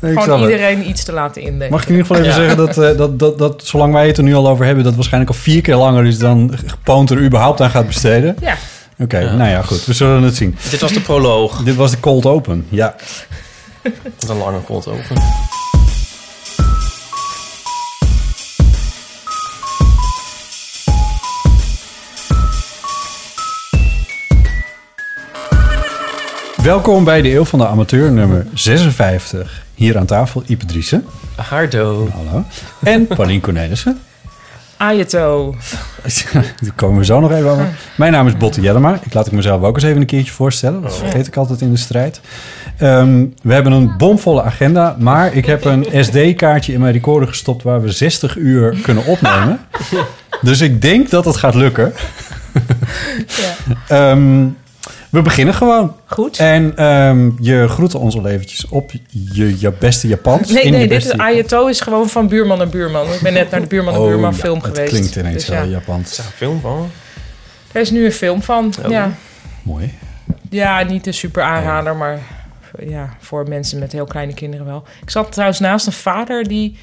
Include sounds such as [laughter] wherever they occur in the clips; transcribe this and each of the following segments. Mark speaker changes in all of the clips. Speaker 1: snap
Speaker 2: gewoon
Speaker 1: het.
Speaker 2: iedereen iets te laten indenken.
Speaker 1: Mag ik in ieder geval even
Speaker 3: Ja.
Speaker 1: zeggen dat, eh, dat, dat, dat, zolang wij het er nu al over hebben, dat waarschijnlijk al vier keer langer is dan Poont er überhaupt aan gaat besteden.
Speaker 2: Ja,
Speaker 1: Oké, nou ja, goed. We zullen het zien.
Speaker 3: Dit was de proloog.
Speaker 1: Dit was de cold open.
Speaker 3: [laughs]
Speaker 1: Ja.
Speaker 3: Met een lange kont open.
Speaker 1: Welkom bij de Eeuw van de Amateur, nummer 56. Hier aan tafel Ipe Driessen.
Speaker 3: Hardo.
Speaker 1: Hallo. En Paulien Cornelissen.
Speaker 2: Ayato.
Speaker 1: [laughs] Daar komen we zo nog even over. Mijn naam is Botte Jellema. Ik laat ik mezelf ook eens even een keertje voorstellen. Dat vergeet ik altijd in de strijd. Ehm, we hebben een bomvolle agenda. Maar ik heb een SD-kaartje in mijn recorder gestopt... waar we 60 uur kunnen opnemen. Dus ik denk dat het gaat lukken. Ehm, we beginnen gewoon.
Speaker 2: Goed.
Speaker 1: En ehm, je groette ons al eventjes op je, je beste Japans.
Speaker 2: Nee,
Speaker 1: In je
Speaker 2: nee, dit
Speaker 1: beste
Speaker 2: is, Ayato is gewoon van buurman en buurman. Ik ben net naar de buurman en
Speaker 1: Oh,
Speaker 2: buurman
Speaker 1: ja,
Speaker 2: film geweest.
Speaker 1: Het klinkt ineens
Speaker 2: Dus
Speaker 1: heel
Speaker 2: ja,
Speaker 1: Japans.
Speaker 3: Film van?
Speaker 2: Er is nu een film van.
Speaker 1: Oh.
Speaker 2: Ja.
Speaker 1: Mooi.
Speaker 2: Ja, niet een super aanrader, maar ja, voor mensen met heel kleine kinderen wel. Ik zat trouwens naast een vader die,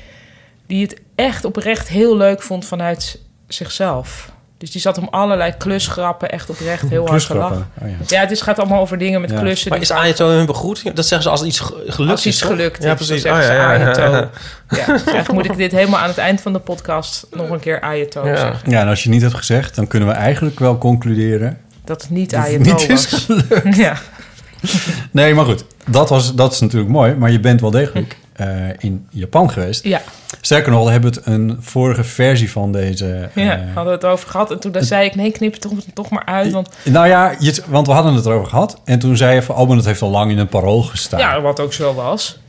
Speaker 2: die het echt oprecht heel leuk vond vanuit zichzelf. Dus die zat om allerlei klusgrappen echt oprecht heel hard te
Speaker 1: Klusgrappen.
Speaker 2: lachen.
Speaker 1: Oh, ja.
Speaker 2: Ja, het is, gaat allemaal over dingen met
Speaker 1: Ja.
Speaker 2: klussen. dus
Speaker 3: Maar
Speaker 2: die-
Speaker 3: is Ayato hun begroeting? Dat zeggen ze als iets ge- gelukt
Speaker 2: als iets
Speaker 3: toch?
Speaker 2: gelukt
Speaker 3: Ja,
Speaker 2: is,
Speaker 3: precies.
Speaker 2: dan zeggen
Speaker 3: Oh,
Speaker 2: ze
Speaker 3: ja, ja, ja,
Speaker 2: Ayato.
Speaker 3: ja.
Speaker 2: Ja, dus eigenlijk moet ik dit helemaal aan het eind van de podcast nog een keer Ayato
Speaker 3: Ja.
Speaker 2: zeggen.
Speaker 1: Ja, en als je niet hebt gezegd, dan kunnen we eigenlijk wel concluderen.
Speaker 2: Dat het niet
Speaker 1: Dat het
Speaker 2: Ayato
Speaker 1: niet is
Speaker 2: was. Ja.
Speaker 1: Nee, maar goed, dat, was, dat is natuurlijk mooi, maar je bent wel degelijk eh, in Japan geweest.
Speaker 2: Ja,
Speaker 1: Sterker nog, daar hebben we het een vorige versie van deze... eh,
Speaker 2: ja hadden we het over gehad. En toen dan zei ik, nee, knip het toch, toch maar uit. Want
Speaker 1: Nou ja, je, want we hadden het erover gehad. En toen zei je van, oh, maar dat heeft al lang in een parool gestaan.
Speaker 2: ja, wat ook zo was.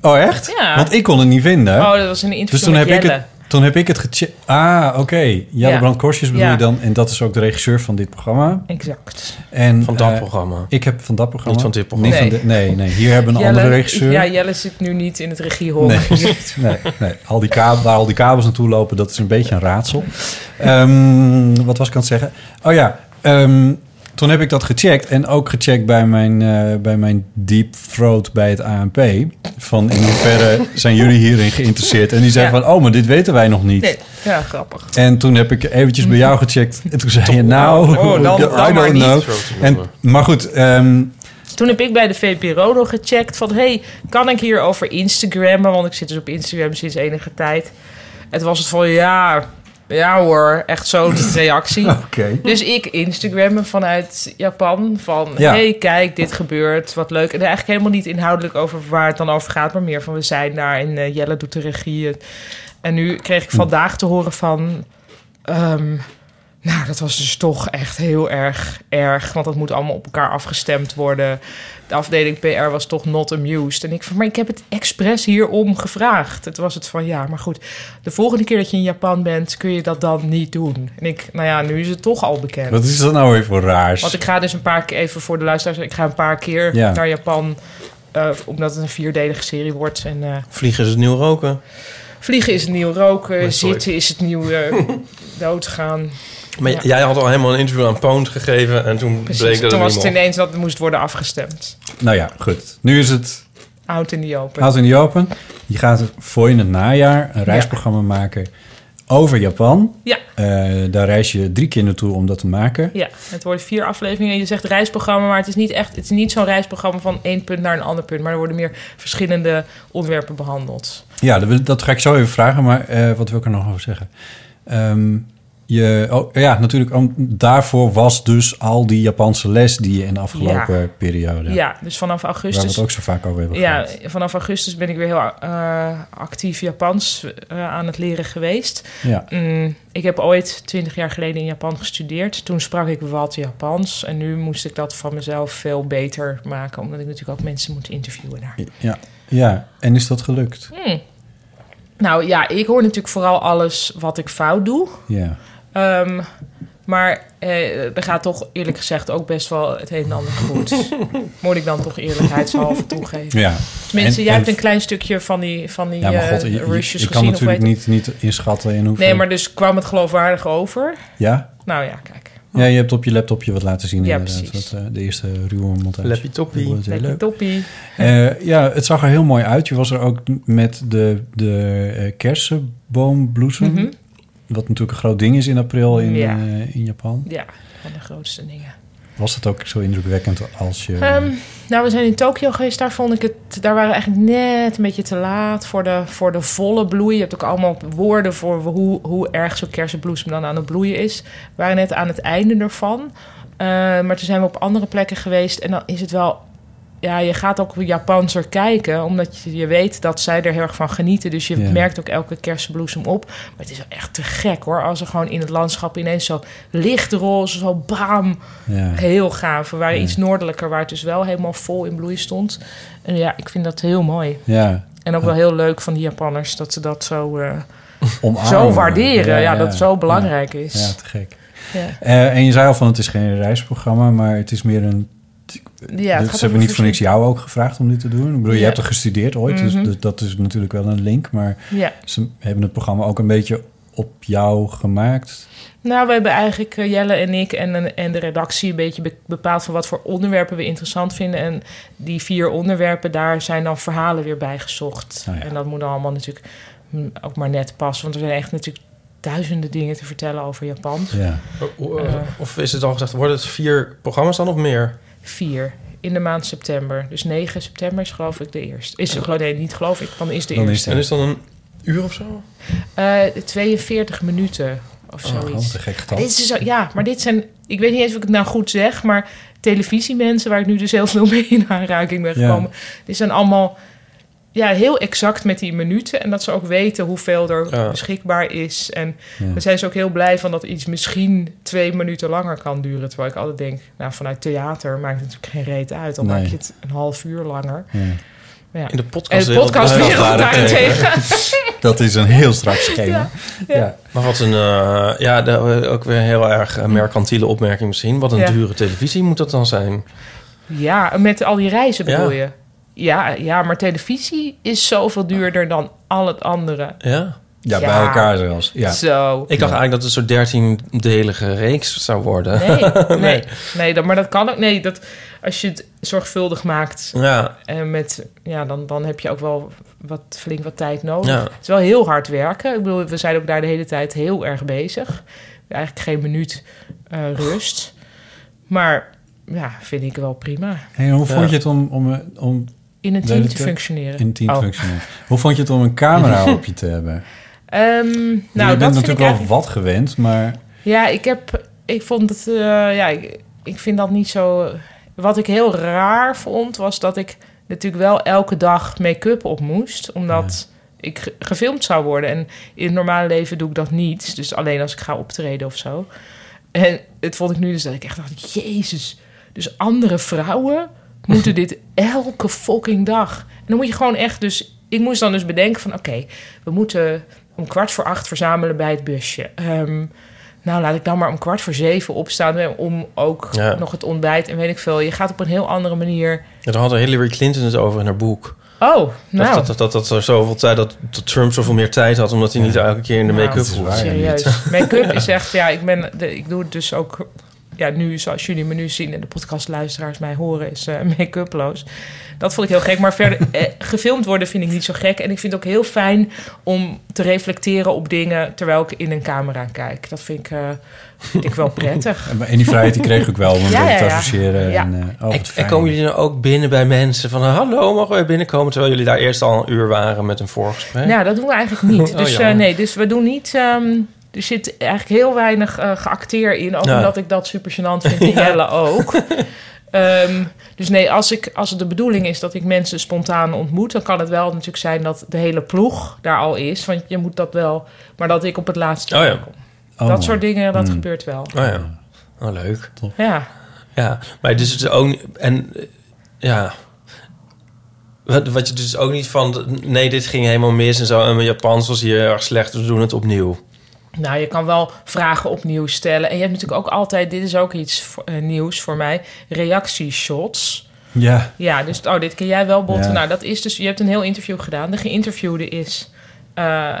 Speaker 1: Oh, echt?
Speaker 2: Ja.
Speaker 1: Want ik kon het niet vinden.
Speaker 2: Oh, dat was in een interview
Speaker 1: dus toen
Speaker 2: met
Speaker 1: heb, ik
Speaker 2: Jelle.
Speaker 1: het, toen heb ik het gecheckt. Ah, oké. Jelle
Speaker 2: Ja.
Speaker 1: Brand Korsjes bedoel
Speaker 2: Ja.
Speaker 1: je dan. En dat is ook de regisseur van dit programma.
Speaker 2: Exact.
Speaker 1: En,
Speaker 3: Van dat
Speaker 1: eh,
Speaker 3: programma.
Speaker 1: ik heb van dat programma.
Speaker 3: Niet van dit programma.
Speaker 1: Niet van dit- nee, nee. Hier hebben we een andere regisseur.
Speaker 2: Ja, Jelle zit nu niet in het regiehok.
Speaker 1: Nee,
Speaker 2: [laughs]
Speaker 1: [laughs] nee, nee. Al die kabel, waar al die kabels naartoe lopen, dat is een beetje een raadsel. Ehm, wat was ik aan het zeggen? Oh ja, ehm, toen heb ik dat gecheckt. En ook gecheckt bij mijn, eh, bij mijn deep throat bij het ANP. Van in hoeverre zijn jullie hierin geïnteresseerd? En die zei
Speaker 2: Ja.
Speaker 1: van, oh, maar dit weten wij nog niet.
Speaker 2: Nee, ja, grappig.
Speaker 1: En toen heb ik eventjes bij jou gecheckt. En toen zei je, nou,
Speaker 2: Oh, dan-
Speaker 1: I
Speaker 2: dan
Speaker 1: don't
Speaker 2: maar niet.
Speaker 1: know. En, maar goed, ehm,
Speaker 2: Toen heb ik bij de VPRO nog gecheckt van... hey, kan ik hierover Instagrammen? Want ik zit dus op Instagram sinds enige tijd. Het was het van, ja, ja hoor, echt zo'n reactie.
Speaker 1: [laughs] oké.
Speaker 2: Dus ik Instagrammen vanuit Japan van...
Speaker 1: Ja.
Speaker 2: hey, kijk, dit gebeurt, wat leuk. En eigenlijk helemaal niet inhoudelijk over waar het dan over gaat... maar meer van, we zijn daar en eh, Jelle doet de regie. En nu kreeg ik vandaag te horen van... ehm, nou, dat was dus toch echt heel erg erg. Want dat moet allemaal op elkaar afgestemd worden. De afdeling PR was toch not amused. En ik van, maar ik heb het expres hierom gevraagd. Het was het van, ja, maar goed. De volgende keer dat je in Japan bent, kun je dat dan niet doen. En ik, nou ja, nu is het toch al bekend.
Speaker 1: Wat is dat nou weer voor raars?
Speaker 2: Want ik ga dus een paar keer, even voor de luisteraars... ik ga een paar keer
Speaker 1: Ja.
Speaker 2: naar Japan... eh, omdat het een vierdelige serie wordt. En eh,
Speaker 3: Vliegen is het nieuw roken.
Speaker 2: vliegen is het nieuw roken,
Speaker 3: Nee, sorry.
Speaker 2: zitten is het nieuw eh,
Speaker 3: [laughs]
Speaker 2: doodgaan.
Speaker 3: Maar
Speaker 2: Ja.
Speaker 3: jij had al helemaal een interview aan Pound gegeven. En toen
Speaker 2: Precies,
Speaker 3: bleek dat
Speaker 2: toen was
Speaker 3: het
Speaker 2: het
Speaker 3: niet mocht.
Speaker 2: ineens dat het moest worden afgestemd.
Speaker 1: Nou ja, goed. Nu is het
Speaker 2: Out in the open.
Speaker 1: Out in the Open. Je gaat voor in het najaar een reisprogramma maken over Japan.
Speaker 2: Ja,
Speaker 1: Eh, daar reis je drie keer naartoe om dat te maken.
Speaker 2: ja, het worden vier afleveringen. Je zegt reisprogramma, maar het is niet echt... Het is niet zo'n reisprogramma van één punt naar een ander punt. Maar er worden meer verschillende onderwerpen behandeld.
Speaker 1: Ja, dat, wil- dat ga ik zo even vragen, maar eh, wat wil ik er nog over zeggen? Ehm, je, oh, ja, natuurlijk, om- daarvoor was dus al die Japanse les die je in de afgelopen periode...
Speaker 2: Ja, dus vanaf
Speaker 1: Oh, Waar Oh, we het
Speaker 2: augustus...
Speaker 1: ook zo vaak over hebben
Speaker 2: Ja,
Speaker 1: gehad.
Speaker 2: vanaf augustus ben ik weer heel eh, actief Japans eh, aan het leren geweest.
Speaker 1: Ja.
Speaker 2: Mm, ik heb ooit twintig jaar geleden in Japan gestudeerd. Toen sprak ik wat Japans. En nu moest ik dat van mezelf veel beter maken. Omdat ik natuurlijk ook mensen moet interviewen daar. Hmm.
Speaker 1: Ja. ja, en is dat gelukt?
Speaker 2: Nou ja, ik hoor natuurlijk vooral alles wat ik fout doe.
Speaker 1: Ja.
Speaker 2: Ehm, maar eh, er gaat toch eerlijk gezegd ook best wel het een en ander goed. Moet ik dan toch eerlijkheidshalve toegeven.
Speaker 1: ja.
Speaker 2: Tenminste,
Speaker 1: En-
Speaker 2: jij
Speaker 1: en-
Speaker 2: hebt een klein stukje van die, van die
Speaker 1: Ja, maar
Speaker 2: eh,
Speaker 1: god, je- je-
Speaker 2: rushes
Speaker 1: ik kan
Speaker 2: gezien. of
Speaker 1: natuurlijk
Speaker 2: weet ik-
Speaker 1: niet, niet inschatten in hoeveel...
Speaker 2: Nee, maar dus kwam het geloofwaardig over?
Speaker 1: Ja?
Speaker 2: Nou ja, kijk.
Speaker 1: Ja, je hebt op je laptopje wat laten zien.
Speaker 2: Ja,
Speaker 1: inderdaad.
Speaker 2: precies.
Speaker 1: Dat, eh, de eerste ruwe montage.
Speaker 3: Lappie toppie.
Speaker 1: Dat wordt heel
Speaker 2: Lekker
Speaker 1: leuk.
Speaker 2: toppie.
Speaker 1: Eh, ja, het zag er heel mooi uit. Je was er ook met de, de eh, kersenboombloesem.
Speaker 2: Mhm.
Speaker 1: Wat natuurlijk een groot ding is in april in,
Speaker 2: Ja.
Speaker 1: eh, in Japan.
Speaker 2: Ja, van de grootste dingen.
Speaker 1: Was dat ook zo indrukwekkend als je...
Speaker 2: Ehm, nou, we zijn in Tokio geweest. Daar vond ik het. Daar waren we eigenlijk net een beetje te laat voor de, voor de volle bloei. Je hebt ook allemaal woorden voor hoe, hoe erg zo'n kersenbloesem dan aan het bloeien is. We waren net aan het einde ervan. Eh, maar toen zijn we op andere plekken geweest. En dan is het wel. Ja, je gaat ook Japanser kijken, omdat je, je weet dat zij er heel erg van genieten. Dus je
Speaker 1: Ja.
Speaker 2: merkt ook elke kersenbloesem op. Maar het is wel echt te gek hoor. Als er gewoon in het landschap ineens zo lichtroze, zo bam,
Speaker 1: ja.
Speaker 2: Heel gaaf. We waren
Speaker 1: Ja.
Speaker 2: iets noordelijker, waar het dus wel helemaal vol in bloei stond. En ja, ik vind dat heel mooi.
Speaker 1: ja,
Speaker 2: En ook wel heel leuk van die Japanners dat ze dat zo, eh,
Speaker 1: omarmen.
Speaker 2: zo waarderen. Ja, dat het zo belangrijk
Speaker 1: Ja, ja,
Speaker 2: is.
Speaker 1: te gek.
Speaker 2: Ja,
Speaker 1: Eh, en je zei al van het is geen reisprogramma, maar het is meer een...
Speaker 2: ja,
Speaker 1: dat,
Speaker 2: gaat
Speaker 1: ze hebben
Speaker 2: over
Speaker 1: niet voor niks jou ook gevraagd om dit te doen. Ik bedoel, je
Speaker 2: Ja.
Speaker 1: hebt er gestudeerd ooit,
Speaker 2: Mhm.
Speaker 1: dus dat- dat is natuurlijk wel een link. Maar
Speaker 2: Ja.
Speaker 1: Ze hebben het programma ook een beetje op jou gemaakt.
Speaker 2: Nou, we hebben eigenlijk eh, Jelle en ik en, eh, en- en de redactie een beetje be- bepaald van wat voor onderwerpen we interessant vinden. En die vier onderwerpen, daar zijn dan verhalen weer bij gezocht.
Speaker 1: Oh ja.
Speaker 2: En dat moet dan allemaal natuurlijk mm, ook maar net passen. Want er zijn echt natuurlijk duizenden dingen te vertellen over Japan. Eh,
Speaker 1: Ja.
Speaker 3: O- o- Eh, Of is het al gezegd, worden het vier programma's dan of meer?
Speaker 2: vier in de maand september. Dus 9 september is geloof ik de eerste. Is geloof nee, niet geloof ik, dan is de
Speaker 1: Dan is
Speaker 2: eerste.
Speaker 3: En is dan een uur of zo?
Speaker 2: Eh, 42 minuten of zoiets.
Speaker 1: Oh, wat een gek getal.
Speaker 2: dit is zo, ja, maar dit zijn... Ik weet niet eens of ik het nou goed zeg, maar televisiemensen... waar ik nu dus heel veel mee in aanraking ben
Speaker 1: Ja.
Speaker 2: gekomen... die zijn allemaal ja, heel exact met die minuten. En dat ze ook weten hoeveel er
Speaker 3: Ja.
Speaker 2: beschikbaar is. En daar zijn ze ook heel blij van dat iets misschien twee minuten langer kan duren. Terwijl ik altijd denk, nou, vanuit theater maakt het natuurlijk geen reet uit. Dan
Speaker 1: Nee.
Speaker 2: maak je het een half uur langer.
Speaker 1: Ja.
Speaker 2: Maar ja.
Speaker 3: In de
Speaker 2: En
Speaker 3: podcast.
Speaker 2: de podcast weer daarentegen. [laughs]
Speaker 1: Dat is een heel strak schema. Ja.
Speaker 3: Maar wat een, eh, ja, de- ook weer een heel erg eh, mercantiele opmerking misschien. Wat een
Speaker 2: Ja.
Speaker 3: dure televisie moet dat dan zijn.
Speaker 2: Ja, met al die reizen bedoel
Speaker 3: Ja.
Speaker 2: je. Ja, ja, maar televisie is zoveel duurder dan al het andere.
Speaker 3: Ja.
Speaker 1: Ja, bij
Speaker 2: Ja.
Speaker 1: elkaar zelfs. Ja.
Speaker 2: Zo.
Speaker 3: Ik dacht eigenlijk dat het een soort 13-delige reeks zou worden.
Speaker 2: Nee, nee, nee dat, maar dat kan ook. Nee, dat, als je het zorgvuldig maakt,
Speaker 3: Ja,
Speaker 2: en met, ja, dan, dan heb je ook wel wat, flink wat tijd nodig.
Speaker 3: Ja.
Speaker 2: Het is wel heel hard werken. Ik bedoel, we zijn ook daar de hele tijd heel erg bezig. Eigenlijk geen minuut eh, rust. Maar ja, vind ik wel prima.
Speaker 1: Hey, hoe
Speaker 3: Ja.
Speaker 1: vond je het om, om, eh, om
Speaker 2: In een
Speaker 1: De
Speaker 2: team
Speaker 1: hele
Speaker 2: te
Speaker 1: tijd?
Speaker 2: functioneren.
Speaker 1: in team
Speaker 2: Oh.
Speaker 1: functioneren? Hoe vond je het om een
Speaker 3: [laughs]
Speaker 1: camera op je te hebben?
Speaker 2: Ehm, nou,
Speaker 1: je
Speaker 2: dat
Speaker 1: bent
Speaker 2: vind ik
Speaker 1: natuurlijk wel
Speaker 2: eigenlijk-
Speaker 1: wat gewend, maar
Speaker 2: Ja, ik heb. Ik vond het. eh, ja, ik, ik vind dat niet zo. Wat ik heel raar vond, was dat ik natuurlijk wel elke dag make-up op moest. Omdat ik ge- gefilmd zou worden. En in het normale leven doe ik dat niet. Dus alleen als ik ga optreden of zo. En het vond ik nu dus dat ik echt dacht: Jezus. Dus andere vrouwen moeten dit elke fucking dag. En dan moet je gewoon echt dus... Ik moest dan dus bedenken van... Oké, we moeten om kwart voor acht verzamelen bij het busje. Ehm, nou, laat ik dan maar om kwart voor zeven opstaan... eh, om ook
Speaker 3: Ja.
Speaker 2: nog het ontbijt en weet ik veel. Je gaat op een heel andere manier...
Speaker 3: [laughs] Ja, daar had Hillary Clinton het over in haar boek.
Speaker 2: Oh,
Speaker 3: Dat,
Speaker 2: nou...
Speaker 3: dat, dat, dat, dat er zoveel tijd, dat, dat Trump zoveel meer tijd had... omdat hij niet elke keer in de
Speaker 2: Nou,
Speaker 3: make-up
Speaker 2: dat
Speaker 1: is
Speaker 3: hoefde.
Speaker 1: waar.
Speaker 2: Serieus. [laughs]
Speaker 1: [laughs]
Speaker 2: Make-up is echt, ja, ik, ben, de, ik doe het dus ook. Ja, nu, zoals jullie me nu zien en de podcastluisteraars mij horen, is eh, make-uploos. Dat vond ik heel gek. Maar verder, eh, gefilmd worden vind ik niet zo gek. En ik vind het ook heel fijn om te reflecteren op dingen terwijl ik in een camera kijk. Dat vind ik, eh, vind ik wel
Speaker 1: [laughs]
Speaker 2: prettig.
Speaker 1: en die vrijheid die kreeg ik ook wel om een
Speaker 2: Ja,
Speaker 1: beetje
Speaker 2: ja,
Speaker 1: te
Speaker 2: ja.
Speaker 1: associëren.
Speaker 2: Ja.
Speaker 1: En, eh, oh,
Speaker 3: En,
Speaker 1: wat
Speaker 3: en
Speaker 1: fijn.
Speaker 3: komen jullie dan ook binnen bij mensen van... hallo, mogen wij binnenkomen? Terwijl jullie daar eerst al een uur waren met een voorgesprek.
Speaker 2: Nou, dat doen we eigenlijk niet.
Speaker 3: Oh,
Speaker 2: Dus eh,
Speaker 3: jammer.
Speaker 2: nee, dus we doen niet. ehm, er zit eigenlijk heel weinig eh, geacteer in. Ook
Speaker 3: Ja.
Speaker 2: omdat ik dat super gênant
Speaker 3: [laughs]
Speaker 2: vind. En Jelle ook. Ehm, dus nee, als, ik, als het de bedoeling is dat ik mensen spontaan ontmoet... dan kan het wel natuurlijk zijn dat de hele ploeg daar al is. Want je moet dat wel... Maar dat ik op het laatste...
Speaker 3: Oh ja.
Speaker 2: kom.
Speaker 1: Oh,
Speaker 2: dat soort dingen, dat
Speaker 1: Hmm.
Speaker 2: gebeurt wel.
Speaker 3: Oh ja, oh, leuk.
Speaker 2: Ja.
Speaker 3: Ja, maar dus het is ook... niet- En eh, ja... Wat, wat je dus ook niet van... Nee, dit ging helemaal mis en zo. En mijn Japans was hier erg slecht. dus We doen het opnieuw.
Speaker 2: Nou, je kan wel vragen opnieuw stellen. En je hebt natuurlijk ook altijd... dit is ook iets voor- eh, nieuws voor mij... reactieshots...
Speaker 1: Ja,
Speaker 2: Ja, dus oh, dit ken jij wel, Botte.
Speaker 1: Ja.
Speaker 2: Nou, dat is dus, je hebt een heel interview gedaan. De geïnterviewde is, eh,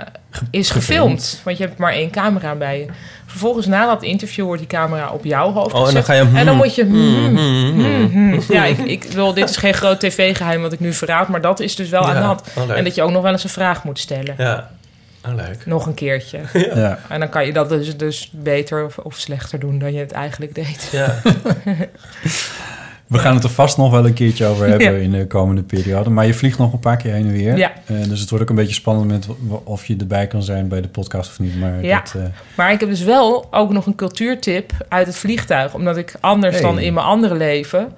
Speaker 2: is gefilmd, want je hebt maar één camera bij je. Vervolgens na dat interview wordt die camera op jouw hoofd
Speaker 3: Oh, en dan
Speaker 2: gezet.
Speaker 3: ga je,
Speaker 2: En dan
Speaker 3: hmm,
Speaker 2: moet je... hmm,
Speaker 3: Mhm.
Speaker 2: hmm, hmm. Ja, ik, ik wil, dit is geen groot tv-geheim wat ik nu verraad, maar dat is dus wel aan de
Speaker 3: Ja,
Speaker 2: hand.
Speaker 3: oh, leuk.
Speaker 2: En dat je ook nog wel eens een vraag moet stellen.
Speaker 3: Ja, oh, leuk.
Speaker 2: Nog een keertje.
Speaker 1: ja.
Speaker 2: En dan kan je dat dus, dus beter of, of slechter doen dan je het eigenlijk deed.
Speaker 1: [laughs]
Speaker 3: Ja.
Speaker 1: We gaan het er vast nog wel een keertje over hebben
Speaker 2: [laughs] Ja.
Speaker 1: in de komende periode. Maar je vliegt nog een paar keer heen en weer.
Speaker 2: Ja.
Speaker 1: Eh, dus het wordt ook een beetje spannend met w- of je erbij kan zijn bij de podcast of niet. Maar
Speaker 2: Ja.
Speaker 1: dat, eh,
Speaker 2: Maar ik heb dus wel ook nog een cultuurtip uit het vliegtuig. Omdat ik anders
Speaker 1: Hey.
Speaker 2: dan in mijn andere leven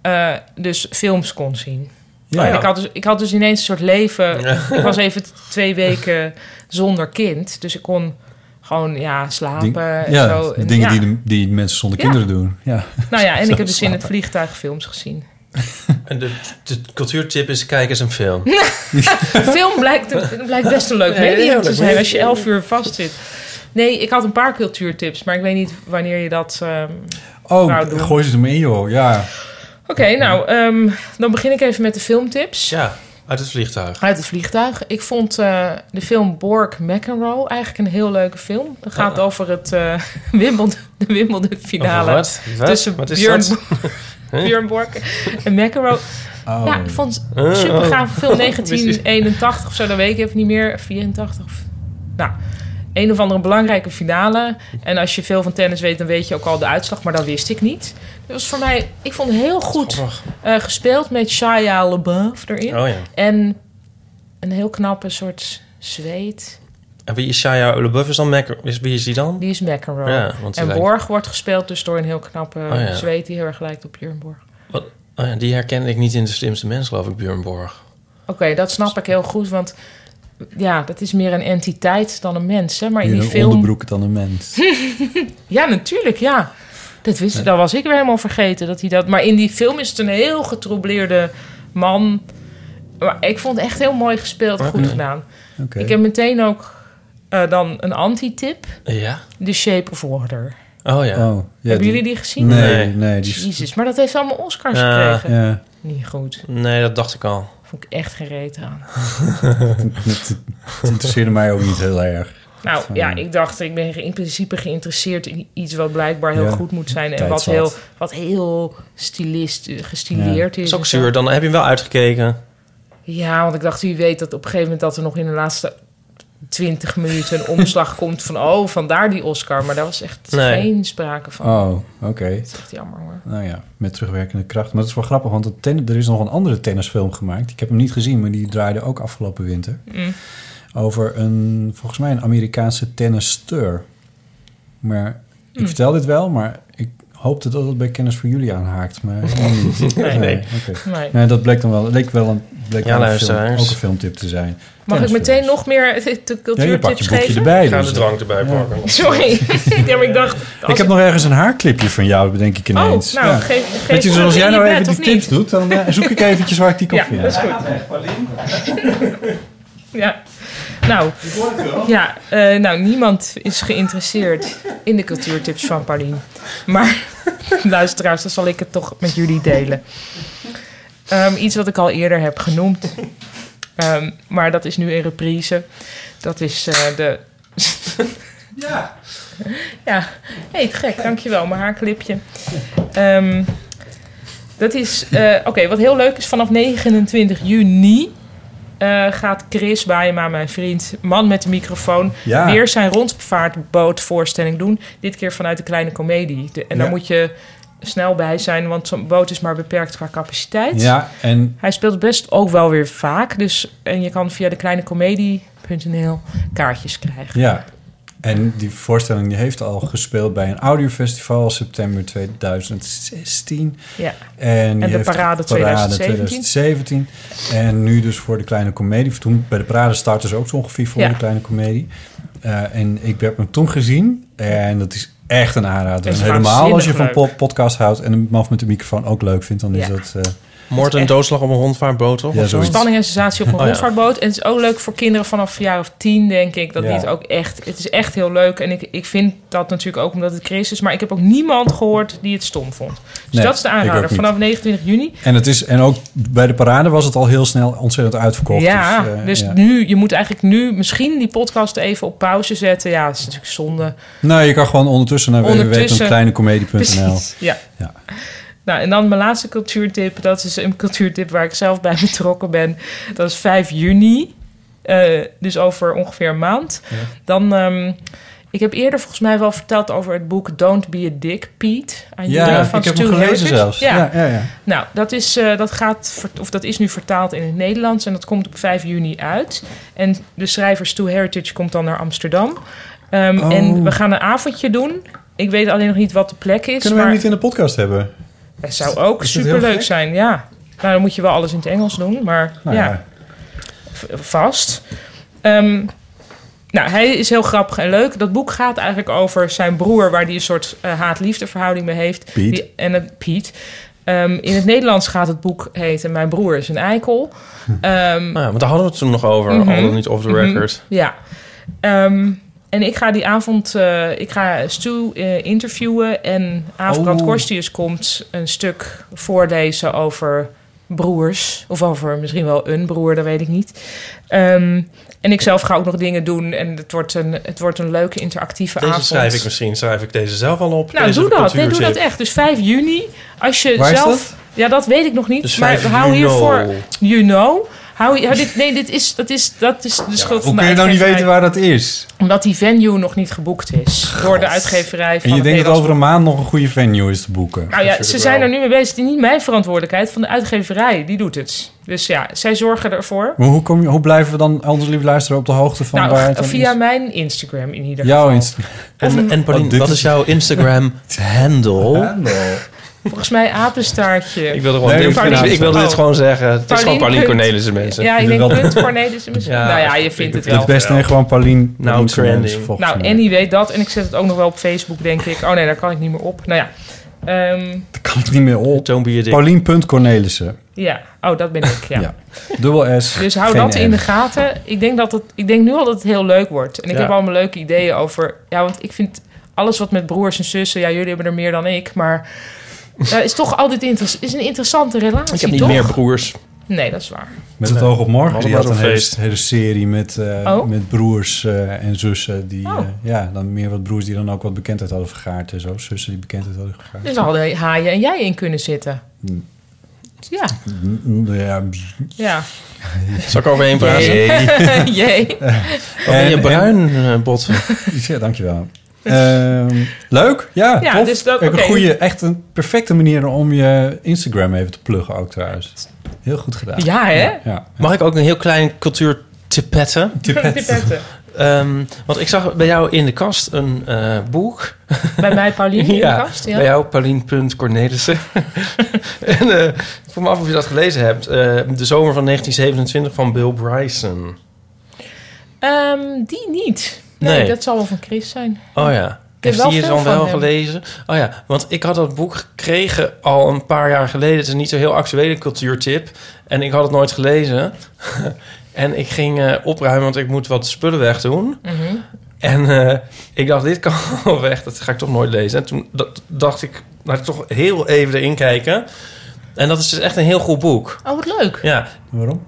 Speaker 2: eh, dus films kon zien.
Speaker 1: ja,
Speaker 2: En ik, had dus, ik had dus ineens een soort leven. Ik was even t- twee weken zonder kind. Dus ik kon gewoon ja, slapen.
Speaker 1: Ding-
Speaker 2: en
Speaker 1: ja,
Speaker 2: eh, zo. En
Speaker 1: dingen
Speaker 2: ja.
Speaker 1: Die, de- die mensen zonder
Speaker 2: Ja.
Speaker 1: kinderen doen. Ja.
Speaker 2: Nou ja,
Speaker 1: [laughs]
Speaker 2: en ik heb dus in het vliegtuig films gezien.
Speaker 3: En de, de cultuurtip is: kijk eens een film.
Speaker 2: [laughs] Film blijkt, een- blijkt best een leuk
Speaker 3: Nee, heel
Speaker 2: medium te
Speaker 3: leuk
Speaker 2: zijn
Speaker 3: medium.
Speaker 2: als je elf uur vast zit. Nee, ik had een paar cultuurtips, maar ik weet niet wanneer je dat... ehm,
Speaker 1: Oh,
Speaker 2: Nou, doen.
Speaker 1: gooi ze er maar in, joh. Ja.
Speaker 2: Oké, nou, ehm, dan begin ik even met de filmtips.
Speaker 3: Ja, uit het vliegtuig.
Speaker 2: Uit het vliegtuig. Ik vond eh, de film Borg McEnroe eigenlijk een heel leuke film. Het gaat over het eh [laughs] Wimbledon, de Wimbledon finale.
Speaker 3: Oh. Over wat? Wat?
Speaker 2: Tussen
Speaker 3: wat is
Speaker 2: Björn,
Speaker 3: dat?
Speaker 2: [laughs] Björn Borg en McEnroe.
Speaker 1: Oh.
Speaker 2: Ja, ik vond het een super gaaf
Speaker 3: [laughs]
Speaker 2: film. 1981 of zo, dat weet ik even niet meer. 84 of... Nou, een of andere belangrijke finale. En als je veel van tennis weet, dan weet je ook al de uitslag. Maar dat wist ik niet. Dat was voor mij... Ik vond het heel goed
Speaker 3: Grappig.
Speaker 2: eh, gespeeld met Shia LaBeouf erin.
Speaker 3: Oh ja.
Speaker 2: En een heel knappe soort zweet.
Speaker 3: En wie is Shia LaBeouf? Is dan Mac? Is, wie is die dan?
Speaker 2: Die is McEnroe.
Speaker 3: Ja, want die
Speaker 2: en
Speaker 3: lijkt- Oh
Speaker 2: Borg wordt gespeeld dus door een heel knappe
Speaker 3: ja.
Speaker 2: zweet... die heel erg lijkt op Björn Borg.
Speaker 3: Wat? Oh ja, die herkende ik niet in de slimste mens, geloof ik, Björn Borg.
Speaker 2: Oké, dat snap ik heel goed, want ja, dat is meer een entiteit dan een mens, hè? Maar in
Speaker 1: Hier
Speaker 2: die
Speaker 1: een
Speaker 2: film...
Speaker 1: onderbroek dan een mens.
Speaker 2: [laughs] Ja, natuurlijk, ja. Dat, wist, dat was ik weer helemaal vergeten. Dat hij dat, maar in die film is het een heel getroubleerde man. Maar ik vond het echt heel mooi gespeeld, goed gedaan.
Speaker 1: Oké.
Speaker 2: Ik heb meteen ook eh, dan een anti-tip.
Speaker 3: Ja?
Speaker 2: The Shape of Water.
Speaker 3: Oh ja.
Speaker 1: Oh, ja,
Speaker 2: Hebben
Speaker 1: die-
Speaker 2: jullie die gezien?
Speaker 1: Nee,
Speaker 3: Nee.
Speaker 1: nee. Die,
Speaker 2: Jezus, maar dat heeft allemaal Oscars
Speaker 3: Ja.
Speaker 2: gekregen.
Speaker 1: ja.
Speaker 2: Niet goed.
Speaker 3: Nee, dat dacht ik al.
Speaker 2: Vond ik echt gereed
Speaker 3: [laughs]
Speaker 2: aan.
Speaker 1: Het interesseerde mij ook niet heel erg.
Speaker 2: Nou
Speaker 1: Van-
Speaker 2: ja, ik dacht, ik ben in principe geïnteresseerd in iets wat blijkbaar heel
Speaker 1: Ja,
Speaker 2: goed moet zijn. En
Speaker 1: tijd
Speaker 2: wat
Speaker 1: zat.
Speaker 2: heel, wat heel stilist, gestileerd is.
Speaker 3: Is
Speaker 2: en
Speaker 3: ook
Speaker 2: zo.
Speaker 3: zuur. Dan heb je hem wel uitgekeken.
Speaker 2: Ja, want ik dacht, wie weet dat op een gegeven moment dat er nog in de laatste 20 minuten een omslag [laughs] komt van oh, vandaar die Oscar. Maar daar was echt
Speaker 3: Nee.
Speaker 2: geen sprake van.
Speaker 1: Oh, oké.
Speaker 2: Dat is echt jammer hoor.
Speaker 1: Nou ja, met terugwerkende kracht. Maar het is wel grappig, want het ten- er is nog een andere tennisfilm gemaakt. Ik heb hem niet gezien, maar die draaide ook afgelopen winter.
Speaker 2: Mm.
Speaker 1: Over een, volgens mij, een Amerikaanse tennisster. Maar ik
Speaker 2: Hm.
Speaker 1: vertel dit wel, maar ik hoopte dat het bij Kennis voor jullie aanhaakt. Maar helemaal
Speaker 3: [laughs]
Speaker 1: niet.
Speaker 2: Nee.
Speaker 1: oké.
Speaker 2: Nee.
Speaker 1: Nee, dat bleek dan wel, leek wel een, bleek
Speaker 3: Ja,
Speaker 1: wel een film,
Speaker 3: luisteraars.
Speaker 1: ook een filmtip te zijn.
Speaker 2: Mag ik
Speaker 1: Tennisfilms.
Speaker 2: meteen nog meer eh,
Speaker 1: Ja,
Speaker 2: de
Speaker 1: je pakt
Speaker 2: cultuurtips
Speaker 1: je boekje
Speaker 2: geven?
Speaker 1: erbij.
Speaker 3: Ik ga
Speaker 1: dus,
Speaker 3: de
Speaker 1: eh,
Speaker 3: drank erbij pakken.
Speaker 2: Sorry. [laughs] ja, maar ik dacht. als
Speaker 1: Ik heb nog ergens een haarclipje van jou, bedenk ik
Speaker 2: Oh, nou,
Speaker 1: ineens. Ja.
Speaker 2: geef, geef
Speaker 1: Weet je,
Speaker 2: me
Speaker 1: zoals
Speaker 2: in
Speaker 1: jij nou
Speaker 2: bed,
Speaker 1: even
Speaker 2: of
Speaker 1: die tips
Speaker 2: niet?
Speaker 1: doet, dan eh, zoek ik eventjes waar ik die kan
Speaker 2: [laughs] Ja,
Speaker 1: vinden.
Speaker 2: dat is goed. Ja. Nou, ja, eh, nou, niemand is geïnteresseerd in de cultuurtips van Paulien. Maar [laughs] luisteraars, dan zal ik het toch met jullie delen. Ehm, iets wat ik al eerder heb genoemd, ehm, maar dat is nu in reprise. Dat is eh, de... [laughs] ja. Ja, hey, te gek, dankjewel, mijn haarklipje. Ehm, dat is, eh, oké, wat heel leuk is, vanaf 29 juni eh, gaat Chris Baaema, mijn vriend, man met de microfoon,
Speaker 1: Ja.
Speaker 2: weer zijn rondvaartbootvoorstelling doen. Dit keer vanuit de kleine komedie. De- en daar
Speaker 1: Ja.
Speaker 2: moet je snel bij zijn, want zo'n boot is maar beperkt qua capaciteit.
Speaker 1: Ja, en
Speaker 2: Hij speelt best ook wel weer vaak. Dus, en je kan via de kleinecomedie.nl kaartjes krijgen.
Speaker 1: Ja, en die voorstelling die heeft al gespeeld bij een audiofestival september 2016.
Speaker 2: Ja.
Speaker 1: En, die
Speaker 2: de
Speaker 1: heeft
Speaker 2: parade
Speaker 1: 2017. En nu dus voor de kleine komedie. Of Toen, bij de parade start dus ook zo ongeveer voor
Speaker 2: Ja.
Speaker 1: de kleine komedie. Eh, en ik heb hem toen gezien. En dat is echt een aanrader.
Speaker 2: Is
Speaker 1: En helemaal als je van
Speaker 2: waanzinnig
Speaker 1: po- podcast houdt en een man met de microfoon ook leuk vindt, dan is
Speaker 2: Ja.
Speaker 1: dat... eh,
Speaker 3: Moord en doodslag op een hondvaartboot, toch?
Speaker 1: Ja,
Speaker 3: Of zo?
Speaker 1: zoiets. Oh,
Speaker 2: Spanning en sensatie op een
Speaker 3: ja.
Speaker 2: rondvaartboot. En het is ook leuk voor kinderen vanaf een jaar of tien, denk ik. Dat
Speaker 1: Ja.
Speaker 2: dit ook echt... Het is echt heel leuk. En ik, ik vind dat natuurlijk ook omdat het Chris is. Maar ik heb ook niemand gehoord die het stom vond. Dus
Speaker 1: Nee,
Speaker 2: dat is de
Speaker 1: ik ook
Speaker 2: aanrader.
Speaker 1: niet.
Speaker 2: Vanaf 29 juni.
Speaker 1: en, het is, en ook bij de parade was het al heel snel ontzettend uitverkocht.
Speaker 2: ja,
Speaker 1: dus,
Speaker 2: dus,
Speaker 1: eh, ja.
Speaker 2: nu... Je moet eigenlijk nu misschien die podcast even op pauze zetten. Ja, dat is natuurlijk zonde.
Speaker 1: Nou, je kan gewoon ondertussen naar
Speaker 2: Ondertussen.
Speaker 1: www.kleinecomedie.nl.
Speaker 2: Precies, ja.
Speaker 1: Ja.
Speaker 2: Nou, en dan mijn laatste cultuurtip. Dat is een cultuurtip waar ik zelf bij betrokken ben. Dat is 5 juni. Eh, dus over ongeveer een maand. Dan, ehm, ik heb eerder volgens mij wel verteld over het boek Don't Be a Dick, Pete. Aan jullie
Speaker 1: Ja,
Speaker 2: van
Speaker 1: ik heb hem
Speaker 2: Stu
Speaker 1: gelezen
Speaker 2: Herkens.
Speaker 1: zelfs.
Speaker 2: Ja.
Speaker 1: Ja, ja, ja.
Speaker 2: Nou, dat is, eh, dat, gaat, ver- of dat is nu vertaald in het Nederlands en dat komt op 5 juni uit. En de schrijver Stu Heritage komt dan naar Amsterdam. Ehm,
Speaker 1: Oh.
Speaker 2: En we gaan een avondje doen. Ik weet alleen nog niet wat de plek is.
Speaker 1: Kunnen we
Speaker 2: maar...
Speaker 1: hem niet in de podcast hebben?
Speaker 2: Dat zou ook
Speaker 1: Is dat heel
Speaker 2: superleuk
Speaker 1: gek?
Speaker 2: zijn, ja. Nou, dan moet je wel alles in het Engels doen, maar
Speaker 1: Nou
Speaker 2: ja,
Speaker 1: ja.
Speaker 2: v- vast. Ehm, nou, hij is heel grappig en leuk. Dat boek gaat eigenlijk over zijn broer, waar hij een soort eh, haat-liefde verhouding mee heeft.
Speaker 1: Piet.
Speaker 2: Die- en het, Piet. Ehm, in het Nederlands gaat het boek heten Mijn broer is een eikel. Ehm,
Speaker 3: Nou ja, want daar hadden we het toen nog over.
Speaker 2: Mhm.
Speaker 3: Al dan niet off the record.
Speaker 2: ja. Ehm, en ik ga die avond, eh, ik ga Stu eh, interviewen en Aafbrand
Speaker 1: Oh.
Speaker 2: Korstius komt een stuk voorlezen over broers. Of over misschien wel een broer, dat weet ik niet. Ehm, en ik zelf ga ook nog dingen doen en het wordt een, het wordt een leuke interactieve
Speaker 3: Deze
Speaker 2: avond.
Speaker 3: schrijf ik misschien. Schrijf ik deze zelf al op.
Speaker 2: Nou,
Speaker 3: deze
Speaker 2: doe dat. Nee, doe
Speaker 3: cultuurtip.
Speaker 2: dat echt. Dus 5 juni, als je
Speaker 1: Waar is
Speaker 2: zelf...
Speaker 1: dat?
Speaker 2: Ja, dat weet ik nog niet.
Speaker 3: Dus
Speaker 2: maar
Speaker 3: 5
Speaker 2: hou
Speaker 3: juni.
Speaker 2: hiervoor... You know. Hou, hou dit, nee, dit is, dat is, dat is de schuld van
Speaker 1: Hoe
Speaker 2: de
Speaker 1: kun je nou niet
Speaker 2: uitgeverij
Speaker 1: weten waar dat is?
Speaker 2: omdat die venue nog niet geboekt is door de uitgeverij
Speaker 1: En
Speaker 2: van
Speaker 1: je denkt dat
Speaker 2: het Nederlands
Speaker 1: over een maand nog een goede venue is te boeken.
Speaker 2: nou ja, ze
Speaker 3: Natuurlijk
Speaker 2: zijn
Speaker 3: wel.
Speaker 2: er nu mee bezig. Het is niet mijn verantwoordelijkheid, van de uitgeverij. Die doet het. Dus ja, zij zorgen ervoor.
Speaker 1: Maar hoe, kom je, hoe blijven we dan, onze lieve luisteraar, op de hoogte van
Speaker 2: nou,
Speaker 1: waar het
Speaker 2: g-
Speaker 1: dan
Speaker 2: via
Speaker 1: is?
Speaker 2: mijn Instagram in ieder geval.
Speaker 1: Jouw Insta-
Speaker 3: En, en Paulien,
Speaker 1: Oh, dit
Speaker 3: wat
Speaker 1: is-
Speaker 3: is jouw Instagram [laughs] handle?
Speaker 1: handle.
Speaker 2: Volgens mij apenstaartje.
Speaker 3: Ik wilde, gewoon
Speaker 1: Nee,
Speaker 3: dit,
Speaker 1: Paulien-
Speaker 3: ik wilde dit
Speaker 2: Oh.
Speaker 3: gewoon zeggen. Het is gewoon Paulien
Speaker 2: punt-
Speaker 3: Cornelissen, mensen.
Speaker 2: Ja, ik
Speaker 1: Jullie
Speaker 2: denk
Speaker 1: wel-
Speaker 2: punt Cornelissen misschien.
Speaker 3: Ja.
Speaker 2: nou ja, je vindt het wel.
Speaker 1: Het beste nee, gewoon Paulien.
Speaker 3: Nou,
Speaker 1: Paulien Cornelis,
Speaker 3: trending.
Speaker 1: volgens
Speaker 2: Nou,
Speaker 1: mij.
Speaker 2: en die weet dat. En ik zet het ook nog wel op Facebook, denk ik. Oh nee, daar kan ik niet meer op. Nou ja. Ehm,
Speaker 1: Daar kan ik niet meer op.
Speaker 3: Don't be a dick.
Speaker 1: Paulien.Cornelissen.
Speaker 2: ja, oh, dat ben ik. Ja.
Speaker 1: Ja. Dubbel S.
Speaker 2: Dus hou
Speaker 1: geen
Speaker 2: dat
Speaker 1: N.
Speaker 2: in de gaten. Ik denk, dat het, ik denk nu al dat het heel leuk wordt. En ik
Speaker 3: Ja.
Speaker 2: heb allemaal leuke ideeën over. Ja, want ik vind alles wat met broers en zussen. Ja, jullie hebben er meer dan ik. Maar ja, is toch altijd inter- is een interessante relatie.
Speaker 3: Ik heb niet
Speaker 2: toch?
Speaker 3: meer broers.
Speaker 2: Nee, dat is waar.
Speaker 1: Met het oog op morgen.
Speaker 3: Was
Speaker 1: Die
Speaker 3: het maar
Speaker 1: had een
Speaker 3: zo'n
Speaker 1: hele,
Speaker 3: feest.
Speaker 1: hele serie met, eh,
Speaker 2: Oh.
Speaker 1: met broers eh, en zussen. Die,
Speaker 2: Oh.
Speaker 1: eh, ja, dan meer wat broers die dan ook wat bekendheid hadden vergaard en zo. Zussen die bekendheid hadden vergaard.
Speaker 2: Dus daar hadden haaien en jij in kunnen zitten. Ja,
Speaker 1: Mm, Ja, [laughs]
Speaker 2: ja.
Speaker 3: Zal ik overheen praten?
Speaker 2: Jee. [laughs] Jee.
Speaker 3: Wat ben je
Speaker 1: En-
Speaker 3: bruin, eh, bot?
Speaker 1: [laughs] Ja, dankjewel. Ehm, leuk, ja,
Speaker 2: Ja,
Speaker 1: tof.
Speaker 2: dus dat-
Speaker 1: Ook
Speaker 2: oké.
Speaker 1: een goede, echt een perfecte manier om je Instagram even te pluggen ook trouwens. Heel goed gedaan.
Speaker 2: Ja, hè?
Speaker 1: Ja, ja.
Speaker 3: Mag ik ook een heel klein cultuur tipetten?
Speaker 2: Pipetten.
Speaker 3: Ehm, want ik zag bij jou in de kast een eh, boek.
Speaker 2: Bij mij
Speaker 3: [laughs]
Speaker 2: Pauline in de kast.
Speaker 3: bij
Speaker 2: Ja.
Speaker 3: jou Paulien.Cornelissen. [laughs] en eh, ik vroeg me af of je dat gelezen hebt. Eh, de zomer van 1927 van Bill Bryson.
Speaker 2: Ehm, die niet. Nee,
Speaker 3: Nee.
Speaker 2: dat zal wel van Chris zijn.
Speaker 3: Oh ja.
Speaker 2: heb
Speaker 3: Heeft
Speaker 2: wel
Speaker 3: die je
Speaker 2: veel
Speaker 3: dan
Speaker 2: van
Speaker 3: wel
Speaker 2: hem.
Speaker 3: gelezen? Oh ja, want ik had dat boek gekregen al een paar jaar geleden. Het is niet zo'n heel actuele cultuurtip. En ik had het nooit gelezen. [laughs] en ik ging eh, opruimen, want ik moet wat spullen wegdoen.
Speaker 2: Mhm.
Speaker 3: En eh, ik dacht, dit kan [laughs] wel weg. Dat ga ik toch nooit lezen. En toen dat, dacht ik, laat ik toch heel even erin kijken. En dat is dus echt een heel goed boek.
Speaker 2: Oh, wat leuk.
Speaker 3: Ja,
Speaker 1: Waarom?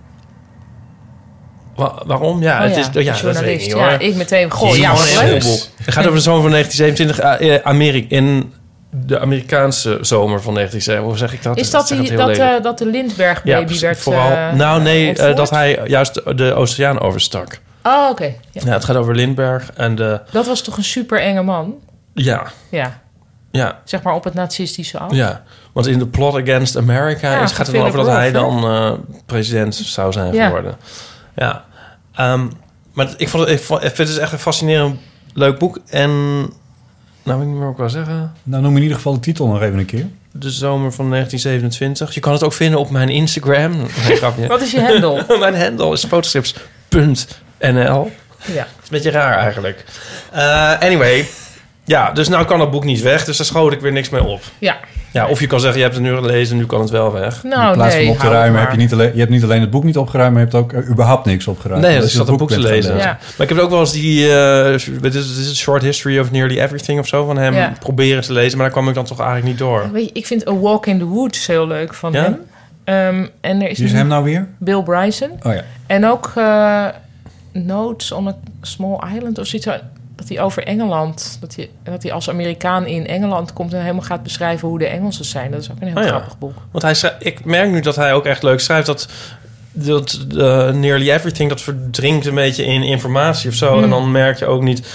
Speaker 3: Wa- waarom? Ja,
Speaker 2: Oh
Speaker 3: het is... Ja,
Speaker 2: een
Speaker 3: dat weet ik
Speaker 2: journalist.
Speaker 3: niet, hoor.
Speaker 2: Ja, ik meteen. Goh,
Speaker 3: Jezus.
Speaker 2: ja, wat
Speaker 3: Gewoon een
Speaker 2: leuk.
Speaker 3: heel boek. Het gaat over de zomer van 1927 eh, eh, Amerika, in de Amerikaanse zomer van 1927. Hoe zeg ik dat?
Speaker 2: Is dat,
Speaker 3: Ik zeg
Speaker 2: die,
Speaker 3: het heel
Speaker 2: dat,
Speaker 3: lelijk.
Speaker 2: eh, dat de Lindbergh
Speaker 3: ja,
Speaker 2: baby
Speaker 3: precies,
Speaker 2: werd
Speaker 3: vooral.
Speaker 2: eh,
Speaker 3: nou, nee, eh,
Speaker 2: ontvoerd?
Speaker 3: dat hij juist de oceaan overstak.
Speaker 2: Oh, oké. Ja.
Speaker 3: Ja, het gaat over Lindbergh en de.
Speaker 2: Dat was toch een super enge man?
Speaker 3: Ja,
Speaker 2: Ja,
Speaker 3: ja,
Speaker 2: zeg maar op het nazistische af.
Speaker 3: ja. Want in de Plot Against America
Speaker 2: Oh. Ja,
Speaker 3: is,
Speaker 2: van
Speaker 3: gaat het dan over
Speaker 2: Philip
Speaker 3: dat hij
Speaker 2: Roth,
Speaker 3: dan eh, president zou zijn
Speaker 2: Ja.
Speaker 3: geworden. Ja. Ehm, maar ik, vond, het- ik, vond, ik vind het dus echt een fascinerend leuk boek. En. Nou, weet ik niet meer wat ik wil zeggen.
Speaker 1: Nou, noem in ieder geval de titel nog even een keer.
Speaker 3: de zomer van 1927. Je kan het ook vinden op mijn Instagram. [laughs] Nee, grapje.
Speaker 2: Wat is je hendel?
Speaker 3: [laughs] mijn handle is fotostrips.nl. Het
Speaker 2: ja.
Speaker 3: is een beetje raar eigenlijk. Eh, anyway. Ja, dus nou kan dat boek niet weg. Dus daar schoot ik weer niks mee op.
Speaker 2: ja.
Speaker 3: Ja, of je kan zeggen, je hebt het nu gelezen, nu kan het wel weg.
Speaker 2: Nou,
Speaker 1: in plaats
Speaker 2: nee,
Speaker 1: van op te
Speaker 2: hou het
Speaker 1: ruimen
Speaker 2: maar.
Speaker 1: heb je niet alleen, je hebt niet alleen het boek niet opgeruimd, maar je hebt ook eh, überhaupt niks opgeruimd.
Speaker 3: Nee,
Speaker 1: Omdat
Speaker 3: dat
Speaker 1: je
Speaker 3: zat een boek te
Speaker 1: bent gaan
Speaker 3: lezen.
Speaker 2: Ja.
Speaker 3: Maar ik heb ook wel eens die... eh dit is dit is Short History of Nearly Everything of zo van hem
Speaker 2: Ja.
Speaker 3: proberen te lezen. Maar daar kwam ik dan toch eigenlijk niet door.
Speaker 2: Weet je, ik vind A Walk in the Woods heel leuk van
Speaker 3: Ja?
Speaker 2: hem. Ehm, en er is,
Speaker 1: Wie is
Speaker 2: nu
Speaker 1: hem nou weer?
Speaker 2: Bill Bryson.
Speaker 1: Oh ja.
Speaker 2: En ook eh Notes on a Small Island of zoiets. Dat hij over Engeland, dat hij, dat hij als Amerikaan in Engeland komt en helemaal gaat beschrijven hoe de Engelsen zijn. Dat is ook een heel
Speaker 3: Oh ja.
Speaker 2: grappig boek.
Speaker 3: Want hij schrij- ik merk nu dat hij ook echt leuk schrijft. Dat, dat eh, nearly everything, dat verdrinkt een beetje in informatie of zo.
Speaker 2: Hmm.
Speaker 3: En dan merk je ook niet...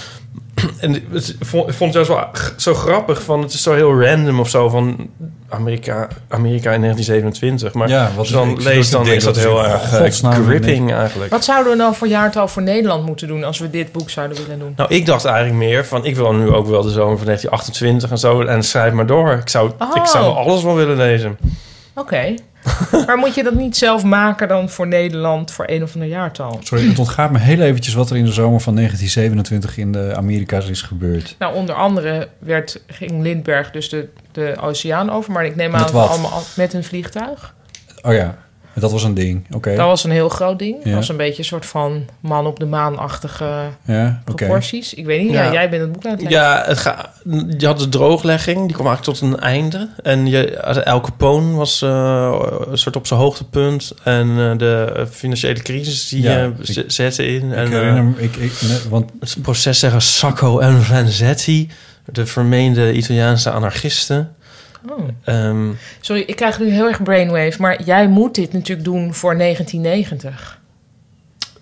Speaker 3: En het, ik vond ik vond het juist wel g- zo grappig van... Het is zo heel random of zo van Amerika, Amerika in 1927. Maar
Speaker 1: Ja, wat
Speaker 3: als je
Speaker 1: ik-
Speaker 3: dan
Speaker 1: ik
Speaker 3: lees, dan
Speaker 1: denk
Speaker 3: is dat
Speaker 1: dat
Speaker 3: heel
Speaker 1: ik-
Speaker 3: erg eh,
Speaker 1: godsnaam,
Speaker 3: gripping eigenlijk.
Speaker 2: Wat zouden we nou voor jaartal voor Nederland moeten doen als we dit boek zouden willen doen?
Speaker 3: Nou, ik dacht eigenlijk meer van... Ik wil nu ook wel de zomer van 1928 en zo. En schrijf maar door. Ik zou, ik zou
Speaker 2: Oh.
Speaker 3: alles wel willen lezen.
Speaker 2: Oké.
Speaker 3: [laughs]
Speaker 2: maar moet je dat niet zelf maken dan voor Nederland voor een of ander jaartal?
Speaker 1: Sorry, het ontgaat me heel eventjes wat er in de zomer van 1927 in de Amerika's is gebeurd.
Speaker 2: Nou, onder andere werd, ging Lindbergh dus de, de oceaan over. Maar ik neem aan
Speaker 1: Met
Speaker 2: dat we
Speaker 1: wat?
Speaker 2: allemaal al- met een vliegtuig.
Speaker 1: Oh ja, dat was een ding. Oké.
Speaker 2: Dat was een heel groot ding. Dat
Speaker 1: Ja.
Speaker 2: was een beetje een soort van man op de maan-achtige
Speaker 1: Ja, oké.
Speaker 2: proporties. Ik weet niet, ja.
Speaker 3: Ja.
Speaker 2: jij bent het boek aan het lezen.
Speaker 3: Ja, het ga, je had de drooglegging, die kwam eigenlijk tot een einde. En je, elke poon was eh, een soort op zijn hoogtepunt. En eh, de financiële crisis die
Speaker 1: Ja,
Speaker 3: eh,
Speaker 1: ik-
Speaker 3: z- zette in.
Speaker 1: Ik
Speaker 3: en,
Speaker 1: herinner
Speaker 3: eh,
Speaker 1: me, ik, ik, nee, want
Speaker 3: het proces zeggen Sacco en Vanzetti, de vermeende Italiaanse anarchisten.
Speaker 2: Oh.
Speaker 3: Ehm,
Speaker 2: Sorry, ik krijg nu heel erg brainwave. Maar jij moet dit natuurlijk doen voor 1990.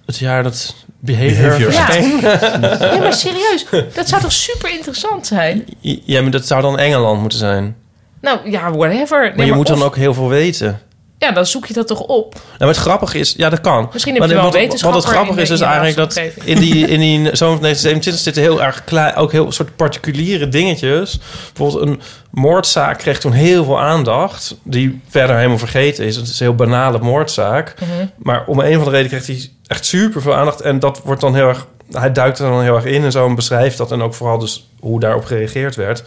Speaker 3: het jaar dat behavior...
Speaker 1: Behavior.
Speaker 2: Ja,
Speaker 3: [laughs]
Speaker 2: ja maar serieus. Dat zou toch super interessant zijn?
Speaker 3: Ja, maar dat zou dan Engeland moeten zijn. Maar
Speaker 2: Nou ja, whatever. Nee,
Speaker 3: je moet
Speaker 2: of-
Speaker 3: dan ook heel veel weten.
Speaker 2: Ja, dan zoek je dat toch op.
Speaker 3: Nou, maar het grappige is, ja, dat kan.
Speaker 2: Misschien heb
Speaker 3: Maar
Speaker 2: je wel
Speaker 3: wat,
Speaker 2: een
Speaker 3: Wat het
Speaker 2: wetenschapper
Speaker 3: grappige
Speaker 2: in
Speaker 3: is,
Speaker 2: de-
Speaker 3: is
Speaker 2: in je
Speaker 3: eigenlijk dat
Speaker 2: omgeving.
Speaker 3: in
Speaker 2: [laughs]
Speaker 3: die, in die zomer van 1927 zitten heel erg klein, ook heel soort particuliere dingetjes. Bijvoorbeeld een moordzaak kreeg toen heel veel aandacht, die verder helemaal vergeten is. Het is een heel banale moordzaak.
Speaker 1: Mhm.
Speaker 3: Maar om een van de reden kreeg hij echt super veel aandacht. En dat wordt dan heel erg, hij duikt er dan heel erg in en zo en beschrijft dat. En ook vooral dus hoe daarop gereageerd werd.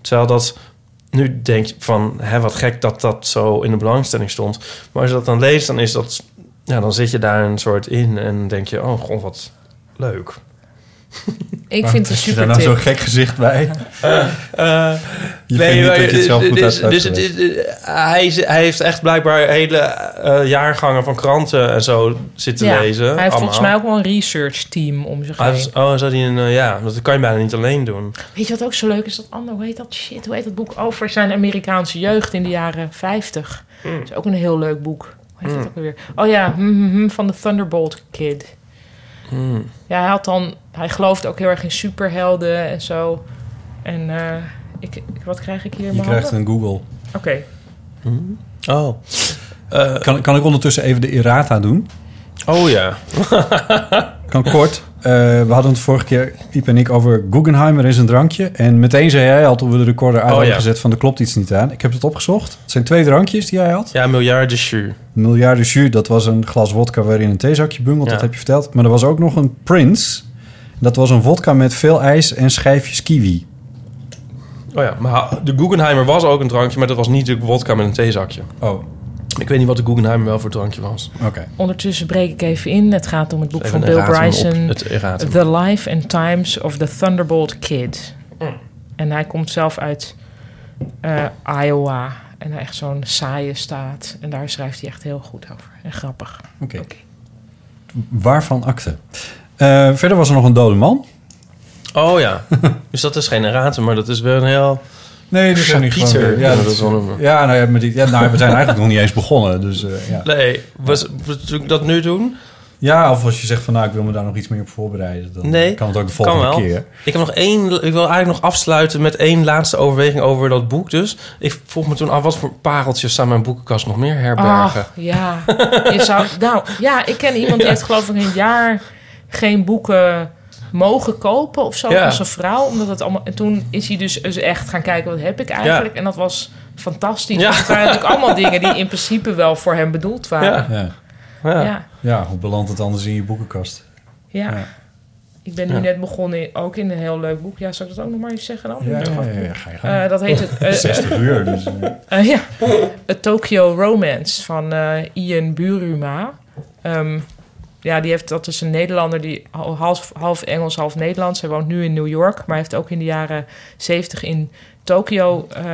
Speaker 3: Terwijl dat nu denk je van, hè, wat gek dat dat zo in de belangstelling stond. Maar als je dat dan leest, dan is dat, ja, dan zit je daar een soort in en denk je, oh, god, wat leuk.
Speaker 2: Ik vind het een
Speaker 1: Daar
Speaker 2: super
Speaker 1: nou
Speaker 2: tip.
Speaker 1: zo'n gek gezicht
Speaker 3: [laughs]
Speaker 1: bij. Je vindt niet
Speaker 3: Eh, maar
Speaker 1: dat je het zelf
Speaker 3: dit
Speaker 1: goed
Speaker 3: is-
Speaker 1: hebt
Speaker 3: dus het is- eh, hij, is- hij heeft echt blijkbaar hele eh, jaargangen van kranten en zo zitten
Speaker 2: Ja,
Speaker 3: lezen.
Speaker 2: Hij heeft volgens
Speaker 3: allemaal.
Speaker 2: mij ook wel een research team om zich
Speaker 3: Hij
Speaker 2: heen.
Speaker 3: heeft- oh, zou die een, eh, ja, dat kan je bijna niet alleen doen.
Speaker 2: Weet je wat ook zo leuk is? Dat ander, hoe heet dat shit? Hoe heet dat boek over zijn Amerikaanse jeugd in de jaren 50? Dat is ook een heel leuk boek. Hoe heet dat ook alweer? Oh ja, hm, hm, hm, van de Thunderbolt Kid. Ja, hij had dan... Hij gelooft ook heel erg in superhelden en zo. En eh, ik, ik- wat krijg ik hier in
Speaker 1: Je
Speaker 2: mijn
Speaker 1: krijgt
Speaker 2: handen?
Speaker 1: een Google.
Speaker 2: Oké.
Speaker 3: Oh.
Speaker 1: Kan, kan ik ondertussen even de errata doen?
Speaker 3: Oh ja.
Speaker 1: Kan kort. Eh, we hadden het vorige keer, Iep en ik, over Guggenheimer is een drankje. En meteen zei jij al toen we de recorder uit
Speaker 3: Oh,
Speaker 1: hadden
Speaker 3: ja.
Speaker 1: gezet van er klopt iets niet aan. Ik heb het opgezocht. Het zijn twee drankjes die jij had.
Speaker 3: Ja, miljarden jus.
Speaker 1: Miljarden jus, dat was een glas wodka waarin een theezakje bungelt.
Speaker 3: Ja.
Speaker 1: Dat heb je verteld. Maar er was ook nog een Prince. Dat was een wodka met veel ijs en schijfjes kiwi.
Speaker 3: Oh ja, maar de Guggenheimer was ook een drankje, maar dat was niet de wodka met een theezakje.
Speaker 1: Oh, oké.
Speaker 3: Ik weet niet wat de Guggenheimer wel voor drankje was.
Speaker 2: Ondertussen breek ik even in. Het gaat om het boek
Speaker 3: Even
Speaker 2: van
Speaker 3: een
Speaker 2: Bill
Speaker 3: erratum op
Speaker 2: Bryson.
Speaker 3: het erratum.
Speaker 2: The Life and Times of the Thunderbolt Kid.
Speaker 3: Mm.
Speaker 2: En hij komt zelf uit eh, Iowa. En hij echt zo'n saaie staat. En daar schrijft hij echt heel goed over. En grappig.
Speaker 1: Oké. Waarvan akte? Eh, verder was er nog een dode man.
Speaker 3: Oh [laughs] ja, dus dat is geen erratum, maar dat is wel een heel...
Speaker 1: Nee, dat is niet
Speaker 3: Chapiter,
Speaker 1: gewoon-
Speaker 3: kunnen we dat wel noemen.
Speaker 1: ja, nou, ja, maar die, ja, nou, we zijn eigenlijk nog niet eens begonnen. Dus, eh, ja.
Speaker 3: Nee, was, moet ik dat nu doen?
Speaker 1: ja, of als je zegt van nou, ik wil me daar nog iets meer op voorbereiden. Dan eh,
Speaker 3: Nee,
Speaker 1: kan het ook de volgende
Speaker 3: kan wel.
Speaker 1: keer.
Speaker 3: Ik, heb nog één, ik wil eigenlijk nog afsluiten met één laatste overweging over dat boek dus. Ik vroeg me toen af, wat voor pareltjes staan mijn boekenkast nog meer herbergen?
Speaker 2: Ach, ja. Je
Speaker 1: [laughs]
Speaker 2: zou, nou, ja, ik ken iemand die heeft geloof ik een jaar geen boeken mogen kopen of zo
Speaker 3: Ja.
Speaker 2: van zijn vrouw. Omdat het allemaal, en toen is hij dus eens echt gaan kijken, wat heb ik eigenlijk? En dat was fantastisch.
Speaker 3: Ja.
Speaker 2: want Het waren natuurlijk allemaal dingen die in principe wel voor hem bedoeld waren.
Speaker 1: Ja.
Speaker 3: Ja.
Speaker 2: ja.
Speaker 1: ja, hoe belandt het anders in je boekenkast?
Speaker 2: Ja.
Speaker 1: Ja.
Speaker 2: Ik ben nu net begonnen, in- ook in een heel leuk boek. Ja, zou ik dat ook nog maar eens zeggen? Dan?
Speaker 1: Ja, ja, ja, ja, ga je gang.
Speaker 2: Eh, dat heet het, eh,
Speaker 1: 60 uur. Dus, eh.
Speaker 2: eh, ja. het Tokyo Romance van eh, Ian Buruma. Ehm, ja, die heeft, dat is een Nederlander, die hal- half, half Engels, half Nederlands. Hij woont nu in New York, maar hij heeft ook in de jaren 70 in Tokyo eh,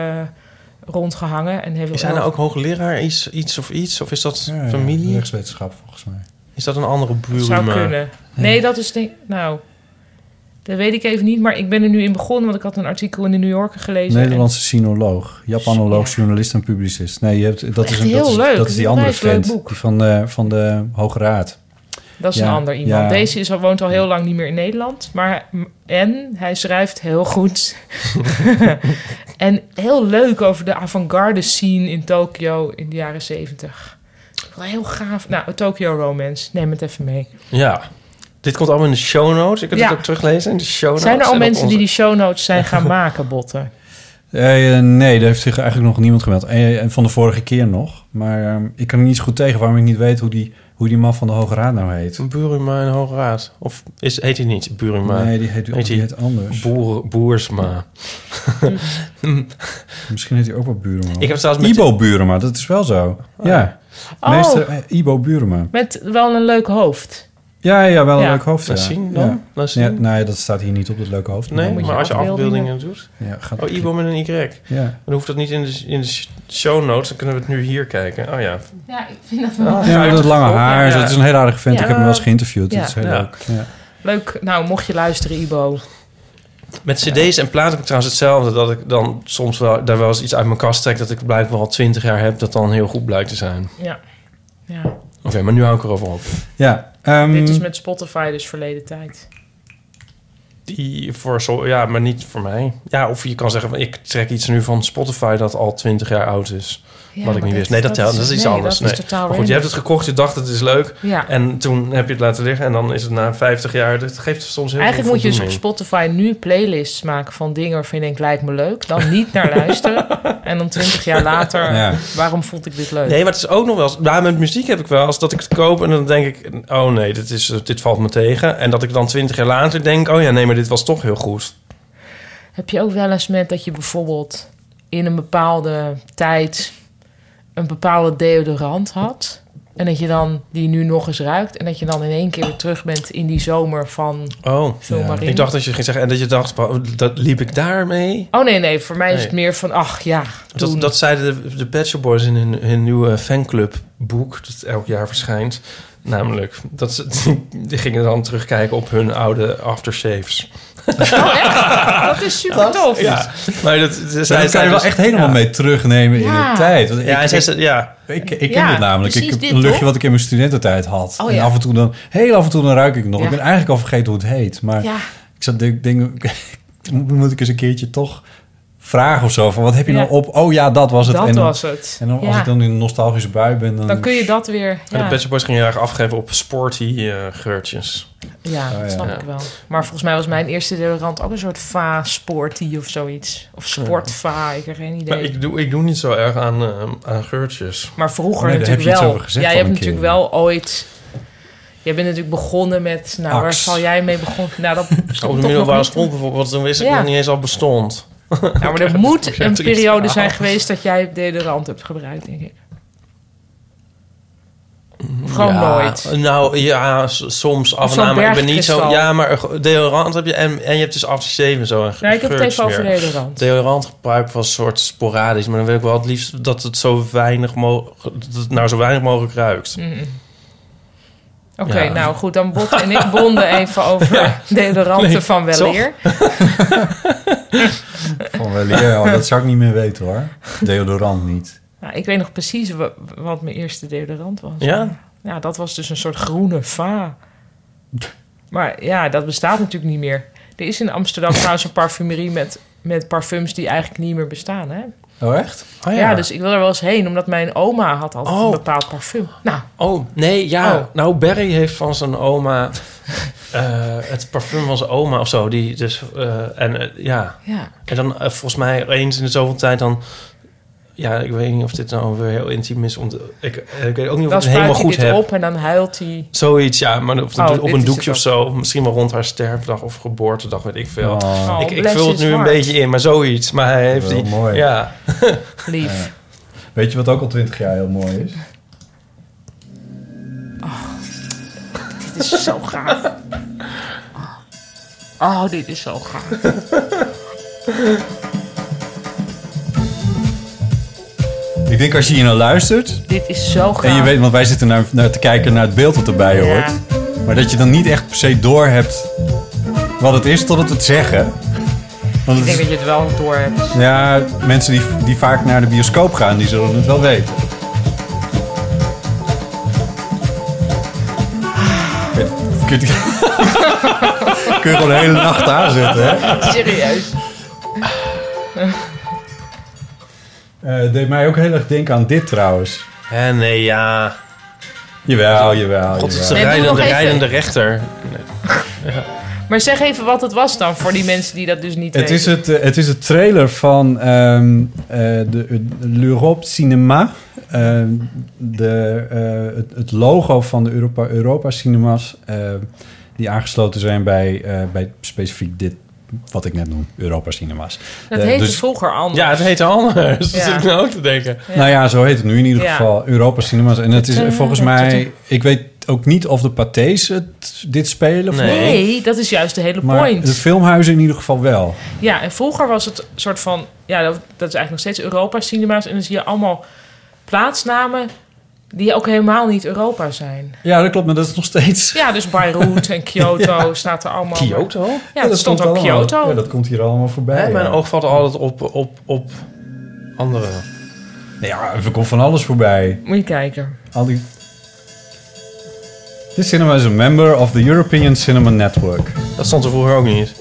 Speaker 2: rondgehangen. En heeft
Speaker 3: Is hij nou ook hoogleraar iets, iets of iets? Of is dat familie?
Speaker 1: Rechtswetenschap volgens mij.
Speaker 3: Is dat een andere buurman?
Speaker 2: zou kunnen. Nee, dat is denk Nou, dat weet ik even niet, maar ik ben er nu in begonnen, want ik had een artikel in de New Yorker gelezen. en-
Speaker 1: Nederlandse sinoloog, Japanoloog, journalist en publicist. Nee, je hebt, dat, is,
Speaker 2: Echt
Speaker 1: een, dat,
Speaker 2: heel
Speaker 1: is,
Speaker 2: leuk.
Speaker 1: dat is die
Speaker 2: Een
Speaker 1: andere
Speaker 2: onwijs leuk
Speaker 1: vent
Speaker 2: boek.
Speaker 1: die van, eh, van de Hoge Raad.
Speaker 2: Dat is
Speaker 1: Ja,
Speaker 2: een ander iemand.
Speaker 1: ja.
Speaker 2: Deze is al, woont al heel lang niet meer in Nederland. Maar, en hij schrijft heel
Speaker 1: [laughs]
Speaker 2: goed. en heel leuk over de avant-garde scene in Tokio in de jaren zeventig. Heel gaaf. Nou, Tokyo Romance. Neem het even mee.
Speaker 3: Ja. Dit komt allemaal in de show notes. Ik kan
Speaker 2: Ja.
Speaker 3: het ook teruglezen in de show notes.
Speaker 2: Zijn er al
Speaker 3: en op
Speaker 2: mensen die
Speaker 3: onze-
Speaker 2: die show notes zijn
Speaker 1: [laughs]
Speaker 2: gaan maken, Botten?
Speaker 1: Eh, nee, daar heeft zich eigenlijk nog niemand gemeld. Eh, En van de vorige keer nog. Maar eh, ik kan er niet zo goed tegen waarom ik niet weet hoe die, hoe die man van de Hoge Raad nou heet.
Speaker 3: Buruma en Hoge Raad. Of is, heet hij niet Buruma?
Speaker 1: nee, die heet, die
Speaker 3: heet die-
Speaker 1: heet anders.
Speaker 3: Boer, boersma.
Speaker 1: [laughs] Misschien heet hij ook wel Burema.
Speaker 3: Ik heb zelfs met-
Speaker 1: Ibo Burema, dat is wel zo. ja.
Speaker 2: Oh.
Speaker 1: Meester eh, Ibo Burema.
Speaker 2: Met wel een leuk hoofd.
Speaker 1: Ja, ja, wel een
Speaker 2: Ja.
Speaker 1: leuk hoofd.
Speaker 3: Laat
Speaker 1: ja.
Speaker 3: zien dan.
Speaker 1: Ja.
Speaker 3: Laat zien.
Speaker 1: Ja, nee, dat staat hier niet op dat leuke hoofd.
Speaker 3: Nee,
Speaker 1: Dan moet je-
Speaker 3: maar als je
Speaker 2: afbeeldingen-
Speaker 3: afbeeldingen doet.
Speaker 1: Ja, gaat
Speaker 3: Oh, Ibo met een Y.
Speaker 1: Ja.
Speaker 3: Dan hoeft dat niet in de, in de sh- show notes. Dan kunnen we het nu hier kijken. Oh ja.
Speaker 2: Ja, ik vind dat wel.
Speaker 1: Ah, Ja, met dat lange haar.
Speaker 3: Ja.
Speaker 1: Dat is een heel aardige vent.
Speaker 2: Ja.
Speaker 1: Ik heb hem wel eens geïnterviewd.
Speaker 2: Ja.
Speaker 1: Dat is heel
Speaker 3: Ja.
Speaker 1: leuk. Ja.
Speaker 2: Leuk. Nou, mocht je luisteren, Ibo.
Speaker 3: Met cd's en platen heb ik trouwens hetzelfde. Dat ik dan soms wel, daar wel eens iets uit mijn kast trek... dat ik blijkbaar al twintig jaar heb... dat dan heel goed blijkt te zijn. Oké,
Speaker 2: Ja. ja.
Speaker 3: maar nu hou ik erover op.
Speaker 1: Ja, ehm,
Speaker 2: Dit is met Spotify dus verleden tijd.
Speaker 3: die voor zo, ja, maar niet voor mij. Ja, of je kan zeggen, van, ik trek iets nu van Spotify dat al 20 jaar oud is.
Speaker 2: Ja,
Speaker 3: wat ik
Speaker 2: maar
Speaker 3: niet
Speaker 2: dat-
Speaker 3: wist. Nee, dat,
Speaker 2: dat
Speaker 3: telt,
Speaker 2: is-
Speaker 3: dat is iets
Speaker 2: nee,
Speaker 3: anders.
Speaker 2: dat is
Speaker 3: nee.
Speaker 2: totaal
Speaker 3: maar goed, je
Speaker 2: random.
Speaker 3: hebt het gekocht, je dacht het is leuk.
Speaker 2: Ja.
Speaker 3: En toen heb je het laten liggen en dan is het na 50 jaar. Dat geeft soms heel
Speaker 2: Eigenlijk moet je dus op
Speaker 3: spot.
Speaker 2: Spotify nu playlists maken van dingen waarvan je denkt, lijkt me leuk. Dan niet naar
Speaker 3: [laughs]
Speaker 2: luisteren. en dan twintig jaar later,
Speaker 1: Ja.
Speaker 2: waarom vond ik dit leuk?
Speaker 3: Nee, maar het is ook nog wel eens. Maar met muziek heb ik wel eens dat ik het koop en dan denk ik: oh nee, dit, is, dit valt me tegen. En dat ik dan 20 jaar later denk: oh ja, nee, maar dit was toch heel goed.
Speaker 2: Heb je ook wel eens met dat je bijvoorbeeld in een bepaalde tijd een bepaalde deodorant had? En dat je dan die nu nog eens ruikt. En dat je dan in één keer weer terug bent in die zomer van
Speaker 3: Oh,
Speaker 2: zomaar in.
Speaker 3: ik dacht dat je ging zeggen en dat je dacht: oh, dat liep ik daarmee.
Speaker 2: Oh nee, nee, voor mij is
Speaker 3: Nee.
Speaker 2: het meer van, ach ja, toen.
Speaker 3: Dat, dat zeiden de, de Pet Shop Boys in hun, hun nieuwe fanclubboek, dat elk jaar verschijnt. Namelijk, dat ze, [laughs] die gingen dan terugkijken op hun oude
Speaker 2: [laughs]
Speaker 3: aftershaves.
Speaker 2: Oh, echt? dat is super tof.
Speaker 3: Ja, maar dat, zij
Speaker 1: Daar kan je
Speaker 3: zeiden
Speaker 1: wel
Speaker 3: dus-
Speaker 1: echt helemaal mee terugnemen in
Speaker 2: Ja.
Speaker 1: de tijd. Want
Speaker 3: Ja,
Speaker 1: ik,
Speaker 3: en zij zei- ja,
Speaker 1: Ik, ik ken
Speaker 2: Ja,
Speaker 1: dit namelijk. Ik
Speaker 4: precies
Speaker 1: heb
Speaker 4: dit,
Speaker 1: een luchtje
Speaker 4: toch?
Speaker 1: wat ik in mijn studententijd had.
Speaker 2: Oh,
Speaker 1: en
Speaker 2: ja.
Speaker 1: af en toe dan, heel af en toe dan ruik ik het nog.
Speaker 2: Ja.
Speaker 1: Ik ben eigenlijk al vergeten hoe het heet. Maar
Speaker 2: Ja.
Speaker 1: ik zat te denken, [laughs] moet ik eens een keertje toch vragen of zo? Van wat heb je
Speaker 2: Ja.
Speaker 1: nou op? Oh ja, dat was het.
Speaker 2: Dat
Speaker 1: en dan,
Speaker 2: was het.
Speaker 1: En dan, als
Speaker 2: Ja.
Speaker 1: ik dan in een nostalgische bui ben,
Speaker 2: [laughs]
Speaker 1: dan...
Speaker 2: Dan kun je dat weer...
Speaker 3: En
Speaker 2: Ja,
Speaker 3: de Pet Shop Boys gingen heel erg afgeven op sporty eh, geurtjes.
Speaker 2: Ja,
Speaker 1: Oh, ja.
Speaker 2: dat snap
Speaker 3: Ja.
Speaker 2: ik wel. Maar volgens mij was mijn eerste deodorant ook een soort va-sportie of zoiets. Of sportva, ik heb geen idee.
Speaker 3: Maar ik doe, ik doe niet zo erg aan, eh, aan geurtjes.
Speaker 2: Maar vroeger
Speaker 1: Oh nee, daar heb
Speaker 2: natuurlijk
Speaker 1: je iets
Speaker 2: wel.
Speaker 1: over gezegd
Speaker 2: ja,
Speaker 1: al
Speaker 2: je hebt
Speaker 1: een
Speaker 2: natuurlijk
Speaker 1: keer.
Speaker 2: wel ooit. Jij bent natuurlijk begonnen met. Nou, waar
Speaker 1: Axe.
Speaker 2: zal jij mee begonnen?
Speaker 1: [laughs]
Speaker 2: Nou, dat
Speaker 3: Op
Speaker 2: stond
Speaker 3: de
Speaker 2: toch nog
Speaker 3: middelbare
Speaker 2: niet.
Speaker 3: school bijvoorbeeld, dan wist ik
Speaker 2: Ja.
Speaker 3: nog niet eens al bestond. [laughs]
Speaker 2: Nou, maar er moet een
Speaker 3: triest
Speaker 2: periode
Speaker 3: verhaal.
Speaker 2: zijn geweest dat jij deodorant hebt gebruikt, denk ik. Of Gewoon
Speaker 3: Ja,
Speaker 2: nooit.
Speaker 3: Nou ja, s- soms af en
Speaker 2: zo'n
Speaker 3: aan. Maar ik ben niet zo...
Speaker 2: bergkristal.
Speaker 3: Ja, maar deodorant heb je en, en je hebt dus afgeschreven en zo. En
Speaker 2: Nou, ik heb het even
Speaker 3: geursmeer.
Speaker 2: over deodorant.
Speaker 3: Deodorant gebruik was een soort sporadisch. Maar dan wil ik wel het liefst dat het zo weinig mogelijk... Dat het nou zo weinig mogelijk ruikt.
Speaker 2: Oké,
Speaker 3: Ja.
Speaker 2: nou goed, dan Bot en ik bonden even over
Speaker 1: [laughs]
Speaker 2: deodoranten
Speaker 3: Nee,
Speaker 2: van
Speaker 3: zo.
Speaker 2: weleer.
Speaker 1: Van wel, ja, oh, dat zou ik niet meer weten hoor. Deodorant niet.
Speaker 2: Nou, ik weet nog precies wa- wat mijn eerste deodorant was.
Speaker 3: Ja?
Speaker 2: Ja, dat was dus een soort groene va. Maar ja, dat bestaat natuurlijk niet meer. Er is in
Speaker 3: [laughs]
Speaker 2: Amsterdam trouwens een parfumerie met, met parfums die eigenlijk niet meer bestaan. Hè?
Speaker 1: Oh echt?
Speaker 3: Oh,
Speaker 2: ja. dus ik wil er wel eens heen, omdat mijn oma had altijd
Speaker 3: Oh.
Speaker 2: een bepaald parfum. Nou,
Speaker 3: Oh, nee, ja.
Speaker 2: Oh.
Speaker 3: Nou, Barry heeft van zijn oma... [laughs] eh, het parfum van zijn oma of zo. Die dus, eh, en eh, ja.
Speaker 2: ja.
Speaker 3: En dan eh, volgens mij eens in de zoveel tijd dan... Ja, ik weet niet of dit nou weer heel intiem is. Om te- ik, eh, ik weet ook niet of
Speaker 2: Dan
Speaker 3: ik het helemaal
Speaker 2: spuit hij
Speaker 3: goed
Speaker 2: dit
Speaker 3: heb.
Speaker 2: op en dan huilt hij.
Speaker 3: Zoiets, ja. Maar op,
Speaker 2: Oh,
Speaker 3: op
Speaker 2: dit
Speaker 3: een
Speaker 2: is
Speaker 3: doekje of
Speaker 2: het
Speaker 3: zo. Misschien wel rond haar sterfdag of geboortedag, weet ik veel.
Speaker 1: Oh,
Speaker 2: Oh,
Speaker 3: ik, ik
Speaker 2: bless
Speaker 3: vul het
Speaker 2: his
Speaker 3: nu een
Speaker 2: heart.
Speaker 3: beetje in, maar zoiets. Maar hij heeft
Speaker 1: Wel
Speaker 3: die...
Speaker 1: mooi.
Speaker 3: Ja.
Speaker 2: Lief.
Speaker 1: Weet je wat ook al twintig jaar heel mooi is?
Speaker 2: Dit is zo
Speaker 3: [laughs]
Speaker 2: gaaf. Oh, dit is zo gaaf.
Speaker 1: Ik denk als je hier naar luistert...
Speaker 2: Dit is zo gaaf.
Speaker 1: En je weet, want wij zitten naar, naar te kijken naar het beeld dat erbij
Speaker 2: Ja.
Speaker 1: hoort. Maar dat je dan niet echt per se door hebt wat het is totdat we het zeggen. Want het
Speaker 2: Ik denk
Speaker 1: is-
Speaker 2: dat je het wel door hebt.
Speaker 1: ja, mensen die, die vaak naar de bioscoop gaan, die zullen het wel weten. Kun je, [laughs] kun je gewoon de hele nacht aanzetten, hè?
Speaker 2: Serieus.
Speaker 1: Eh, het deed mij ook heel erg denken aan dit trouwens.
Speaker 3: Hè, Eh, nee, ja.
Speaker 1: Jawel, jawel,
Speaker 3: God, het is de
Speaker 1: jawel.
Speaker 2: Nee, doe
Speaker 3: rijdende,
Speaker 2: nog even.
Speaker 3: rijdende rechter.
Speaker 2: Maar zeg even wat het was dan voor die mensen die dat dus niet
Speaker 1: Het
Speaker 2: weten.
Speaker 1: is, het, eh, het is het trailer van ehm, eh, de L'Europe Cinema. Ehm, de, eh, het, het logo van de Europa, Europa Cinemas. eh, die aangesloten zijn bij, eh, bij specifiek dit, wat ik net noem, Europa Cinemas.
Speaker 2: dat
Speaker 1: Eh,
Speaker 2: heette
Speaker 1: dus-
Speaker 2: vroeger anders.
Speaker 3: Ja, het heet anders. [laughs]
Speaker 2: Ja.
Speaker 3: Dat zit ik nou ook te denken.
Speaker 2: Ja.
Speaker 1: Nou ja, zo heet het nu in ieder
Speaker 2: Ja.
Speaker 1: geval. Europa Cinemas. En het is eh, volgens mij... Ik weet ook niet of de Pathés het, dit spelen. of
Speaker 3: Nee.
Speaker 1: niet,
Speaker 2: Nee, dat is juist de hele
Speaker 1: Maar
Speaker 2: point.
Speaker 1: de filmhuizen in ieder geval wel.
Speaker 2: Ja, en vroeger was het soort van... Ja, dat, dat is eigenlijk nog steeds Europa-cinema's. En dan zie je allemaal plaatsnamen die ook helemaal niet Europa zijn.
Speaker 1: Ja, dat klopt. Maar dat is nog steeds...
Speaker 2: Ja,
Speaker 1: [laughs]
Speaker 2: dus Beirut en Kyoto staat er allemaal...
Speaker 3: Kyoto?
Speaker 2: Ja, er stond ook
Speaker 1: allemaal-
Speaker 2: Kyoto.
Speaker 1: Ja, dat komt hier allemaal voorbij.
Speaker 3: Hè, mijn
Speaker 1: ja.
Speaker 3: oog valt altijd op, op, op andere.
Speaker 1: Nee, ja, er komt van alles voorbij.
Speaker 2: Moet je kijken.
Speaker 1: Al die... This cinema is a member of the European Cinema Network.
Speaker 3: Dat stond er vroeger ook niet.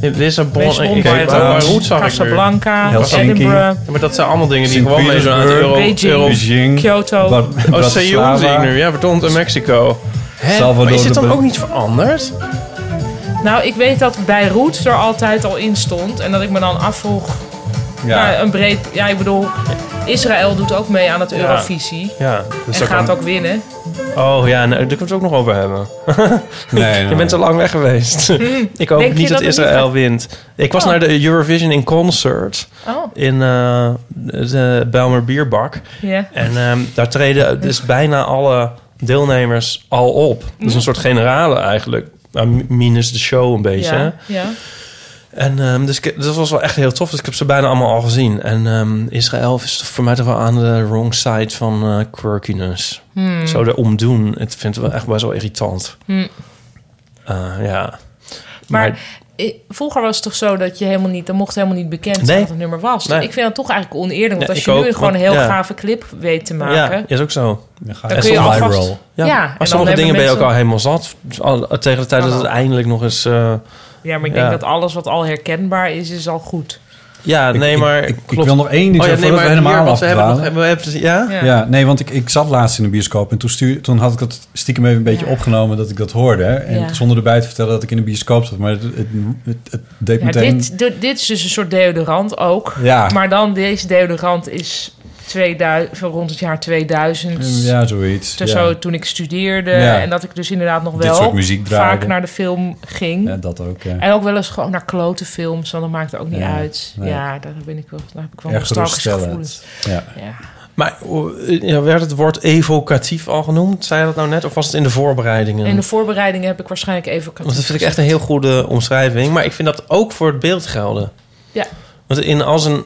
Speaker 3: In Lissabon,
Speaker 2: Lisbon,
Speaker 3: ik weet
Speaker 2: Barcelona,
Speaker 3: waar roet zag ik weer.
Speaker 2: Casablanca,
Speaker 1: Helsinki.
Speaker 2: Edinburgh,
Speaker 3: Ja, maar dat zijn allemaal dingen die
Speaker 1: Sint
Speaker 3: gewoon meedoen aan de euro.
Speaker 2: Beijing.
Speaker 3: euro
Speaker 1: Beijing,
Speaker 2: Kyoto.
Speaker 1: Bar-
Speaker 3: oh,
Speaker 1: Bratislava.
Speaker 3: Seoul zie ik nu. Ja, Verdont en Mexico. Hè?
Speaker 1: Salvador
Speaker 3: Maar is dit dan
Speaker 1: de-
Speaker 3: ook niet veranderd?
Speaker 2: Nou, ik weet dat Beirut er altijd al in stond. En dat ik me dan afvroeg,
Speaker 1: Ja.
Speaker 2: nou, een breed... Ja, ik bedoel, Israël doet ook mee aan het Eurovisie.
Speaker 3: Ja. Dus
Speaker 2: En
Speaker 3: daar
Speaker 2: gaat
Speaker 3: kan-
Speaker 2: ook winnen.
Speaker 3: Oh ja, nou, daar kunnen we het ook nog over hebben.
Speaker 1: Nee, [laughs] nee,
Speaker 3: Je bent
Speaker 1: nee.
Speaker 3: zo lang weg geweest. [laughs] ik hoop
Speaker 2: Hm. Denk je
Speaker 3: niet dat,
Speaker 2: dat het niet
Speaker 3: Israël
Speaker 2: gaat-
Speaker 3: wint. Ik was
Speaker 2: Oh.
Speaker 3: naar de Eurovision in concert
Speaker 2: Oh,
Speaker 3: in eh, de Bijlmer Bierbak.
Speaker 2: ja.
Speaker 3: En ehm, daar treden dus bijna alle deelnemers al op. Dus
Speaker 2: Hm.
Speaker 3: een soort generale eigenlijk. Nou, mi- Minus de show een beetje.
Speaker 2: Ja, ja.
Speaker 3: En ehm, dus ik- dat was wel echt heel tof. Dus ik heb ze bijna allemaal al gezien. En ehm, Israël is toch voor mij toch wel aan de wrong side van eh, quirkiness.
Speaker 2: Hm.
Speaker 3: Zo de omdoen. Het vindt wel echt best wel irritant.
Speaker 2: Hmm.
Speaker 3: Eh, ja.
Speaker 2: Maar eh, vroeger was het toch zo dat je helemaal niet... Dan mocht helemaal niet bekend zijn
Speaker 3: Nee.
Speaker 2: wat het nummer was. Dus
Speaker 3: Nee.
Speaker 2: ik vind dat toch eigenlijk oneerlijk. Want
Speaker 3: Ja,
Speaker 2: als
Speaker 3: ik
Speaker 2: je nu
Speaker 3: ook,
Speaker 2: gewoon een
Speaker 3: want-
Speaker 2: heel
Speaker 3: ja.
Speaker 2: gave clip weet te maken...
Speaker 3: Ja, is ook zo.
Speaker 1: Dan ga
Speaker 2: Dan
Speaker 1: je
Speaker 2: kun je
Speaker 1: echt
Speaker 2: alvast-
Speaker 1: viral.
Speaker 3: Ja,
Speaker 2: Ja, en
Speaker 3: maar
Speaker 2: dan
Speaker 3: sommige
Speaker 2: hebben
Speaker 3: dingen ben je ook
Speaker 2: mensen-
Speaker 3: al helemaal zat. Al- Tegen de tijd dat het
Speaker 2: Kan ook.
Speaker 3: eindelijk nog eens... eh,
Speaker 2: Ja, maar ik denk
Speaker 3: Ja.
Speaker 2: dat alles wat al herkenbaar is, is al goed.
Speaker 3: ja, nee,
Speaker 1: ik-
Speaker 3: maar...
Speaker 1: ik- ik
Speaker 3: klopt. Oh,
Speaker 1: wil nog één ding zeggen voordat we
Speaker 3: hier,
Speaker 1: helemaal
Speaker 3: want we hebben nog,
Speaker 1: afdwalen.
Speaker 3: we hebben, ja?
Speaker 2: Ja.
Speaker 1: Ja, nee, want ik, ik zat laatst in de bioscoop en toen, stuur, toen had ik dat stiekem even een beetje
Speaker 2: Ja.
Speaker 1: opgenomen dat ik dat hoorde. hè. En
Speaker 2: Ja.
Speaker 1: zonder erbij te vertellen dat ik in de bioscoop zat, maar het, het, het, het deed
Speaker 2: Ja,
Speaker 1: meteen...
Speaker 2: dit, dit, dit is dus een soort deodorant ook.
Speaker 1: Ja.
Speaker 2: Maar dan deze deodorant is 2000, van rond het jaar 2000.
Speaker 1: Mm, Ja, zoiets.
Speaker 2: Toen,
Speaker 1: ja.
Speaker 2: zo, toen ik studeerde.
Speaker 1: Ja.
Speaker 2: En dat ik dus inderdaad nog
Speaker 1: Dit
Speaker 2: wel
Speaker 1: soort muziek draaide.
Speaker 2: vaak naar de film ging.
Speaker 1: Ja, dat ook, ja.
Speaker 2: En ook wel eens gewoon naar klote films. Want dat maakt het ook niet
Speaker 1: Ja,
Speaker 2: uit.
Speaker 1: nee.
Speaker 2: Ja, daar, ben ik wel, daar heb ik wel
Speaker 1: Erg
Speaker 2: nostalgische
Speaker 1: geruststellend.
Speaker 2: gevoelens.
Speaker 1: Ja.
Speaker 2: Ja.
Speaker 3: Maar eh, ja, werd het woord evocatief al genoemd? Zei je dat nou net? Of was het in de voorbereidingen?
Speaker 2: En in de voorbereidingen heb ik waarschijnlijk even...
Speaker 3: Want dat vind
Speaker 2: dus
Speaker 3: ik echt een heel goede omschrijving. Maar ik vind dat ook voor het beeld gelden.
Speaker 2: Ja.
Speaker 3: Want in als een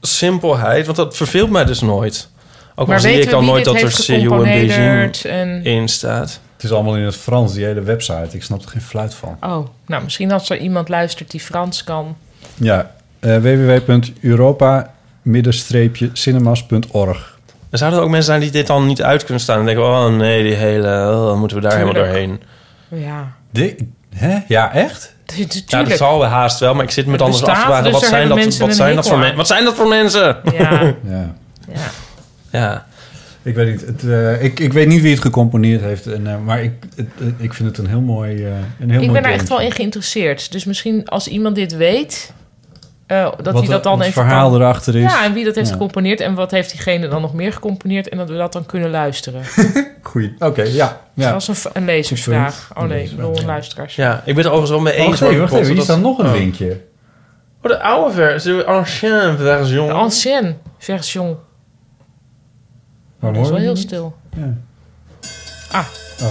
Speaker 3: simpelheid, want dat verveelt mij dus nooit. Ook al
Speaker 2: Maar
Speaker 3: zie
Speaker 2: weten
Speaker 3: ik
Speaker 2: we
Speaker 3: al
Speaker 2: wie
Speaker 3: nooit
Speaker 2: dit
Speaker 3: dat er
Speaker 2: heeft
Speaker 3: CU en Beijing
Speaker 2: gecomponeerd? En...
Speaker 3: in staat.
Speaker 1: Het is allemaal in het Frans, die hele website. Ik snap er geen fluit van.
Speaker 2: Oh, nou misschien als er iemand luistert die Frans kan.
Speaker 1: Ja, eh www.europa-cinemas.org.
Speaker 3: Er zouden ook mensen zijn die dit dan niet uit kunnen staan. En denken, oh nee, die hele, oh, dan moeten we daar
Speaker 2: Tuurlijk.
Speaker 3: helemaal doorheen.
Speaker 2: Ja,
Speaker 1: Di- Hè? Ja,
Speaker 2: [laughs]
Speaker 1: echt?
Speaker 3: Ja, dat
Speaker 2: natuurlijk.
Speaker 3: zal wel haast wel, maar ik zit met
Speaker 2: Het
Speaker 3: anders af te
Speaker 2: bestaat,
Speaker 3: vragen.
Speaker 2: dus
Speaker 3: wat,
Speaker 2: daar
Speaker 3: zijn
Speaker 2: hebben
Speaker 3: dat,
Speaker 2: mensen
Speaker 3: wat,
Speaker 2: een
Speaker 3: zijn dat
Speaker 2: hekel
Speaker 3: voor
Speaker 2: aan.
Speaker 3: men- wat zijn dat voor mensen?
Speaker 2: Ja,
Speaker 1: Ja.
Speaker 2: ja.
Speaker 3: Ja,
Speaker 1: Ik weet niet, het, eh, ik, ik weet niet wie het gecomponeerd heeft, en, eh, maar ik, het- het- ik vind het een heel mooi eh, een heel
Speaker 2: Ik
Speaker 1: mooi
Speaker 2: ben daar echt
Speaker 1: dingetje.
Speaker 2: wel in geïnteresseerd. Dus misschien als iemand dit weet, eh, dat hij
Speaker 1: Wat
Speaker 2: dat dan
Speaker 1: het
Speaker 2: even
Speaker 1: verhaal
Speaker 2: kan-
Speaker 1: erachter is.
Speaker 2: Ja, en wie dat heeft
Speaker 1: Ja.
Speaker 2: gecomponeerd en wat heeft diegene dan nog meer gecomponeerd en dat we dat dan kunnen luisteren.
Speaker 1: Goeie. [laughs] Oké, ja.
Speaker 2: Dat
Speaker 1: ja.
Speaker 2: was een, v- een lezersvraag.
Speaker 1: Goed punt.
Speaker 2: Oh nee,
Speaker 1: Een
Speaker 2: ik bedoel een luisteraars.
Speaker 3: ja, ik ben het overigens wel mee
Speaker 1: Oh,
Speaker 3: eens.
Speaker 1: wacht even,
Speaker 3: maar
Speaker 1: wacht even. Hier
Speaker 3: dat-
Speaker 1: staat nog een
Speaker 3: Oh.
Speaker 1: linkje.
Speaker 3: Oh, de oude versie, de ancienne version.
Speaker 2: De ancienne version. Oh,
Speaker 1: Maar
Speaker 2: dat is wel
Speaker 1: hoor je
Speaker 2: heel
Speaker 1: niet?
Speaker 2: stil.
Speaker 1: Ja.
Speaker 2: Ah.
Speaker 1: Oh.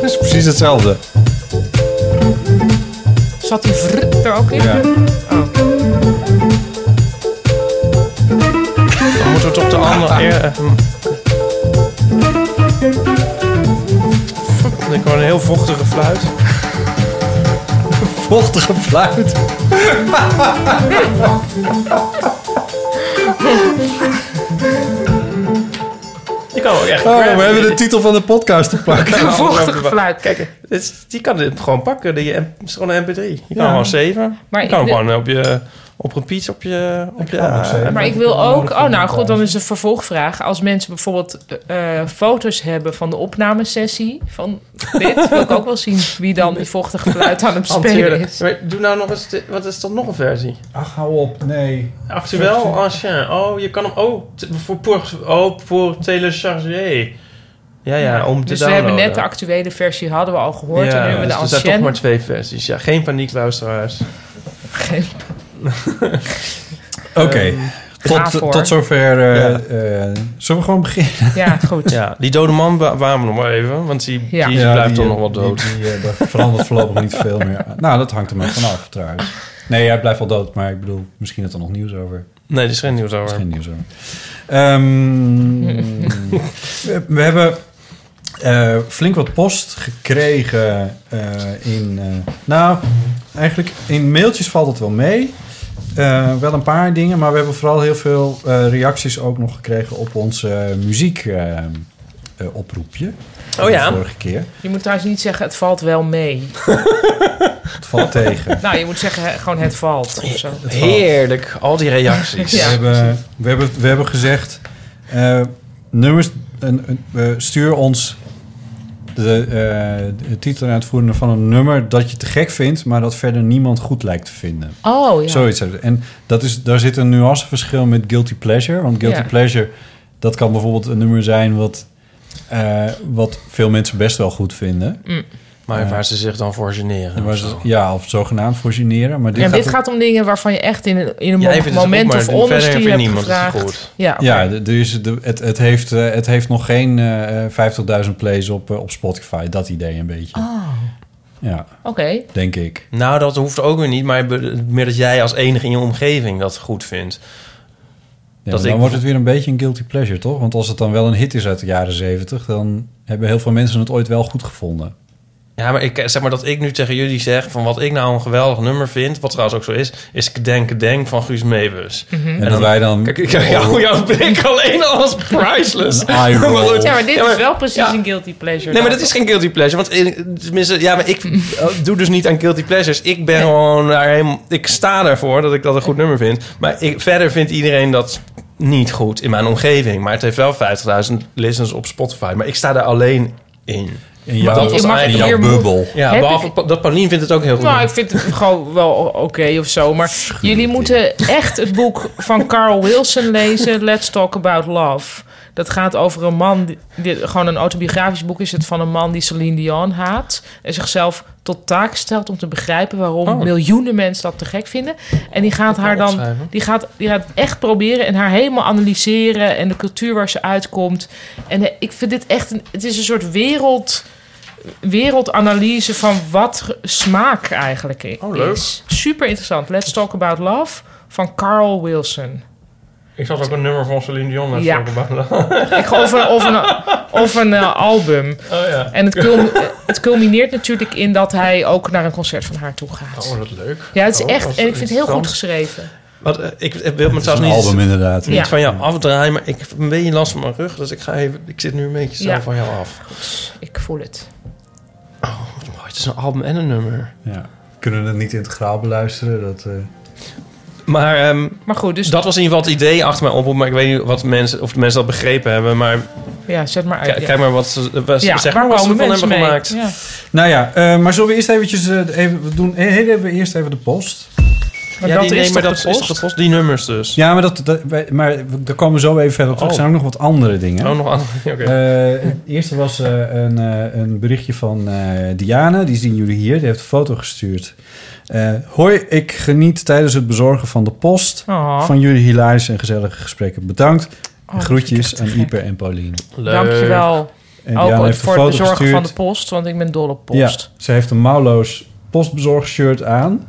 Speaker 1: Dat is precies hetzelfde.
Speaker 2: Zat die vr er ook in?
Speaker 1: Ja.
Speaker 2: Oh.
Speaker 3: Dan moeten we toch de andere... eer- eh, hm. Fuck, Ik hoor een heel vochtige fluit.
Speaker 1: Vochtige
Speaker 3: [laughs]
Speaker 1: fluit.
Speaker 2: [laughs]
Speaker 3: Die kan ook echt...
Speaker 1: Oh, we
Speaker 3: grabben.
Speaker 1: hebben de titel van de podcast te pakken.
Speaker 2: Een vochtige
Speaker 3: Ja.
Speaker 2: fluit.
Speaker 3: Kijk, dit is- die kan dit gewoon pakken. Die, M- het is gewoon een mp3. Je kan
Speaker 1: Ja.
Speaker 3: gewoon zeven.
Speaker 2: Maar
Speaker 3: je kan
Speaker 2: ik wil-
Speaker 3: gewoon op je... Op repeat op je... Op je
Speaker 1: kan ook zeven.
Speaker 2: Maar ik wil ook... Oh, nou goed, dan is een vervolgvraag. Als mensen bijvoorbeeld eh, eh, foto's hebben van de opnamesessie van dit... wil ik ook wel zien wie dan die vochtige fluit
Speaker 3: [laughs]
Speaker 2: aan het spelen
Speaker 3: Hanteren.
Speaker 2: is.
Speaker 3: Maar doe nou nog eens... de- wat is dan nog een versie?
Speaker 1: Ach, hou op. Nee.
Speaker 3: Actueel ancien. Oh, je kan hem... Oh, t- voor, pour, oh, voor télécharger. Ja, ja, om te
Speaker 2: dus we
Speaker 3: downloaden.
Speaker 2: hebben net de actuele versie, hadden we al gehoord. en nu hebben we de
Speaker 3: dus er zijn toch
Speaker 2: ancienne.
Speaker 3: maar twee versies. Ja, geen paniek, luisteraars.
Speaker 1: Oké.
Speaker 2: Eh, Ga
Speaker 1: Tot,
Speaker 2: voor.
Speaker 1: tot zover. eh,
Speaker 3: Ehm, Ja.
Speaker 1: eh, zullen we gewoon beginnen?
Speaker 2: Ja, goed.
Speaker 3: Ja, die dode man wa- waren we nog maar even, want die,
Speaker 2: Ja.
Speaker 3: die
Speaker 1: Ja,
Speaker 3: blijft
Speaker 1: die,
Speaker 3: toch nog wel
Speaker 1: eh,
Speaker 3: dood.
Speaker 1: Die, die, eh, daar verandert voorlopig niet veel meer. aan. Nou, dat hangt er maar vanaf trouwens. Nee, eh, hij blijft wel dood, maar ik bedoel, misschien dat er nog nieuws over.
Speaker 3: Nee, er is geen nieuws
Speaker 1: is
Speaker 3: over.
Speaker 1: geen nieuws over. Ehm, we, we hebben eh, flink wat post gekregen eh, in. eh, nou, eigenlijk in mailtjes valt het wel mee. Eh, wel een paar dingen, maar we hebben vooral heel veel eh, reacties ook nog gekregen op onze muziek. eh, eh, oproepje.
Speaker 3: Oh ja.
Speaker 1: De vorige keer.
Speaker 2: Je moet trouwens niet zeggen, het valt wel mee.
Speaker 1: Het valt tegen.
Speaker 2: [laughs] nou, je moet zeggen, he- gewoon het valt. Of zo.
Speaker 3: Heerlijk, al die reacties.
Speaker 1: We,
Speaker 2: Ja.
Speaker 1: hebben, we, hebben, we hebben gezegd, eh, nummers, een, een, eh, stuur ons de, eh, de titel en uitvoerende van een nummer dat je te gek vindt, maar dat verder niemand goed lijkt te vinden.
Speaker 2: Oh, ja.
Speaker 1: Zoiets. hebben we. En dat is, daar zit een nuanceverschil met Guilty Pleasure. Want Guilty
Speaker 2: Ja.
Speaker 1: Pleasure, dat kan bijvoorbeeld een nummer zijn wat, eh, wat veel mensen best wel goed vinden.
Speaker 2: Mm.
Speaker 1: eh,
Speaker 3: Maar waar ze zich dan voor generen.
Speaker 1: En
Speaker 3: of
Speaker 1: waar ze-
Speaker 3: zo.
Speaker 1: ja, of zogenaamd voor generen. Maar dit
Speaker 2: Ja,
Speaker 1: gaat,
Speaker 2: dit gaat om dingen waarvan je echt in een, in een
Speaker 3: Jij
Speaker 2: mo-
Speaker 3: vindt het
Speaker 2: moment
Speaker 3: goed, maar
Speaker 2: of
Speaker 3: verder
Speaker 2: onderste
Speaker 3: vindt
Speaker 2: hebt
Speaker 3: niemand het
Speaker 2: gevraagd.
Speaker 3: goed.
Speaker 2: Ja, oké.
Speaker 1: ja, d- dus de- het, het, heeft, eh, het heeft nog geen eh, 50.000 plays op, eh, op Spotify. Dat idee een beetje.
Speaker 5: Oh.
Speaker 1: Ja,
Speaker 2: Oké.
Speaker 1: denk ik.
Speaker 3: Nou, dat hoeft ook weer niet. Maar be- meer dat jij als enige in je omgeving dat goed vindt.
Speaker 1: Ja,
Speaker 3: Dat
Speaker 1: maar dan
Speaker 3: ik-
Speaker 1: wordt het weer een beetje een guilty pleasure, toch? Want als het dan wel een hit is uit de jaren 70, dan hebben heel veel mensen het ooit wel goed gevonden.
Speaker 3: Ja, maar ik zeg maar dat ik nu tegen jullie zeg van wat ik nou een geweldig nummer vind, wat trouwens ook zo is, is Denk Denk van Guus Meeuwis.
Speaker 2: Mhm.
Speaker 1: En, dat wij dan...
Speaker 3: Kijk, ik [laughs] kijk jou, jouw blik alleen al als priceless.
Speaker 1: Een eye roll.
Speaker 3: Maar goed.
Speaker 2: Ja, maar dit
Speaker 3: Ja, maar-
Speaker 2: is wel precies
Speaker 3: ja.
Speaker 2: een guilty pleasure.
Speaker 3: Nee, maar
Speaker 2: dan.
Speaker 3: dat is geen guilty pleasure. Want in- tenminste, ja, maar
Speaker 2: [laughs]
Speaker 3: ik eh, doe dus niet aan guilty pleasures. Ik ben gewoon daar helemaal. Ik sta ervoor dat ik dat een goed nummer vind. Maar ik, verder vindt iedereen dat niet goed in mijn omgeving. Maar het heeft wel 50.000 listens op Spotify. Maar ik sta daar alleen in.
Speaker 1: in jouw,
Speaker 3: dat was
Speaker 1: in
Speaker 3: eigenlijk
Speaker 1: jouw
Speaker 2: hier moet-
Speaker 1: bubbel.
Speaker 3: Ja,
Speaker 2: Heb
Speaker 3: behalve
Speaker 2: ik-
Speaker 3: Pa- dat Paulien vindt het ook heel goed.
Speaker 2: Nou, ik vind het gewoon wel oké of zo. Maar jullie moeten echt het boek van Carl Wilson lezen. Let's Talk About Love. Dat gaat over een man... die- dit- gewoon een autobiografisch boek is het van een man die Celine Dion haat. En zichzelf tot taak stelt om te begrijpen... waarom
Speaker 3: Oh.
Speaker 2: miljoenen mensen dat te gek vinden. En die gaat
Speaker 3: wel
Speaker 2: haar dan...
Speaker 3: opschrijven.
Speaker 2: Die gaat, die gaat het echt proberen en haar helemaal analyseren... en de cultuur waar ze uitkomt. En eh, ik vind dit echt... Een, het is een soort wereld wereldanalyse van wat ge- smaak eigenlijk i-
Speaker 3: Oh, leuk.
Speaker 2: is. Super interessant. Let's Talk About Love van Carl Wilson.
Speaker 3: Ik zat ook een nummer van Celine Dion [laughs]
Speaker 2: Ja. Ik, geloof of een, of een,
Speaker 1: [laughs]
Speaker 2: of een eh, album.
Speaker 3: Oh ja.
Speaker 2: En het, cul- eh, het culmineert natuurlijk in dat hij ook naar een concert van haar toe gaat.
Speaker 3: dat leuk.
Speaker 2: Ja, het is
Speaker 3: Oh,
Speaker 2: echt...
Speaker 3: dat is
Speaker 2: En ik vind het heel
Speaker 3: interessant.
Speaker 2: goed geschreven.
Speaker 3: Wat, eh, ik, ik wil me
Speaker 1: Het is een
Speaker 3: trouwens niet...
Speaker 1: album inderdaad.
Speaker 3: niet
Speaker 2: Ja.
Speaker 3: van jou afdraaien, maar ik heb een beetje last van mijn rug. Dus ik, ga even, ik zit nu een beetje zo
Speaker 2: Ja.
Speaker 3: van jou af.
Speaker 2: Ik voel het.
Speaker 3: Wat mooi, Oh, het is een album en een nummer.
Speaker 1: Ja. Kunnen we het niet integraal beluisteren? Dat, eh,
Speaker 3: Maar ehm,
Speaker 2: Maar goed, dus...
Speaker 3: dat was in ieder geval het idee achter mijn oproep. Maar ik weet niet wat mensen, of de mensen dat begrepen hebben. Maar
Speaker 2: ja, zet maar uit.
Speaker 3: k-
Speaker 2: ja.
Speaker 3: kijk maar wat ze, wat ze-
Speaker 2: Ja,
Speaker 3: zeg
Speaker 2: waar
Speaker 3: maar wat ze
Speaker 2: komen
Speaker 3: ervan
Speaker 2: mensen
Speaker 3: hebben
Speaker 2: mee?
Speaker 3: gemaakt.
Speaker 2: Ja.
Speaker 1: Nou ja, eh, maar zullen we eerst eventjes... eh, even, we doen heel even, eerst even de post.
Speaker 2: Maar
Speaker 3: Ja,
Speaker 2: dat
Speaker 3: die, nee,
Speaker 2: is
Speaker 3: maar
Speaker 2: toch
Speaker 3: dat
Speaker 2: de
Speaker 3: is
Speaker 2: post?
Speaker 3: toch de post? Die nummers dus.
Speaker 1: Ja, maar, dat, dat, wij- maar we- daar komen we zo even verder op terug. Er zijn ook nog wat andere dingen.
Speaker 3: Oh, nog aan. [laughs] oké.
Speaker 1: Eh, het eerste was eh, een, eh, een berichtje van eh Diana. Die zien jullie hier. Die heeft een foto gestuurd. Eh, Hoi, ik geniet tijdens het bezorgen van de post...
Speaker 2: Oh,
Speaker 1: van jullie hilarische en gezellige gesprekken. Bedankt.
Speaker 2: oh, dat vind ik
Speaker 1: Groetjes
Speaker 2: echt te
Speaker 1: aan
Speaker 2: gek.
Speaker 1: Ieper en Paulien.
Speaker 3: Leuk.
Speaker 2: Dankjewel.
Speaker 1: En
Speaker 2: Ook
Speaker 1: Diana
Speaker 2: het
Speaker 1: heeft
Speaker 2: voor
Speaker 1: een
Speaker 2: het
Speaker 1: foto
Speaker 2: bezorgen
Speaker 1: gestuurd.
Speaker 2: van de post, want ik ben dol op post.
Speaker 1: Ja, ze heeft een mouwloos postbezorgshirt aan.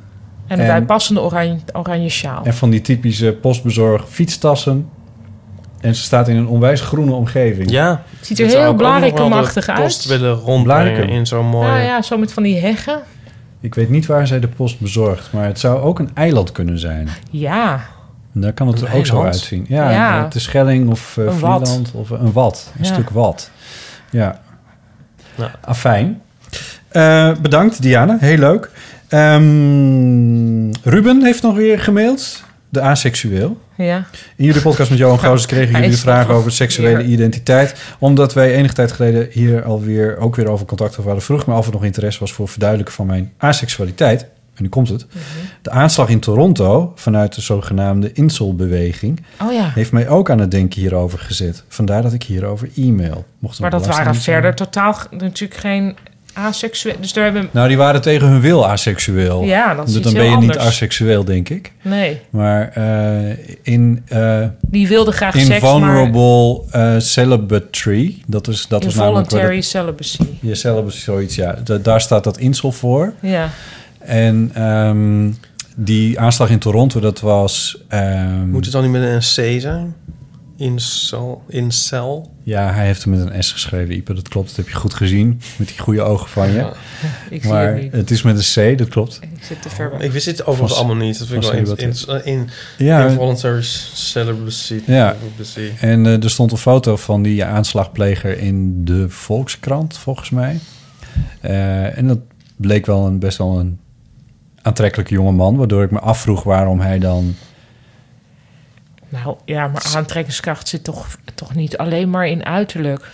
Speaker 1: En-
Speaker 2: En een bijpassende oranje, oranje sjaal.
Speaker 1: En van die typische postbezorg fietstassen. En ze staat in een onwijs groene omgeving.
Speaker 3: Ja.
Speaker 2: Ziet er heel blarikumachtig uit.
Speaker 3: post willen rondbrengen
Speaker 1: Blarikum.
Speaker 3: eh, in zo'n mooie...
Speaker 2: Nou ja, zo met van die heggen.
Speaker 1: Ik weet niet waar zij de post bezorgt, maar het zou ook een eiland kunnen zijn.
Speaker 2: Ja,
Speaker 1: En daar kan het
Speaker 3: Een
Speaker 1: er ook zo
Speaker 3: eiland?
Speaker 1: uitzien. Ja,
Speaker 2: Ja.
Speaker 1: de Schelling of eh
Speaker 2: Een wat.
Speaker 1: Vlieland of een wat. Een
Speaker 2: Ja.
Speaker 1: stuk wat. Ja.
Speaker 3: Ja.
Speaker 1: Afijn. Eh, bedankt, Diana. Heel leuk. Ehm, Ruben heeft nog weer gemaild. De aseksueel.
Speaker 2: ja.
Speaker 1: In jullie podcast met Johan Goosens kregen
Speaker 2: Hij
Speaker 1: jullie
Speaker 2: is
Speaker 1: vragen
Speaker 2: nog
Speaker 1: over seksuele
Speaker 2: weer.
Speaker 1: identiteit. Omdat wij enige tijd geleden hier alweer ook weer over contact over hadden. Vroeg me af of er nog interesse was voor het verduidelijken van mijn aseksualiteit. En nu komt het.
Speaker 2: Mhm.
Speaker 1: De aanslag in Toronto vanuit de zogenaamde insolbeweging
Speaker 2: Oh ja,
Speaker 1: heeft mij ook aan het denken hierover gezet. Vandaar dat ik hierover e-mail mocht. er
Speaker 2: maar dat waren
Speaker 1: belasting zijn.
Speaker 2: verder totaal g- natuurlijk geen aseksueel. Dus daar hebben...
Speaker 1: Nou, die waren tegen hun wil aseksueel.
Speaker 2: Ja, dat is
Speaker 1: Dus dan
Speaker 2: iets
Speaker 1: ben
Speaker 2: heel
Speaker 1: je niet
Speaker 2: anders.
Speaker 1: aseksueel, denk ik.
Speaker 2: Nee,
Speaker 1: Maar eh, in eh,
Speaker 2: die wilden graag
Speaker 1: In
Speaker 2: seks, maar...
Speaker 1: vulnerable eh, celibatory. Dat is, dat is namelijk waar
Speaker 2: Involuntary
Speaker 1: het-
Speaker 2: celibacy.
Speaker 1: je celibacy zoiets, ja. Da- daar staat dat insel voor.
Speaker 2: Ja,
Speaker 1: En ehm, die aanslag in Toronto, dat was... ehm,
Speaker 3: Moet het dan niet met een C zijn? Incel. Incel.
Speaker 1: Ja, hij heeft hem met een S geschreven, Ipe. Dat klopt, dat heb je goed gezien. Met die goede ogen van je.
Speaker 2: [laughs] Ik zie
Speaker 1: maar
Speaker 2: het niet.
Speaker 1: het is met een C, dat klopt.
Speaker 2: Ik zit te ver weg.
Speaker 3: Ik wist dit overigens
Speaker 1: Was-
Speaker 3: allemaal niet. Dat vind ik
Speaker 1: was
Speaker 3: wel in,
Speaker 1: hij
Speaker 3: in, in,
Speaker 1: Ja,
Speaker 3: involuntary celibacy.
Speaker 1: Ja.
Speaker 3: Celibacy.
Speaker 1: en eh, er stond een foto van die eh, aanslagpleger in de Volkskrant, volgens mij. Eh, en dat bleek wel een, best wel een aantrekkelijke jonge man. Waardoor ik me afvroeg waarom hij dan...
Speaker 2: Nou ja, maar aantrekkingskracht zit toch, toch niet alleen maar in uiterlijk.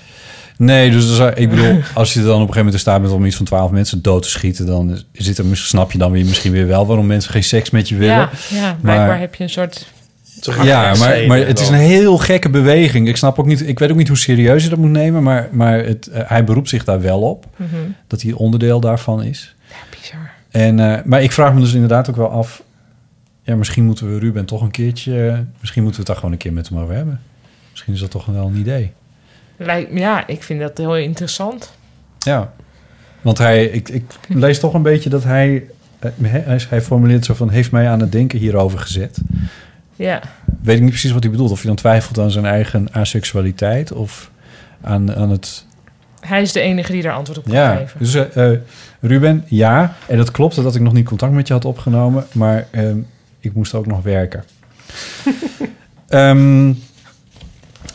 Speaker 1: Nee, dus als- ik bedoel, als je dan op een gegeven moment er staat met om iets van twaalf mensen dood te schieten... dan zit er, mis- snap je dan weer misschien weer wel waarom mensen geen seks met je willen.
Speaker 2: Ja, ja blijkbaar
Speaker 1: Maar-
Speaker 2: heb je een soort...
Speaker 3: Toch
Speaker 1: Ja, maar,
Speaker 3: insane
Speaker 1: maar het is een
Speaker 3: wel.
Speaker 1: heel gekke beweging. Ik snap ook niet, ik weet ook niet hoe serieus je dat moet nemen, maar, maar het, eh, hij beroept zich daar wel op. Dat hij onderdeel daarvan is.
Speaker 2: Mhm. Ja, bizar.
Speaker 1: En, eh, maar ik vraag me dus inderdaad ook wel af. Ja, misschien moeten we Ruben toch een keertje. eh, Misschien moeten we het daar gewoon een keer met hem over hebben. Misschien is dat toch wel een idee.
Speaker 2: Lijkt, ja, ik vind dat heel interessant.
Speaker 1: Ja. Want hij, ik, ik lees toch een beetje dat hij. eh, hè, Hij hij formuleert zo van: heeft mij aan het denken hierover gezet.
Speaker 2: Ja,
Speaker 1: weet ik niet precies wat hij bedoelt. Of hij dan twijfelt aan zijn eigen asexualiteit of aan, aan het...
Speaker 2: hij is de enige die daar antwoord op kan
Speaker 1: Ja,
Speaker 2: geven.
Speaker 1: dus eh, eh, Ruben, ja. En dat klopt, dat ik nog niet contact met je had opgenomen. Maar eh, ik moest ook nog
Speaker 2: [laughs]
Speaker 1: werken. Ehm,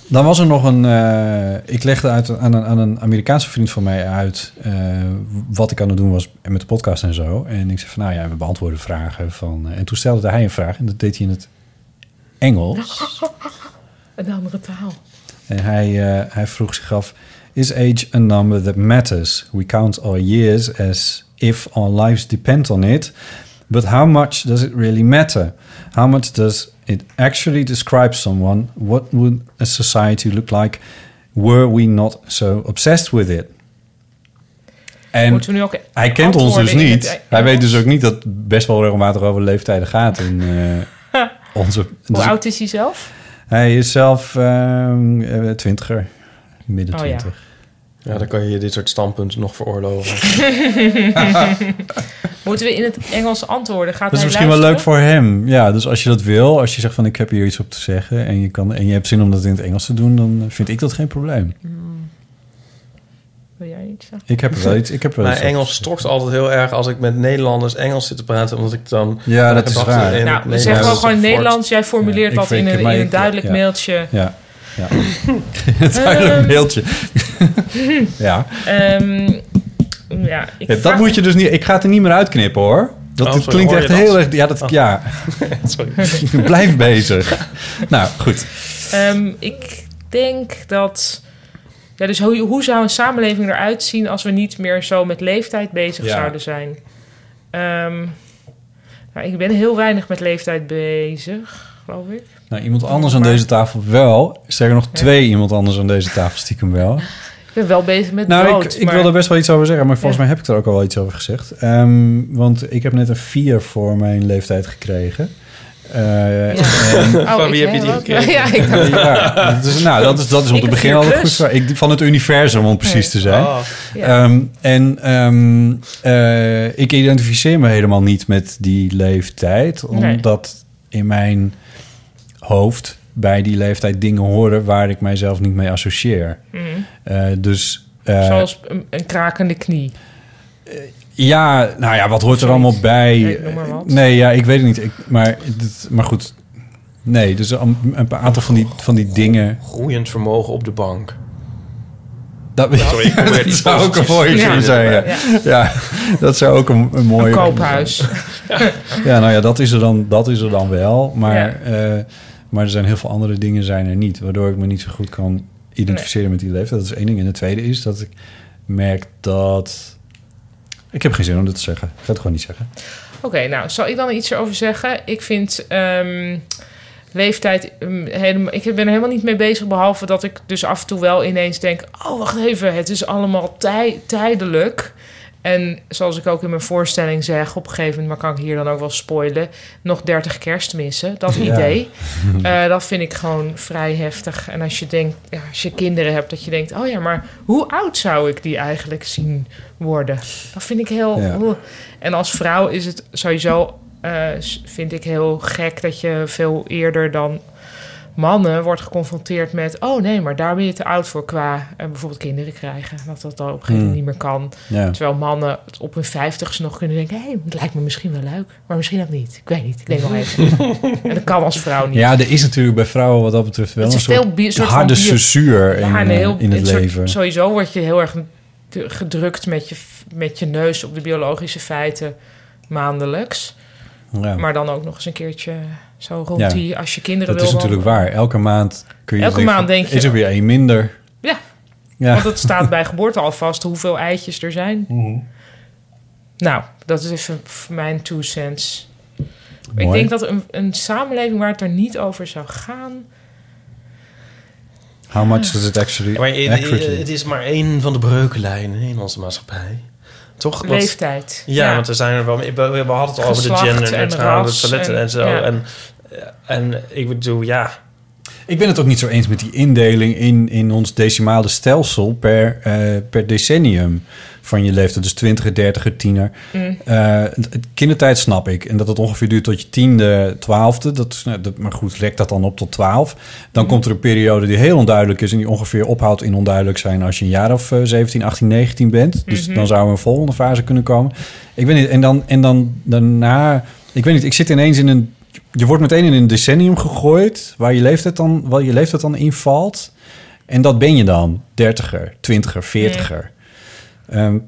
Speaker 1: dan was er nog een... eh, ik legde uit, aan, een, aan een Amerikaanse vriend van mij uit... eh, wat ik aan het doen was met de podcast en zo. En ik zei van, nou ja, we beantwoorden vragen van... eh, en toen stelde hij een vraag en dat deed hij in het Engels.
Speaker 2: Een andere taal.
Speaker 1: En hij, eh, hij vroeg zich af: Is age a number that matters? We count our years as if our lives depend on it. But how much does it really matter? How much does it actually describe someone? What would a society look like were we not so obsessed with it? En
Speaker 2: Moeten we nu ook
Speaker 1: hij kent ons dus
Speaker 2: antwoorden in
Speaker 1: niet.
Speaker 2: het
Speaker 1: Hij weet
Speaker 2: Engels?
Speaker 1: dus ook niet dat het best wel regelmatig over leeftijden gaat. In,
Speaker 2: [laughs]
Speaker 1: eh, onze,
Speaker 2: Hoe
Speaker 1: dus
Speaker 2: oud is hij
Speaker 1: [laughs]
Speaker 2: zelf? [laughs]
Speaker 1: hij is zelf ehm, eh, twintiger, midden
Speaker 2: Oh, ja.
Speaker 1: twintig.
Speaker 3: Ja, dan kan je je dit soort standpunten nog veroorloven.
Speaker 2: Moeten we in het Engels antwoorden? Gaat
Speaker 1: Dat is
Speaker 2: hij
Speaker 1: misschien wel leuk
Speaker 2: luisteren?
Speaker 1: voor hem. Ja, dus als je dat wil, als je zegt van ik heb hier iets op te zeggen en je, kan, en je hebt zin om dat in het Engels te doen, dan vind ik dat geen probleem.
Speaker 2: Wil jij iets zeggen?
Speaker 1: Ik heb
Speaker 3: [laughs]
Speaker 1: er wel iets. Ik heb er wel
Speaker 3: Mijn
Speaker 1: iets op.
Speaker 3: Engels stokt altijd heel erg als ik met Nederlanders Engels zit te praten, omdat ik dan...
Speaker 1: Ja,
Speaker 3: mijn
Speaker 1: dat is
Speaker 3: gedachten
Speaker 1: raar.
Speaker 3: in het
Speaker 2: Nou, we
Speaker 3: Nederlands
Speaker 2: zeggen wel
Speaker 3: voort-
Speaker 2: gewoon Nederlands. Jij formuleert
Speaker 1: Ja, ik
Speaker 2: dat in
Speaker 1: vind-
Speaker 2: een,
Speaker 1: maar
Speaker 2: in een
Speaker 1: ik-
Speaker 2: duidelijk
Speaker 1: ja.
Speaker 2: mailtje. [laughs]
Speaker 1: Ja. ja.
Speaker 3: [laughs]
Speaker 1: [laughs] het duidelijk beeldje. ja.
Speaker 2: Ehm, ja, ik
Speaker 1: Ja,
Speaker 2: vraag-
Speaker 1: dat moet je dus niet. Ik ga het er niet meer uitknippen hoor. Dat
Speaker 3: Oh,
Speaker 1: dit
Speaker 3: sorry,
Speaker 1: klinkt
Speaker 3: hoor
Speaker 1: echt
Speaker 3: je dat? Oh.
Speaker 1: heel erg. Ja, dat,
Speaker 3: [laughs]
Speaker 1: ja. [laughs] blijf bezig. nou, goed.
Speaker 2: Ehm, ik denk dat. Ja, dus hoe, hoe zou een samenleving eruit zien als we niet meer zo met leeftijd bezig
Speaker 1: Ja.
Speaker 2: zouden zijn? Ehm, nou, ik ben heel weinig met leeftijd bezig, geloof ik.
Speaker 1: Nou, iemand anders aan deze tafel wel. Sterker nog, twee iemand anders aan deze tafel stiekem wel.
Speaker 2: Ik ben wel bezig met
Speaker 1: Nou,
Speaker 2: dood.
Speaker 1: ik, ik
Speaker 2: maar-
Speaker 1: wil er best wel iets over zeggen, maar volgens
Speaker 2: Ja.
Speaker 1: mij heb ik er ook al wel iets over gezegd. Ehm, want ik heb net een 4 voor mijn leeftijd gekregen. Eh,
Speaker 2: Ja.
Speaker 1: en-
Speaker 2: Oh,
Speaker 3: Van
Speaker 2: ik-
Speaker 3: wie heb
Speaker 2: hè,
Speaker 3: je die
Speaker 2: wat?
Speaker 3: gekregen?
Speaker 2: Ja, [laughs] ik dacht-
Speaker 1: ja, dat is, nou, dat is, dat is om
Speaker 2: Ik
Speaker 1: te
Speaker 2: een
Speaker 1: beginnen
Speaker 2: 4
Speaker 1: al een goed
Speaker 2: plus.
Speaker 1: verhaal. Ik, van het universum, om precies te zijn.
Speaker 3: Oh,
Speaker 2: ja.
Speaker 1: Ehm, en ehm, eh, ik identificeer me helemaal niet met die leeftijd,
Speaker 2: Nee.
Speaker 1: omdat in mijn hoofd bij die leeftijd dingen horen waar ik mijzelf niet mee associeer.
Speaker 2: Mhm.
Speaker 1: Eh, dus. eh,
Speaker 2: Zoals een, een krakende knie.
Speaker 1: Ja, nou ja, wat hoort er allemaal bij?
Speaker 2: Nee, noem maar wat.
Speaker 1: Nee, ja, ik weet het niet. Ik, maar, dit- maar goed, nee, dus een, een paar aantal van die, van die dingen.
Speaker 3: groeiend vermogen op de bank.
Speaker 1: Dat,
Speaker 3: Sorry, ik probeer
Speaker 1: [laughs] dat
Speaker 3: iets
Speaker 1: zou ook een
Speaker 3: positiefs
Speaker 1: mooie
Speaker 3: te
Speaker 1: zin
Speaker 3: verzinnen.
Speaker 1: zijn. Ja.
Speaker 2: Ja.
Speaker 1: Ja, dat zou ook een, een mooie.
Speaker 2: Een
Speaker 1: [laughs]
Speaker 2: koophuis.
Speaker 1: Ja, nou ja, dat is er dan, dat is er dan wel. Maar,
Speaker 2: Ja.
Speaker 1: eh, maar er zijn heel veel andere dingen zijn er niet, waardoor ik me niet zo goed kan identificeren met die leeftijd. Dat is één ding. En het tweede is dat ik merk dat. Ik heb geen zin om dit te zeggen. Ik ga het gewoon niet zeggen.
Speaker 2: Oké, nou, zal ik dan iets erover zeggen? Ik vind ehm, leeftijd ehm, helemaal... Ik ben er helemaal niet mee bezig, behalve dat ik dus af en toe wel ineens denk... Oh, wacht even, het is allemaal tij- tijdelijk. En zoals ik ook in mijn voorstelling zeg, op een gegeven moment... maar kan ik hier dan ook wel spoilen, nog 30 kerstmissen. Dat
Speaker 1: Ja.
Speaker 2: idee, Eh, dat vind ik gewoon vrij heftig. En als je, denkt, ja, als je kinderen hebt, dat je denkt... oh ja, maar hoe oud zou ik die eigenlijk zien worden? Dat vind ik heel...
Speaker 1: Ja.
Speaker 2: oeh. En als vrouw is het sowieso, eh, s- vind ik heel gek dat je veel eerder dan mannen wordt geconfronteerd met... oh nee, maar daar ben je te oud voor qua eh, bijvoorbeeld kinderen krijgen. Dat dat dan op een gegeven moment niet meer kan.
Speaker 1: Hmm. Ja.
Speaker 2: Terwijl mannen het op hun vijftigste nog kunnen denken... hé, hey, het lijkt me misschien wel leuk, maar misschien ook niet. Ik weet niet, ik neem wel
Speaker 1: [laughs]
Speaker 2: even. en dat kan als vrouw niet.
Speaker 1: ja, er is natuurlijk bij vrouwen wat dat betreft wel
Speaker 2: Het
Speaker 1: een
Speaker 2: is veel
Speaker 1: soort,
Speaker 2: bi- soort van
Speaker 1: harde
Speaker 2: bio-
Speaker 1: censuur in, eh,
Speaker 2: Ja, en heel,
Speaker 1: in het
Speaker 2: soort-
Speaker 1: leven.
Speaker 2: Sowieso word je heel erg te- gedrukt met je, f- met je neus op de biologische feiten maandelijks.
Speaker 1: ja.
Speaker 2: Maar dan ook nog eens een keertje zo rond
Speaker 1: Ja.
Speaker 2: die, als je kinderen
Speaker 1: dat
Speaker 2: wil.
Speaker 1: is natuurlijk waar. Elke maand kun je
Speaker 2: Elke
Speaker 1: denken
Speaker 2: maand
Speaker 1: van,
Speaker 2: denk je-
Speaker 1: Is er weer één minder?
Speaker 2: Ja.
Speaker 1: Ja.
Speaker 2: Want het staat
Speaker 1: [laughs]
Speaker 2: bij geboorte al vast hoeveel eitjes er zijn. Nou, dat is even f- mijn two cents.
Speaker 1: Mooi.
Speaker 2: Ik denk dat een, een samenleving waar het er niet over zou gaan...
Speaker 1: How much does it actually...
Speaker 3: Maar je-
Speaker 1: accurately?
Speaker 3: je- het is maar één van de breuklijnen in onze maatschappij. Toch? Wat-
Speaker 2: leeftijd.
Speaker 3: Ja, want er zijn er wel... We, we hadden het al over de
Speaker 2: Geslacht
Speaker 3: gender
Speaker 2: en
Speaker 3: en het
Speaker 2: ras
Speaker 3: toiletten en,
Speaker 2: en-
Speaker 3: zo.
Speaker 2: ja.
Speaker 3: En, eh, en ik bedoel, ja...
Speaker 1: Ik ben het ook niet zo eens met die indeling in, in ons decimale stelsel per, eh, per decennium van je leeftijd. Dus twintiger, dertiger, tiener. Eh, het- het kindertijd snap ik. En dat het ongeveer duurt tot je tiende, twaalfde. Dat, is- nou, dat, maar goed, lek dat dan op tot twaalf. Dan komt er een periode die heel onduidelijk is... en die ongeveer ophoudt in onduidelijk zijn als je een jaar of eh, 17, 18, 19 bent. Dus dan zou er een volgende fase kunnen komen. Ik weet niet, en dan, en dan daarna... Ik weet niet, ik zit ineens in een je wordt meteen in een decennium gegooid waar je leeftijd dan, waar je leeftijd dan invalt. En dat ben je dan. Dertiger, twintiger, veertiger. Ehm,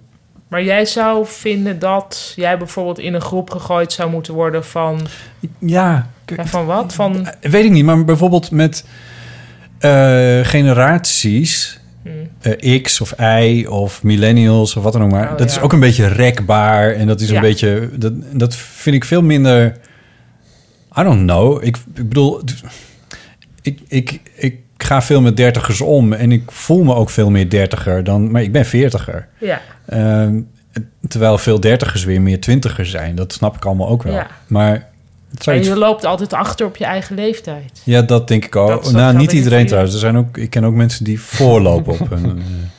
Speaker 2: Maar jij zou vinden dat jij bijvoorbeeld in een groep gegooid zou moeten worden van...
Speaker 1: ja, k- Eh,
Speaker 2: Ja, van wat? Van,
Speaker 1: weet ik niet. Maar bijvoorbeeld met eh, generaties...
Speaker 2: Hmm.
Speaker 1: eh, X of Y of millennials of wat dan ook maar.
Speaker 2: Oh,
Speaker 1: dat is
Speaker 2: ja.
Speaker 1: ook een beetje rekbaar. En dat is een
Speaker 2: Ja.
Speaker 1: beetje... Dat, dat vind ik veel minder... I don't know. Ik, ik bedoel, ik, ik, ik ga veel met dertigers om en ik voel me ook veel meer dertiger dan, maar ik ben veertiger.
Speaker 2: ja,
Speaker 1: Ehm, terwijl veel dertigers weer meer twintiger zijn. Dat snap ik allemaal ook wel.
Speaker 2: Ja.
Speaker 1: Maar het zou
Speaker 2: en
Speaker 1: iets-
Speaker 2: je loopt altijd achter op je eigen leeftijd.
Speaker 1: ja, dat denk ik al.
Speaker 2: Dat- dat
Speaker 1: nou, niet
Speaker 2: geldt denk ik
Speaker 1: iedereen
Speaker 2: voor
Speaker 1: trouwens. Er zijn ook, ik ken ook mensen die voorlopen op hun, eh,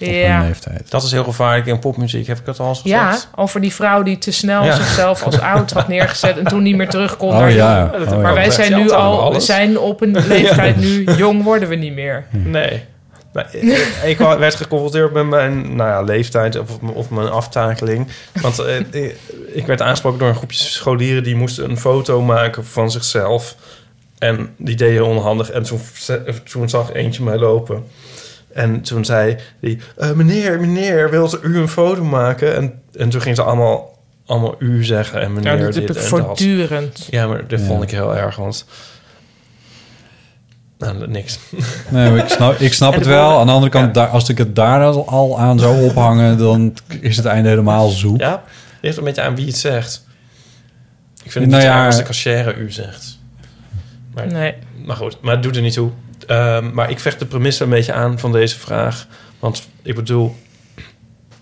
Speaker 1: op
Speaker 2: Ja.
Speaker 1: hun leeftijd.
Speaker 3: Dat is heel gevaarlijk in popmuziek, heb ik dat al eens gezegd?
Speaker 2: Ja, over die vrouw die te snel
Speaker 3: Ja.
Speaker 2: zichzelf als oud had neergezet en toen niet meer terug kon.
Speaker 1: Oh
Speaker 2: naar-
Speaker 1: ja.
Speaker 3: dat-
Speaker 1: oh ja.
Speaker 2: Maar wij zijn nu
Speaker 3: Hetzelfde allemaal
Speaker 2: al, we
Speaker 3: alles.
Speaker 2: zijn op
Speaker 1: [laughs]
Speaker 2: een leeftijd nu, jong worden we niet meer.
Speaker 1: Hm.
Speaker 3: Nee. Maar ik, Nou, eh, ik werd geconfronteerd met mijn nou ja, leeftijd of, of mijn aftakeling. Want eh, ik- ik werd aangesproken door een groepje scholieren... die moesten een foto maken van zichzelf. En die deden onhandig. En toen, ze- toen zag eentje mij lopen. En toen zei die... "Eh, meneer, meneer, wilt u een foto maken? En, en toen ging ze allemaal, allemaal u zeggen en
Speaker 2: Ja,
Speaker 3: meneer dit
Speaker 2: dat heb ik
Speaker 3: en dat.
Speaker 2: voortdurend.
Speaker 3: Ja, maar dat
Speaker 1: Ja.
Speaker 3: vond ik heel erg, want... Nou, niks.
Speaker 1: Nee, maar ik snap, ik snap
Speaker 2: En
Speaker 1: het
Speaker 2: de
Speaker 1: wel.
Speaker 2: woorden-
Speaker 1: Aan de andere kant, daar, als ik het daar al- al aan zou ophangen... dan is het einde helemaal zoek.
Speaker 3: Ja, het ligt een beetje aan wie het zegt. Ik vind het
Speaker 1: Nou
Speaker 3: niet
Speaker 1: ja.
Speaker 3: ja. als de cashier u zegt. Maar,
Speaker 2: Nee.
Speaker 3: maar goed, maar het doet er niet toe. Ehm, maar ik vecht de premisse een beetje aan van deze vraag. Want ik bedoel,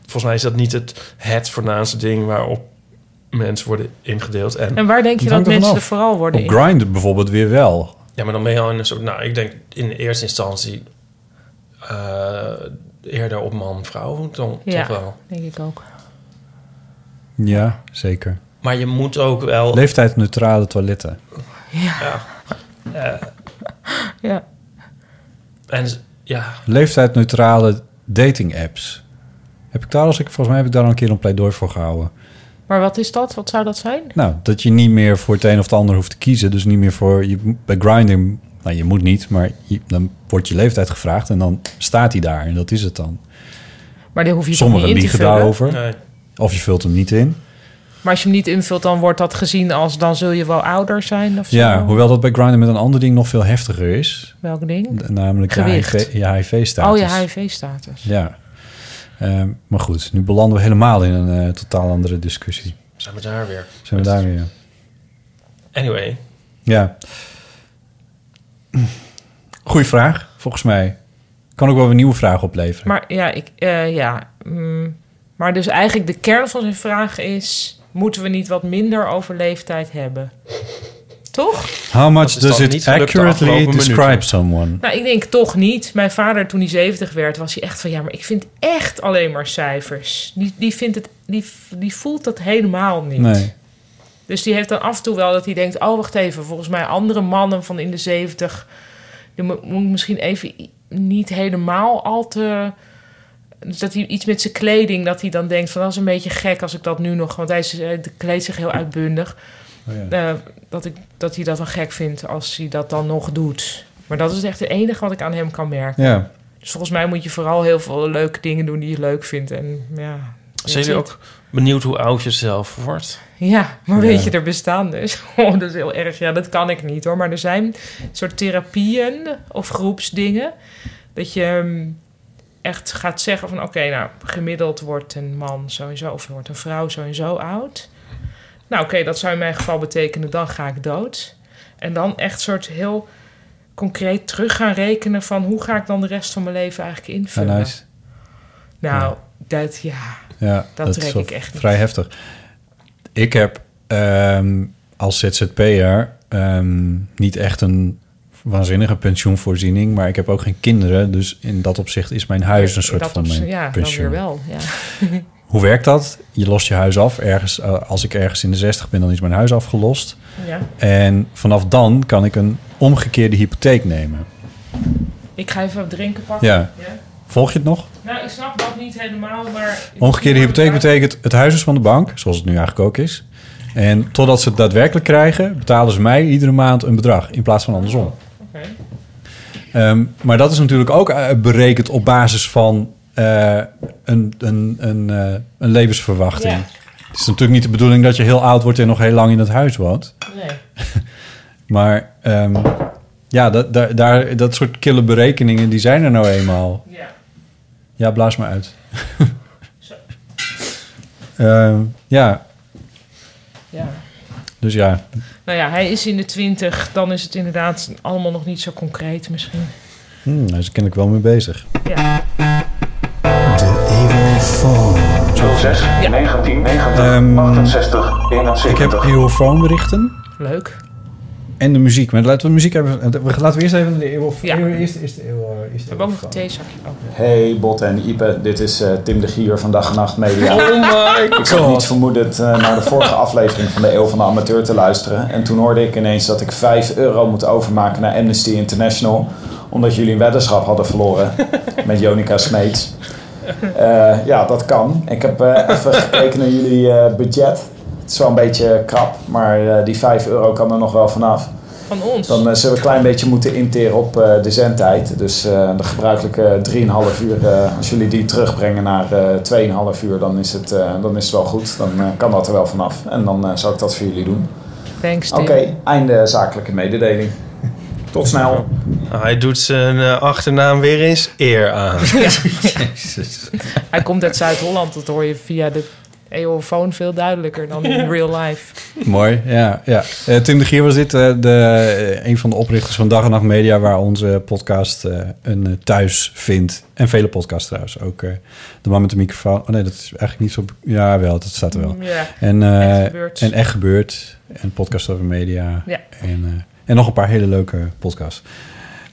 Speaker 3: volgens mij is dat niet het, het voornaamste ding waarop mensen worden ingedeeld. En,
Speaker 2: En waar denk je
Speaker 1: Het
Speaker 2: dat
Speaker 1: hangt er
Speaker 2: mensen
Speaker 1: vanaf. Oh,
Speaker 2: er vooral worden
Speaker 1: Op
Speaker 2: in?
Speaker 1: Grindr bijvoorbeeld weer wel.
Speaker 3: ja, maar dan ben je al in een soort, nou, ik denk in de eerste instantie eh, eerder op man-vrouw dan
Speaker 2: Ja.
Speaker 3: toch wel.
Speaker 2: Denk ik ook.
Speaker 1: Ja, zeker.
Speaker 3: Maar je moet ook wel...
Speaker 1: Leeftijdneutrale toiletten.
Speaker 2: Ja.
Speaker 3: Eh, En, ja,
Speaker 1: Leeftijdneutrale dating apps. Heb ik daar als ik volgens mij heb ik daar al een keer een pleidooi voor gehouden.
Speaker 2: Maar wat is dat? Wat zou dat zijn?
Speaker 1: Nou, dat je niet meer voor het een of het ander hoeft te kiezen, dus niet meer voor je bij grinding. Nou, je moet niet, maar je- dan wordt je leeftijd gevraagd en dan staat hij daar en dat is het dan.
Speaker 2: Maar daar hoef je toch
Speaker 1: Sommigen
Speaker 2: niet in te
Speaker 1: liegen
Speaker 2: vullen.
Speaker 1: daarover,
Speaker 3: nee.
Speaker 1: of je vult hem niet in.
Speaker 2: Maar als je hem niet invult, dan wordt dat gezien als dan zul je wel ouder zijn of zo.
Speaker 1: Ja, hoewel dat bij Grindr met een ander ding nog veel heftiger is,
Speaker 2: Welk ding?
Speaker 1: namelijk je
Speaker 2: Gewicht.
Speaker 1: HIV je HIV-status.
Speaker 2: Oh, je HIV-status.
Speaker 1: Ja. Ehm, maar goed, nu belanden we helemaal in een eh, totaal andere discussie.
Speaker 3: zijn we daar weer.
Speaker 1: Zijn we daar weer?
Speaker 3: Anyway,
Speaker 1: Ja. Goeie vraag, volgens mij. Kan ook wel een nieuwe vraag opleveren.
Speaker 2: Maar ja, ik, eh, ja. mm. maar dus eigenlijk de kern van zijn vraag is... moeten we niet wat minder over leeftijd hebben? Toch?
Speaker 1: How much
Speaker 3: is dan
Speaker 1: does
Speaker 3: niet
Speaker 1: it
Speaker 3: gelukt de
Speaker 1: accurately
Speaker 3: afgelopen
Speaker 1: describe
Speaker 3: minuten.
Speaker 1: someone?
Speaker 2: Nou, ik denk toch niet. Mijn vader, toen hij 70 werd, was hij echt van... ja, maar ik vind echt alleen maar cijfers. Die, die, vindt het, die, die voelt dat helemaal niet.
Speaker 1: Nee.
Speaker 2: Dus die heeft dan af en toe wel dat hij denkt... oh, wacht even, volgens mij andere mannen van in de 70... dan mo- moet ik misschien even i- niet helemaal al te... Dus dat hij iets met zijn kleding, dat hij dan denkt van dat is een beetje gek als ik dat nu nog... Want hij is, eh, kleedt zich heel uitbundig.
Speaker 1: Oh ja.
Speaker 2: Eh, dat, ik, dat hij dat dan gek vindt als hij dat dan nog doet. Maar dat is echt het enige wat ik aan hem kan merken.
Speaker 1: Ja.
Speaker 2: Dus volgens mij moet je vooral heel veel leuke dingen doen die je leuk vindt. En ja...
Speaker 3: Zijn jullie ook benieuwd hoe oud je zelf wordt?
Speaker 2: Ja, maar
Speaker 1: Ja.
Speaker 2: weet je, er bestaan dus. [laughs] Oh, dat is heel erg. Ja, dat kan ik niet hoor. Maar er zijn soort therapieën of groepsdingen. Dat je ehm, echt gaat zeggen van... Oké, nou, gemiddeld wordt een man sowieso... of wordt een vrouw sowieso oud. Nou, oké, dat zou in mijn geval betekenen... dan ga ik dood. En dan echt soort heel concreet terug gaan rekenen... van hoe ga ik dan de rest van mijn leven eigenlijk
Speaker 1: Ja,
Speaker 2: invullen.
Speaker 1: nice.
Speaker 2: Nou, dat ja...
Speaker 1: Ja,
Speaker 2: Dat
Speaker 1: is
Speaker 2: trek
Speaker 1: wel
Speaker 2: ik echt niet.
Speaker 1: Vrij heftig. Ik heb ehm, als ZZP'er ehm, niet echt een waanzinnige pensioenvoorziening, maar ik heb ook geen kinderen, dus in dat opzicht is mijn huis een soort
Speaker 2: dat
Speaker 1: van
Speaker 2: op z'n-
Speaker 1: mijn
Speaker 2: Ja, dan
Speaker 1: pensioen.
Speaker 2: weer wel, ja.
Speaker 1: Hoe werkt dat? Je lost je huis af. Ergens, eh, als ik ergens in de 60 ben, dan is mijn huis afgelost.
Speaker 2: ja.
Speaker 1: En vanaf dan kan ik een omgekeerde hypotheek nemen.
Speaker 2: Ik ga even wat drinken pakken.
Speaker 1: Ja. Volg je het nog?
Speaker 2: Nou, ik snap dat niet helemaal, maar...
Speaker 1: Omgekeerde hypotheek betekent het huis is van de bank, zoals het nu eigenlijk ook is. En totdat ze het daadwerkelijk krijgen, betalen ze mij iedere maand een bedrag in plaats van andersom.
Speaker 2: Oké.
Speaker 1: Ehm, maar dat is natuurlijk ook eh, berekend op basis van eh, een, een, een, eh, een levensverwachting.
Speaker 2: Ja.
Speaker 1: Het is natuurlijk niet de bedoeling dat je heel oud wordt en nog heel lang in het huis woont.
Speaker 2: Nee.
Speaker 1: [laughs] Maar ehm, ja, dat, daar, daar, dat soort kille berekeningen, die zijn er nou eenmaal.
Speaker 2: Ja.
Speaker 1: Ja, blaas maar uit. [laughs] Ehm, ja,
Speaker 2: ja.
Speaker 1: dus ja.
Speaker 2: Nou ja, hij is in de twintig. Dan is het inderdaad allemaal nog niet zo concreet misschien.
Speaker 1: Hmm, daar is ik kennelijk wel mee bezig.
Speaker 2: Ja.
Speaker 6: zeg. 19, 90,
Speaker 1: Ehm,
Speaker 6: 68, 71.
Speaker 1: Ik heb eeuwfoonberichten
Speaker 2: Leuk.
Speaker 1: en de muziek. Maar laten we de muziek hebben. Eh, we- Laten we eerst even de eeuw...
Speaker 2: Ja.
Speaker 1: eeuw- eerst, eerst de eeuw... eh, Eerst
Speaker 2: We
Speaker 1: de
Speaker 2: hebben ook nog
Speaker 1: eeuwfoon.
Speaker 2: een theezakje. Oh.
Speaker 6: Hey Bot en Ipe, dit is eh, Tim de Gier van Dag en Nacht Media. ik had niet vermoedend eh, naar de vorige aflevering van de Eeuw van de Amateur te luisteren. En toen hoorde ik ineens dat ik 5 euro moet overmaken naar Amnesty International. Omdat jullie een weddenschap hadden verloren met Jonica Smeets. Eh, ja, dat kan. Ik heb eh, even gekeken naar jullie eh, budget. Het is wel een beetje krap, maar eh, die 5 euro kan er nog wel vanaf.
Speaker 2: Van ons.
Speaker 6: Dan eh, zullen we een klein beetje moeten interen op eh, de zendtijd. Dus eh, de gebruikelijke 3,5 uur. eh, als jullie die terugbrengen naar eh 2,5 uur, dan is, het, eh, dan is het wel goed. Dan eh, kan dat er wel vanaf. En dan eh, zal ik dat voor jullie doen.
Speaker 2: Thanks, Tim.
Speaker 6: Oké, einde zakelijke mededeling. Tot snel.
Speaker 3: Nou, Hij doet zijn eh, achternaam weer eens eer aan.
Speaker 2: [laughs] Hij komt uit Zuid-Holland. Dat hoor je via de eeuwofoon veel duidelijker
Speaker 1: [laughs]
Speaker 2: dan in real life.
Speaker 1: Mooi, ja. ja. Eh, Tim de Gier was dit, eh, de, eh, een van de oprichters van Dag en Nacht Media... waar onze podcast eh, een eh, thuis vindt. En vele podcasts trouwens. Ook eh, de man met de microfoon. Oh nee, dat is eigenlijk niet zo... Ja, wel, dat staat er wel.
Speaker 2: Mm, Ja.
Speaker 1: En, eh,
Speaker 2: Echt gebeurd.
Speaker 1: en echt gebeurd. En podcast over media.
Speaker 2: Ja.
Speaker 1: En, eh, en nog een paar hele leuke podcasts.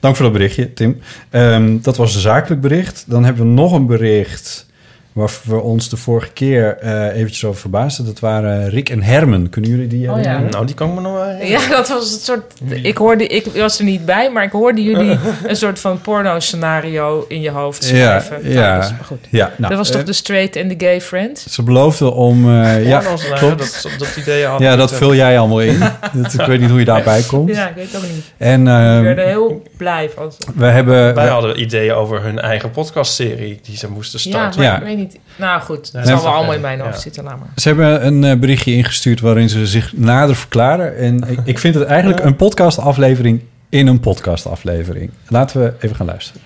Speaker 1: Dank voor dat berichtje, Tim. Ehm, dat was een zakelijk bericht. Dan hebben we nog een bericht waar we ons de vorige keer eh, eventjes over verbaasden. Dat waren Rick en Herman. Kunnen jullie die
Speaker 2: Oh,
Speaker 1: herinneren?
Speaker 2: ja.
Speaker 3: Nou, die kan ik me nog wel herinneren.
Speaker 2: Ja, dat was het soort. Ik, hoorde, ik was er niet bij, maar ik hoorde
Speaker 1: [laughs]
Speaker 2: jullie een soort van porno-scenario in je hoofd
Speaker 1: Ja,
Speaker 2: schrijven. Nou,
Speaker 1: ja.
Speaker 2: dat is maar goed.
Speaker 1: Ja, nou,
Speaker 2: dat was toch
Speaker 1: eh,
Speaker 2: de straight en de gay friend?
Speaker 1: Ze beloofden om... eh, ja,
Speaker 3: Porno's lagen,
Speaker 1: klopt.
Speaker 3: Dat, dat idee had
Speaker 1: ja,
Speaker 3: ik,
Speaker 1: dat
Speaker 3: eh,
Speaker 1: vul jij allemaal
Speaker 2: [laughs]
Speaker 3: [laughs]
Speaker 1: in. dat, ik weet niet hoe je daarbij komt.
Speaker 2: Ja, ik weet het ook niet.
Speaker 1: En
Speaker 2: Ik
Speaker 1: ehm,
Speaker 2: werd er heel blij van.
Speaker 1: we hebben...
Speaker 3: Eh, Wij
Speaker 2: Eh,
Speaker 1: we-
Speaker 3: hadden ideeën over hun eigen podcastserie die ze moesten
Speaker 2: Ja,
Speaker 3: starten.
Speaker 2: maar
Speaker 1: Ja.
Speaker 2: ik weet niet. Nou goed,
Speaker 3: dat
Speaker 2: dat zal
Speaker 3: is
Speaker 2: wel
Speaker 3: oké.
Speaker 2: allemaal in mijn hoofd
Speaker 3: Ja.
Speaker 2: zitten, laat maar.
Speaker 1: Ze hebben een eh, berichtje ingestuurd waarin ze zich nader verklaren. En ik, ik vind het eigenlijk een podcastaflevering in een podcastaflevering. Laten we even gaan luisteren.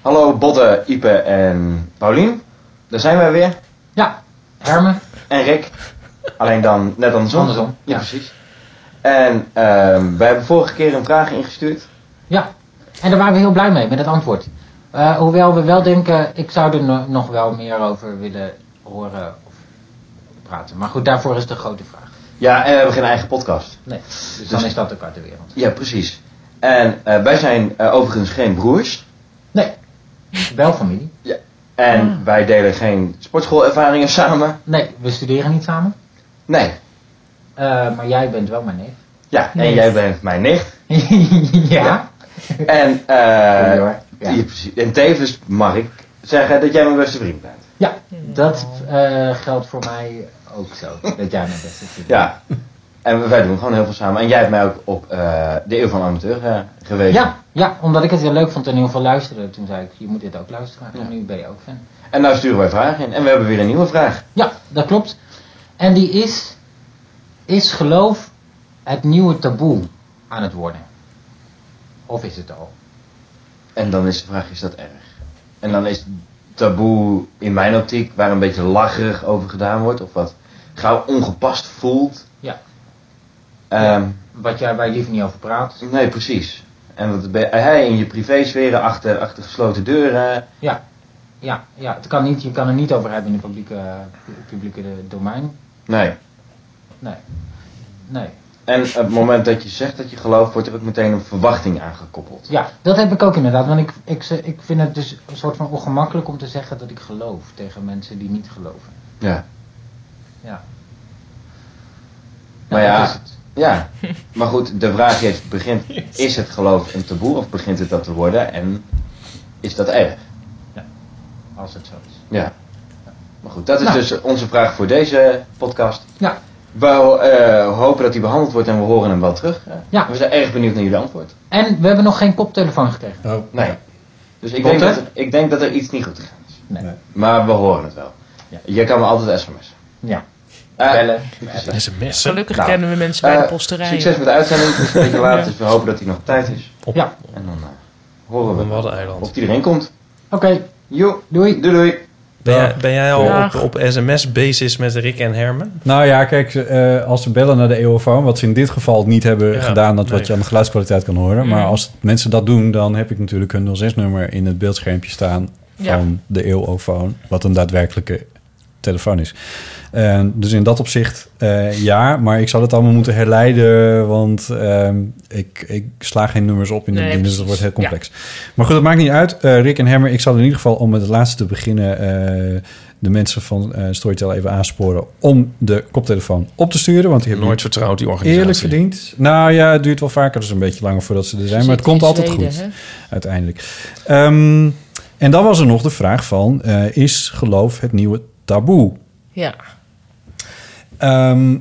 Speaker 5: Hallo Botte, Ipe en Paulien. Daar zijn wij weer.
Speaker 7: Ja, Herman.
Speaker 5: En Rick. Alleen dan net andersom.
Speaker 7: Andersom, ja.
Speaker 5: precies. En ehm wij hebben vorige keer een vraag ingestuurd.
Speaker 7: Ja, en daar waren we heel blij mee met het antwoord. Eh, hoewel we wel denken, ik zou er no- nog wel meer over willen horen of praten. Maar goed, daarvoor is de grote vraag.
Speaker 5: Ja, en we hebben geen eigen podcast.
Speaker 7: Nee, dus dan is dat ook uit de wereld.
Speaker 5: Ja, precies. En eh, wij zijn eh, overigens geen broers.
Speaker 7: Nee, wel familie.
Speaker 5: En wij delen geen sportschoolervaringen samen.
Speaker 7: Nee, we studeren niet samen.
Speaker 5: Nee.
Speaker 7: Eh, maar jij bent wel mijn neef. [laughs]
Speaker 5: Ja, en jij bent mijn nicht.
Speaker 7: ja.
Speaker 5: En, eh,
Speaker 7: Sorry hoor. Ja.
Speaker 5: ja, precies. en tevens mag ik zeggen dat jij mijn beste vriend bent.
Speaker 7: Ja, dat eh, geldt voor mij ook zo. Dat jij mijn beste vriend bent.
Speaker 5: Ja. En wij doen gewoon heel veel samen. En jij hebt mij ook op eh, de Eeuw van de Amateur eh, gewezen.
Speaker 7: Ja, ja, omdat ik het heel leuk vond en heel veel luisterde. Toen zei ik, je moet dit ook luisteren. En
Speaker 5: Ja.
Speaker 7: nu ben je ook fan.
Speaker 5: En nou sturen wij vragen in. En we hebben weer een nieuwe vraag.
Speaker 7: Ja, dat klopt. En die is, is geloof het nieuwe taboe aan het worden? Of is het al?
Speaker 5: En dan is de vraag, is dat erg? En dan is taboe in mijn optiek, waar een beetje lacherig over gedaan wordt, of wat gauw ongepast voelt.
Speaker 7: Ja.
Speaker 5: Ehm,
Speaker 7: Wat jij, waar je liever niet over praat.
Speaker 5: Nee, precies. En dat ben hij in je privésferen achter, achter gesloten deuren.
Speaker 7: Ja, ja, ja het kan niet, je kan er niet over hebben in het publieke, publieke eh, domein.
Speaker 5: Nee.
Speaker 7: Nee. Nee.
Speaker 5: En op het moment dat je zegt dat je gelooft, wordt er ook meteen een verwachting aan gekoppeld.
Speaker 7: Ja, dat heb ik ook inderdaad. Want ik, ik, ze- ik vind het dus een soort van ongemakkelijk om te zeggen dat ik geloof tegen mensen die niet geloven.
Speaker 5: Ja.
Speaker 7: Ja.
Speaker 5: Maar
Speaker 7: Nou, dat
Speaker 5: ja.
Speaker 7: is het. [laughs]
Speaker 5: Ja. Maar goed, de vraag is, begint, is het geloof een taboe of begint het dat te worden? En is dat erg?
Speaker 7: Als het zo is.
Speaker 5: Ja. Maar goed, dat is
Speaker 7: Nou.
Speaker 5: dus onze vraag voor deze podcast.
Speaker 7: Ja.
Speaker 5: We eh, hopen dat die behandeld wordt en we horen hem wel terug.
Speaker 7: Ja.
Speaker 5: We zijn erg benieuwd naar jullie antwoord.
Speaker 7: En we hebben nog geen koptelefoon gekregen.
Speaker 5: Nee. Dus ik
Speaker 7: Botte?
Speaker 5: denk, dat, er- ik denk dat er iets niet goed gegaan is.
Speaker 7: Nee.
Speaker 5: Maar we horen het wel.
Speaker 7: Ja. Eh,
Speaker 5: Je kan me altijd sms.
Speaker 7: Ja.
Speaker 5: Bellen.
Speaker 8: SMS.
Speaker 2: Gelukkig
Speaker 5: Nou,
Speaker 2: kennen we mensen bij de
Speaker 5: eh,
Speaker 2: posterij.
Speaker 5: Succes met de uitzending. Het is een beetje laat, dus we hopen dat hij nog op tijd is.
Speaker 7: Ja.
Speaker 5: En dan eh, horen we
Speaker 3: Waddeneiland.
Speaker 5: of hij erin komt.
Speaker 7: Oké,
Speaker 5: Joe,
Speaker 7: doei.
Speaker 5: doei doei.
Speaker 3: Ben jij, ben jij al
Speaker 2: Dag.
Speaker 3: op, op sms-basis met Rick en
Speaker 2: [laughs]
Speaker 3: Herman?
Speaker 1: Nou ja, kijk, eh, als ze bellen naar de EOFoon, wat ze in dit geval niet hebben
Speaker 3: Ja,
Speaker 1: gedaan, dat
Speaker 3: nee.
Speaker 1: wat je aan de geluidskwaliteit kan horen. Maar
Speaker 2: Mm.
Speaker 1: als mensen dat doen, dan heb ik natuurlijk hun 06-nummer in het beeldschermpje staan
Speaker 2: Ja.
Speaker 1: van de EOFoon, wat een daadwerkelijke telefoon is. En dus in dat opzicht eh, ja, maar ik zou het allemaal moeten herleiden, want ehm, ik, ik sla geen nummers op in de
Speaker 2: Nee,
Speaker 1: ding, dus dat wordt
Speaker 2: precies.
Speaker 1: heel complex. Maar goed, dat maakt niet uit. Eh, Rick en Hermer, ik zal in ieder geval om met het laatste te beginnen eh, de mensen van eh Storytel even aansporen om de koptelefoon op te sturen, want die hebben
Speaker 3: Nooit vertrouwd, die
Speaker 1: het
Speaker 3: organisatie.
Speaker 1: eerlijk verdiend. Nou ja, het duurt wel vaker, dus een beetje langer voordat ze er zijn, maar het komt altijd goed uiteindelijk. Ehm, en dan was er nog de vraag van, eh, is geloof het nieuwe taboe?
Speaker 2: Ja.
Speaker 1: Ehm,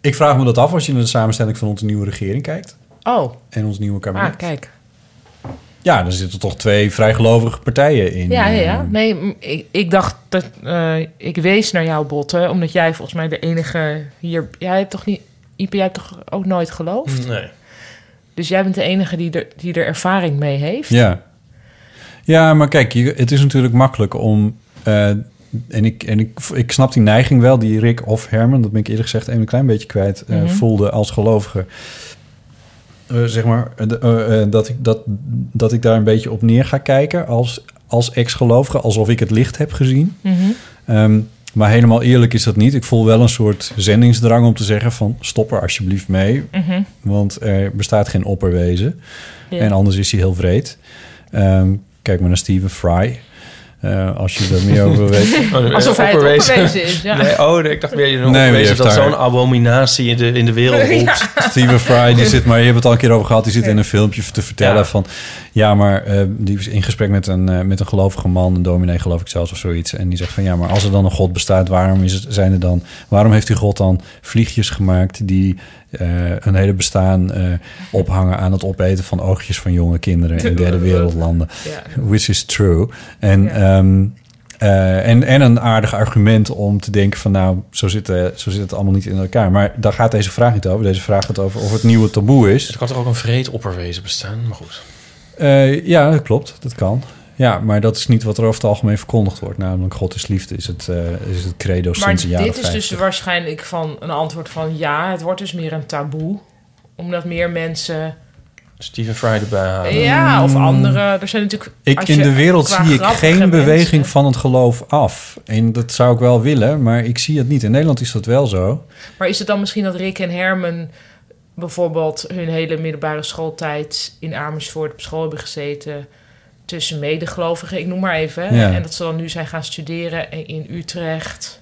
Speaker 1: ik vraag me dat af als je naar de samenstelling van onze nieuwe regering kijkt
Speaker 2: Oh,
Speaker 1: en ons nieuwe kabinet.
Speaker 2: ah, kijk.
Speaker 1: Ja, er zitten toch twee vrij gelovige partijen in.
Speaker 2: Ja, ja, ja.
Speaker 1: eh,
Speaker 2: Nee, m- ik, ik dacht dat... eh, ik wees naar jou, Botte, omdat jij volgens mij de enige hier... Jij hebt toch niet... Ipe, jij hebt toch ook nooit geloofd?
Speaker 3: Nee.
Speaker 2: Dus jij bent de enige die er, die er ervaring mee heeft.
Speaker 1: Ja. Ja, maar kijk, je- het is natuurlijk makkelijk om. eh, en ik, en ik, ik snap die neiging wel, die Rick of Herman, dat ben ik eerlijk gezegd even een klein beetje kwijt, eh,
Speaker 2: Mhm.
Speaker 1: voelde als gelovige. Eh, zeg maar, eh, de- eh, eh, dat, ik, dat, dat ik daar een beetje op neer ga kijken als, als ex-gelovige, alsof ik het licht heb gezien.
Speaker 2: Mhm.
Speaker 1: Ehm, maar helemaal eerlijk is dat niet. Ik voel wel een soort zendingsdrang om te zeggen van stop er alsjeblieft mee,
Speaker 2: Mhm.
Speaker 1: want er bestaat geen opperwezen.
Speaker 2: Ja.
Speaker 1: En anders is hij heel vreed. Ehm, kijk maar naar Steven Fry. Eh, als je er meer over wil
Speaker 3: [laughs]
Speaker 1: weten.
Speaker 3: Oh,
Speaker 2: Alsof hij het Oh, opperwezen is, ja.
Speaker 3: Nee, oh, nee, ik dacht weer, je
Speaker 1: Nee, maar die
Speaker 3: opperwezen
Speaker 1: heeft
Speaker 3: dat
Speaker 1: daar-
Speaker 3: zo'n abominatie in de, in de wereld rolt.
Speaker 1: Steven
Speaker 3: [laughs]
Speaker 1: Fry, die zit maar, je hebt het al een keer over gehad, die zit in een filmpje te vertellen
Speaker 3: Ja.
Speaker 1: van. Ja, maar eh, die was in gesprek met een, eh, met een gelovige man, een dominee geloof ik zelfs of zoiets. En die zegt van ja, maar als er dan een God bestaat, waarom, is het, zijn er dan, waarom heeft die God dan vliegjes gemaakt die eh, een hele bestaan eh, ophangen aan het opeten van oogjes van jonge kinderen in derde wereldlanden?
Speaker 2: [laughs] Ja.
Speaker 1: Which is true. En,
Speaker 2: Ja.
Speaker 1: ehm, eh, en, en een aardig argument om te denken van nou, zo zit, eh, zo zit het allemaal niet in elkaar. Maar daar gaat deze vraag niet over. Deze vraag gaat over of het nieuwe taboe is.
Speaker 3: Er kan toch ook een vreed opperwezen bestaan? Maar goed.
Speaker 1: Eh, ja, dat klopt. Dat kan. Ja, maar dat is niet wat er over het algemeen verkondigd wordt. Namelijk God is liefde is het, eh, is het credo
Speaker 2: Maar
Speaker 1: sinds de jaren
Speaker 2: dit is
Speaker 1: 50.
Speaker 2: dus waarschijnlijk van een antwoord van ja, het wordt dus meer een taboe. Omdat meer mensen...
Speaker 3: Steven Fry erbij halen.
Speaker 2: Ja, of andere... Er zijn natuurlijk...
Speaker 1: Mm. Hmm. Ik,
Speaker 2: als
Speaker 1: in
Speaker 2: je-
Speaker 1: de wereld
Speaker 2: qua
Speaker 1: zie ik
Speaker 2: grappige
Speaker 1: geen beweging
Speaker 2: mensen-
Speaker 1: van het geloof af. En dat zou ik wel willen, maar ik zie het niet. In Nederland is dat wel zo.
Speaker 2: Maar is het dan misschien dat Rick en Herman bijvoorbeeld hun hele middelbare schooltijd in Amersfoort op school hebben gezeten tussen medegelovigen, ik noem maar even. hè?
Speaker 1: Ja.
Speaker 2: En dat ze dan nu zijn gaan studeren en in Utrecht.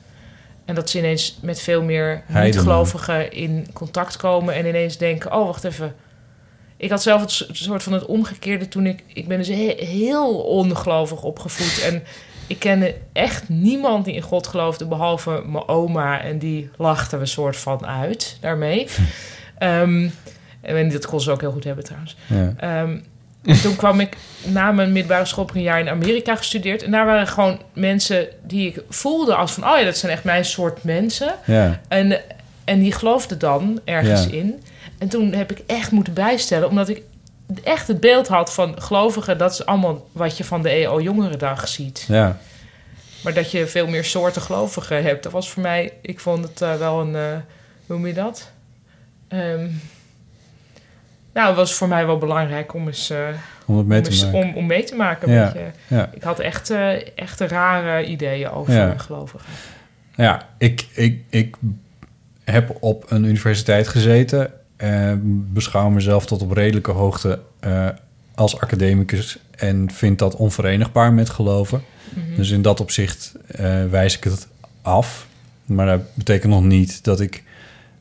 Speaker 2: En dat ze ineens met veel meer
Speaker 1: Heidenen.
Speaker 2: niet-gelovigen in contact komen en ineens denken: oh, wacht even. Ik had zelf het so- soort van het omgekeerde toen ik... Ik ben dus he- heel ongelovig opgevoed. En ik kende echt niemand die in God geloofde... behalve mijn oma. En die lachten we soort van uit daarmee. Ehm, en dat kon ze ook heel goed hebben trouwens.
Speaker 1: Ja.
Speaker 2: Ehm, en toen kwam ik na mijn middelbare school heb ik een jaar in Amerika gestudeerd. En daar waren gewoon mensen die ik voelde als van... oh ja, dat zijn echt mijn soort mensen.
Speaker 1: Ja.
Speaker 2: En, en die geloofde dan ergens
Speaker 1: Ja.
Speaker 2: in. En toen heb ik echt moeten bijstellen, omdat ik echt het beeld had van gelovigen, dat is allemaal wat je van de E EO Jongerendag ziet.
Speaker 1: Ja.
Speaker 2: Maar dat je veel meer soorten gelovigen hebt, dat was voor mij, ik vond het eh, wel een, eh, hoe noem je dat? Ehm, nou, het was voor mij wel belangrijk om eens, eh,
Speaker 1: Om het mee
Speaker 2: om,
Speaker 1: te
Speaker 2: eens-
Speaker 1: maken.
Speaker 2: om, om mee te maken. een
Speaker 1: Ja,
Speaker 2: beetje.
Speaker 1: ja.
Speaker 2: Ik had echt, eh, echt rare ideeën over
Speaker 1: Ja.
Speaker 2: gelovigen.
Speaker 1: Ja, ik, ik, ik heb op een universiteit gezeten. eh, beschouw mezelf tot op redelijke hoogte eh, als academicus. En vind dat onverenigbaar met geloven.
Speaker 9: Mhm.
Speaker 1: Dus in dat opzicht eh, wijs ik het af. Maar dat betekent nog niet dat ik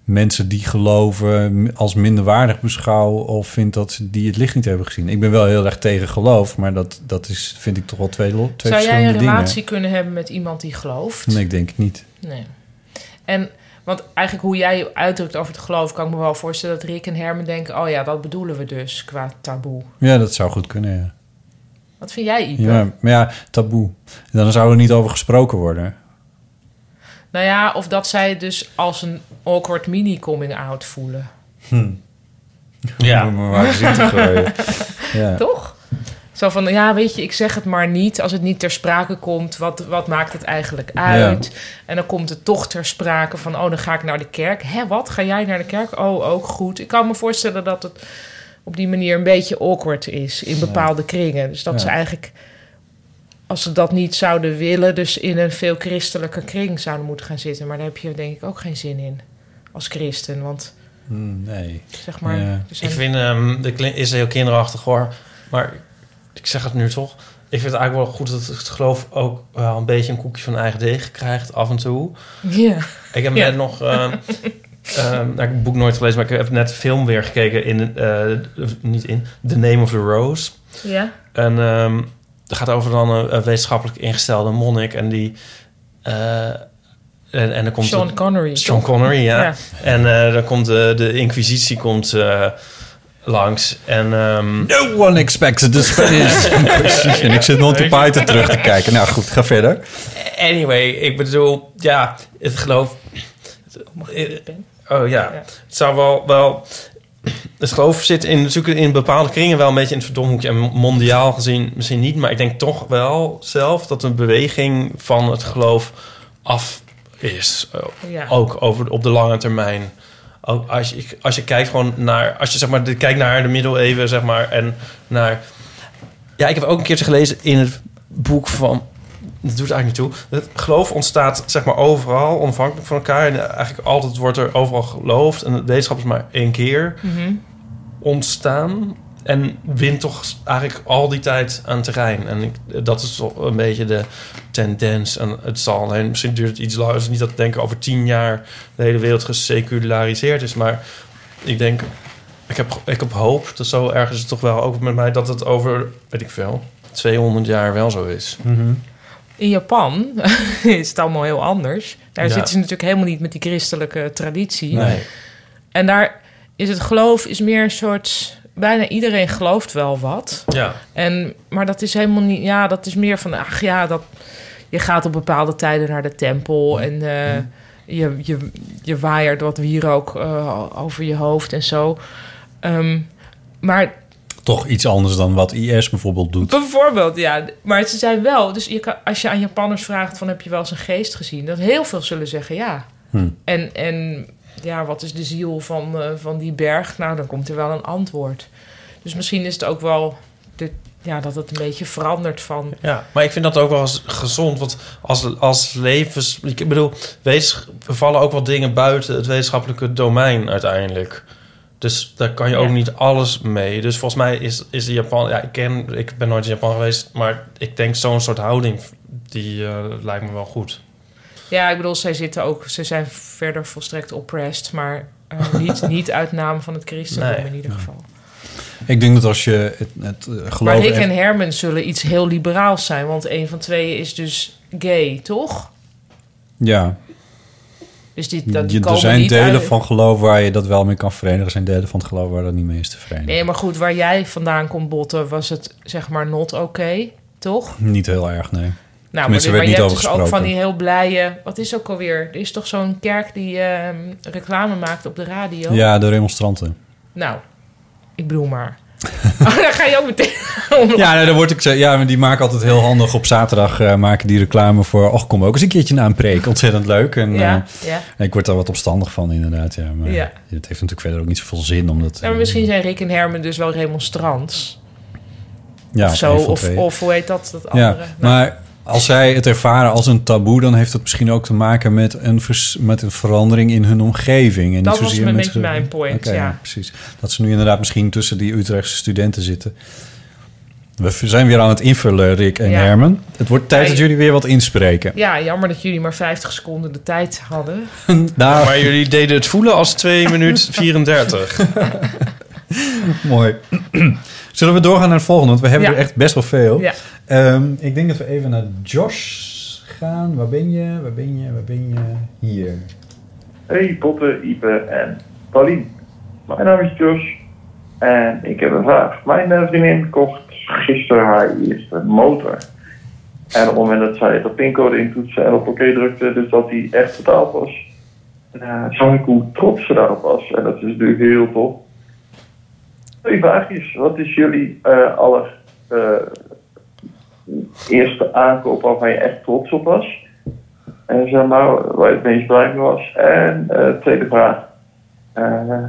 Speaker 1: mensen die geloven als minderwaardig beschouw. of vind dat ze die het licht niet hebben gezien. Ik ben wel heel erg tegen geloof, maar dat, dat is, vind ik toch wel twee, lo- twee
Speaker 2: Zou jij
Speaker 1: verschillende
Speaker 2: een
Speaker 1: dingen.
Speaker 2: relatie kunnen hebben met iemand die gelooft?
Speaker 1: Nee, ik denk het niet.
Speaker 2: Nee. En want eigenlijk hoe jij je uitdrukt over het geloof, kan ik me wel voorstellen dat Rick en Herman denken: oh ja, dat bedoelen we dus qua taboe.
Speaker 1: Ja, dat zou goed kunnen, ja.
Speaker 2: Wat vind jij, Ipe?
Speaker 1: Ja, maar ja, taboe. Dan zou er niet over gesproken worden.
Speaker 2: Nou ja, of dat zij het dus als een awkward mini-coming-out voelen.
Speaker 1: Ja. maar waar is het
Speaker 2: [laughs]
Speaker 1: gegooid? Ja.
Speaker 2: Toch? Zo van, ja, weet je, ik zeg het maar niet. Als het niet ter sprake komt, wat, wat maakt het eigenlijk uit? En dan komt het toch ter sprake van, oh, dan ga ik naar de kerk. Hè, wat? Ga jij naar de kerk? Oh, ook goed. Ik kan me voorstellen dat het op die manier een beetje awkward is in bepaalde kringen. Dus dat
Speaker 1: Ja.
Speaker 2: ze eigenlijk, als ze dat niet zouden willen, dus in een veel christelijker kring zouden moeten gaan zitten. Maar daar heb je denk ik ook geen zin in als christen, want...
Speaker 1: Hmm, Nee.
Speaker 2: Zeg maar,
Speaker 3: Ja.
Speaker 2: er zijn-
Speaker 3: Ik vind, ehm dat klink- is heel kinderachtig hoor. Maar ik zeg het nu toch. Ik vind het eigenlijk wel goed dat het geloof ook wel een beetje een koekje van eigen deeg krijgt af en toe.
Speaker 2: Ja.
Speaker 3: Ik heb
Speaker 2: Ja.
Speaker 3: net nog... ehm, ehm, nou, ik heb het boek nooit gelezen, maar ik heb net een film weer gekeken in... eh, niet in, The Name of the Rose.
Speaker 2: Ja.
Speaker 3: En ehm het gaat over dan een, een wetenschappelijk ingestelde monnik en die... eh, en, en dan komt
Speaker 2: Sean
Speaker 3: de-
Speaker 2: Connery,
Speaker 3: Sean
Speaker 2: toch?
Speaker 3: Connery, ja.
Speaker 2: Ja.
Speaker 3: En eh, dan komt de, de Inquisitie komt, eh, langs. En, ehm,
Speaker 1: No one expected
Speaker 3: [laughs]
Speaker 1: the Spanish Inquisition. Ik zit nog op Python terug te kijken. Nou goed, ga verder.
Speaker 3: Anyway, ik bedoel, ja, het geloof. Oh ja, het zou wel. wel het geloof zit in, natuurlijk in bepaalde kringen wel een beetje in het verdomhoekje. En mondiaal gezien misschien niet. Maar ik denk toch wel zelf dat een beweging van het geloof af is. Eh,
Speaker 2: Ja.
Speaker 3: Ook over, op de lange termijn. Ook als je, als je kijkt gewoon naar... Als je zeg maar, de- kijkt naar de middeleeuwen, zeg maar, en naar... Ja, ik heb ook een keertje gelezen in het boek van... Dat doet eigenlijk niet toe. Het geloof ontstaat zeg maar overal, onafhankelijk van elkaar. En eigenlijk altijd wordt er overal geloofd. En de wetenschap is maar één keer
Speaker 2: Mhm.
Speaker 3: ontstaan. En wint toch eigenlijk al die tijd aan terrein. En ik, dat is toch een beetje de tendens. En het zal alleen, misschien duurt het iets langer. Het is niet dat ik denk over tien jaar de hele wereld geseculariseerd is. Maar ik denk, ik heb, ik heb hoop. Dat zo ergens toch wel ook met mij dat het over, weet ik veel, 200 jaar wel zo is.
Speaker 2: In Japan [laughs] is het allemaal heel anders. Daar
Speaker 3: Ja.
Speaker 2: zitten ze natuurlijk helemaal niet met die christelijke traditie.
Speaker 3: Nee.
Speaker 2: En daar is het geloof is meer een soort... Bijna iedereen gelooft wel wat.
Speaker 3: Ja.
Speaker 2: En, maar dat is helemaal niet... Ja, dat is meer van... Ach ja, dat, je gaat op bepaalde tijden naar de tempel. En eh, je, je, je waaiert wat wierook eh over je hoofd en zo. Ehm, maar
Speaker 1: Toch iets anders dan wat IS bijvoorbeeld doet.
Speaker 2: Bijvoorbeeld, ja. Maar ze zijn wel... Dus je kan, als je aan Japanners vraagt van heb je wel eens een geest gezien... dan heel veel zullen zeggen ja.
Speaker 1: Hm.
Speaker 2: En, en ja, wat is de ziel van, eh, van die berg? Nou, dan komt er wel een antwoord. Dus misschien is het ook wel... De, ja, dat het een beetje verandert van...
Speaker 3: Ja, maar ik vind dat ook wel eens gezond. Want als, als levens... Ik bedoel, wetensch- er vallen ook wel dingen buiten het wetenschappelijke domein uiteindelijk. Dus daar kan je ook
Speaker 2: Ja.
Speaker 3: niet alles mee. Dus volgens mij is, is de Japan... Ja, ik, ken, ik ben nooit in Japan geweest. Maar ik denk zo'n soort houding, die eh, lijkt me wel goed.
Speaker 2: Ja, ik bedoel, zij zitten ook... Ze zijn
Speaker 1: [laughs]
Speaker 2: verder volstrekt oppressed, maar eh, niet, niet uit naam van het christendom
Speaker 3: Nee.
Speaker 2: in ieder geval.
Speaker 1: Ik denk dat als je het, het eh, geloof...
Speaker 2: Maar Dick
Speaker 1: echt-
Speaker 2: en Herman zullen iets heel liberaals zijn, want een van tweeën is dus gay, toch?
Speaker 1: Ja,
Speaker 2: Dus dit, dat
Speaker 1: je, er
Speaker 2: komen
Speaker 1: zijn
Speaker 2: niet
Speaker 1: delen
Speaker 2: uit-
Speaker 1: van geloof waar je dat wel mee kan verenigen. Er zijn delen van het geloof waar dat niet mee is te verenigen.
Speaker 2: Nee, maar goed, waar jij vandaan komt botten, was het zeg maar not oké, toch?
Speaker 1: Niet heel erg, nee.
Speaker 2: Nou, maar,
Speaker 1: Tenminste,
Speaker 2: dit-
Speaker 1: er
Speaker 2: maar
Speaker 1: werd
Speaker 2: je
Speaker 1: niet
Speaker 2: hebt
Speaker 1: over
Speaker 2: dus ook
Speaker 1: gesproken.
Speaker 2: van die heel blije... Wat is ook alweer? Er is toch zo'n kerk die ehm, reclame maakt op de radio?
Speaker 1: Ja, de remonstranten.
Speaker 2: Nou, ik bedoel maar. [laughs] oh, daar ga je ook meteen om.
Speaker 1: Ja, nee, daar word ik, zo- ja, maar die maken altijd heel handig. Op zaterdag eh, maken die reclame voor... Och, kom ook eens een keertje naar een preek. Ontzettend leuk. En,
Speaker 2: Ja,
Speaker 1: eh,
Speaker 2: ja.
Speaker 1: Ik word daar wat opstandig van, inderdaad. Ja, maar
Speaker 2: Ja.
Speaker 1: het heeft natuurlijk verder ook niet zoveel zin. eh, Omdat,
Speaker 2: Nou, maar misschien zijn Rick en Herman dus wel remonstrants.
Speaker 1: ja,
Speaker 2: of zo,
Speaker 1: een van
Speaker 2: of,
Speaker 1: twee.
Speaker 2: of hoe heet dat? dat
Speaker 1: Ja,
Speaker 2: andere? Nou.
Speaker 1: maar als zij het ervaren als een taboe... dan heeft dat misschien ook te maken met een, vers- met een verandering in hun omgeving. En
Speaker 2: Dat
Speaker 1: niet
Speaker 2: was
Speaker 1: zozeer
Speaker 2: een
Speaker 1: met
Speaker 2: beetje
Speaker 1: ge-
Speaker 2: mijn point,
Speaker 1: Oké,
Speaker 2: ja.
Speaker 1: precies. Dat ze nu inderdaad misschien tussen die Utrechtse studenten zitten. We v- zijn weer aan het invullen, Rick en
Speaker 2: Ja.
Speaker 1: Herman. Het wordt tijd
Speaker 2: Hey.
Speaker 1: dat jullie weer wat
Speaker 2: [laughs]
Speaker 1: inspreken.
Speaker 2: Ja, jammer dat jullie maar 50 seconden de tijd hadden.
Speaker 1: Nou, [laughs]
Speaker 3: Maar jullie deden het voelen als 2 [laughs] minuut 34.
Speaker 1: mooi. [clears throat] Zullen we doorgaan naar het volgende? Want we hebben
Speaker 2: Ja.
Speaker 1: er echt best wel veel.
Speaker 2: Ja.
Speaker 1: Ehm, ik denk dat we even naar Josh gaan. Waar ben je? Waar ben je? Waar ben je? Hier.
Speaker 10: Hey Botte, Ipe en Paulien. Mijn naam is Josh en ik heb een vraag. Mijn eh, vriendin kocht gisteren haar eerste motor. En op het moment dat zij de pincode intoetste en op oké drukte, dus dat die echt betaald was, eh, zag ik hoe trots ze daarop was. En dat is natuurlijk heel tof. Twee vraagjes. Wat is jullie eh aller eh, eerste aankoop waarvan je echt trots op was? En zeg maar waar je het meest blij mee was. En eh, tweede vraag. Eh,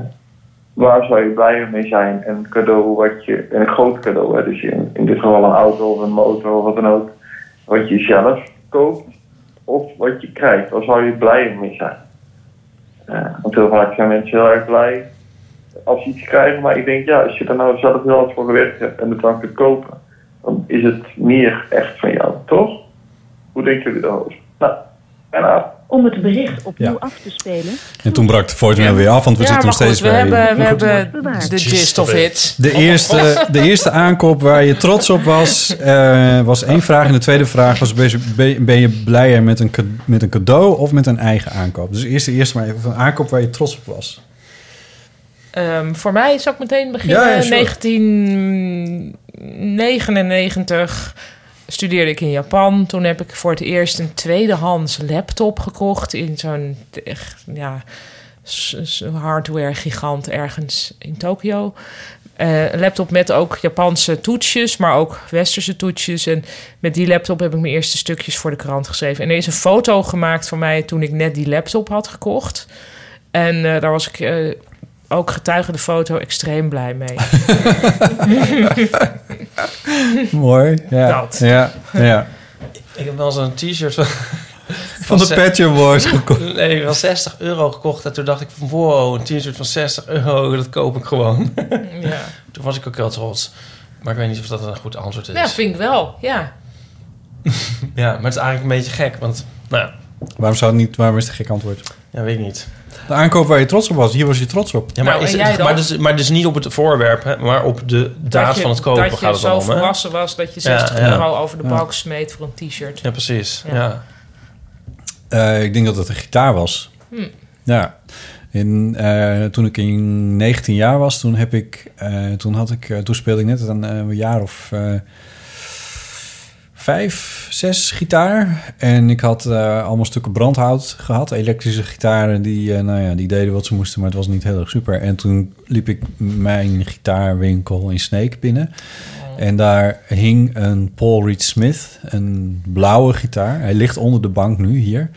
Speaker 10: waar zou je blij mee zijn? Een cadeau wat je, een groot cadeau, hè, dus in, in dit geval een auto of een motor of wat dan ook. Wat je zelf koopt of wat je krijgt. Waar zou je blij mee zijn? Eh, want heel vaak zijn mensen heel erg blij als ze iets krijgen. Maar ik denk, ja, als je er nou zelf heel hard voor gewerkt hebt en het dan kunt kopen, dan is het meer echt van jou, toch? Hoe denken jullie daarover? Nou, en af.
Speaker 9: Om het bericht opnieuw
Speaker 1: Ja.
Speaker 9: af te spelen.
Speaker 1: En toen brak de voicemail weer af, want we
Speaker 2: ja,
Speaker 1: zitten
Speaker 2: maar
Speaker 1: nog steeds
Speaker 2: goed, we
Speaker 1: bij...
Speaker 2: hebben, we
Speaker 1: Maar goed.
Speaker 2: hebben
Speaker 9: Bewaard.
Speaker 2: de gist of it.
Speaker 1: De eerste, de eerste aankoop waar je trots op
Speaker 3: [laughs]
Speaker 1: was, eh, was één vraag. En de tweede vraag was, ben je- ben je blijer met een, cade- met een cadeau of met een eigen aankoop? Dus eerst de eerste maar even van aankoop waar je trots op was.
Speaker 2: Ehm, voor mij zou ik meteen beginnen.
Speaker 1: Ja, ja, sure.
Speaker 2: 1999 studeerde ik in Japan. Toen heb ik voor het eerst een tweedehands laptop gekocht in zo'n echt, ja, s- s- hardware gigant ergens in Tokio. Eh, een laptop met ook Japanse toetsjes, maar ook westerse toetsjes. En met die laptop heb ik mijn eerste stukjes voor de krant geschreven. En er is een foto gemaakt van mij toen ik net die laptop had gekocht. En eh, daar was ik eh, ook getuige de foto extreem blij
Speaker 3: [laughs]
Speaker 2: mee.
Speaker 1: Mooi. Ja,
Speaker 2: Dat.
Speaker 1: ja, ja.
Speaker 3: Ik heb wel eens een t-shirt van...
Speaker 1: Van de Pet Shop Boys
Speaker 3: [laughs]
Speaker 1: gekocht.
Speaker 3: Nee, wel 60 euro gekocht. En toen dacht ik van, wow, een t-shirt van 60 euro, dat koop ik gewoon.
Speaker 2: [laughs] Ja.
Speaker 3: Toen was ik ook heel trots. Maar ik weet niet of dat een goed antwoord is.
Speaker 2: ja, vind ik wel. Ja.
Speaker 3: Ja, maar het is eigenlijk een beetje gek, want... Nou,
Speaker 1: Waarom, zou het niet, waarom is het een gek antwoord?
Speaker 3: ja, weet ik niet.
Speaker 1: De aankoop waar je trots op was, hier was je trots op.
Speaker 3: Ja, maar,
Speaker 2: Nou,
Speaker 3: is
Speaker 2: en
Speaker 3: het-
Speaker 2: jij dan?
Speaker 3: maar, dus, maar dus niet op het voorwerp, hè, maar op de daad
Speaker 2: je-
Speaker 3: van het kopen
Speaker 2: Dat
Speaker 3: gaat
Speaker 2: je
Speaker 3: het
Speaker 2: zo
Speaker 3: dan om, hè?
Speaker 2: volwassen was dat je 60
Speaker 3: Ja, ja.
Speaker 2: euro over de balk smeet voor een t-shirt.
Speaker 3: Ja, precies.
Speaker 2: Ja.
Speaker 3: Ja.
Speaker 1: Eh, ik denk dat het een gitaar was. Ja. In, eh, toen ik in 19 jaar was, toen heb ik, eh, toen had ik, eh, toen speelde ik net een eh, jaar of eh, vijf, zes gitaar. En ik had eh, allemaal stukken brandhout gehad, elektrische gitaren die, eh, nou ja, die deden wat ze moesten, maar het was niet heel erg super. En toen liep ik mijn gitaarwinkel in Sneek binnen. En daar hing een Paul Reed Smith, een blauwe gitaar. Hij ligt onder de bank nu hier.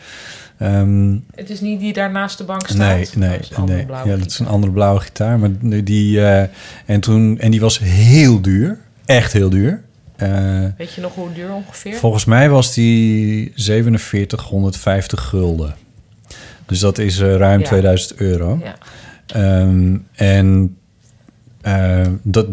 Speaker 1: Ehm,
Speaker 2: Het is niet die daar naast de bank staat.
Speaker 1: Nee, nee,
Speaker 2: Dat is een andere
Speaker 1: nee.
Speaker 2: blauwe
Speaker 1: Ja, dat
Speaker 2: gitaar.
Speaker 1: is een andere blauwe gitaar. Maar die, eh, en, toen, en die was heel duur. Echt heel duur. Eh,
Speaker 2: Weet je nog hoe duur ongeveer?
Speaker 1: volgens mij was die 4750 gulden. Dus dat is eh, ruim
Speaker 2: Ja.
Speaker 1: 2000 euro.
Speaker 2: ja.
Speaker 1: Ehm, en eh, dat,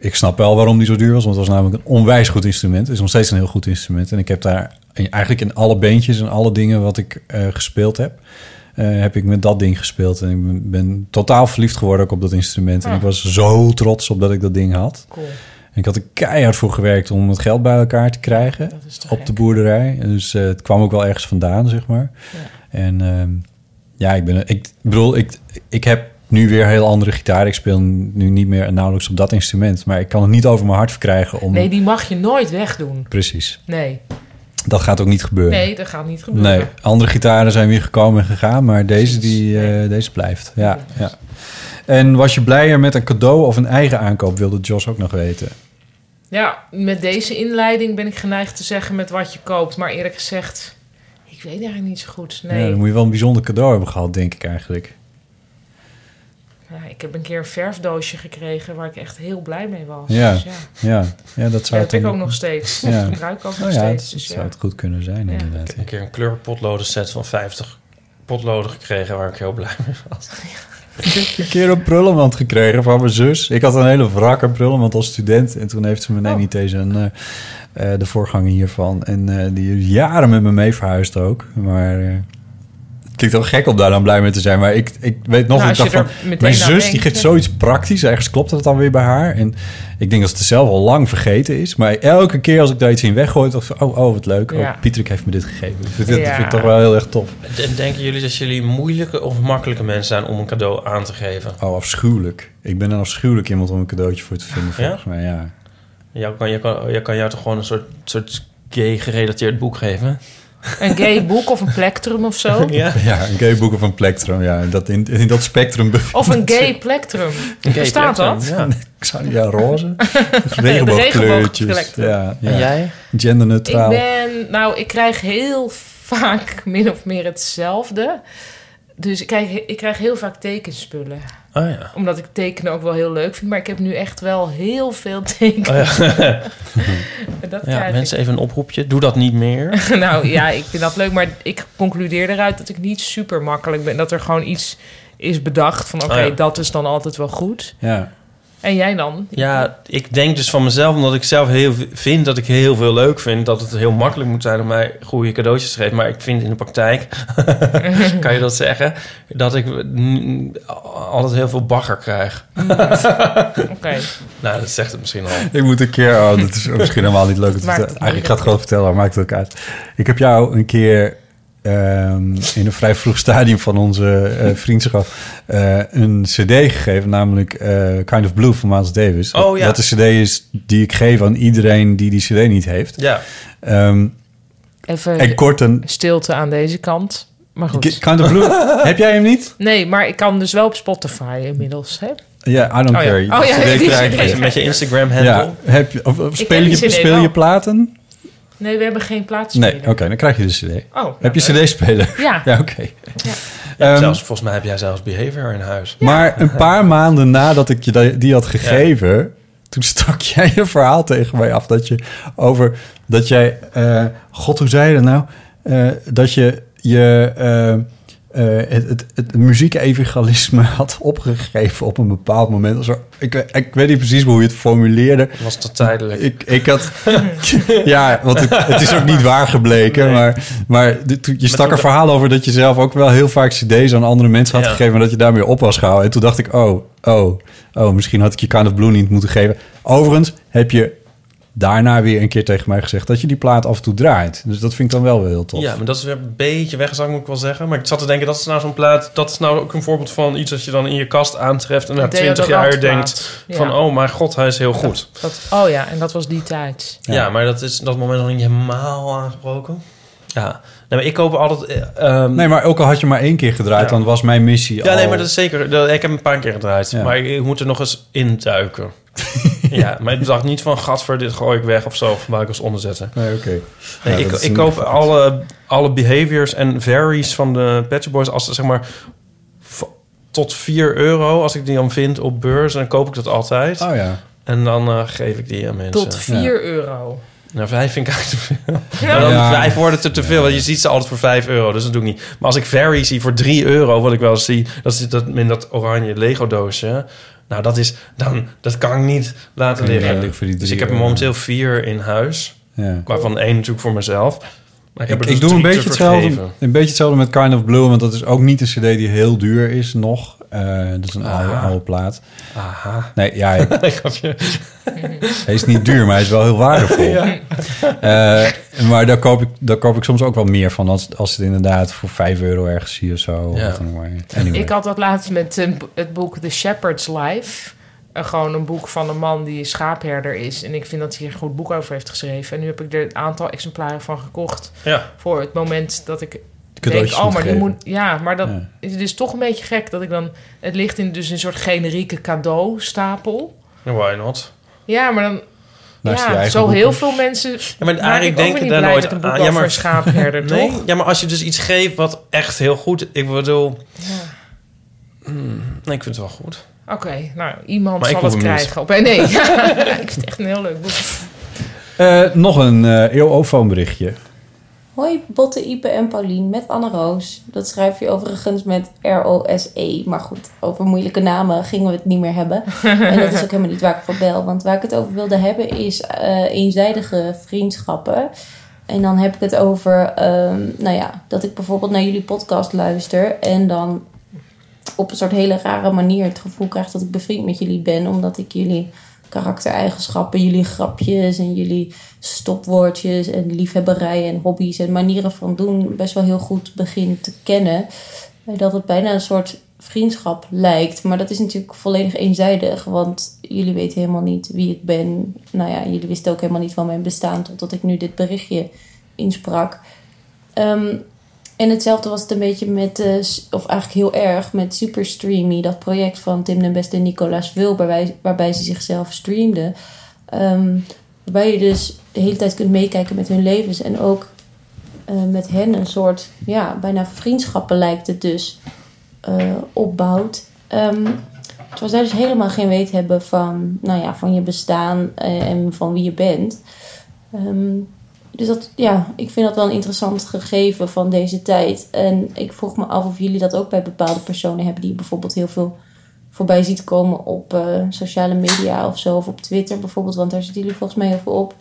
Speaker 1: ik snap wel waarom die zo duur was. Want het was namelijk een onwijs goed instrument. Het is nog steeds een heel goed instrument. En ik heb daar in- eigenlijk in alle bandjes en alle dingen wat ik eh, gespeeld heb... eh, heb ik met dat ding gespeeld. En ik ben, ben totaal verliefd geworden ook op dat instrument. En ik was zo trots op dat ik dat ding had.
Speaker 2: Ah. Cool.
Speaker 1: En ik had er keihard voor gewerkt om het geld bij elkaar te krijgen op de boerderij. En Dus eh, het kwam ook wel ergens vandaan, zeg maar. En ehm, ja, ik ben... Ik, ik bedoel, ik, ik heb nu weer heel andere gitaar. Ik speel nu niet meer nauwelijks op dat instrument. Maar ik kan het niet over mijn hart verkrijgen om...
Speaker 2: Nee, die mag je nooit wegdoen.
Speaker 1: Precies.
Speaker 2: Nee.
Speaker 1: Dat gaat ook niet gebeuren.
Speaker 2: Nee, dat gaat niet gebeuren.
Speaker 1: Nee, andere gitaren zijn weer gekomen en gegaan, maar deze, die, eh, deze blijft. Ja, ja. En was je blijer met een cadeau of een eigen aankoop, wilde Jos ook nog weten.
Speaker 2: Ja, met deze inleiding ben ik geneigd te zeggen met wat je koopt. Maar eerlijk gezegd, ik weet eigenlijk niet zo goed.
Speaker 1: Ja,
Speaker 2: Nee,
Speaker 1: dan moet je wel een bijzonder cadeau hebben gehad, denk ik eigenlijk.
Speaker 2: Ja, ik heb een keer een verfdoosje gekregen waar ik echt heel blij mee was.
Speaker 1: Ja,
Speaker 2: Dus
Speaker 1: ja. ja. dat
Speaker 2: Ja,
Speaker 1: zou
Speaker 2: dat heb ik
Speaker 1: dan-
Speaker 2: ook nog steeds.
Speaker 1: Ja.
Speaker 2: Dat gebruik ik ook nog
Speaker 1: Nou ja,
Speaker 2: steeds.
Speaker 1: Dat,
Speaker 2: Dus
Speaker 1: zou
Speaker 2: ja.
Speaker 1: het goed kunnen zijn,
Speaker 2: Ja.
Speaker 1: inderdaad.
Speaker 3: Een keer een kleurpotloden set van 50 potloden gekregen waar ik heel blij mee was.
Speaker 1: een keer een prullenmand gekregen van mijn zus. Ik had een hele wrakke prullenmand als student. En toen heeft ze
Speaker 2: Oh.
Speaker 1: me, nee, niet deze, een, eh, eh, de voorganger hiervan. En eh, die is jaren met me mee verhuisd ook. Maar eh, het klinkt wel gek om daar dan blij mee te zijn. Maar ik, ik weet nog,
Speaker 2: Nou,
Speaker 1: dat
Speaker 2: als
Speaker 1: ik dacht
Speaker 2: je er
Speaker 1: van,
Speaker 2: meteen
Speaker 1: mijn
Speaker 2: aan
Speaker 1: zus die
Speaker 2: denkt, eh.
Speaker 1: geeft
Speaker 2: hè.
Speaker 1: zoiets praktisch. Ergens klopt dat dan weer bij haar. En ik denk dat ze het zelf al lang vergeten is. Maar elke keer als ik daar iets in weggooi, dacht ik van, oh, oh, wat leuk.
Speaker 2: Ja.
Speaker 1: Oh, Pieterik heeft me dit gegeven. Dat vind, ik- dat
Speaker 2: Ja.
Speaker 1: vind ik toch wel heel erg tof.
Speaker 3: En denken jullie dat jullie moeilijke of makkelijke mensen zijn om een cadeau aan te geven?
Speaker 1: Oh, afschuwelijk. Ik ben een afschuwelijk iemand om een cadeautje voor te vinden,
Speaker 3: Ja?
Speaker 1: volgens mij, ja.
Speaker 3: Jou kan, jou kan, jou kan jou toch gewoon een soort, soort gay-gerelateerd boek
Speaker 2: [laughs]
Speaker 3: geven?
Speaker 2: Een
Speaker 1: [laughs]
Speaker 2: gay boek of een plectrum of zo.
Speaker 3: Ja.
Speaker 1: Ja, een gay boek of een plectrum. Ja, dat in, in dat spectrum. bevindt
Speaker 2: Of
Speaker 1: [laughs]
Speaker 2: een
Speaker 1: zich-
Speaker 2: gay plectrum. Bestaat dat?
Speaker 3: Ja.
Speaker 1: Ik zou ja,
Speaker 2: [laughs]
Speaker 1: roze.
Speaker 2: regenboogkleurtjes.
Speaker 1: Regenboogkleurtjes. Ja, ja.
Speaker 3: En jij?
Speaker 2: Ik
Speaker 1: Genderneutraal.
Speaker 2: ben, nou, ik krijg heel vaak [laughs] min of meer hetzelfde. Dus ik krijg, ik krijg heel vaak tekenspullen.
Speaker 3: Oh ja.
Speaker 2: Omdat ik tekenen ook wel heel leuk vind. Maar ik heb nu echt wel heel veel tekenen.
Speaker 3: [laughs]
Speaker 2: Dat krijg
Speaker 3: Oh, ja
Speaker 2: ik.
Speaker 3: mensen, even een oproepje. Doe dat niet meer.
Speaker 2: [laughs] Nou ja, ik vind dat leuk. Maar ik concludeer eruit dat ik niet super makkelijk ben. Dat er gewoon iets is bedacht van... oké,
Speaker 3: Oh ja.
Speaker 2: dat is dan altijd wel goed.
Speaker 1: Ja.
Speaker 2: En jij dan?
Speaker 3: Ja, ik denk dus van mezelf, omdat ik zelf heel v- vind dat ik heel veel leuk vind, dat het heel makkelijk moet zijn om mij goede cadeautjes te geven. Maar ik vind in de praktijk, [laughs] kan je dat zeggen, dat ik mm, altijd heel veel bagger krijg. [laughs]
Speaker 2: Oké.
Speaker 3: Nou, dat zegt het misschien al.
Speaker 1: [laughs] Ik moet een keer... Oh, dat is misschien helemaal niet leuk. om te
Speaker 2: Maakt het
Speaker 1: vertellen. Eigenlijk, ik ga het gewoon vertellen, maar maakt het ook uit. Ik heb jou een keer... ehm, in een vrij vroeg stadium van
Speaker 3: [laughs]
Speaker 1: onze eh, vriendschap eh, een cd gegeven, namelijk eh, Kind of Blue van Miles Davis.
Speaker 3: Oh, ja.
Speaker 1: Dat de cd is die ik geef aan iedereen die die cd niet heeft.
Speaker 3: Ja,
Speaker 1: Ehm,
Speaker 2: Even
Speaker 1: en kort een...
Speaker 2: stilte aan deze kant. Maar goed.
Speaker 1: Kind of Blue,
Speaker 2: [laughs]
Speaker 1: heb jij hem niet?
Speaker 2: Nee, maar ik kan dus wel op Spotify inmiddels. Hè?
Speaker 1: Ja, I don't
Speaker 2: Oh ja.
Speaker 1: care.
Speaker 2: Oh ja,
Speaker 1: Deze
Speaker 2: die
Speaker 1: krijg
Speaker 2: CD.
Speaker 3: met
Speaker 1: je.
Speaker 3: je, [laughs] met je Instagram handle.
Speaker 1: Ja, heb je, of, of
Speaker 2: Ik
Speaker 1: speel,
Speaker 2: heb
Speaker 1: je,
Speaker 2: die CD
Speaker 1: speel je
Speaker 2: wel.
Speaker 1: platen?
Speaker 2: Nee, we hebben geen plaats
Speaker 1: Nee, oké, dan krijg je de cd.
Speaker 2: Oh, nou,
Speaker 1: heb je
Speaker 2: leuk.
Speaker 1: cd-speler?
Speaker 2: Ja.
Speaker 1: [laughs] Ja, oké. Ehm,
Speaker 3: zelfs, volgens mij heb jij zelfs behavior in huis.
Speaker 1: Maar een
Speaker 3: [laughs]
Speaker 1: paar maanden nadat ik je da- die had gegeven... toen stak [laughs] jij een verhaal tegen mij af dat je over... dat jij... eh, God, hoe zei je dat nou? Eh, dat je je... eh, eh, het, het, het muziek-evangelisme [laughs] had opgegeven op een bepaald moment. Of zo. Ik, we- ik weet niet precies hoe je het formuleerde.
Speaker 3: Was dat tijdelijk?
Speaker 1: Ik, ik
Speaker 3: [laughs]
Speaker 1: had... [laughs] ja, want het, het is ook niet waar gebleken.
Speaker 3: Nee.
Speaker 1: Maar, maar de- toen- je stak
Speaker 3: toen
Speaker 1: een
Speaker 3: de-
Speaker 1: verhaal over dat je zelf ook wel heel vaak cd's aan andere mensen had
Speaker 3: Ja.
Speaker 1: gegeven... en dat je daarmee op was gehouden. En toen dacht ik, oh, oh, oh, misschien had ik je Kind of Blue niet moeten geven. Overigens heb je daarna weer een keer tegen mij gezegd... dat je die plaat af en toe draait. Dus dat vind ik dan wel weer heel tof.
Speaker 3: Ja, maar dat is weer een beetje weggezakt, moet ik wel zeggen. Maar ik zat te denken, dat is nou zo'n plaat... dat is nou ook een voorbeeld van iets dat je dan in je kast aantreft... en na
Speaker 2: Een
Speaker 3: 20 jaar denkt
Speaker 2: deodorantplaat.
Speaker 3: van...
Speaker 2: Ja.
Speaker 3: oh, mijn god, hij is heel goed.
Speaker 2: Dat, oh ja, en dat was die tijd.
Speaker 3: Ja, maar dat is dat moment nog niet helemaal aangebroken. Ja, nee, maar ik koop altijd... eh, ehm,
Speaker 1: Nee, maar ook al had je maar één keer gedraaid...
Speaker 3: Ja.
Speaker 1: dan was mijn missie
Speaker 3: ja,
Speaker 1: al...
Speaker 3: nee, maar dat is zeker... dat- ik heb hem een paar keer gedraaid,
Speaker 1: Ja.
Speaker 3: maar ik, ik moet er nog eens
Speaker 1: [laughs]
Speaker 3: induiken. ja, maar ik dacht niet van... gadver, dit gooi ik weg of zo, of maak ik als onderzetten.
Speaker 1: Nee, oké.
Speaker 3: Nee,
Speaker 1: Ja,
Speaker 3: ik,
Speaker 1: dat is
Speaker 3: ik
Speaker 1: een-
Speaker 3: koop alle, alle behaviors en varies van de Pet Shop Boys als zeg maar v- tot 4 euro. Als ik die dan vind op beurs, dan koop ik dat altijd.
Speaker 1: Oh ja.
Speaker 3: En dan eh, geef ik die aan mensen.
Speaker 2: Tot 4 euro.
Speaker 3: Nou, vijf vind ik eigenlijk te veel. Maar dan
Speaker 1: Ja.
Speaker 3: vijf wordt het er te veel. Want je ziet ze altijd voor 5 euro, dus dat doe ik niet. Maar als ik varies zie voor 3 euro, wat ik wel eens zie, dat zit dat in dat oranje Lego doosje. Nou, dat is dan dat kan ik niet laten
Speaker 1: Kan je
Speaker 3: liggen.
Speaker 1: niet voor die
Speaker 3: dus
Speaker 1: drie
Speaker 3: ik heb er
Speaker 1: euro.
Speaker 3: momenteel vier in huis,
Speaker 1: ja.
Speaker 3: waarvan één natuurlijk voor mezelf. Maar
Speaker 1: Ik,
Speaker 3: er
Speaker 1: ik
Speaker 3: dus
Speaker 1: doe een
Speaker 3: drie
Speaker 1: beetje,
Speaker 3: te
Speaker 1: hetzelfde,
Speaker 3: vergeven.
Speaker 1: een beetje hetzelfde met Kind of Blue, want dat is ook niet een CD die heel duur is nog. Eh, dat is een oude, oude plaat.
Speaker 3: Aha. [laughs]
Speaker 1: Nee, ja, ik-
Speaker 3: Ik gaf je...
Speaker 1: hij is niet duur, maar hij is wel heel
Speaker 3: [laughs]
Speaker 1: waardevol. Eh, maar daar koop, ik, daar koop ik soms ook wel meer van als, als het inderdaad voor 5 euro ergens zie of zo.
Speaker 3: Ja.
Speaker 1: Of wat dan ook maar. Anyway.
Speaker 2: Ik had dat laatst met een bo- het boek The Shepherd's Life. Eh, gewoon een boek van een man die schaapherder is. En ik vind dat hij er een goed boek over heeft geschreven. En nu heb ik er een aantal exemplaren van gekocht.
Speaker 3: Ja.
Speaker 2: Voor het moment dat ik
Speaker 1: Cadeautjes
Speaker 2: denk, oh, maar die
Speaker 1: moet
Speaker 2: moet... Ja, maar dat
Speaker 1: Ja.
Speaker 2: is dus toch een beetje gek dat ik dan... Het ligt in dus een soort generieke cadeaustapel.
Speaker 3: Why not?
Speaker 2: Ja, maar dan...
Speaker 1: Naast je
Speaker 2: ja,
Speaker 1: eigen
Speaker 2: zo
Speaker 1: boeken.
Speaker 2: heel veel mensen...
Speaker 3: Ja, maar
Speaker 2: maak ik
Speaker 3: eigenlijk
Speaker 2: ook weer
Speaker 3: denken
Speaker 2: niet
Speaker 3: daar
Speaker 2: blij
Speaker 3: nooit
Speaker 2: met een boek
Speaker 3: aan.
Speaker 2: over een
Speaker 3: [laughs]
Speaker 2: schaapherder,
Speaker 3: nee,
Speaker 2: toch?
Speaker 3: Ja, maar als je dus iets geeft wat echt heel goed... Ik bedoel... Hmm, nee, ik vind het wel goed.
Speaker 2: Oké, nou, iemand
Speaker 3: Maar ik
Speaker 2: zal
Speaker 3: hoef
Speaker 2: het
Speaker 3: hem niet.
Speaker 2: krijgen. Op- Nee, [laughs] ja, ik vind het echt een heel leuk boek.
Speaker 1: Eh, nog een eh eeuwofoon berichtje.
Speaker 9: Hoi Botte, Ipe en Paulien met Anne Roos. Dat schrijf je overigens met R-O-S-E. E, Maar goed, over moeilijke namen gingen we het niet meer
Speaker 2: [laughs]
Speaker 9: hebben. En dat is ook helemaal niet waar ik voor bel. Want waar ik het over wilde hebben is eh, eenzijdige vriendschappen. En dan heb ik het over, ehm, nou ja, dat ik bijvoorbeeld naar jullie podcast luister. En dan op een soort hele rare manier het gevoel krijg dat ik bevriend met jullie ben. Omdat ik jullie karaktereigenschappen, jullie grapjes en jullie stopwoordjes en liefhebberijen en hobby's en manieren van doen best wel heel goed begin te kennen. Eh, Dat het bijna een soort vriendschap lijkt. Maar dat is natuurlijk volledig eenzijdig, want jullie weten helemaal niet wie ik ben. Nou ja, jullie wisten ook helemaal niet van mijn bestaan totdat ik nu dit berichtje insprak. Ehm, en hetzelfde was het een beetje met, eh, s- of eigenlijk heel erg, met Superstreamy, dat project van Tim den Beste en Nicolaas Wilber, waarbij, waarbij ze zichzelf streamden. Ehm, waarbij je dus de hele tijd kunt meekijken met hun levens en ook eh, met hen een soort, ja, bijna vriendschappen lijkt het dus, eh, opbouwt. Ehm, terwijl zij dus helemaal geen weet hebben van, nou ja, van je bestaan eh, en van wie je bent. Ehm, dus dat, ja, ik vind dat wel een interessant gegeven van deze tijd. En ik vroeg me af of jullie dat ook bij bepaalde personen hebben die je bijvoorbeeld heel veel voorbij ziet komen op eh, sociale media of zo, of op Twitter bijvoorbeeld, want daar zitten jullie volgens mij heel veel op.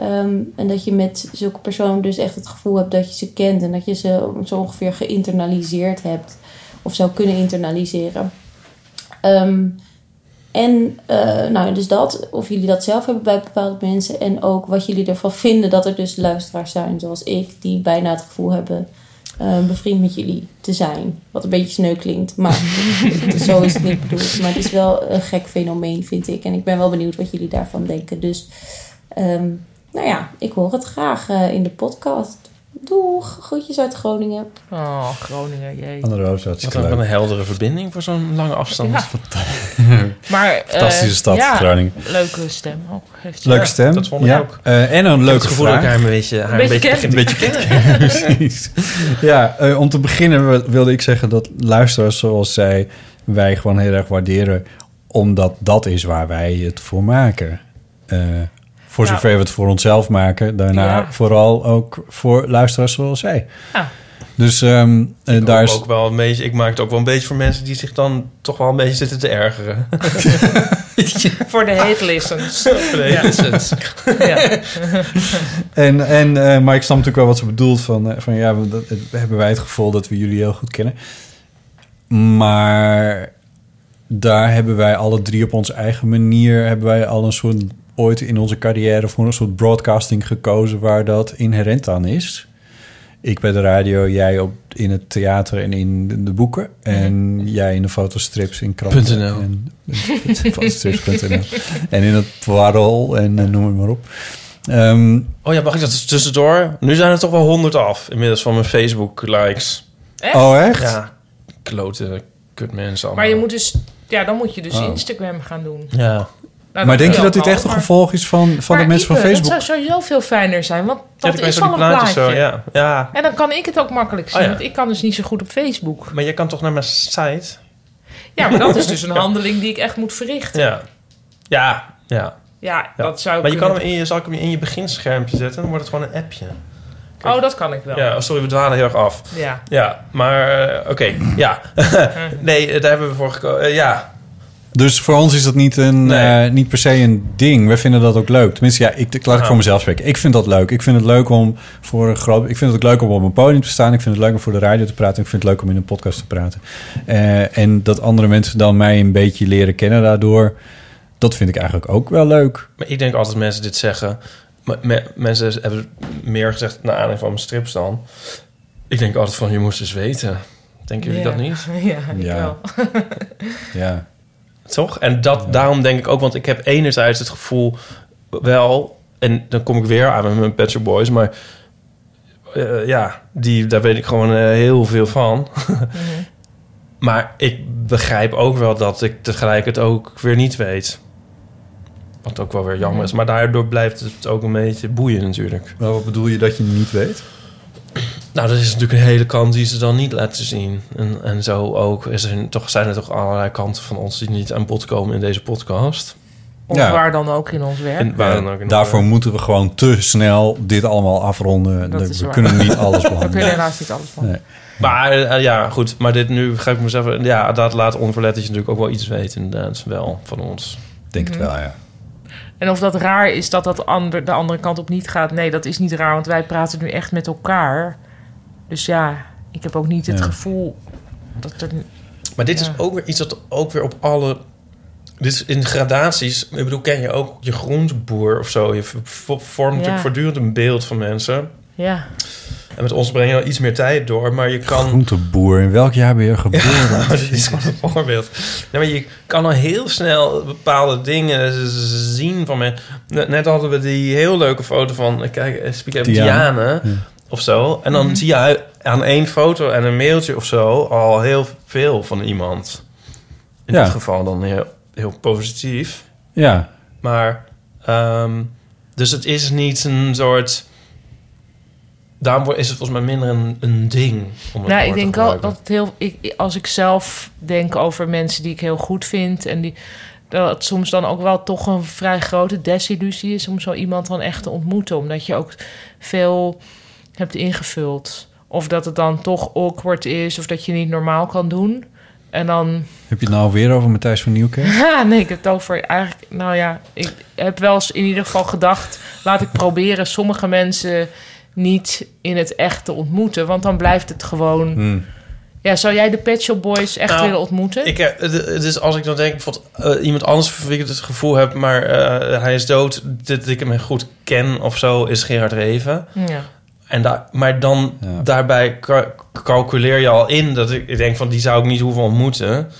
Speaker 9: Ehm, en dat je met zulke personen dus echt het gevoel hebt dat je ze kent en dat je ze zo ongeveer geïnternaliseerd hebt of zou kunnen internaliseren. Ehm, en eh, nou, dus dat, of jullie dat zelf hebben bij bepaalde mensen. En ook wat jullie ervan [laughs] vinden dat er dus luisteraars zijn, zoals ik, die bijna het gevoel hebben eh, bevriend met jullie te zijn. Wat een beetje sneu klinkt, maar [laughs] zo is het niet bedoeld. Maar het is wel een gek fenomeen, vind ik. En ik ben wel benieuwd wat jullie daarvan denken. Dus, ehm, nou ja, ik hoor het graag eh, in de podcast. Doeg, groetjes uit Groningen.
Speaker 2: Oh, Groningen, jee.
Speaker 1: Van de Roos,
Speaker 3: Wat
Speaker 1: hartstikke
Speaker 3: een,
Speaker 1: leuk.
Speaker 3: wat een heldere verbinding voor zo'n lange afstand.
Speaker 1: [laughs]
Speaker 2: Maar, eh,
Speaker 1: Fantastische stad,
Speaker 2: ja,
Speaker 1: Groningen.
Speaker 2: Leuke stem ook. Heeft hij.
Speaker 1: Leuke
Speaker 3: Ja,
Speaker 1: stem.
Speaker 3: dat vond ik
Speaker 1: ja.
Speaker 3: ook.
Speaker 1: Eh, en een leuke
Speaker 3: het gevoel dat ik
Speaker 1: vraag.
Speaker 3: haar een beetje, haar
Speaker 2: Beetje
Speaker 3: een beetje,
Speaker 2: kennen.
Speaker 3: begin te
Speaker 1: [laughs]
Speaker 3: kennen.
Speaker 1: Precies. Ja, eh, om te beginnen wil- wilde ik zeggen dat luisteraars zoals zij wij gewoon heel erg waarderen, omdat dat is waar wij het voor maken. Eh, voor
Speaker 2: Nou.
Speaker 1: zover we het voor onszelf maken, daarna
Speaker 2: Ja.
Speaker 1: vooral ook voor luisteraars zoals zij.
Speaker 2: Ja.
Speaker 1: Dus ehm, eh,
Speaker 3: Ik,
Speaker 1: daar
Speaker 3: hoop
Speaker 1: is.
Speaker 3: ook wel een beetje, ik maak het ook wel een beetje voor mensen die zich dan toch wel een beetje zitten te
Speaker 1: [laughs]
Speaker 3: ergeren.
Speaker 2: Voor de
Speaker 3: [laughs]
Speaker 2: hate listens.
Speaker 3: Nee, dat is het.
Speaker 2: [laughs] ja.
Speaker 1: En, en, eh, maar ik snap natuurlijk wel wat ze bedoelt van, eh, van ja, we- dat, eh, hebben wij het gevoel dat we jullie heel goed kennen. Maar daar hebben wij alle drie op onze eigen manier, hebben wij al een soort ooit in onze carrière voor een soort broadcasting gekozen waar dat inherent aan is. Ik bij de radio, jij op, in het theater en in de, de boeken. En jij in de fotostrips in kranten.
Speaker 3: .nl.
Speaker 1: En, fotostrips.nl. en in het parool en eh, noem het maar op. Ehm,
Speaker 3: Oh ja, mag ik dat er tussendoor? Nu zijn er toch wel honderd af, inmiddels van mijn Facebook-likes.
Speaker 1: Oh, echt?
Speaker 3: Ja, klote kut mensen allemaal.
Speaker 2: Maar je moet dus... Ja, dan moet je dus Instagram gaan doen. Nou,
Speaker 3: Oh. Ja,
Speaker 2: dat
Speaker 1: maar denk
Speaker 2: kun
Speaker 1: je dat dit
Speaker 2: ook
Speaker 1: echt een
Speaker 2: al,
Speaker 1: gevolg is van, van
Speaker 2: maar-
Speaker 1: de mensen van
Speaker 2: maar Ipe,
Speaker 1: Facebook?
Speaker 2: Dat zou sowieso veel fijner zijn, want
Speaker 3: Ja,
Speaker 2: dat
Speaker 3: dan kan je
Speaker 2: is
Speaker 3: zo die
Speaker 2: van een plaatje.
Speaker 3: zo, ja. ja.
Speaker 2: En dan kan ik het ook makkelijk zien,
Speaker 3: Oh ja.
Speaker 2: want ik kan dus niet zo goed op Facebook.
Speaker 3: Maar jij kan toch naar mijn site?
Speaker 2: Ja, maar dat
Speaker 3: [laughs]
Speaker 2: is dus een handeling die ik echt moet verrichten. Ja,
Speaker 3: Ja. Ja, ja. ja.
Speaker 2: dat zou
Speaker 3: maar je kan
Speaker 2: kunnen.
Speaker 3: hem in je, zal ik hem in je beginschermpje zetten, dan wordt het gewoon een appje.
Speaker 2: Oh, dat kan ik wel. Ja.
Speaker 3: Ja, oh, sorry, we dwalen heel erg af.
Speaker 2: [laughs]
Speaker 3: eh, Ja, maar eh, oké, ja. nee, eh, daar hebben we voor gekozen. ja.
Speaker 1: Dus voor ons is dat niet, een, eh, niet per se een ding. We vinden dat ook leuk. Tenminste, ja, ik, ik laat ik voor mezelf spreken. Ik vind dat leuk. Ik vind het leuk om voor een groot. Ik vind het ook leuk om op een podium te staan. Ik vind het leuk om voor de radio te praten. Ik vind het leuk om in een podcast te praten. Eh, en dat andere mensen dan mij een beetje leren kennen daardoor. Dat vind ik eigenlijk ook wel leuk.
Speaker 3: Maar ik denk altijd mensen dit zeggen. me- me- mensen hebben meer gezegd naar aanleiding van mijn strips dan. Ik denk altijd van, je moest eens weten. Denken jullie
Speaker 2: Ja.
Speaker 3: dat niet?
Speaker 2: [laughs] Ja, ik wel.
Speaker 1: [laughs] ja.
Speaker 3: Toch? En dat, daarom denk ik ook, want ik heb enerzijds het gevoel wel... En dan kom ik weer aan met mijn Pet Shop Boys, maar... eh, ja, die, daar weet ik gewoon eh, heel veel van. [laughs] maar ik begrijp ook wel dat ik tegelijk het ook weer niet weet. Wat ook wel weer jammer is. Maar daardoor blijft het ook een beetje boeien natuurlijk.
Speaker 1: Maar wat bedoel je dat je niet weet?
Speaker 3: Nou, dat is natuurlijk een hele kant die ze dan niet laten zien. En, en zo ook is er, toch, zijn er toch allerlei kanten van ons die niet aan bod komen in deze podcast.
Speaker 2: Of
Speaker 1: Ja.
Speaker 2: waar dan ook in ons werk.
Speaker 3: En waar dan ook in
Speaker 1: Eh, Daarvoor moeten we gewoon te snel dit allemaal afronden.
Speaker 2: Dat
Speaker 1: we
Speaker 2: is waar.
Speaker 1: kunnen niet
Speaker 2: [laughs]
Speaker 1: alles behandelen.
Speaker 2: We kunnen helaas niet alles behandelen.
Speaker 3: Maar eh, ja, goed. Maar dit nu ga ik mezelf... Ja, dat laat onverlet dat je natuurlijk ook wel iets weet inderdaad wel van ons.
Speaker 1: Denk
Speaker 2: het Mhm. wel,
Speaker 1: ja.
Speaker 2: En of dat raar is dat dat ander, de andere kant op niet gaat. Nee, dat is niet raar, want wij praten nu echt met elkaar. Dus ja, ik heb ook niet het
Speaker 3: Ja.
Speaker 2: gevoel dat er...
Speaker 3: Maar dit
Speaker 2: Ja.
Speaker 3: is ook weer iets dat ook weer op alle... Dit is in gradaties. Ik bedoel, ken je ook je groenteboer of zo? Je v- v- vormt natuurlijk voortdurend een beeld van mensen.
Speaker 2: Ja.
Speaker 3: En met ons breng je al iets meer tijd door. Maar je kan...
Speaker 1: Groenteboer, in welk jaar ben je
Speaker 3: [laughs]
Speaker 1: geboren?
Speaker 3: dat is gewoon een voorbeeld. Ja, maar je kan al heel snel bepaalde dingen z- zien van me. Net net hadden we die heel leuke foto van, eh, kijk, eh, speak even
Speaker 1: Diana.
Speaker 3: Diane
Speaker 1: Ja.
Speaker 3: of zo. En dan
Speaker 1: Mhm.
Speaker 3: zie je aan één foto en een mailtje of zo al heel veel van iemand. In
Speaker 1: Ja.
Speaker 3: dit geval dan heel, heel positief.
Speaker 1: Ja.
Speaker 3: Maar, ehm, dus het is niet een soort... Daarom wo- is het volgens mij minder een, een ding. Om het
Speaker 2: Nou, ik
Speaker 3: woord te
Speaker 2: denk wel
Speaker 3: gebruiken.
Speaker 2: dat het heel... Ik, als ik zelf denk over mensen die ik heel goed vind... en die, dat het soms dan ook wel toch een vrij grote desillusie is... om zo iemand dan echt te ontmoeten. Omdat je ook veel hebt ingevuld. Of dat het dan toch awkward is... of dat je niet normaal kan doen. En dan...
Speaker 1: Heb je het nou weer over Matthijs van [laughs] Nieuwkerk?
Speaker 2: Ja, nee, ik heb het over eigenlijk. Nou ja, ik heb wel eens in ieder geval gedacht. Laat ik proberen sommige mensen niet in het echt te ontmoeten. Want dan blijft het gewoon. Ja, zou jij de Pet Shop Boys dus echt
Speaker 3: Nou,
Speaker 2: willen ontmoeten?
Speaker 3: Ik, heb- het- het is als ik dan denk, bijvoorbeeld eh, iemand anders van wie ik het gevoel heb, maar eh, hij is dood, dat ik hem goed ken of zo, is Gerard Reven.
Speaker 2: Ja.
Speaker 3: En daar, maar dan daarbij ka- calculeer je al in dat ik ik denk van die zou ik niet hoeven ontmoeten.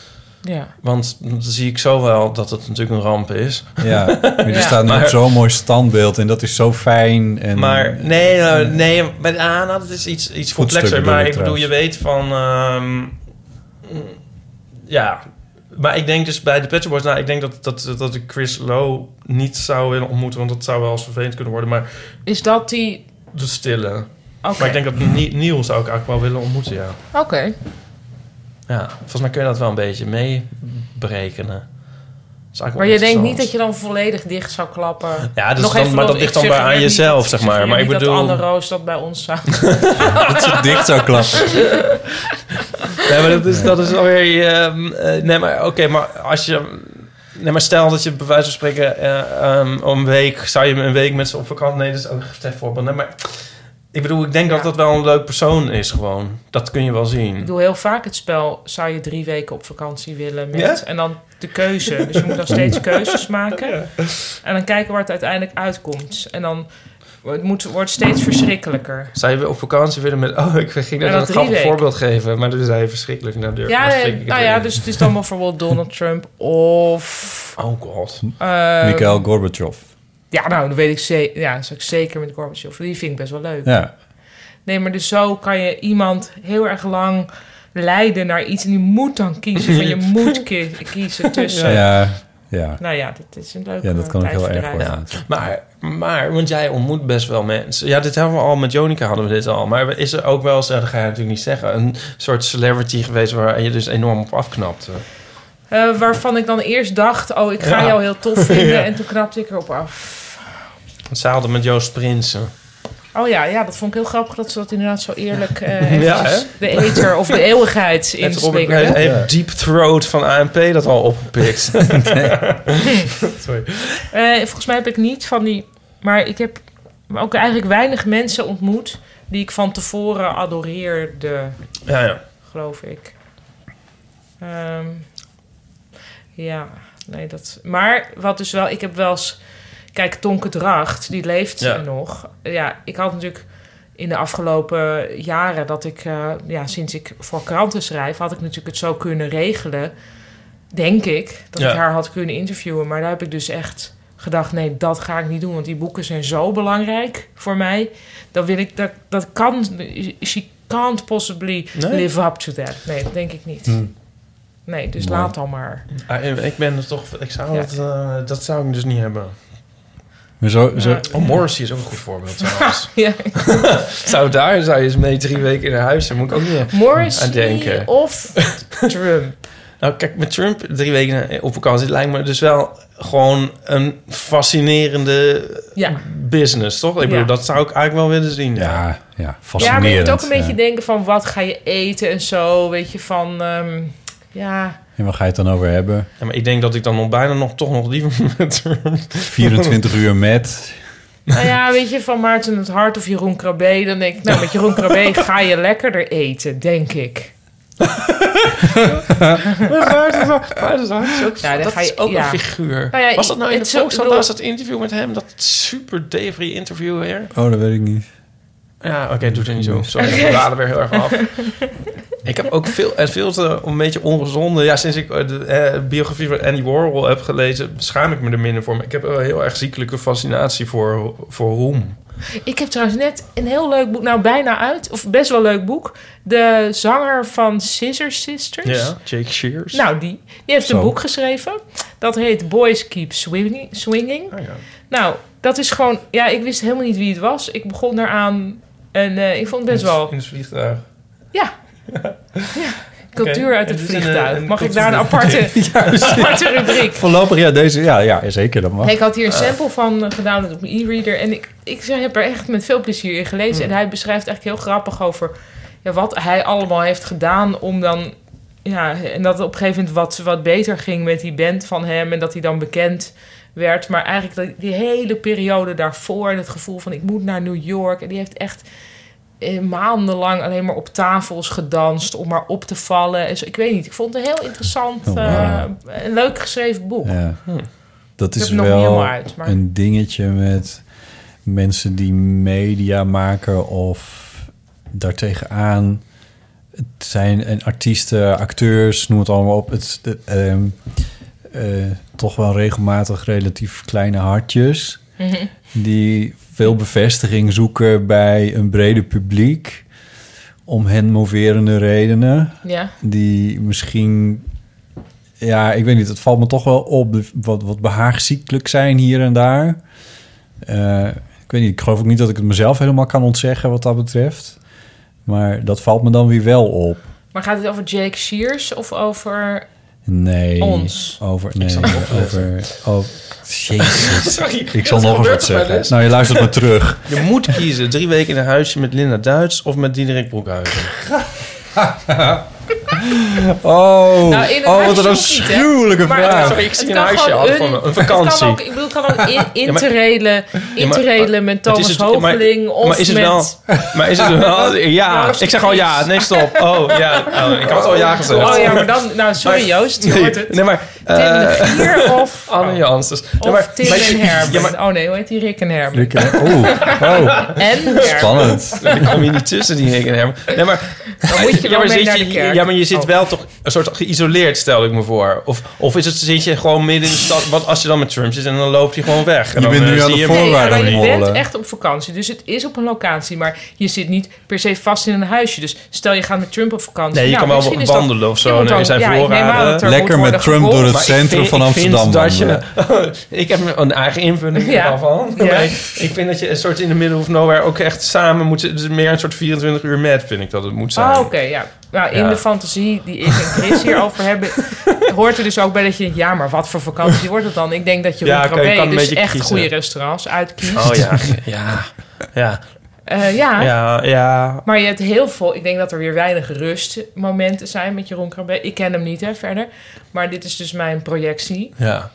Speaker 2: Ja.
Speaker 3: Want dan zie ik zo wel dat het natuurlijk een ramp is.
Speaker 1: Ja, maar er staat nu op
Speaker 3: Maar-
Speaker 1: zo'n mooi standbeeld en dat is zo fijn. En,
Speaker 3: maar nee, nou, nee, maar ah, nou, dat is iets, iets complexer.
Speaker 1: bedoel
Speaker 3: Maar
Speaker 1: ik
Speaker 3: ik bedoel, je weet van... ehm, ja, maar ik denk dus bij de Pet Shop Boys... Nou, ik denk dat, dat, dat ik Chris Lowe niet zou willen ontmoeten... want dat zou wel eens vervelend kunnen worden. Maar
Speaker 2: Is dat die.
Speaker 3: de stille.
Speaker 2: Oké.
Speaker 3: Maar ik denk dat Ni- Neil zou ik eigenlijk wel willen ontmoeten, ja.
Speaker 2: Oké.
Speaker 3: Ja, volgens mij kun je dat wel een beetje meeberekenen. Dat is eigenlijk wel
Speaker 2: Maar je denkt
Speaker 3: interessant.
Speaker 2: niet dat je dan volledig dicht zou klappen.
Speaker 3: Ja, dat is
Speaker 2: Nog
Speaker 3: dan-
Speaker 2: even
Speaker 3: maar
Speaker 2: los,
Speaker 3: dat ligt
Speaker 2: ik
Speaker 3: dan bij aan
Speaker 2: suggereer niet-
Speaker 3: jezelf, zeg maar.
Speaker 2: suggereer
Speaker 3: Maar ik
Speaker 2: niet
Speaker 3: bedoel- [laughs]
Speaker 2: Dat Anne Roos dat bij ons zou.
Speaker 1: Dat dicht zou klappen.
Speaker 3: Nee, maar dat is, dat is alweer... ehm, eh, nee, maar oké, maar als je... Nee, maar stel dat je bij wijze van spreken eh, ehm, om een week... Zou je een week met ze op vakantie... Nee, dat is ook een voorbeeld. Nee, maar ik bedoel, ik denk dat dat wel een leuk persoon is gewoon. Dat kun je wel zien.
Speaker 2: Ik doe heel vaak het spel, zou je drie weken op vakantie willen? Met,
Speaker 3: Ja?
Speaker 2: En dan de keuze. Dus je moet dan steeds keuzes maken. En dan kijken waar het uiteindelijk uitkomt. En dan het moet, wordt steeds verschrikkelijker.
Speaker 3: Zou je weer op vakantie willen met... Oh, ik ging
Speaker 2: Ja,
Speaker 3: net
Speaker 2: dat
Speaker 3: een
Speaker 2: drie
Speaker 3: grappig
Speaker 2: weken.
Speaker 3: voorbeeld geven. Maar toen zei je verschrikkelijk naar deur.
Speaker 2: Ja,
Speaker 3: daar
Speaker 2: eh,
Speaker 3: schrik ik
Speaker 2: nou
Speaker 3: erin.
Speaker 2: ja, dus het is dan bijvoorbeeld Donald Trump of...
Speaker 3: Oh god.
Speaker 2: eh,
Speaker 1: Mikhail Gorbachev.
Speaker 2: Ja, nou, dat weet ik zeker. Ja, dat zou ik zeker met Gorbachev. Die vind ik best wel leuk.
Speaker 1: Ja.
Speaker 2: Nee, maar dus zo kan je iemand heel erg lang leiden naar iets. En die moet dan kiezen. Van je moet ki- kiezen tussen...
Speaker 1: Ja, ja.
Speaker 2: Nou ja, dat is een leuke
Speaker 1: Ja, dat kan ook heel erg
Speaker 2: tijdverdrijf.
Speaker 1: worden.
Speaker 3: Maar, maar, want jij ontmoet best wel mensen. Ja, dit hebben we al met Jonica hadden we dit al. Maar is er ook wel, eens- dat ga je natuurlijk niet zeggen, een soort celebrity geweest waar je dus enorm op afknapte?
Speaker 2: Eh, waarvan ik dan eerst dacht, oh, ik ga
Speaker 3: Ja.
Speaker 1: [laughs]
Speaker 2: jou heel tof vinden.
Speaker 3: Ja.
Speaker 2: En toen knapte ik erop af.
Speaker 3: Want zij hadden met Joost Prinsen.
Speaker 2: Oh ja, ja, dat vond ik heel grappig dat ze dat inderdaad zo eerlijk
Speaker 1: [laughs]
Speaker 2: eh
Speaker 3: Ja,
Speaker 2: eventjes
Speaker 3: hè?
Speaker 2: de ether of de eeuwigheid
Speaker 3: Het Robert Bray
Speaker 2: inslingerden.
Speaker 3: heeft Deep Throat van ANP dat al
Speaker 1: [laughs]
Speaker 3: opgepikt.
Speaker 2: [laughs]
Speaker 3: Sorry.
Speaker 2: Eh, volgens mij heb ik niet van die. Maar ik heb ook eigenlijk weinig mensen ontmoet die ik van tevoren adoreerde.
Speaker 3: Ja, ja.
Speaker 2: Geloof ik. Ehm, ja, nee, dat. Maar wat dus wel, ik heb wel eens. Kijk, Tonke Dracht, die leeft
Speaker 3: Ja.
Speaker 2: nog. Ja, ik had natuurlijk in de afgelopen jaren dat ik, eh, ja, sinds ik voor kranten schrijf, had ik natuurlijk het zo kunnen regelen. Denk ik dat
Speaker 3: Ja.
Speaker 2: ik haar had kunnen interviewen. Maar daar heb ik dus echt gedacht: nee, dat ga ik niet doen. Want die boeken zijn zo belangrijk voor mij. Dat wil ik, dat, dat kan. She can't possibly
Speaker 3: Nee.
Speaker 2: live up to that. Nee, dat denk ik niet.
Speaker 3: Hmm.
Speaker 2: Nee, dus
Speaker 3: Mooi.
Speaker 2: laat dan maar.
Speaker 3: Ah, ik ben er toch... Ik zou
Speaker 2: Ja.
Speaker 3: het, eh, dat zou ik dus niet hebben.
Speaker 1: Maar zo, Eh, zo,
Speaker 3: Oh, Morrissey is ook een goed voorbeeld trouwens.
Speaker 2: [laughs] Ja.
Speaker 3: zou daar zou je eens mee drie weken naar huis. Daar moet ik ook niet aan
Speaker 2: Morrissey
Speaker 3: denken.
Speaker 2: of Trump.
Speaker 3: Nou, kijk, met Trump drie weken eh, op vakantie lijkt me dus wel gewoon een fascinerende
Speaker 2: Ja.
Speaker 3: business, toch? Ik bedoel,
Speaker 2: Ja.
Speaker 3: dat zou ik eigenlijk wel willen zien.
Speaker 1: Ja, ja
Speaker 2: Ja, maar je moet ook een beetje denken van wat ga je eten en zo. Weet je, van ehm, ja.
Speaker 1: En waar ga je het dan over hebben?
Speaker 3: Ja, maar ik denk dat ik dan nog bijna nog toch nog liever [laughs] met Trump...
Speaker 1: 24 uur met.
Speaker 2: Nou ja, weet je, van Maarten het Hart of Jeroen Krabbe. Dan denk ik, nou, met Jeroen
Speaker 3: [laughs]
Speaker 2: Krabbe ga je lekkerder eten, denk ik. Ja, dan
Speaker 3: dat
Speaker 2: ga je-
Speaker 3: is ook
Speaker 2: ja.
Speaker 3: een figuur.
Speaker 2: Nou ja,
Speaker 3: was dat nou in
Speaker 2: het
Speaker 3: de
Speaker 2: zo-
Speaker 3: Volkskrant was
Speaker 2: bedoel-
Speaker 3: dat interview met hem? Dat super debris interview weer?
Speaker 1: Oh, dat weet ik niet.
Speaker 3: Ja, oké, doe het er niet zo. Sorry, we dwalen weer heel erg
Speaker 1: [laughs]
Speaker 3: af. [laughs] Ik heb ook veel, en veel te, een beetje ongezonde... Ja, sinds ik eh, de eh, biografie van Andy Warhol heb gelezen... schaam ik me er minder voor. Maar ik heb wel een heel erg ziekelijke fascinatie voor, voor roem.
Speaker 2: Ik heb trouwens net een heel leuk boek, nou bijna uit, of best wel leuk boek. De zanger van Scissor Sisters.
Speaker 3: Ja, Jake Shears.
Speaker 2: Nou, die, die heeft
Speaker 3: Zo.
Speaker 2: een boek geschreven. Dat heet Boys Keep Swinging. swinging.
Speaker 3: Oh,
Speaker 2: Nou, dat is gewoon... Ja, ik wist helemaal niet wie het was. Ik begon eraan en eh, ik vond het best wel...
Speaker 3: In het vliegtuig. [laughs]
Speaker 2: Ja. ja. Cultuur
Speaker 3: Oké,
Speaker 2: uit het
Speaker 3: het is een,
Speaker 2: vliegtuig.
Speaker 3: eh, een
Speaker 2: Mag ik daar
Speaker 3: [laughs]
Speaker 2: een
Speaker 3: cultuur-
Speaker 2: aparte, aparte rubriek?
Speaker 1: Voorlopig, ja, deze, ja, ja zeker. Dat mag.
Speaker 2: Hey, ik had hier een sample van eh, gedownload op mijn e-reader. En ik, ik heb er echt met veel plezier in gelezen.
Speaker 1: Hmm.
Speaker 2: En hij beschrijft eigenlijk heel grappig over ja, wat hij allemaal heeft gedaan om dan. Ja, en dat op een gegeven moment wat, wat beter ging met die band van hem. En dat hij dan bekend werd. Maar eigenlijk dat- die hele periode daarvoor. en Het gevoel van ik moet naar New York. En die heeft echt eh, maandenlang alleen maar op tafels gedanst. Om maar op te vallen. En zo. Ik weet niet. Ik vond het een heel interessant,
Speaker 1: Oh, wow.
Speaker 2: eh, een leuk geschreven boek. Hm.
Speaker 1: Ja. Dat
Speaker 2: Ik
Speaker 1: is
Speaker 2: heb het nog niet
Speaker 1: wel
Speaker 2: helemaal uit, maar-
Speaker 1: een dingetje met mensen die media maken of daartegenaan. Het zijn en artiesten, acteurs, noem het allemaal op. Het, is de- ehm, eh, toch wel regelmatig relatief kleine hartjes.
Speaker 2: Mhm.
Speaker 1: Die veel bevestiging zoeken bij een breder publiek. Om hen moverende redenen.
Speaker 2: Ja.
Speaker 1: Die misschien ja, ik weet niet. Het valt me toch wel op. de- Wat, wat behaagziekelijk zijn hier en daar. Eh, ik weet niet. Ik geloof ook niet dat ik het mezelf helemaal kan ontzeggen wat dat betreft. Maar dat valt me dan weer wel op.
Speaker 2: Maar gaat het over Jake Shears of over...
Speaker 1: Nee.
Speaker 2: Ons.
Speaker 1: Over, nee,
Speaker 2: zal
Speaker 1: over,
Speaker 2: het opletten.
Speaker 1: oh,
Speaker 3: [laughs]
Speaker 1: jezus.
Speaker 3: Sorry,
Speaker 1: ik zal
Speaker 3: dat
Speaker 1: nog eens wat
Speaker 3: gebeurt er wel
Speaker 1: zeggen.
Speaker 3: eens.
Speaker 1: Nou, je
Speaker 3: [laughs]
Speaker 1: luistert me terug.
Speaker 3: Je moet kiezen. Drie weken in een huisje met Linda Duits of met Diederik Broekhuizen.
Speaker 1: [laughs] Oh,
Speaker 2: Nou, in een
Speaker 1: oh
Speaker 2: huisje
Speaker 1: wat een
Speaker 2: hoeft niet, hè?
Speaker 1: afschuwelijke
Speaker 2: Maar-
Speaker 1: vraag.
Speaker 3: Sorry, ik zie
Speaker 2: Het
Speaker 3: een
Speaker 2: kan
Speaker 3: huisje
Speaker 2: gewoon
Speaker 3: al van een
Speaker 2: Het kan
Speaker 3: vakantie. Oh,
Speaker 2: ook, ik bedoel, het kan
Speaker 3: [laughs]
Speaker 2: ook in,
Speaker 3: maar-
Speaker 2: interrelen, interrelen met
Speaker 3: Het
Speaker 2: Thomas
Speaker 3: is het-
Speaker 2: Hoogling of
Speaker 3: is het
Speaker 2: met...
Speaker 3: wel? Maar is het
Speaker 2: [laughs]
Speaker 3: wel? Ja, ik zeg al ja. Nee, stop. Oh ja, oh, ik had al ja gezegd.
Speaker 2: Oh ja, maar dan... Nou, sorry Joost, je
Speaker 3: nee,
Speaker 2: hoort het.
Speaker 3: Nee, maar. eh,
Speaker 2: Tim
Speaker 3: [laughs]
Speaker 2: de Gier of...
Speaker 3: Anne Jans. Dus, nee,
Speaker 2: Of
Speaker 3: maar-
Speaker 2: Tim
Speaker 3: maar-
Speaker 2: en Herbert.
Speaker 3: Ja, maar
Speaker 2: Oh nee, hoe heet die? Rick en Herbert.
Speaker 1: Luc, hè? Oeh, oh,
Speaker 2: En Herbert.
Speaker 3: [laughs]
Speaker 1: spannend.
Speaker 3: ik
Speaker 2: [laughs]
Speaker 3: kom hier niet tussen die Rick en Herman. Nee, maar.
Speaker 2: Dan moet je
Speaker 3: ja,
Speaker 2: wel
Speaker 3: maar
Speaker 2: mee
Speaker 3: zit
Speaker 2: naar
Speaker 3: je,
Speaker 2: de kerk.
Speaker 3: ja, maar je zit
Speaker 2: Oh.
Speaker 3: wel toch een soort geïsoleerd, stel ik me voor. Of, of is het, zit je gewoon midden in de stad? Want als je dan met Trump zit en dan loopt hij gewoon weg. En
Speaker 1: Je
Speaker 3: dan,
Speaker 1: bent
Speaker 3: eh,
Speaker 1: nu aan
Speaker 3: zie
Speaker 1: de
Speaker 3: je hem-
Speaker 1: voor-
Speaker 2: Nee,
Speaker 1: Voorwaarden
Speaker 2: maar je
Speaker 1: rollen.
Speaker 2: bent echt op vakantie, dus het is op een locatie. Maar je zit niet per se vast in een huisje. Dus stel je gaat met Trump op vakantie.
Speaker 3: Nee, je
Speaker 2: nou,
Speaker 3: kan wel
Speaker 2: misschien is dat-
Speaker 3: wandelen of zo,
Speaker 2: Je moet
Speaker 3: nee,
Speaker 2: dan-
Speaker 3: zijn
Speaker 2: ja, ik neem aan
Speaker 3: voorraden.
Speaker 2: dat er
Speaker 1: Lekker
Speaker 2: moet
Speaker 1: met
Speaker 2: worden
Speaker 1: Trump door
Speaker 2: gevolgd.
Speaker 1: het
Speaker 3: Maar ik
Speaker 1: centrum
Speaker 3: vind-
Speaker 1: van
Speaker 3: ik
Speaker 1: Amsterdam
Speaker 3: vind dat je, [laughs]
Speaker 1: wandelen.
Speaker 3: ik heb een eigen invulling
Speaker 2: Ja.
Speaker 3: daarvan.
Speaker 2: Ja.
Speaker 3: Maar ik, ik vind dat je een soort in de middle of nowhere ook echt samen moet... Dus meer een soort 24 uur met, vind ik dat het moet zijn.
Speaker 2: Ah, oké, ja. Nou, in
Speaker 3: Ja.
Speaker 2: de fantasie die ik en
Speaker 3: [laughs]
Speaker 2: Chris hierover hebben... hoort er dus ook bij dat je denkt... ja, maar wat voor vakantie wordt het dan? Ik denk dat je
Speaker 3: Ja,
Speaker 2: ja,
Speaker 3: oké, je kan een
Speaker 2: dus
Speaker 3: beetje Oh,
Speaker 2: echt
Speaker 3: [laughs] kiezen.
Speaker 1: Oh
Speaker 2: [laughs] goede restaurants uitkiest.
Speaker 3: Oh ja, ja, ja.
Speaker 2: Eh, ja.
Speaker 3: Ja, ja.
Speaker 2: Maar je hebt heel veel... Ik denk dat er weer weinig rustmomenten zijn met Jeroen Krabbe. Ik ken hem niet, hè, verder. Maar dit is dus mijn projectie.
Speaker 3: Ja.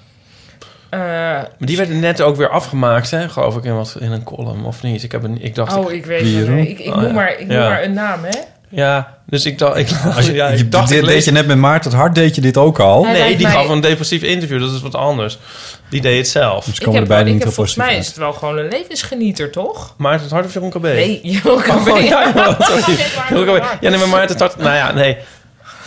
Speaker 2: Eh,
Speaker 3: Maar die werd net ook weer afgemaakt, hè? geloof ik, in, wat, in een column, of niet? Ik, heb een, ik dacht...
Speaker 2: oh, ik weet het niet. Ik, ik,
Speaker 3: Oh,
Speaker 2: noem,
Speaker 3: ja.
Speaker 2: maar, ik noem
Speaker 3: Ja.
Speaker 2: maar een naam, hè?
Speaker 3: Ja, dus ik dacht... Ik,
Speaker 1: Als je,
Speaker 3: ja, ik
Speaker 1: je-
Speaker 3: dacht,
Speaker 1: dit
Speaker 3: ik
Speaker 1: deed
Speaker 3: lees-
Speaker 1: je net met Maarten het Hart, deed je dit ook al.
Speaker 2: Hij
Speaker 3: Nee,
Speaker 2: lijkt
Speaker 3: die
Speaker 2: mij-
Speaker 3: gaf een depressief interview. dus Dat is wat anders. Die deed het zelf.
Speaker 1: Dus komen er beide
Speaker 2: ik
Speaker 1: niet
Speaker 2: heb
Speaker 1: heel
Speaker 2: volgens
Speaker 1: positief
Speaker 2: mij
Speaker 1: uit.
Speaker 2: is het wel gewoon een levensgenieter, toch?
Speaker 3: Maarten het Hart of Jeroen KB?
Speaker 2: Nee, Jeroen Krabbe.
Speaker 3: Oh, ja, ja,
Speaker 2: [laughs]
Speaker 3: sorry.
Speaker 2: Jeroen
Speaker 3: Jeroen KB. Ja, nee, maar Maarten het Hart... Nou ja, nee.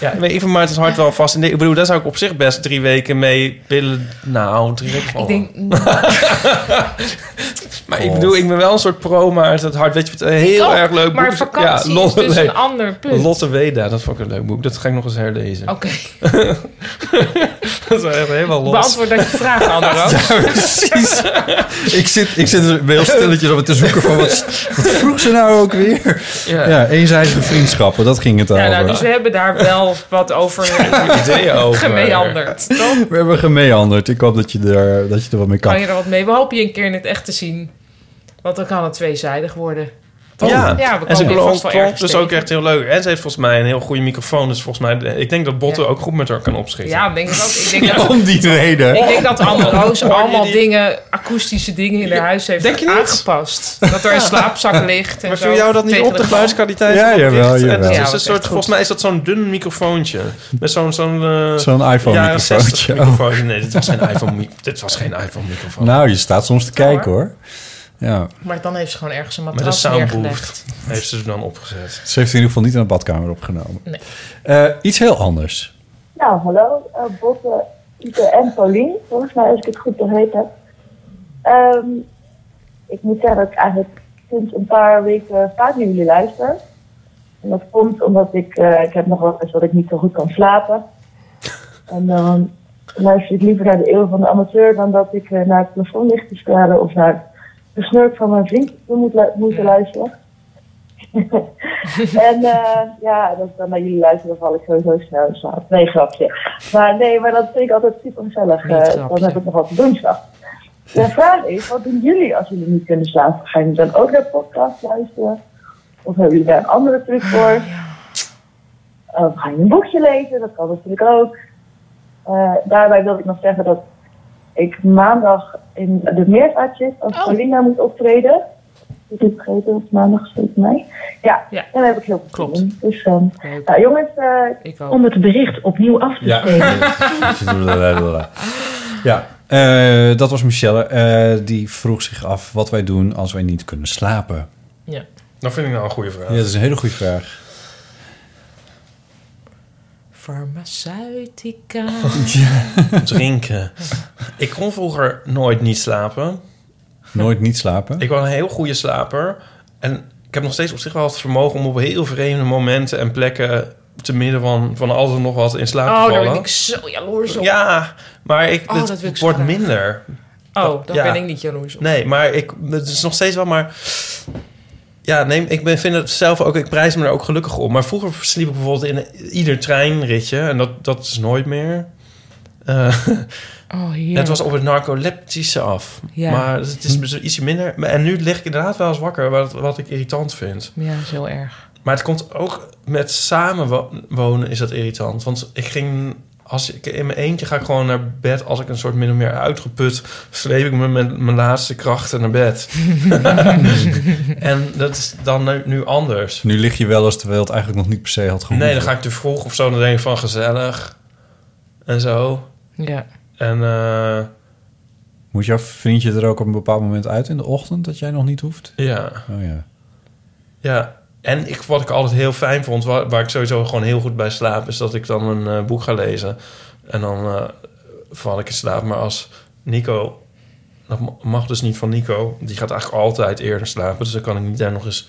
Speaker 3: Ja, ik weet- ik vind Maarten het Hart wel vast. in de- Ik bedoel, daar zou ik op zich best drie weken mee willen... Nou, drie weken
Speaker 2: Ik
Speaker 3: wel.
Speaker 2: denk,
Speaker 3: [laughs] Maar ik bedoel, ik ben wel een soort pro Maarten het Hart. Weet je wat? Een [laughs] heel
Speaker 2: ook,
Speaker 3: erg leuk boek.
Speaker 2: maar vakantie is dus een ander punt.
Speaker 3: Lotte Weda, dat vond ik een leuk boek. Dat ga ik nog eens herlezen.
Speaker 2: Oké,
Speaker 3: [laughs] dat is echt helemaal los.
Speaker 2: beantwoord dat je
Speaker 3: [laughs]
Speaker 2: vraag, Andro.
Speaker 1: Precies. ik, zit, ik zit er heel [laughs] stilletjes op te zoeken van wat, wat vroeg ze nou ook weer?
Speaker 3: Ja.
Speaker 1: [laughs] Ja, eenzijdige vriendschappen, dat ging het
Speaker 2: Ja,
Speaker 1: over.
Speaker 2: nou, dus we hebben daar wel wat over
Speaker 3: [laughs] Ideeën over.
Speaker 2: gemeanderd. toch?
Speaker 1: [laughs] We hebben gemeanderd. Ik hoop dat je er, dat je er wat mee kan.
Speaker 2: Kan je er wat mee? We hopen je een keer in het echt te zien. Want dan kan het tweezijdig worden. Toch?
Speaker 3: Ja.
Speaker 2: ja, we
Speaker 3: En ze
Speaker 2: komen vast wel
Speaker 3: klonk
Speaker 2: ergens
Speaker 3: dus
Speaker 2: tegen.
Speaker 3: ook echt heel leuk. En ze heeft volgens mij een heel goede microfoon. Dus volgens mij, ik denk dat Botten
Speaker 2: Ja.
Speaker 3: ook goed met haar kan [laughs] opschieten.
Speaker 2: Ja, ik denk dat, ik denk
Speaker 3: Oh,
Speaker 2: dat,
Speaker 1: Om die reden.
Speaker 2: ik denk dat Anne Roos
Speaker 3: Hoor je
Speaker 2: allemaal
Speaker 3: Oh, die?
Speaker 2: dingen, akoestische dingen in haar huis heeft
Speaker 3: Denk je niet?
Speaker 2: aangepast. Dat er een slaapzak ligt. En
Speaker 3: Maar
Speaker 2: zo,
Speaker 3: viel jou dat niet
Speaker 2: tegen
Speaker 3: op, de
Speaker 2: grond.
Speaker 3: geluidskwaliteit?
Speaker 1: Ja,
Speaker 3: van dat
Speaker 1: jawel,
Speaker 3: licht?
Speaker 1: jawel.
Speaker 3: Het
Speaker 2: Ja,
Speaker 3: is
Speaker 2: was
Speaker 3: een
Speaker 2: echt
Speaker 3: soort,
Speaker 2: goed.
Speaker 3: volgens mij is dat zo'n dun microfoontje. Met zo'n... Zo'n eh,
Speaker 1: Zo'n
Speaker 3: jaren
Speaker 1: iPhone-microfoontje.
Speaker 3: 60 microfoontje. Nee, dit was geen iPhone, dit was geen iPhone microfoon.
Speaker 1: Nou, je staat soms te kijken hoor. Ja,
Speaker 2: Maar dan heeft ze gewoon ergens een
Speaker 3: met een
Speaker 2: matras neergelegd.
Speaker 3: soundboost heeft ze er dan opgezet.
Speaker 1: ze heeft in ieder geval niet in de badkamer opgenomen.
Speaker 2: Nee.
Speaker 1: Eh, iets heel anders.
Speaker 11: Nou, hallo, eh Botte, Pieter en Paulien. Volgens mij, als ik het goed begrepen heb. Ehm, ik moet zeggen dat ik eigenlijk sinds een paar weken vaak naar jullie luister. En dat komt omdat ik, eh, ik heb nog wel eens dat ik niet zo goed kan slapen. En dan luister ik liever naar de eeuw van de amateur dan dat ik eh, naar het plafond ligt te staren of naar de snurk van mijn vriend moet lu- moeten luisteren. [laughs] en eh, ja, dat ik dan naar jullie luisteren, dan val ik sowieso snel in slaap. Nee, grapje. Maar nee, maar dat vind ik altijd super gezellig.
Speaker 2: Niet
Speaker 11: eh, dan
Speaker 2: grapje.
Speaker 11: heb ik nog wat te doen s'nachts. De vraag is, wat doen jullie als jullie niet kunnen slapen? Gaan jullie dan ook naar podcast luisteren? Of hebben jullie daar een andere truc voor? Of ga je een boekje lezen? Dat kan natuurlijk ook. Eh, daarbij wil ik nog zeggen dat ik maandag in de meervaart zit als
Speaker 2: Oh.
Speaker 11: Paulina moet optreden. Ik heb vergeten, dat is maandag steeds mij. Ja,
Speaker 2: Ja.
Speaker 11: en daar heb ik heel veel
Speaker 2: Klopt.
Speaker 11: zin in. Dus ehm,
Speaker 2: Leuk.
Speaker 11: nou, jongens, eh,
Speaker 2: Ik ook.
Speaker 11: om het bericht opnieuw af te
Speaker 1: Ja.
Speaker 11: spelen.
Speaker 1: [laughs] ja. eh, dat was Michelle. Eh, die vroeg zich af wat wij doen als wij niet kunnen slapen.
Speaker 2: Ja.
Speaker 3: Dat vind ik nou een goede vraag.
Speaker 1: Ja, dat is een hele goede vraag.
Speaker 3: [laughs]
Speaker 2: Farmaceutica.
Speaker 3: Oh, Drinken. Ik kon vroeger nooit niet slapen.
Speaker 1: Nooit niet slapen.
Speaker 3: Ik was een heel goede slaper. En ik heb nog steeds op zich wel het vermogen om op heel vreemde momenten en plekken... te midden van, van alles en nog wat in slaap
Speaker 2: Oh,
Speaker 3: te
Speaker 2: daar
Speaker 3: vallen.
Speaker 2: ben ik zo jaloers op.
Speaker 3: Ja, maar ik,
Speaker 2: Oh,
Speaker 3: het
Speaker 2: dat wil ik zo
Speaker 3: wordt
Speaker 2: graag.
Speaker 3: minder.
Speaker 2: oh, daar
Speaker 3: ja.
Speaker 2: ben ik niet jaloers op.
Speaker 3: Nee, maar ik, het is nog steeds wel maar... Ja, nee, ik ben, vind het zelf ook... Ik prijs me er ook gelukkig om. Maar vroeger sliep ik bijvoorbeeld in ieder treinritje. En dat, dat is nooit meer. Eh, [laughs]
Speaker 2: Oh, hier.
Speaker 3: Het was op het narcoleptische af.
Speaker 2: Ja.
Speaker 3: Maar het is dus ietsje minder. En nu lig ik inderdaad wel eens wakker, wat, wat ik irritant vind.
Speaker 2: Ja, zo erg.
Speaker 3: Maar het komt ook met samenwonen is dat irritant. Want ik ging... Als ik, in mijn eentje ga ik gewoon naar bed als ik een soort min of meer uitgeput... sleep ik me met mijn laatste krachten naar
Speaker 2: [laughs]
Speaker 3: bed. en dat is dan nu, nu anders.
Speaker 1: Nu lig je wel eens terwijl het eigenlijk nog niet per se had gehoeven.
Speaker 3: Nee, dan ga ik te vroeg of zo. Dan denk ik van gezellig. En zo.
Speaker 2: Ja.
Speaker 3: En eh,
Speaker 1: Moet jouw vriendje er ook op een bepaald moment uit in de ochtend dat jij nog niet hoeft?
Speaker 3: ja...
Speaker 1: Oh
Speaker 2: [laughs]
Speaker 1: ja.
Speaker 3: Ja, en ik, wat ik altijd heel fijn vond, waar, waar ik sowieso gewoon heel goed bij slaap, is dat ik dan een eh, boek ga lezen. En dan eh, val ik in slaap. Maar als Nico, dat ma- mag dus niet van Nico, die gaat eigenlijk altijd eerder slapen. Dus dan kan ik niet daar nog eens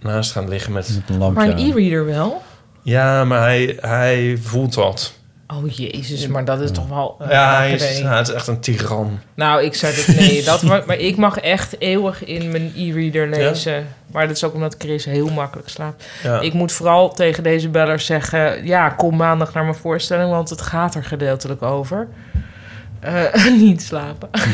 Speaker 3: naast gaan liggen met.
Speaker 1: Met een lampje
Speaker 2: Maar een
Speaker 1: aan.
Speaker 2: e-reader wel?
Speaker 3: Ja, maar hij, hij voelt dat.
Speaker 2: Oh jezus, maar dat is toch wel... eh,
Speaker 3: Ja, hij is,
Speaker 2: Nee.
Speaker 3: ja, het is echt een tiran.
Speaker 2: Nou, ik
Speaker 3: [laughs]
Speaker 2: zei dat
Speaker 1: [laughs]
Speaker 2: nee. Dat, maar, maar ik mag echt eeuwig in mijn e-reader lezen. Maar dat is ook omdat Chris heel makkelijk slaapt.
Speaker 3: Ja.
Speaker 2: Ik moet vooral tegen deze beller zeggen... ja, kom maandag naar mijn voorstelling... [laughs] want het gaat er gedeeltelijk over. Eh, niet slapen.
Speaker 1: Maar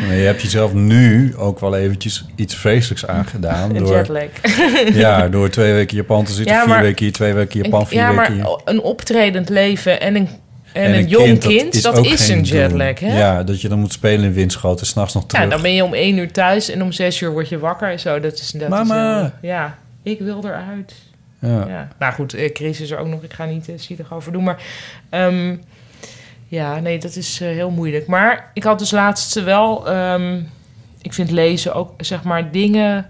Speaker 1: Hmm. je hebt jezelf nu ook wel eventjes iets vreselijks
Speaker 2: [laughs]
Speaker 1: aangedaan.
Speaker 2: Een
Speaker 1: door,
Speaker 2: jetlag.
Speaker 1: [laughs] Ja, door twee weken Japan te zitten,
Speaker 2: Ja,
Speaker 1: vier
Speaker 2: maar-
Speaker 1: weken hier, twee weken Japan,
Speaker 2: Een-
Speaker 1: vier
Speaker 2: ja, maar
Speaker 1: weken hier.
Speaker 2: een optredend leven en een, en een, jong kind, dat is,
Speaker 1: ook geen
Speaker 2: een
Speaker 1: doel.
Speaker 2: jetlag. Hè?
Speaker 1: Ja, dat je dan moet spelen in windschoten, s'nachts nog terug.
Speaker 2: Ja, dan ben je om één uur thuis en om zes uur word je wakker en zo. Dat is, dat
Speaker 1: Mama.
Speaker 2: Is heel- ja, ik wil eruit.
Speaker 1: Ja.
Speaker 2: Nou goed, eh, Chris is er ook nog. Ik ga niet eh, zielig over doen. Maar ehm, ja, nee, dat is eh, heel moeilijk. Maar ik had dus laatst wel... ehm, ik vind lezen ook, zeg maar, dingen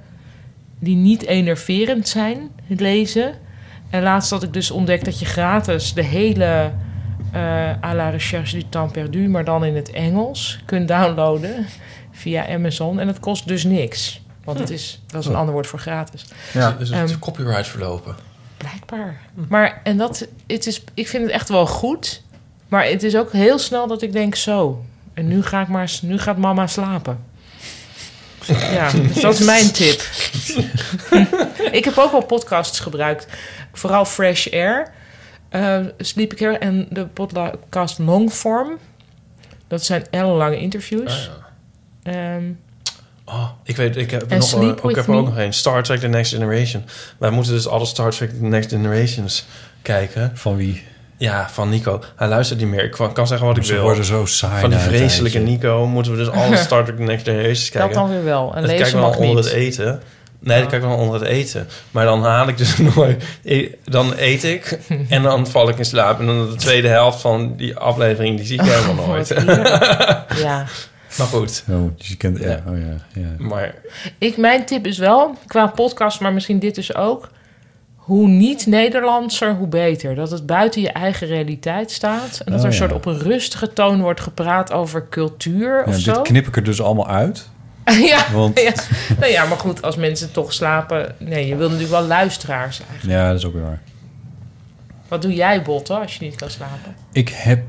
Speaker 2: die niet enerverend zijn. Het lezen. En laatst had ik dus ontdekt dat je gratis de hele... eh à la recherche du temps perdu, maar dan in het Engels, kunt downloaden via Amazon. En dat kost dus niks. Want het is, dat is een
Speaker 3: Oh.
Speaker 2: ander woord voor gratis.
Speaker 3: Ja. Dus het
Speaker 2: Ehm,
Speaker 3: is copyright verlopen.
Speaker 2: Blijkbaar. Maar en dat, het is, ik vind het echt wel goed. Maar het is ook heel snel dat ik denk zo. En nu ga ik maar, s- nu gaat mama slapen. Ja, dus dat is mijn tip. [laughs] ik heb ook wel podcasts gebruikt. Vooral Fresh Air, eh, Sleepy Care en de podcast Longform. Dat zijn ellenlange interviews. Ehm,
Speaker 3: Ah, Ik weet, ik heb,
Speaker 2: En
Speaker 3: nog,
Speaker 2: Sleep
Speaker 3: ik
Speaker 2: With
Speaker 3: heb er
Speaker 2: Me.
Speaker 3: ook nog één. Star Trek The Next Generation. Wij moeten dus alle Star Trek The Next Generations kijken.
Speaker 1: Van wie?
Speaker 3: Ja, van Nico. Hij luistert niet meer. Ik kan kan zeggen wat ik
Speaker 1: Ze
Speaker 3: wil.
Speaker 1: worden zo saai
Speaker 3: Van die
Speaker 1: na een
Speaker 3: vreselijke
Speaker 1: tijdje.
Speaker 3: Nico moeten we dus
Speaker 2: [laughs]
Speaker 3: alle Star Trek The Next Generations kijken. Dus
Speaker 2: dan weer wel. En lezen
Speaker 3: kijken we
Speaker 2: mag
Speaker 3: dan onder
Speaker 2: niet.
Speaker 3: het eten. Nee, dat kijk ik dan onder het eten. Maar dan haal ik dus [laughs] nooit... ik- Dan eet
Speaker 2: [laughs]
Speaker 3: ik en dan val ik in slaap. En dan de tweede helft van die aflevering, die zie ik helemaal nooit.
Speaker 2: Oh,
Speaker 3: [laughs]
Speaker 2: ja.
Speaker 3: Maar goed.
Speaker 1: Oh, dus je kent, ja, Oh ja, ja.
Speaker 3: Maar
Speaker 2: Ik, mijn tip is wel, qua podcast, maar misschien dit dus ook... hoe niet Nederlandser, hoe beter. Dat het buiten je eigen realiteit staat. En
Speaker 1: Oh,
Speaker 2: dat er een
Speaker 1: ja.
Speaker 2: soort op een rustige toon wordt gepraat over cultuur
Speaker 1: Ja,
Speaker 2: of zo.
Speaker 1: dit knip ik er dus allemaal uit.
Speaker 2: [laughs] ja,
Speaker 1: [laughs] Want-
Speaker 2: ja. Nou ja, maar goed, als mensen toch slapen... Nee, je wil natuurlijk wel luisteraars eigenlijk.
Speaker 1: Ja, dat is ook weer waar.
Speaker 2: Wat doe jij, Botte, als je niet kan slapen?
Speaker 1: Ik heb,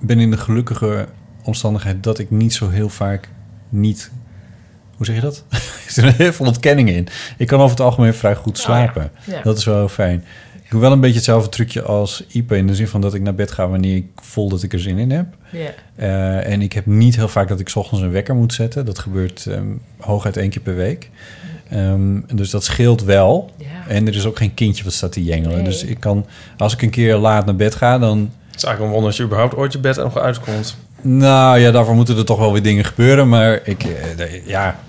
Speaker 1: ben in de gelukkige omstandigheid dat ik niet zo heel vaak niet... Hoe zeg je dat? [laughs] Er zitten heel veel ontkenningen in. Ik kan over het algemeen vrij goed slapen.
Speaker 2: Oh, Ja.
Speaker 1: Dat is wel heel fijn. Ik doe wel een beetje hetzelfde trucje als Ipe... in de zin van dat ik naar bed ga wanneer ik voel dat ik er zin in heb.
Speaker 2: Ja.
Speaker 1: Eh, en ik heb niet heel vaak dat ik 's ochtends een wekker moet zetten. Dat gebeurt ehm, hooguit één keer per week. Ehm, dus dat scheelt wel. En er is ook geen kindje wat staat te jengelen.
Speaker 3: Nee.
Speaker 1: Dus ik kan, als ik een keer laat naar bed ga, dan
Speaker 3: het is eigenlijk een wonder als je überhaupt ooit je bed nog uitkomt.
Speaker 1: nou ja, daarvoor moeten er toch wel weer dingen gebeuren. Maar ik, eh, nee, ja.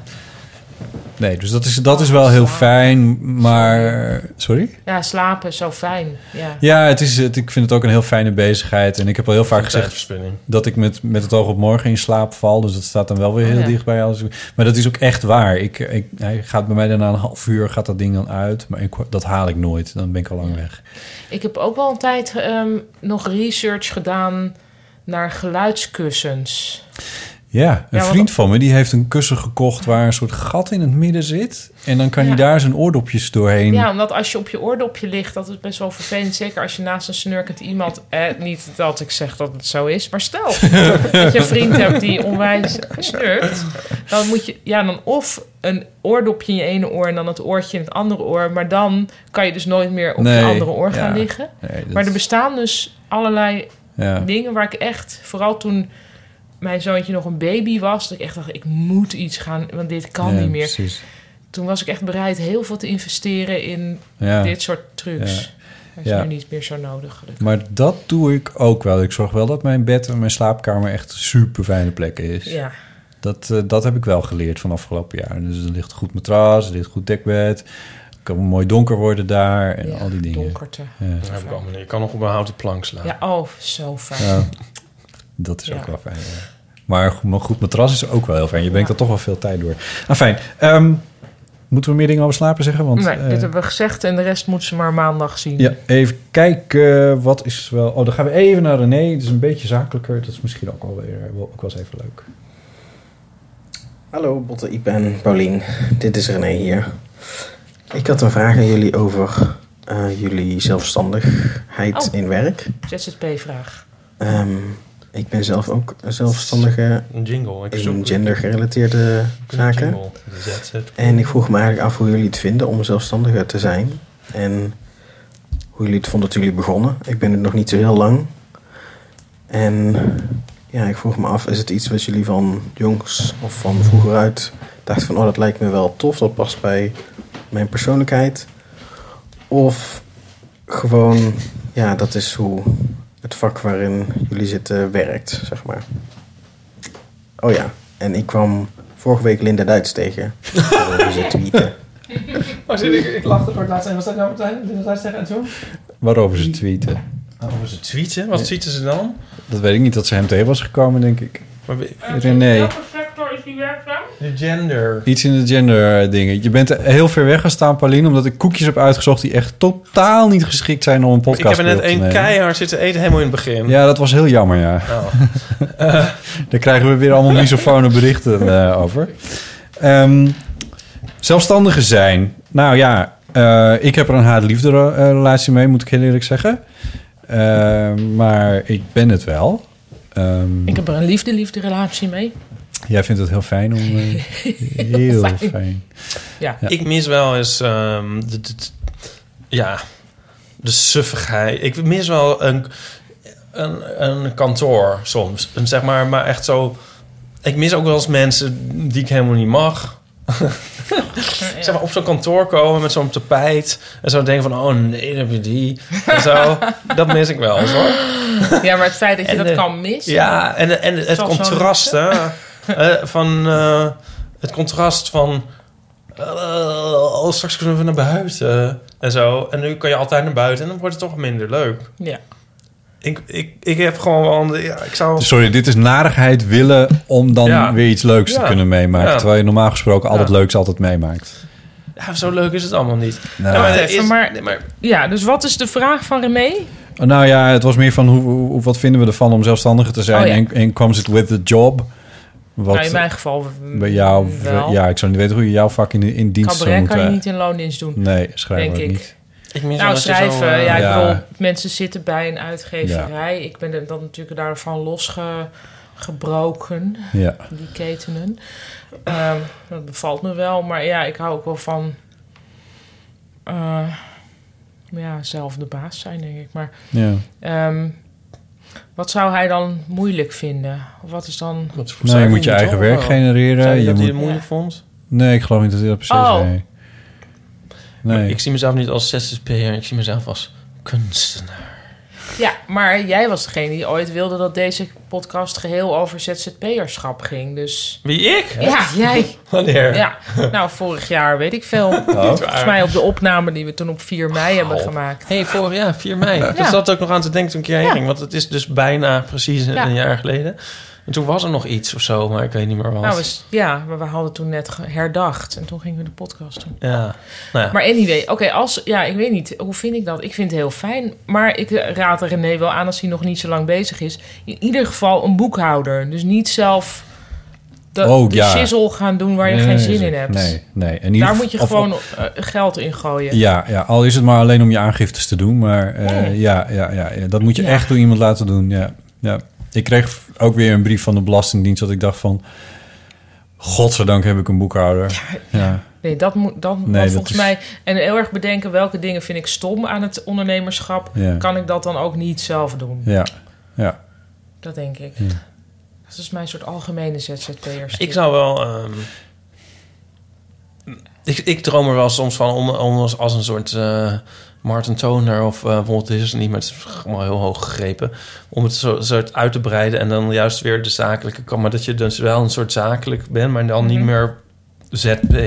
Speaker 1: Nee, dus dat is, dat is wel heel fijn. Maar. Sorry?
Speaker 2: Ja, slapen is zo fijn. Ja.
Speaker 1: Ja, het is, het, ik vind het ook een heel fijne bezigheid. En ik heb al heel vaak gezegd
Speaker 3: tijdverspilling.
Speaker 1: dat ik met, met het oog op morgen in slaap val. Dus dat staat dan wel weer heel
Speaker 3: ja.
Speaker 1: dicht bij alles. Maar dat is ook echt waar. Ik, ik, hij gaat bij mij daarna een half uur gaat dat ding dan uit. Maar ik, dat haal ik nooit. Dan ben ik al lang weg.
Speaker 2: Ik heb ook wel een tijd ehm, nog research gedaan naar geluidskussens.
Speaker 1: Ja, een
Speaker 2: Ja, want-
Speaker 1: vriend van me die heeft een kussen gekocht waar een soort gat in het midden zit. En dan kan hij daar zijn oordopjes doorheen.
Speaker 2: Ja, omdat als je op je oordopje ligt, dat is best wel vervelend. Zeker als je naast een snurkend iemand... Eh, niet dat ik zeg dat het zo is, maar
Speaker 1: [laughs]
Speaker 2: stel dat je een vriend hebt die onwijs snurkt. Dan moet je ja, dan of een oordopje in je ene oor en dan het oortje in het andere oor. Maar dan kan je dus nooit meer op
Speaker 1: Nee,
Speaker 2: je andere oor gaan
Speaker 1: ja.
Speaker 2: liggen.
Speaker 1: Nee, dat-
Speaker 2: Maar er bestaan dus allerlei
Speaker 1: Ja.
Speaker 2: dingen waar ik echt... Vooral toen mijn zoontje nog een baby was, dat ik echt dacht, ik moet iets gaan... Want dit kan
Speaker 1: Ja,
Speaker 2: niet meer
Speaker 1: precies.
Speaker 2: toen was ik echt bereid heel veel te investeren in
Speaker 1: Ja.
Speaker 2: dit soort trucs.
Speaker 1: Ja.
Speaker 2: Dat is
Speaker 1: Ja.
Speaker 2: nu niet meer zo nodig, gelukkig.
Speaker 1: Maar dat doe ik ook wel. Ik zorg wel dat mijn bed en mijn slaapkamer echt super fijne plekken is.
Speaker 2: Ja.
Speaker 1: Dat, eh, dat heb ik wel geleerd van afgelopen jaar. Dus er ligt een goed matras, er ligt een goed dekbed. Het kan mooi donker worden daar en al die dingen.
Speaker 2: donkerte.
Speaker 1: Ja.
Speaker 3: Dat heb ik allemaal niet. Ik kan nog op een houten plank slaan.
Speaker 2: Ja, oh, zo fijn.
Speaker 1: Ja, dat is
Speaker 2: Ja.
Speaker 1: ook wel fijn. ja. Maar goed- maar goed matras is ook wel heel fijn. Je brengt er toch wel veel tijd door. Nou, fijn. Ehm, moeten we meer dingen over slapen zeggen? Want,
Speaker 2: nee,
Speaker 1: eh,
Speaker 2: dit hebben we gezegd en de rest moet ze maar maandag zien.
Speaker 1: Ja, even kijken. Wat is wel... Oh, dan gaan we even naar René. Het is een beetje zakelijker. Dat is misschien ook wel, weer, wel- ook wel eens even leuk.
Speaker 12: Hallo Botte, Ipe en Paulien. Dit is René hier. Ik had een vraag aan jullie over eh, jullie zelfstandigheid
Speaker 2: Oh.
Speaker 12: in werk.
Speaker 2: ZZP-vraag.
Speaker 12: Ehm, ik ben zelf ook een zelfstandige
Speaker 3: Een jingle. Ik
Speaker 12: in gendergerelateerde zaken.
Speaker 3: jingle. De ZZP.
Speaker 12: En ik vroeg me eigenlijk af hoe jullie het vinden om zelfstandiger te zijn. En hoe jullie het vonden toen jullie begonnen. Ik ben het nog niet zo heel lang. En Ja, ik vroeg me af, is het iets wat jullie van jongs of van vroeger uit dachten van... oh, dat lijkt me wel tof, dat past bij mijn persoonlijkheid. Of gewoon, ja, dat is hoe het vak waarin jullie zitten werkt, zeg maar. Oh ja, en ik kwam vorige week Linda Duits tegen. Over ze tweeten.
Speaker 3: Oh, zie, ik, ik lachte door het laatste. En was dat nou meteen? Dit was laatst tegen en toen?
Speaker 1: Waarover ze tweeten.
Speaker 3: Over ze tweeten? Oh, Wat tweeten ze dan?
Speaker 1: Dat weet ik niet, dat ze hem tegen was gekomen, denk ik.
Speaker 3: Maar
Speaker 1: René,
Speaker 2: sector is die werkzaam?
Speaker 3: De gender.
Speaker 1: iets in de gender eh, dingen. Je bent heel ver weg gaan staan, Pauline, omdat ik koekjes heb uitgezocht die echt totaal niet geschikt zijn om een podcast
Speaker 3: Ik heb er net
Speaker 1: op te
Speaker 3: één
Speaker 1: nemen.
Speaker 3: keihard zitten eten helemaal in het begin. Nou.
Speaker 1: Ja, dat was heel jammer, ja. [laughs] Daar krijgen we weer allemaal misofone berichten eh, over. Ehm zelfstandigen zijn. Nou ja, eh, ik heb er een haat-liefde eh, relatie mee, moet ik heel eerlijk zeggen. Ehm, maar ik ben het wel. Ehm,
Speaker 2: Ik heb er een liefde-liefde relatie mee.
Speaker 1: Jij vindt het heel fijn om... eh, heel fijn.
Speaker 2: Ja.
Speaker 3: Ik mis wel eens ehm, de, de- de- ja, de suffigheid. Ik mis wel een, een, een kantoor soms. Een, zeg maar, maar echt zo... Ik mis ook wel eens mensen die ik helemaal niet mag. zeg maar, op zo'n kantoor komen met zo'n tapijt. En zo denken van, oh nee, dan heb je die. En zo. dat mis ik wel eens hoor.
Speaker 2: [laughs] Ja, maar het feit dat je
Speaker 3: En,
Speaker 2: dat
Speaker 3: eh,
Speaker 2: kan missen.
Speaker 3: Ja, en, en het
Speaker 2: Zoals zo'n-
Speaker 3: contrast,
Speaker 2: [laughs]
Speaker 3: hè. eh, van, eh, het contrast van... eh, oh, straks kunnen we naar buiten en zo. En nu kan je altijd naar buiten en dan wordt het toch minder leuk.
Speaker 2: Ja.
Speaker 3: Ik, ik, ik heb gewoon wel... een- Ja, ik zou...
Speaker 1: Sorry, dit is narigheid willen om dan
Speaker 3: Ja.
Speaker 1: weer iets leuks
Speaker 3: Ja.
Speaker 1: te kunnen meemaken.
Speaker 3: Ja.
Speaker 1: Terwijl je normaal gesproken al het
Speaker 3: Ja.
Speaker 1: leuks altijd meemaakt.
Speaker 3: Ja, zo leuk is het allemaal niet.
Speaker 1: Nou.
Speaker 3: Ja, maar
Speaker 2: Wacht
Speaker 3: het
Speaker 2: even,
Speaker 3: is-
Speaker 2: maar,
Speaker 3: nee, maar-
Speaker 2: Ja, dus wat is de vraag van René?
Speaker 1: Nou ja, het was meer van hoe, hoe- wat vinden we ervan om zelfstandiger te zijn
Speaker 2: Oh ja.
Speaker 1: en, en comes it with the job? Wat
Speaker 2: nou, in mijn geval mm,
Speaker 1: bij jou,
Speaker 2: wel.
Speaker 1: ja, ik zou niet weten hoe je jouw vak in, in dienst zou
Speaker 2: Cabaret
Speaker 1: moeten.
Speaker 2: kan je niet in loondienst doen.
Speaker 1: Nee, schrijven
Speaker 2: denk
Speaker 1: ook
Speaker 2: ik.
Speaker 1: niet.
Speaker 3: Ik mis wel
Speaker 2: nou,
Speaker 3: dat je zo,
Speaker 2: schrijven.
Speaker 3: eh,
Speaker 2: ja, ik
Speaker 1: Ja.
Speaker 2: bedoel, mensen zitten bij een uitgeverij. Ik ben er dan natuurlijk daarvan losgebroken.
Speaker 1: Ja.
Speaker 2: Die ketenen. Ehm, dat bevalt me wel. Maar ja, ik hou ook wel van... eh, ja, zelf de baas zijn, denk ik. Maar
Speaker 1: Ja.
Speaker 2: ehm, wat zou hij dan moeilijk vinden? Of wat is dan...
Speaker 1: Nou, je moet je eigen werk genereren.
Speaker 3: Zei je dat
Speaker 1: moet...
Speaker 3: hij het moeilijk vond?
Speaker 1: Nee, ik geloof niet dat hij dat precies
Speaker 3: Oh.
Speaker 1: zei.
Speaker 3: Maar
Speaker 1: Nee.
Speaker 3: Ik zie mezelf niet als zzp'er, ik zie mezelf als kunstenaar.
Speaker 2: Ja, maar jij was degene die ooit wilde dat deze podcast geheel over ZZP'erschap ging. Dus...
Speaker 3: Wie, ik?
Speaker 2: Ja, jij.
Speaker 3: [laughs] Wanneer?
Speaker 2: Ja, nou vorig jaar weet ik veel.
Speaker 1: Oh.
Speaker 2: Volgens mij op de opname die we toen op 4 mei hebben gemaakt.
Speaker 3: hey, vorig jaar 4 mei.
Speaker 2: Ja.
Speaker 3: Dat zat ook nog aan te denken toen ik hierheen
Speaker 2: Ja.
Speaker 3: ging. Want het is dus bijna precies een,
Speaker 2: Ja.
Speaker 3: een jaar geleden. En toen was er nog iets of zo, maar ik weet niet meer wat.
Speaker 2: Nou, we, s- ja, maar we hadden toen net ge- herdacht en toen gingen we de podcast doen.
Speaker 3: Ja, nou ja.
Speaker 2: Maar anyway, oké, als... Ja, ik weet niet, hoe vind ik dat? Ik vind het heel fijn, maar ik eh, raad er René wel aan als hij nog niet zo lang bezig is. In ieder geval een boekhouder. Dus niet zelf de,
Speaker 1: Oh,
Speaker 2: de
Speaker 1: ja.
Speaker 2: shizzle gaan doen waar je
Speaker 1: Nee,
Speaker 2: geen zin
Speaker 1: nee,
Speaker 2: in hebt.
Speaker 1: nee, nee. In ieder
Speaker 2: Daar moet je
Speaker 1: geval-
Speaker 2: gewoon eh, geld in gooien.
Speaker 1: Ja, ja, al is het maar alleen om je aangiftes te doen. Maar eh,
Speaker 2: Nee.
Speaker 1: ja, ja, ja, ja, dat moet je
Speaker 2: Ja.
Speaker 1: echt door iemand laten doen. Ja, ja. Ik kreeg ook weer een brief van de Belastingdienst... dat ik dacht van... Godzijdank heb ik een boekhouder. Ja, ja.
Speaker 2: Nee, dat moet dan
Speaker 1: Nee,
Speaker 2: want
Speaker 1: dat
Speaker 2: volgens
Speaker 1: is-
Speaker 2: mij. En heel erg bedenken welke dingen vind ik stom aan het ondernemerschap.
Speaker 1: Ja.
Speaker 2: Kan ik dat dan ook niet zelf doen?
Speaker 1: ja.
Speaker 2: Dat denk ik.
Speaker 1: Ja.
Speaker 2: Dat is mijn soort algemene ZZP'ers.
Speaker 3: Ik zou wel... ehm, ik, ik droom er wel soms van om, om als, als een soort eh, Martin Toner of eh Walt Disney... maar het is allemaal heel hoog gegrepen... om het zo, soort uit te breiden en dan juist weer de zakelijke kant. Maar dat je dus wel een soort zakelijk bent, maar dan niet
Speaker 2: Mhm.
Speaker 3: meer ZP.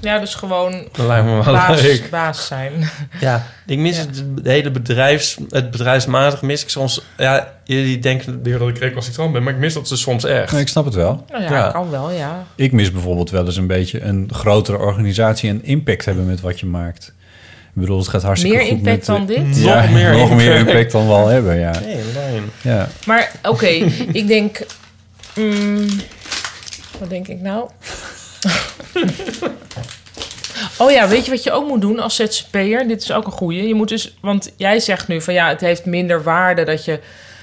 Speaker 2: Ja, dus gewoon
Speaker 3: Dat lijkt me wel
Speaker 2: baas,
Speaker 3: leuk.
Speaker 2: baas zijn.
Speaker 3: Ja, ik mis het dus. hele bedrijfs, het bedrijfsmatig mis ik soms. Ja, jullie denken weer dat ik recalcitrant ben, maar ik mis dat ze soms echt.
Speaker 1: Nee, ik snap het wel.
Speaker 2: Nou ja,
Speaker 1: Ja.
Speaker 2: kan wel, ja.
Speaker 1: Ik mis bijvoorbeeld wel eens een beetje een grotere organisatie en impact hebben met wat je maakt. Ik bedoel, het gaat hartstikke
Speaker 2: Meer
Speaker 1: goed
Speaker 2: impact
Speaker 1: met de-
Speaker 2: dan dit?
Speaker 1: Ja,
Speaker 3: Nog meer
Speaker 1: nog meer
Speaker 3: impact.
Speaker 1: impact dan we al hebben, ja.
Speaker 3: Nee, Marijn.
Speaker 1: Ja.
Speaker 2: Maar oké, ik denk. mm, wat denk ik nou? [laughs] oh ja, weet je wat je ook moet doen als ZZP'er? Dit is ook een goeie. Je moet dus, want jij zegt nu van ja, het heeft minder waarde dat je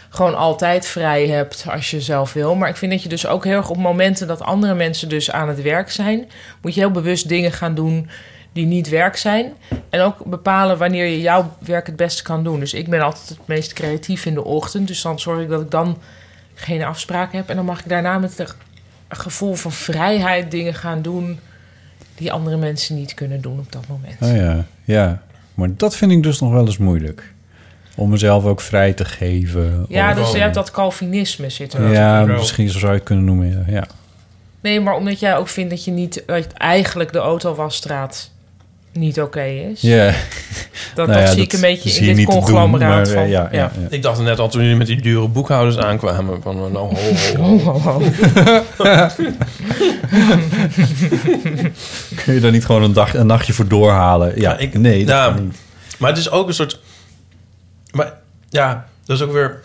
Speaker 2: gewoon altijd vrij hebt als je zelf wil. Maar ik vind dat je dus ook heel erg op momenten dat andere mensen dus aan het werk zijn, moet je heel bewust dingen gaan doen die niet werk zijn. En ook bepalen wanneer je jouw werk het beste kan doen. Dus ik ben altijd het meest creatief in de ochtend. Dus dan zorg ik dat ik dan geen afspraak heb. En dan mag ik daarna met een gevoel van vrijheid dingen gaan doen die andere mensen niet kunnen doen op dat moment.
Speaker 1: Oh ja, ja. Maar dat vind ik dus nog wel eens moeilijk. Om mezelf ook vrij te geven.
Speaker 2: Ja,
Speaker 1: Of-
Speaker 2: dus je hebt dat Calvinisme zitten.
Speaker 1: Ja, misschien zo zou je het kunnen noemen. ja. Ja.
Speaker 2: Nee, maar omdat jij ook vindt dat je niet dat eigenlijk de autowasstraat niet oké is.
Speaker 1: Ja.
Speaker 2: Dat,
Speaker 1: Nou ja,
Speaker 2: dat zie
Speaker 1: dat
Speaker 2: ik een beetje
Speaker 1: zie
Speaker 2: in
Speaker 1: je
Speaker 2: dit
Speaker 1: niet te doen,
Speaker 2: conglomeraat
Speaker 1: maar, eh,
Speaker 2: van.
Speaker 1: ja, ja.
Speaker 3: Ik dacht net al toen jullie met die dure boekhouders aankwamen. Van eh, nou, ho, ho,
Speaker 2: Ho, ho, ho.
Speaker 1: [laughs] Kun je daar niet gewoon een, dag, een nachtje voor doorhalen? Ja,
Speaker 3: ik-
Speaker 1: nee, dat
Speaker 3: ja.
Speaker 1: kan niet.
Speaker 3: Maar het is ook een soort... Maar ja, dat is ook weer...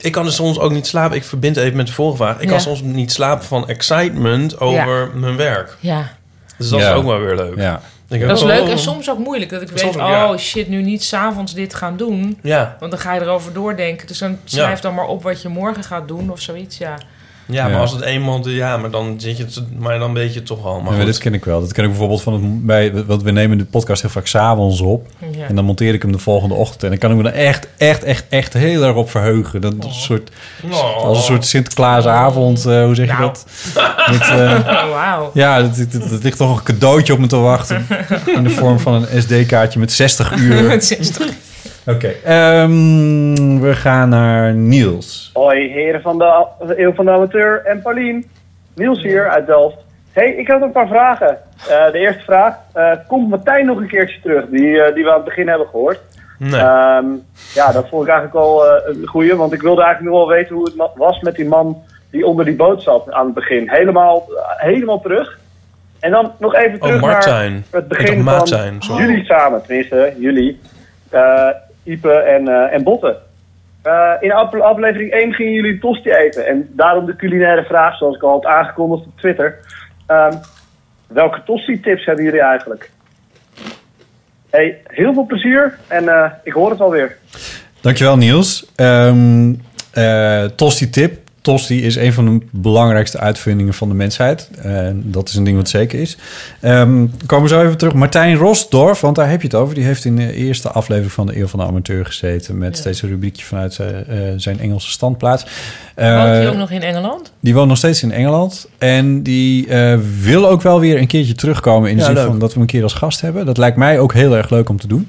Speaker 3: Ik kan er soms ook niet slapen. Ik verbind even met de vorige vraag. Ik
Speaker 2: Ja.
Speaker 3: kan soms niet slapen van excitement over mijn werk.
Speaker 2: Ja.
Speaker 3: Dus dat
Speaker 1: Ja.
Speaker 3: is ook wel weer leuk.
Speaker 1: Ja.
Speaker 3: Denk ik,
Speaker 2: Dat is
Speaker 3: oh.
Speaker 2: leuk en soms ook moeilijk. Dat ik weet,
Speaker 3: Soms ook,
Speaker 2: oh
Speaker 3: ja.
Speaker 2: shit, nu niet s'avonds dit gaan doen.
Speaker 3: Ja.
Speaker 2: Want dan ga je erover doordenken. Dus dan schrijf
Speaker 3: Ja.
Speaker 2: dan maar op wat je morgen gaat doen of zoiets. Ja,
Speaker 3: Ja, maar
Speaker 1: Ja.
Speaker 3: als het eenmaal... de- Ja, maar dan, zit je, te- maar dan weet je het toch al. Maar
Speaker 1: Ja, maar
Speaker 3: goed.
Speaker 1: dit ken ik wel. Dat ken ik bijvoorbeeld van het, bij, want we nemen de podcast heel vaak s'avonds op.
Speaker 2: Ja.
Speaker 1: En dan monteer ik hem de volgende ochtend. En dan kan ik me er echt, echt, echt, echt heel erg op verheugen. Dat is een soort,
Speaker 3: Oh.
Speaker 1: als een soort Sinterklaasavond, eh, hoe zeg je
Speaker 2: Nou.
Speaker 1: dat? Met,
Speaker 2: [laughs]
Speaker 1: eh,
Speaker 2: Wauw.
Speaker 1: Ja, dat, dat, dat ligt toch een cadeautje op me te wachten.
Speaker 2: [laughs]
Speaker 1: In de vorm van een SD-kaartje met 60 uur.
Speaker 2: Het is toch-
Speaker 1: Oké, ehm, we gaan naar Niels.
Speaker 13: Hoi, heren van de Eeuw van de Amateur en Paulien. Niels hier uit Delft. hey, ik had een paar vragen. Eh, de eerste vraag. eh, komt Martijn nog een keertje terug? Die, eh, die we aan het begin hebben gehoord.
Speaker 3: Nee.
Speaker 13: Ehm, ja, dat vond ik eigenlijk al eh, een goeie. Want ik wilde eigenlijk nog wel weten hoe het ma- was met die man die onder die boot zat aan het begin. Helemaal, eh, helemaal terug. En dan nog even terug
Speaker 3: Martijn.
Speaker 13: naar het
Speaker 3: Oh, Ik dacht
Speaker 13: begin
Speaker 3: Maartijn,
Speaker 13: van
Speaker 3: sorry.
Speaker 13: jullie samen. Tenminste, jullie. eh Ipe en, eh, en Botten. Eh, in ap- aflevering 1 gingen jullie tosti eten. En daarom de culinaire vraag, zoals ik al had aangekondigd op Twitter. Ehm, welke tosti-tips hebben jullie eigenlijk? Hey, heel veel plezier en eh, ik hoor het alweer.
Speaker 1: Dankjewel, Niels. Ehm eh, Tosti-tip. Tosti is een van de belangrijkste uitvindingen van de mensheid. Eh, dat is een ding wat zeker is. Ehm, we komen zo even terug. Martijn Rosdorf, want daar heb je het over. Die heeft in de eerste aflevering van de Eeuw van de Amateur gezeten... met steeds een rubriekje vanuit zijn, eh, zijn Engelse standplaats.
Speaker 2: Woont hij
Speaker 1: Eh,
Speaker 2: ook nog in Engeland?
Speaker 1: die woont nog steeds in Engeland. En die eh, wil ook wel weer een keertje terugkomen... in de
Speaker 2: Ja,
Speaker 1: zin
Speaker 2: leuk.
Speaker 1: van dat we hem een keer als gast hebben. Dat lijkt mij ook heel erg leuk om te doen.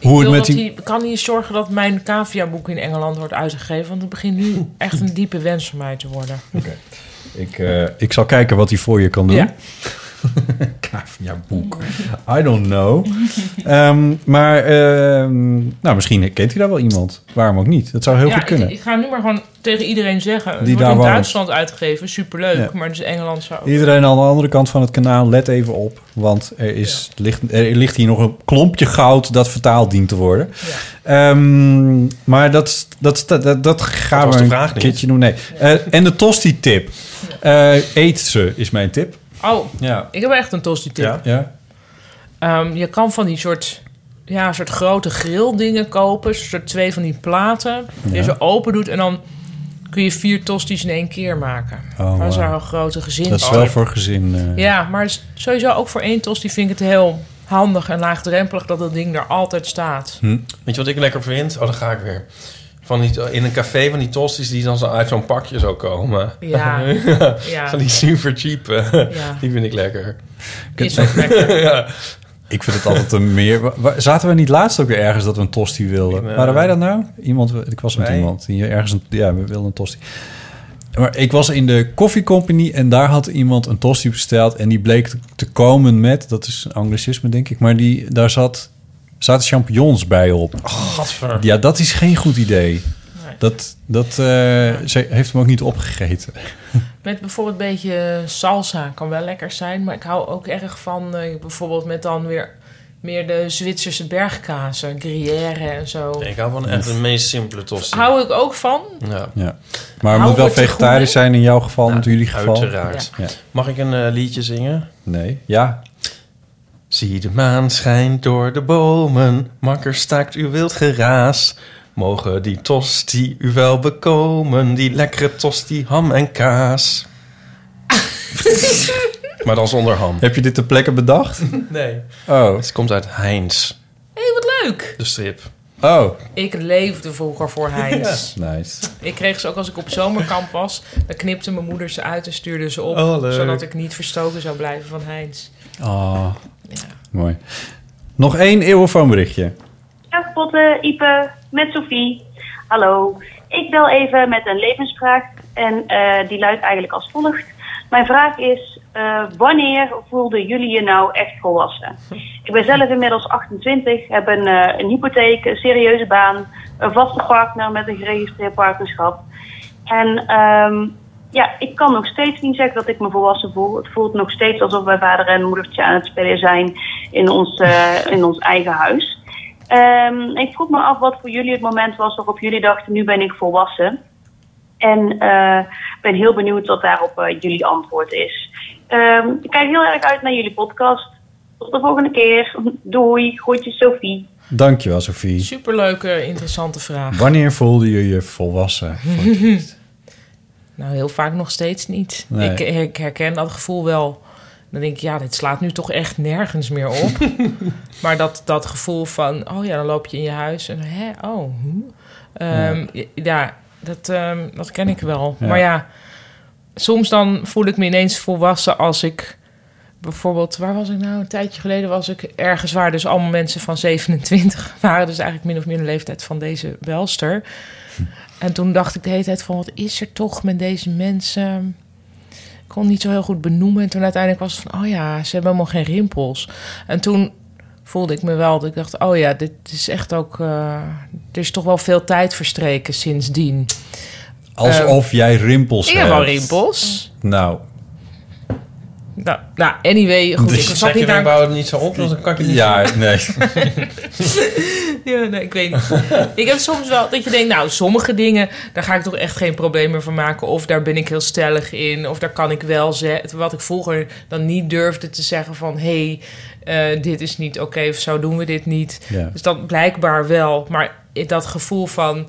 Speaker 1: Hoe
Speaker 2: Wil dat hij, kan hij zorgen dat mijn caviaboek in Engeland wordt uitgegeven? Want het begint
Speaker 3: [laughs]
Speaker 2: nu echt een diepe wens van mij te worden.
Speaker 1: Ik, eh, ik zal kijken wat hij voor je kan doen. [laughs]
Speaker 2: Ja.
Speaker 1: Kavia boek. I don't know. Ehm, maar ehm, nou, misschien kent hij daar wel iemand. Waarom ook niet? Dat zou heel
Speaker 2: ja,
Speaker 1: goed kunnen.
Speaker 2: Ik, ik ga nu maar gewoon tegen iedereen zeggen. Het
Speaker 1: Die
Speaker 2: wordt
Speaker 1: daar
Speaker 2: in
Speaker 1: woont.
Speaker 2: Duitsland uitgegeven, superleuk.
Speaker 1: Ja.
Speaker 2: Maar dus Engeland zou ook-
Speaker 1: Iedereen aan de andere kant van het kanaal, let even op. Want er, is, ligt, er ligt hier nog een klompje goud dat vertaald dient te worden. Ehm, maar dat, dat, dat, dat, dat gaan
Speaker 3: was
Speaker 1: we
Speaker 3: de
Speaker 1: een
Speaker 3: vraag niet.
Speaker 1: keertje doen. Nee. Eh, en de tosti-tip. Eh, eet ze, is mijn tip.
Speaker 2: Oh,
Speaker 1: Ja.
Speaker 2: ik heb echt een tosti tip.
Speaker 1: ja.
Speaker 2: Ehm, je kan van die soort, ja, soort grote grilldingen kopen. Een soort twee van die platen. Die
Speaker 1: Ja.
Speaker 2: je zo open doet en dan kun je vier tosti's in één keer maken.
Speaker 1: Oh,
Speaker 2: dat is
Speaker 1: wauw.
Speaker 2: wel een grote gezin.
Speaker 1: Dat is
Speaker 3: Oh,
Speaker 1: wel voor gezin. eh.
Speaker 2: Ja, maar het is sowieso ook voor één tosti vind ik het heel handig en laagdrempelig dat dat ding er altijd staat.
Speaker 1: hm?
Speaker 3: Weet je wat ik lekker vind? Oh, dan ga ik weer. Van die, in een café van die tosties die dan zo uit zo'n pakje zo komen.
Speaker 2: Ja.
Speaker 3: [laughs]
Speaker 2: Ja.
Speaker 3: Van die super cheap. eh,
Speaker 2: Ja.
Speaker 3: Die vind ik lekker.
Speaker 2: Is ook
Speaker 1: [laughs]
Speaker 2: lekker.
Speaker 3: ja.
Speaker 1: Ik vind het altijd een meer. wa- wa- Zaten we niet laatst ook weer ergens dat we een tosti wilden?
Speaker 3: eh,
Speaker 1: Waren wij dat nou? Iemand, ik was met
Speaker 3: wij?
Speaker 1: iemand die ergens een, ja, we wilden een tosti. Maar ik was in de Coffee Company en daar had iemand een tosti besteld en die bleek te, te komen met, dat is een anglicisme denk ik, maar die daar zat zaten champignons bij op.
Speaker 3: Oh, Gadver.
Speaker 1: ja, dat is geen goed idee. Dat, dat eh, ze heeft hem ook niet opgegeten.
Speaker 2: Met bijvoorbeeld een beetje salsa kan wel lekker zijn. Maar ik hou ook erg van eh, bijvoorbeeld met dan weer meer de Zwitserse bergkazen, Gruyère en zo.
Speaker 3: Ik hou van echt de meest simpele tosti.
Speaker 2: Hou ik ook van.
Speaker 3: Ja.
Speaker 1: Ja. Maar het moet
Speaker 2: Hou
Speaker 1: wel
Speaker 2: het er goed
Speaker 1: vegetarisch
Speaker 2: mee?
Speaker 1: zijn in jouw geval, in jullie geval.
Speaker 3: Uiteraard.
Speaker 1: Ja.
Speaker 3: Mag ik een eh, liedje zingen?
Speaker 1: Nee. Ja.
Speaker 3: Zie de maan schijnt door de bomen. Makker staakt uw wild geraas. Mogen die tosti u wel bekomen. Die lekkere tosti ham en
Speaker 2: [laughs]
Speaker 3: kaas. maar dan zonder ham.
Speaker 1: Heb je dit ter plekke bedacht?
Speaker 3: [laughs] Nee.
Speaker 1: Oh.
Speaker 3: Het komt uit Heinz.
Speaker 2: Hé, hey, wat leuk.
Speaker 3: De strip.
Speaker 1: Oh.
Speaker 2: Ik leefde vroeger voor Heinz.
Speaker 1: Ja. Nice.
Speaker 2: Ik kreeg ze ook als ik op zomerkamp was. Dan knipte mijn moeder ze uit en stuurde ze op.
Speaker 1: Oh, leuk.
Speaker 2: zodat ik niet verstoken zou blijven van Heinz.
Speaker 1: Oh. Mooi. Nog één eeuwenfoonberichtje.
Speaker 14: Dag Botte, Ipe, met Sophie. Hallo. Ik bel even met een levensvraag en eh, die luidt eigenlijk als volgt. Mijn vraag is, eh, wanneer voelden jullie je nou echt volwassen? Ik ben zelf inmiddels 28, heb een, eh, een hypotheek, een serieuze baan, een vaste partner met een geregistreerd partnerschap. En ehm, ja, ik kan nog steeds niet zeggen dat ik me volwassen voel. Het voelt nog steeds alsof wij vader en moedertje aan het spelen zijn in ons, eh, in ons eigen huis. Ehm, ik vroeg me af wat voor jullie het moment was waarop jullie dachten, nu ben ik volwassen. En eh, ben heel benieuwd wat daarop eh, jullie antwoord is. Ehm, ik kijk heel erg uit naar jullie podcast. Tot de volgende keer. [laughs] Doei. Groetjes Sophie.
Speaker 1: Dankjewel, Sophie.
Speaker 2: Superleuke, interessante vraag.
Speaker 1: Wanneer voelde je je volwassen?
Speaker 2: [laughs] nou, heel vaak nog steeds niet.
Speaker 1: Nee.
Speaker 2: Ik, ik herken dat gevoel wel. Dan denk ik, ja, dit slaat nu toch echt nergens meer op. maar dat, dat gevoel van, oh ja, dan loop je in je huis en hè, oh. Hm. Ehm, ja. dat, ehm, dat ken ik wel.
Speaker 11: Ja.
Speaker 2: Maar ja, soms dan voel ik me ineens volwassen als ik... Bijvoorbeeld, waar was ik nou? Een tijdje geleden was ik ergens waar dus allemaal mensen van 27 [laughs] waren. Dus eigenlijk min of meer de leeftijd van deze belster. En toen dacht ik de hele tijd van, wat is er toch met deze mensen? Ik kon het niet zo heel goed benoemen. En toen uiteindelijk was het van, oh ja, ze hebben helemaal geen rimpels. En toen voelde ik me wel, dat ik dacht, oh ja, dit is echt ook... eh, er is toch wel veel tijd verstreken sindsdien.
Speaker 1: Alsof
Speaker 2: Ehm,
Speaker 1: jij rimpels
Speaker 2: ik
Speaker 1: hebt.
Speaker 2: heb wel rimpels.
Speaker 1: Nou,
Speaker 2: Nou, nou, anyway, goed,
Speaker 1: Dus
Speaker 3: Dus
Speaker 2: ik zat niet naar...
Speaker 3: bouw het niet zo op, want dan kan ik het niet
Speaker 1: Ja, nee.
Speaker 3: [laughs]
Speaker 2: [laughs] Ja, nee, ik weet niet. ik heb soms wel dat je denkt, nou, sommige dingen, daar ga ik toch echt geen probleem meer van maken. Of daar ben ik heel stellig in. Of daar kan ik wel zeggen. Wat ik vroeger dan niet durfde te zeggen van, hé, hey, eh, dit is niet oké of zo doen we dit niet.
Speaker 11: Ja.
Speaker 2: Dus dat blijkbaar wel. Maar dat gevoel van,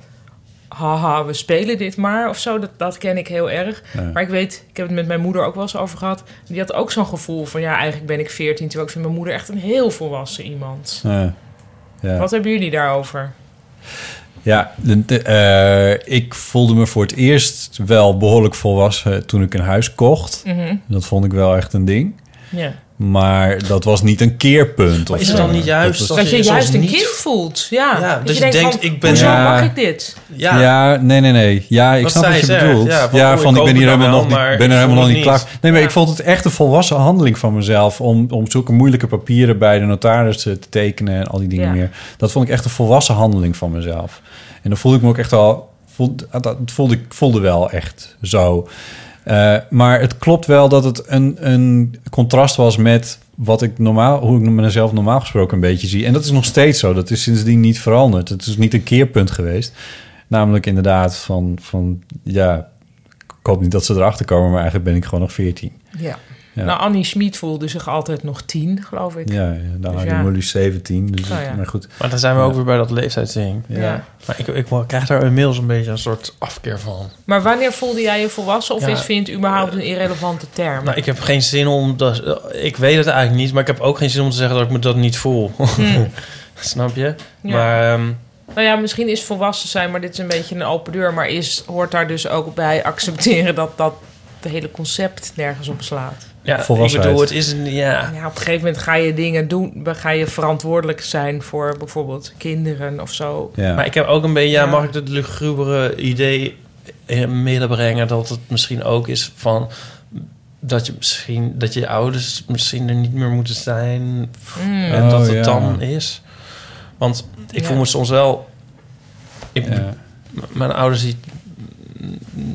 Speaker 2: haha, we spelen dit maar of zo, dat, dat ken ik heel erg.
Speaker 11: Ja.
Speaker 2: Maar ik weet, ik heb het met mijn moeder ook wel eens over gehad. Die had ook zo'n gevoel van, ja, eigenlijk ben ik veertien. Terwijl ik vind mijn moeder echt een heel volwassen iemand.
Speaker 1: Ja. eh, ja.
Speaker 2: Wat hebben jullie daarover?
Speaker 1: Ja, de- de- eh, ik voelde me voor het eerst wel behoorlijk volwassen toen ik een huis kocht.
Speaker 2: Mhm.
Speaker 1: Dat vond ik wel echt een ding.
Speaker 2: Ja.
Speaker 1: Maar dat was niet een keerpunt.
Speaker 3: Maar
Speaker 1: of
Speaker 3: is het
Speaker 1: zo.
Speaker 3: dan niet juist
Speaker 1: was-
Speaker 2: Dat, je juist een kind voelt. Ja.
Speaker 3: Ja,
Speaker 2: dat
Speaker 3: dus
Speaker 2: je denkt,
Speaker 3: je denkt,
Speaker 2: van,
Speaker 3: ik ben-
Speaker 2: hoezo
Speaker 1: Ja.
Speaker 2: mag ik dit?
Speaker 1: Ja. nee, nee, nee. Ja, ik
Speaker 3: Wat
Speaker 1: snap
Speaker 3: zij
Speaker 1: wat je
Speaker 3: zegt.
Speaker 1: bedoelt.
Speaker 3: Ja, van,
Speaker 1: Ja,
Speaker 3: oh,
Speaker 1: van
Speaker 3: ik
Speaker 1: ik ben hier
Speaker 3: koop het
Speaker 1: helemaal
Speaker 3: dan
Speaker 1: nog
Speaker 3: wel,
Speaker 1: niet,
Speaker 3: maar
Speaker 1: ben er
Speaker 3: ik
Speaker 1: helemaal
Speaker 3: voel
Speaker 1: nog
Speaker 3: het niet.
Speaker 1: niet klaar. Nee, maar ik vond het echt een volwassen handeling van mezelf... om, om zulke moeilijke papieren bij de notaris eh, te tekenen en al die dingen
Speaker 2: Ja.
Speaker 1: meer. Dat vond ik echt een volwassen handeling van mezelf. En dan voelde ik me ook echt al... Voelde, dat voelde ik voelde wel echt zo. Eh, maar het klopt wel dat het een, een contrast was met wat ik normaal, hoe ik mezelf normaal gesproken een beetje zie. En dat is nog steeds zo. Dat is sindsdien niet veranderd. Het is niet een keerpunt geweest. Namelijk inderdaad van, van ja, ik hoop niet dat ze erachter komen, maar eigenlijk ben ik gewoon nog 14.
Speaker 2: Ja.
Speaker 1: Ja.
Speaker 2: Nou, Annie Schmid voelde zich altijd nog tien, geloof ik.
Speaker 1: Ja, ja, nou,
Speaker 2: Dus
Speaker 1: die Mully is 17, dus
Speaker 2: Nou
Speaker 1: het-
Speaker 2: ja.
Speaker 1: maar goed.
Speaker 3: Maar dan zijn we ook weer bij dat leeftijdsding.
Speaker 2: Ja. Ja.
Speaker 3: Maar ik, ik krijg daar inmiddels een beetje een soort afkeer van.
Speaker 2: Maar wanneer voelde jij je volwassen? Of
Speaker 3: Ja.
Speaker 2: is vind je het überhaupt een irrelevante term?
Speaker 3: Nou, ik heb geen zin om... Dat, ik weet het eigenlijk niet, maar ik heb ook geen zin om te zeggen dat ik me dat niet voel. [laughs] Snap je?
Speaker 2: Hm. Ja.
Speaker 3: Maar ehm,
Speaker 2: Nou ja, misschien is volwassen zijn, maar dit is een beetje een open deur. Maar is, hoort daar dus ook bij accepteren dat dat de hele concept nergens op slaat.
Speaker 3: ja, ik
Speaker 1: Volwassenheid.
Speaker 3: bedoel, het is een... Ja,
Speaker 2: Ja, op een gegeven moment ga je dingen doen, ga je verantwoordelijk zijn voor bijvoorbeeld kinderen of zo.
Speaker 3: Maar ik heb ook een beetje, ja,
Speaker 2: Ja.
Speaker 3: mag ik het lugubere idee in midden brengen dat het misschien ook is van dat je misschien dat je ouders misschien er niet meer moeten zijn
Speaker 2: Mm.
Speaker 3: en dat
Speaker 1: Oh,
Speaker 3: het
Speaker 1: ja.
Speaker 3: dan is. Want ik
Speaker 2: Ja.
Speaker 3: voel me soms wel. Ik, m- Mijn ouders die,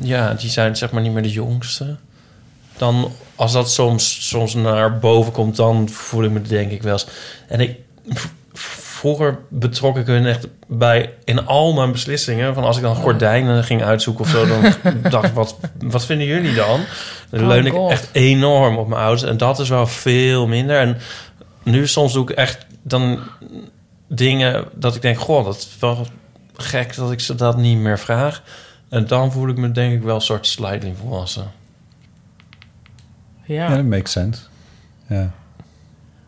Speaker 3: ja, die zijn zeg maar niet meer de jongste. Dan als dat soms, soms naar boven komt, dan voel ik me denk ik wel eens. En ik vroeger betrok ik hun echt bij in al mijn beslissingen. Van als ik dan gordijnen ging uitzoeken of zo, dan dacht ik, wat, wat vinden jullie dan? Dan
Speaker 2: Oh
Speaker 3: leun ik
Speaker 2: God.
Speaker 3: echt enorm op mijn ouders. En dat is wel veel minder. En nu soms doe ik echt dan dingen dat ik denk, goh, dat is wel gek dat ik ze dat niet meer vraag. En dan voel ik me denk ik wel een soort slightly volwassen.
Speaker 1: Ja, dat makes sense. Ja.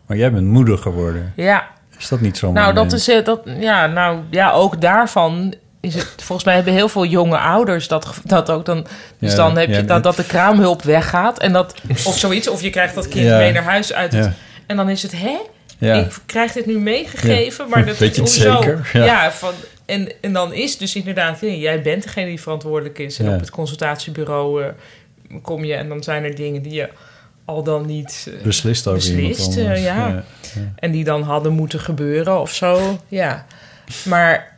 Speaker 1: Maar jij bent moeder geworden.
Speaker 2: Ja,
Speaker 1: Is dat niet zomaar?
Speaker 2: Nou, dat
Speaker 1: een-
Speaker 2: is, eh, dat, ja, nou ja, ook daarvan is het. Volgens mij hebben heel veel jonge ouders dat, ge- dat ook dan. Dus
Speaker 1: Ja,
Speaker 2: dan heb
Speaker 1: ja,
Speaker 2: je dat, dat de kraamhulp weggaat en dat. Of zoiets, of je krijgt dat kind
Speaker 1: Ja.
Speaker 2: mee naar huis uit. het-
Speaker 1: Ja.
Speaker 2: En dan is het, hè?
Speaker 1: Ja.
Speaker 2: Ik krijg dit nu meegegeven,
Speaker 1: Ja.
Speaker 2: maar
Speaker 1: [laughs]
Speaker 2: dat
Speaker 1: Weet je het
Speaker 2: hoezo?
Speaker 1: zeker?
Speaker 2: Ja,
Speaker 1: Ja.
Speaker 2: van, en, en dan is dus inderdaad, ja, jij bent degene die verantwoordelijk is. En
Speaker 1: Ja.
Speaker 2: op het consultatiebureau eh, kom je en dan zijn er dingen die je al dan niet eh,
Speaker 1: Beslist over iemand
Speaker 2: beslist, eh,
Speaker 1: anders.
Speaker 2: ja.
Speaker 1: Ja, ja.
Speaker 2: En die dan hadden moeten gebeuren of zo. Ja. Maar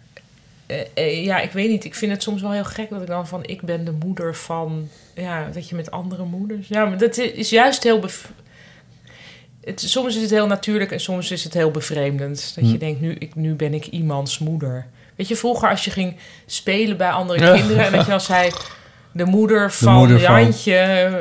Speaker 2: eh, eh, ja, ik weet niet. Ik vind het soms wel heel gek dat ik dan van ik ben de moeder van. Ja, dat je met andere moeders. Ja, maar dat i- is juist heel. bev- Het, soms is het heel natuurlijk en soms is het heel bevreemdend. Dat je
Speaker 1: Hm.
Speaker 2: denkt, nu, ik, nu ben ik iemands moeder. Weet je, vroeger als je ging spelen bij andere
Speaker 1: Ja.
Speaker 2: kinderen... en dat je dan zei, de moeder van
Speaker 1: moeder van-
Speaker 2: Jantje... eh,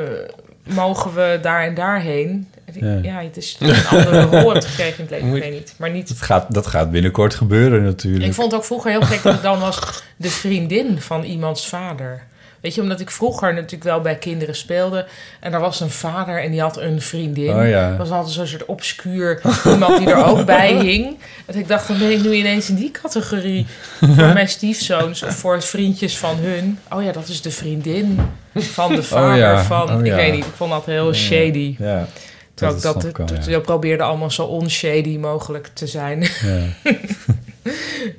Speaker 2: mogen we daar en daarheen. En ik-
Speaker 1: Ja.
Speaker 2: Ja, het is een andere [laughs] rol hebt gekregen in het leven. Ik weet niet. Maar niet.
Speaker 1: Dat gaat, dat gaat binnenkort gebeuren natuurlijk.
Speaker 2: Ik vond het ook vroeger heel
Speaker 1: [laughs]
Speaker 2: gek dat ik dan was de vriendin van iemands vader. Weet je, omdat ik vroeger natuurlijk wel bij kinderen speelde. En daar was een vader en die had een vriendin.
Speaker 1: Oh ja.
Speaker 2: Dat was altijd zo'n soort obscuur iemand die er
Speaker 1: [laughs]
Speaker 2: ook bij hing. En ik dacht, dan ben ik nu ineens in die categorie.
Speaker 1: [laughs]
Speaker 2: Voor mijn stiefzoons of voor vriendjes van hun. Oh ja, dat is de vriendin van de
Speaker 1: Oh
Speaker 2: vader
Speaker 1: ja,
Speaker 2: van...
Speaker 1: oh ja.
Speaker 2: Ik weet niet, ik vond dat heel
Speaker 1: Ja.
Speaker 2: shady.
Speaker 1: Ja.
Speaker 2: Terwijl ik
Speaker 1: Dat
Speaker 2: dat,
Speaker 1: snap ik wel,
Speaker 2: dat,
Speaker 1: ja.
Speaker 2: dat probeerde allemaal zo onshady mogelijk te zijn.
Speaker 1: Ja.
Speaker 2: [laughs]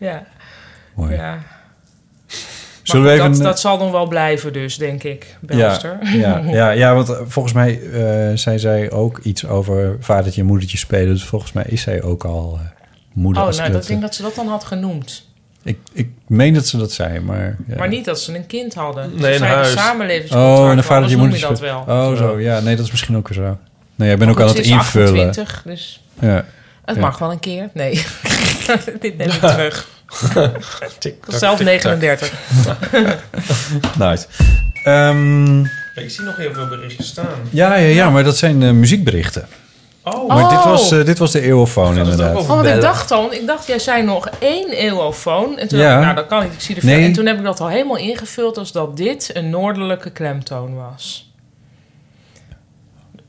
Speaker 2: ja.
Speaker 1: Mooi.
Speaker 2: Ja. Maar
Speaker 1: Zullen we
Speaker 2: goed,
Speaker 1: even-
Speaker 2: dat, dat zal nog wel blijven dus, denk ik, Belster. [laughs]
Speaker 1: Ja, ja, ja, ja, want eh, volgens mij eh, zei zij ook iets over vadertje en moedertje spelen. Dus volgens mij is zij ook al eh,
Speaker 2: oh,
Speaker 1: moeder. eh,
Speaker 2: nou,
Speaker 1: als ik,
Speaker 2: dat,
Speaker 1: dat,
Speaker 2: ik denk dat ze dat dan had genoemd.
Speaker 1: ik, ik meen dat ze dat zei, maar... ja.
Speaker 2: Maar niet dat ze een kind hadden.
Speaker 3: Nee,
Speaker 2: ze
Speaker 3: een
Speaker 2: zeiden
Speaker 3: huis.
Speaker 2: samenlevingscontract,
Speaker 1: Oh, en de
Speaker 2: maar
Speaker 1: vadertje
Speaker 2: anders
Speaker 1: en
Speaker 2: noem je
Speaker 1: moedertje
Speaker 2: dat wel.
Speaker 1: spelen. Oh, zo. Ja, nee, dat is misschien ook weer zo. Nee, jij bent ook
Speaker 2: Maar
Speaker 1: aan
Speaker 2: goed,
Speaker 1: het
Speaker 2: ze is
Speaker 1: invullen.
Speaker 2: 28, dus
Speaker 1: Ja.
Speaker 2: het
Speaker 1: Ja.
Speaker 2: mag wel een keer. Nee, [laughs] dit
Speaker 1: [laughs]
Speaker 2: neem ik [laughs] terug. Ik was zelf
Speaker 3: tik-tak.
Speaker 2: 39.
Speaker 1: [laughs] Nice. Ehm,
Speaker 3: Ik zie nog heel veel berichten staan.
Speaker 1: ja, ja, ja, maar dat zijn eh, muziekberichten.
Speaker 3: Oh.
Speaker 1: Maar dit
Speaker 2: Oh.
Speaker 1: was, eh, dit was de eeuwofoon inderdaad.
Speaker 2: Oh, want ik dacht al, ik dacht, jij zei nog één eeuwofoon. En toen
Speaker 1: Ja.
Speaker 2: dacht ik, nou, dat kan niet, ik zie de foon.
Speaker 1: Nee.
Speaker 2: En toen heb ik dat al helemaal ingevuld als dat dit een noordelijke klemtoon was.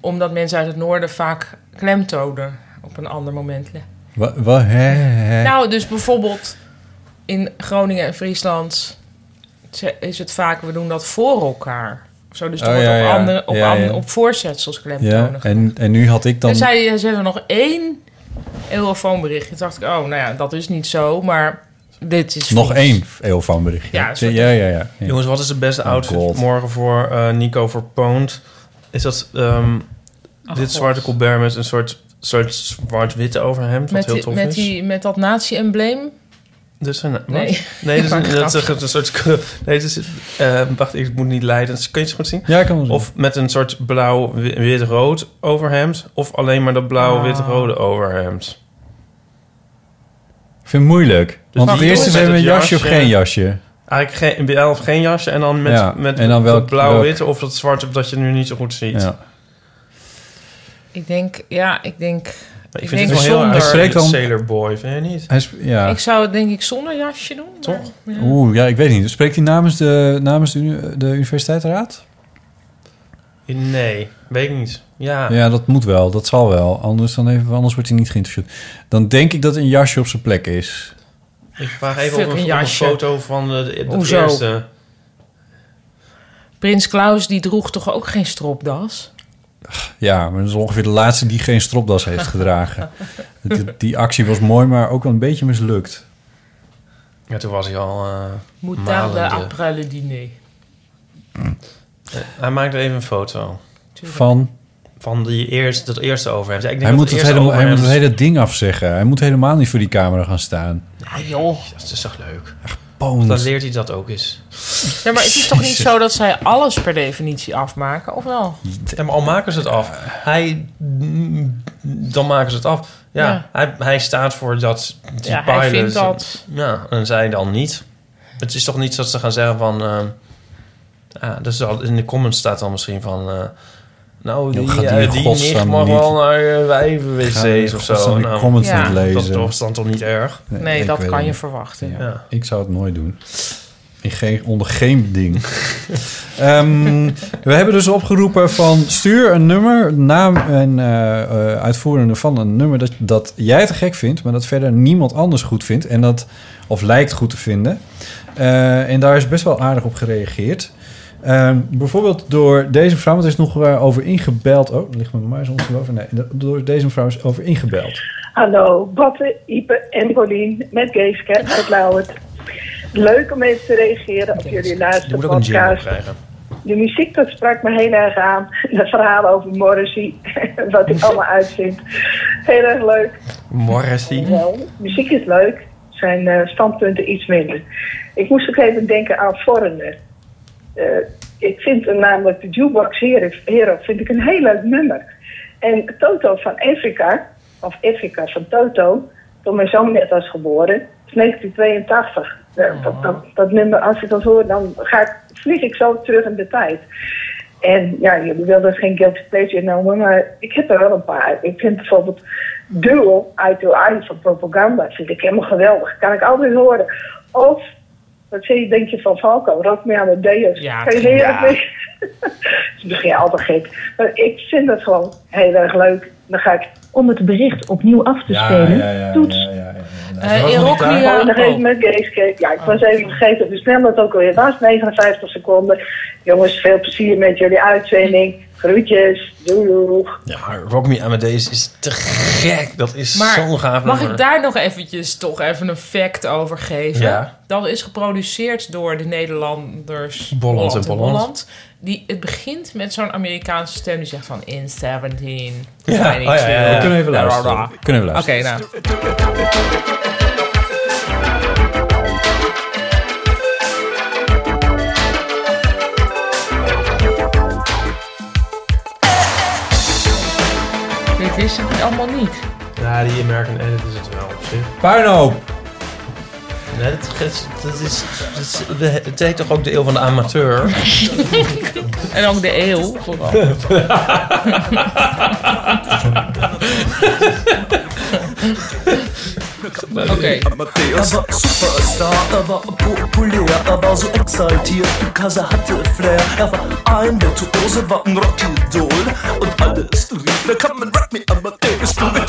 Speaker 2: Omdat mensen uit het noorden vaak klemtonen op een ander moment.
Speaker 1: Wa- wa- hè, hè.
Speaker 2: Nou, dus bijvoorbeeld in Groningen en Friesland ze- is het vaak, we doen dat voor elkaar. Of Zo, dus er
Speaker 1: Oh,
Speaker 2: wordt
Speaker 1: ja,
Speaker 2: op,
Speaker 1: ja.
Speaker 2: andere, op,
Speaker 1: Ja,
Speaker 2: an-
Speaker 1: ja.
Speaker 2: op voorzetsels
Speaker 1: ja,
Speaker 2: klemtonen
Speaker 1: en, en nu had ik dan...
Speaker 2: en zij ze hebben nog één eurofoonbericht. Toen dacht ik, oh, nou ja, dat is niet zo, maar dit is...
Speaker 1: Nog
Speaker 2: Fries.
Speaker 1: één eeuwfoonberichtje.
Speaker 2: Ja, een soort-
Speaker 1: ja, ja, Oh, ja, ja.
Speaker 3: Jongens, wat is de beste outfit morgen voor eh, Nico voor Poont? Is dat ehm,
Speaker 2: Ach,
Speaker 3: dit
Speaker 2: Oh, God.
Speaker 3: zwarte colbert met een soort, soort zwart-witte overhemd, wat
Speaker 2: Met,
Speaker 3: heel
Speaker 2: die,
Speaker 3: tof
Speaker 2: met,
Speaker 3: is?
Speaker 2: die, met dat nazi-embleem.
Speaker 3: Dus een, wat?
Speaker 2: Nee.
Speaker 3: nee,
Speaker 2: [laughs]
Speaker 3: dat is
Speaker 2: Maar
Speaker 3: een, dat is
Speaker 2: grapje.
Speaker 3: een, een soort. Nee, dat is, eh, wacht, ik moet niet leiden. Kun je het goed zien?
Speaker 1: Ja, ik kan wel zien.
Speaker 3: Of met een soort blauw-wit-rood overhemd, of alleen maar dat blauw-wit-rode
Speaker 2: Ah.
Speaker 3: overhemd.
Speaker 1: Ik vind het moeilijk. Want
Speaker 3: die
Speaker 1: het eerste
Speaker 3: jongens
Speaker 1: is even
Speaker 3: met
Speaker 1: een
Speaker 3: het
Speaker 1: jasje of
Speaker 3: jasje.
Speaker 1: geen jasje.
Speaker 3: Eigenlijk geen, wel of geen jasje en dan met,
Speaker 1: Ja,
Speaker 3: met
Speaker 1: en dan welk-
Speaker 3: dat blauw-witte of dat zwarte dat je nu niet zo goed ziet.
Speaker 1: Ja.
Speaker 2: Ik denk, ja, ik denk... Ik,
Speaker 3: Ik vind
Speaker 2: denk
Speaker 3: het wel heel
Speaker 2: zonder...
Speaker 3: erg
Speaker 1: Hij spreekt dan-
Speaker 3: Sailor Boy, vind je niet?
Speaker 1: Hij is, ja.
Speaker 2: Ik zou het denk ik zonder jasje doen. Toch?
Speaker 1: Oeh, ja, ik weet niet. Spreekt hij namens de, namens de, uni- de universiteitsraad?
Speaker 3: Nee, weet ik niet. Ja.
Speaker 1: Ja, dat moet wel. Dat zal wel. Anders, dan even, anders wordt hij niet geïnterviewd. Dan denk ik dat een jasje op zijn plek is.
Speaker 3: Ik vraag even
Speaker 2: Fuck,
Speaker 3: op een,
Speaker 2: een
Speaker 3: op een
Speaker 2: jasje.
Speaker 3: foto van de, de, de
Speaker 2: Hoezo?
Speaker 3: eerste.
Speaker 2: Prins Klaus, die droeg toch ook geen stropdas?
Speaker 1: Ja, maar dat is ongeveer de laatste die geen stropdas heeft
Speaker 3: [laughs]
Speaker 1: gedragen. die, die actie was mooi, maar ook wel een beetje mislukt.
Speaker 3: Ja, toen was hij al eh
Speaker 2: Moutarde
Speaker 3: malende.
Speaker 2: après le diner.
Speaker 3: Eh, Hij maakt even een foto.
Speaker 1: Van...
Speaker 3: Van die eerste, dat eerste overhemd. Ja, ik denk
Speaker 1: Hij
Speaker 3: dat
Speaker 1: moet, het
Speaker 3: eerste
Speaker 1: hele, hij moet
Speaker 3: overhemd-
Speaker 1: het hele ding afzeggen. Hij moet helemaal niet voor die camera gaan staan.
Speaker 2: Ah joh.
Speaker 3: Dat is toch leuk?
Speaker 1: Poont.
Speaker 3: Dan leert hij dat ook eens.
Speaker 2: Ja, maar het is toch [laughs] niet zo dat zij alles per definitie afmaken, of wel?
Speaker 3: Ja, maar al maken ze het af. Hij, mm, dan maken ze het af. Ja,
Speaker 2: Ja.
Speaker 3: Hij, hij staat voor dat, die
Speaker 2: Ja,
Speaker 3: pilot.
Speaker 2: hij vindt dat.
Speaker 3: Ja, en zij dan niet. Het is toch niet dat ze gaan zeggen van... ehm, ja, dus al- in de comments staat dan misschien van... eh, nou, die,
Speaker 1: Joh, gaat die
Speaker 3: eh,
Speaker 1: in
Speaker 3: die
Speaker 1: godsnaam
Speaker 3: nicht mag
Speaker 1: niet-
Speaker 3: wel naar eh,
Speaker 1: Ga die
Speaker 3: wijven-wc's
Speaker 1: in
Speaker 3: of zo. Nou,
Speaker 1: godsnaam die comments Ja. niet lezen.
Speaker 3: Dat is dan toch niet erg?
Speaker 2: Nee,
Speaker 1: ik
Speaker 2: dat
Speaker 1: weet
Speaker 2: kan
Speaker 1: het
Speaker 2: je
Speaker 1: niet.
Speaker 2: verwachten.
Speaker 1: Ik zou het nooit doen. In geen, onder geen ding. [laughs] Ehm, we hebben dus opgeroepen van stuur een nummer, naam en eh, eh, uitvoerende van een nummer dat, dat jij te gek vindt, maar dat verder niemand anders goed vindt en dat of lijkt goed te vinden. Eh, en daar is best wel aardig op gereageerd. Ehm, bijvoorbeeld door deze vrouw, want er is nog eh, over ingebeld. Oh, daar ligt mijn muis ons over. Nee, door deze vrouw is over ingebeld.
Speaker 11: Hallo, Batte, Ipe en Paulien met Geeske uit Lauwert. Leuk om even te reageren op jullie
Speaker 3: Je
Speaker 11: laatste
Speaker 3: moet ook een jingle
Speaker 11: podcast.
Speaker 3: [laughs] krijgen.
Speaker 11: De muziek, dat sprak me heel erg aan. De verhalen over Morrissey, [laughs] wat ik allemaal uitvind. Heel erg leuk.
Speaker 3: Morrissey.
Speaker 11: Wel, muziek is leuk, zijn eh, standpunten iets minder. Ik moest ook even denken aan Foreigner. Eh, ik vind eh, namelijk de Jukebox Hero, Hero vind ik een heel leuk nummer. En Toto van Afrika, of Afrika van Toto, toen mijn zoon net was geboren, is 1982. Eh, Dat, dat, dat nummer, als ik dat hoor, dan ga ik, vlieg ik zo terug in de tijd. En ja, jullie wilden dus geen guilty pleasure noemen, maar ik heb er wel een paar. Ik vind bijvoorbeeld Duel, Eye to Eye van Propaganda, vind ik helemaal geweldig. Kan ik altijd horen. Of, wat zeg je, denk je van Falco, Rock Me Amadeus.
Speaker 2: Ja,
Speaker 11: Kan je zeggen,
Speaker 2: ja.
Speaker 11: nee? [laughs] Het is misschien altijd gek. Maar ik vind dat gewoon heel erg leuk. Dan ga ik... Om het bericht opnieuw af
Speaker 6: te Ja, spelen, ja, ja,
Speaker 11: toets.
Speaker 6: Eh, in Rock Me,
Speaker 11: Oh, nog
Speaker 6: eh,
Speaker 11: even met Geescape. Ja, ik was even vergeten hoe snel dat ook alweer was. 59 seconden. Jongens, veel plezier met jullie uitzending. Groetjes. Doeg.
Speaker 3: Ja, Rock Me Amadeus is te gek. Dat is zo'n gaaf
Speaker 2: mag
Speaker 3: nummer.
Speaker 2: ik daar nog eventjes toch even een fact over geven?
Speaker 3: Ja.
Speaker 2: Dat is geproduceerd door de Nederlanders
Speaker 3: Bolland en Bolland.
Speaker 2: Die, het begint met zo'n Amerikaanse stem die zegt van in 17.
Speaker 1: Ja,
Speaker 2: I need
Speaker 1: oh ja, ja, ja.
Speaker 2: you."
Speaker 1: We kunnen even luisteren.
Speaker 2: Ra, ra, ra.
Speaker 1: We kunnen even luisteren.
Speaker 2: Oké, nou. Dit wist ik allemaal niet.
Speaker 3: Ja, die American Edit is het wel op zich.
Speaker 1: Puinhoop!
Speaker 3: Nee, dat, is, dat, is, dat is- het heet toch ook de eeuw van de [laughs] amateur?
Speaker 2: En ook de eeuw vooral.
Speaker 3: Oh.
Speaker 15: Okay. Er war Superstar, er war populär, er war so exaltiert, Kasa hatte Flair. Er war ein Virtuose, war ein Rockidol und alles rief, da kann man Rock Me Amadeus, du mit.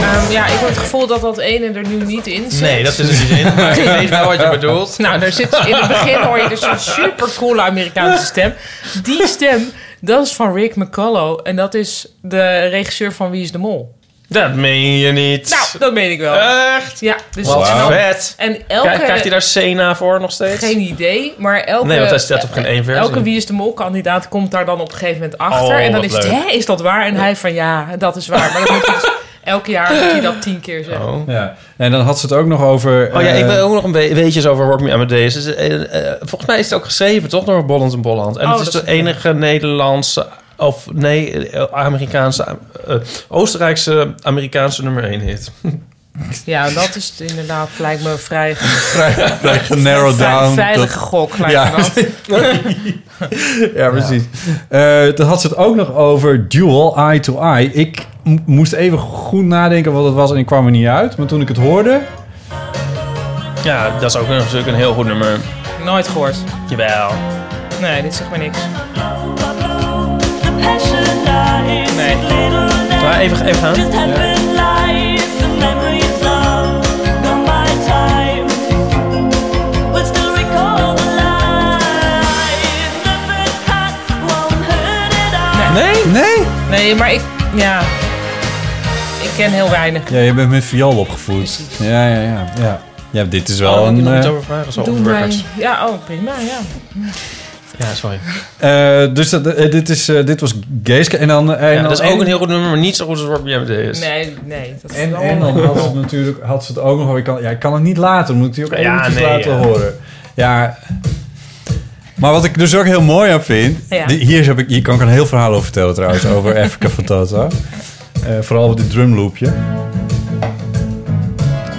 Speaker 2: Ehm, ja, ik heb het gevoel dat dat ene er nu niet in zit.
Speaker 3: Nee, dat is er niet in, maar ik weet wel wat je bedoelt.
Speaker 2: Nou, daar zit, in het begin hoor je dus een super coole Amerikaanse stem. Die stem, dat is van Rick McCullough. En dat is de regisseur van Wie is de Mol?
Speaker 3: Dat meen je niet.
Speaker 2: Nou, dat meen ik wel.
Speaker 3: Echt?
Speaker 2: Ja, dus
Speaker 3: Eh, Wat
Speaker 2: en dan-
Speaker 3: vet.
Speaker 2: En elke...
Speaker 3: Krijgt- krijgt hij daar Sena voor nog steeds?
Speaker 2: Geen idee, maar elke...
Speaker 3: Nee, want hij staat op geen één versie.
Speaker 2: Elke Wie is de Mol-kandidaat komt daar dan op een gegeven moment achter.
Speaker 3: Oh,
Speaker 2: en dan
Speaker 3: wat
Speaker 2: is het,
Speaker 3: leuk.
Speaker 2: hè, is dat waar? En hij van, ja, dat is waar. Maar dan moet hij
Speaker 3: [laughs]
Speaker 2: dus elk jaar moet hij dat tien keer zeggen.
Speaker 1: Ja. En dan had ze het ook nog over...
Speaker 3: Oh ja, ik
Speaker 1: eh,
Speaker 3: wil ook nog een be- weetjes over Rock Me Amadeus. Dus, eh, eh, volgens mij is het ook geschreven, toch, door Bolland en Bolland. En
Speaker 2: Oh,
Speaker 3: het is
Speaker 2: dat
Speaker 3: de
Speaker 2: is-
Speaker 3: enige Nederlandse, of nee, eh, Amerikaanse, eh, Oostenrijkse Amerikaanse nummer 1 hit.
Speaker 2: Ja, dat is het inderdaad, lijkt me
Speaker 1: [laughs]
Speaker 2: vrij...
Speaker 1: vrij genarrowed
Speaker 2: Vrij-
Speaker 1: down.
Speaker 2: Veilige
Speaker 1: Dat-
Speaker 2: gok, lijkt
Speaker 1: Ja.
Speaker 2: me dat.
Speaker 1: [laughs] ja, precies. Eh, dan had ze het ook nog over dual eye to eye. Ik m- moest even goed nadenken wat het was en ik kwam er niet uit. Maar toen ik het hoorde...
Speaker 3: Ja, dat is ook een- natuurlijk een heel goed nummer.
Speaker 2: Nooit gehoord.
Speaker 3: Jawel.
Speaker 2: Nee, dit zegt me niks.
Speaker 3: Nee. Maar even, even gaan. Nee?
Speaker 1: Nee?
Speaker 2: Nee, maar ik... Ja. Ik ken heel weinig.
Speaker 1: Ja, je bent met viool opgevoed. Ja, ja, ja. ja. Ja, dit is wel
Speaker 3: Oh,
Speaker 1: een...
Speaker 3: ik moet
Speaker 1: eh,
Speaker 3: het over vragen, zo
Speaker 2: Doe
Speaker 3: over
Speaker 2: mij...
Speaker 3: records.
Speaker 2: Ja, oh, prima, ja.
Speaker 3: Ja, sorry.
Speaker 1: eh, dus dat, eh, dit, is, eh, dit was Geeske. En dan... en
Speaker 3: Ja,
Speaker 1: dan
Speaker 3: dat is
Speaker 1: één-
Speaker 3: ook een heel goed nummer, maar niet zo goed als Rock Me Amadeus.
Speaker 1: Nou,
Speaker 2: Nee, nee. Dat is
Speaker 1: En,
Speaker 2: wel-
Speaker 1: en dan had ze het natuurlijk had ze het ook nog over. Ik kan, ja, ik kan het niet laten. Moet ik die ook
Speaker 3: Ja,
Speaker 1: eventjes
Speaker 3: nee,
Speaker 1: laten
Speaker 3: ja.
Speaker 1: horen. Ja. Maar wat ik dus ook heel mooi aan vind.
Speaker 3: Ja.
Speaker 1: die- hier, heb ik, hier kan ik een heel verhaal over vertellen trouwens.
Speaker 2: [laughs]
Speaker 1: over Africa van Toto. Eh, vooral op dit drumloopje.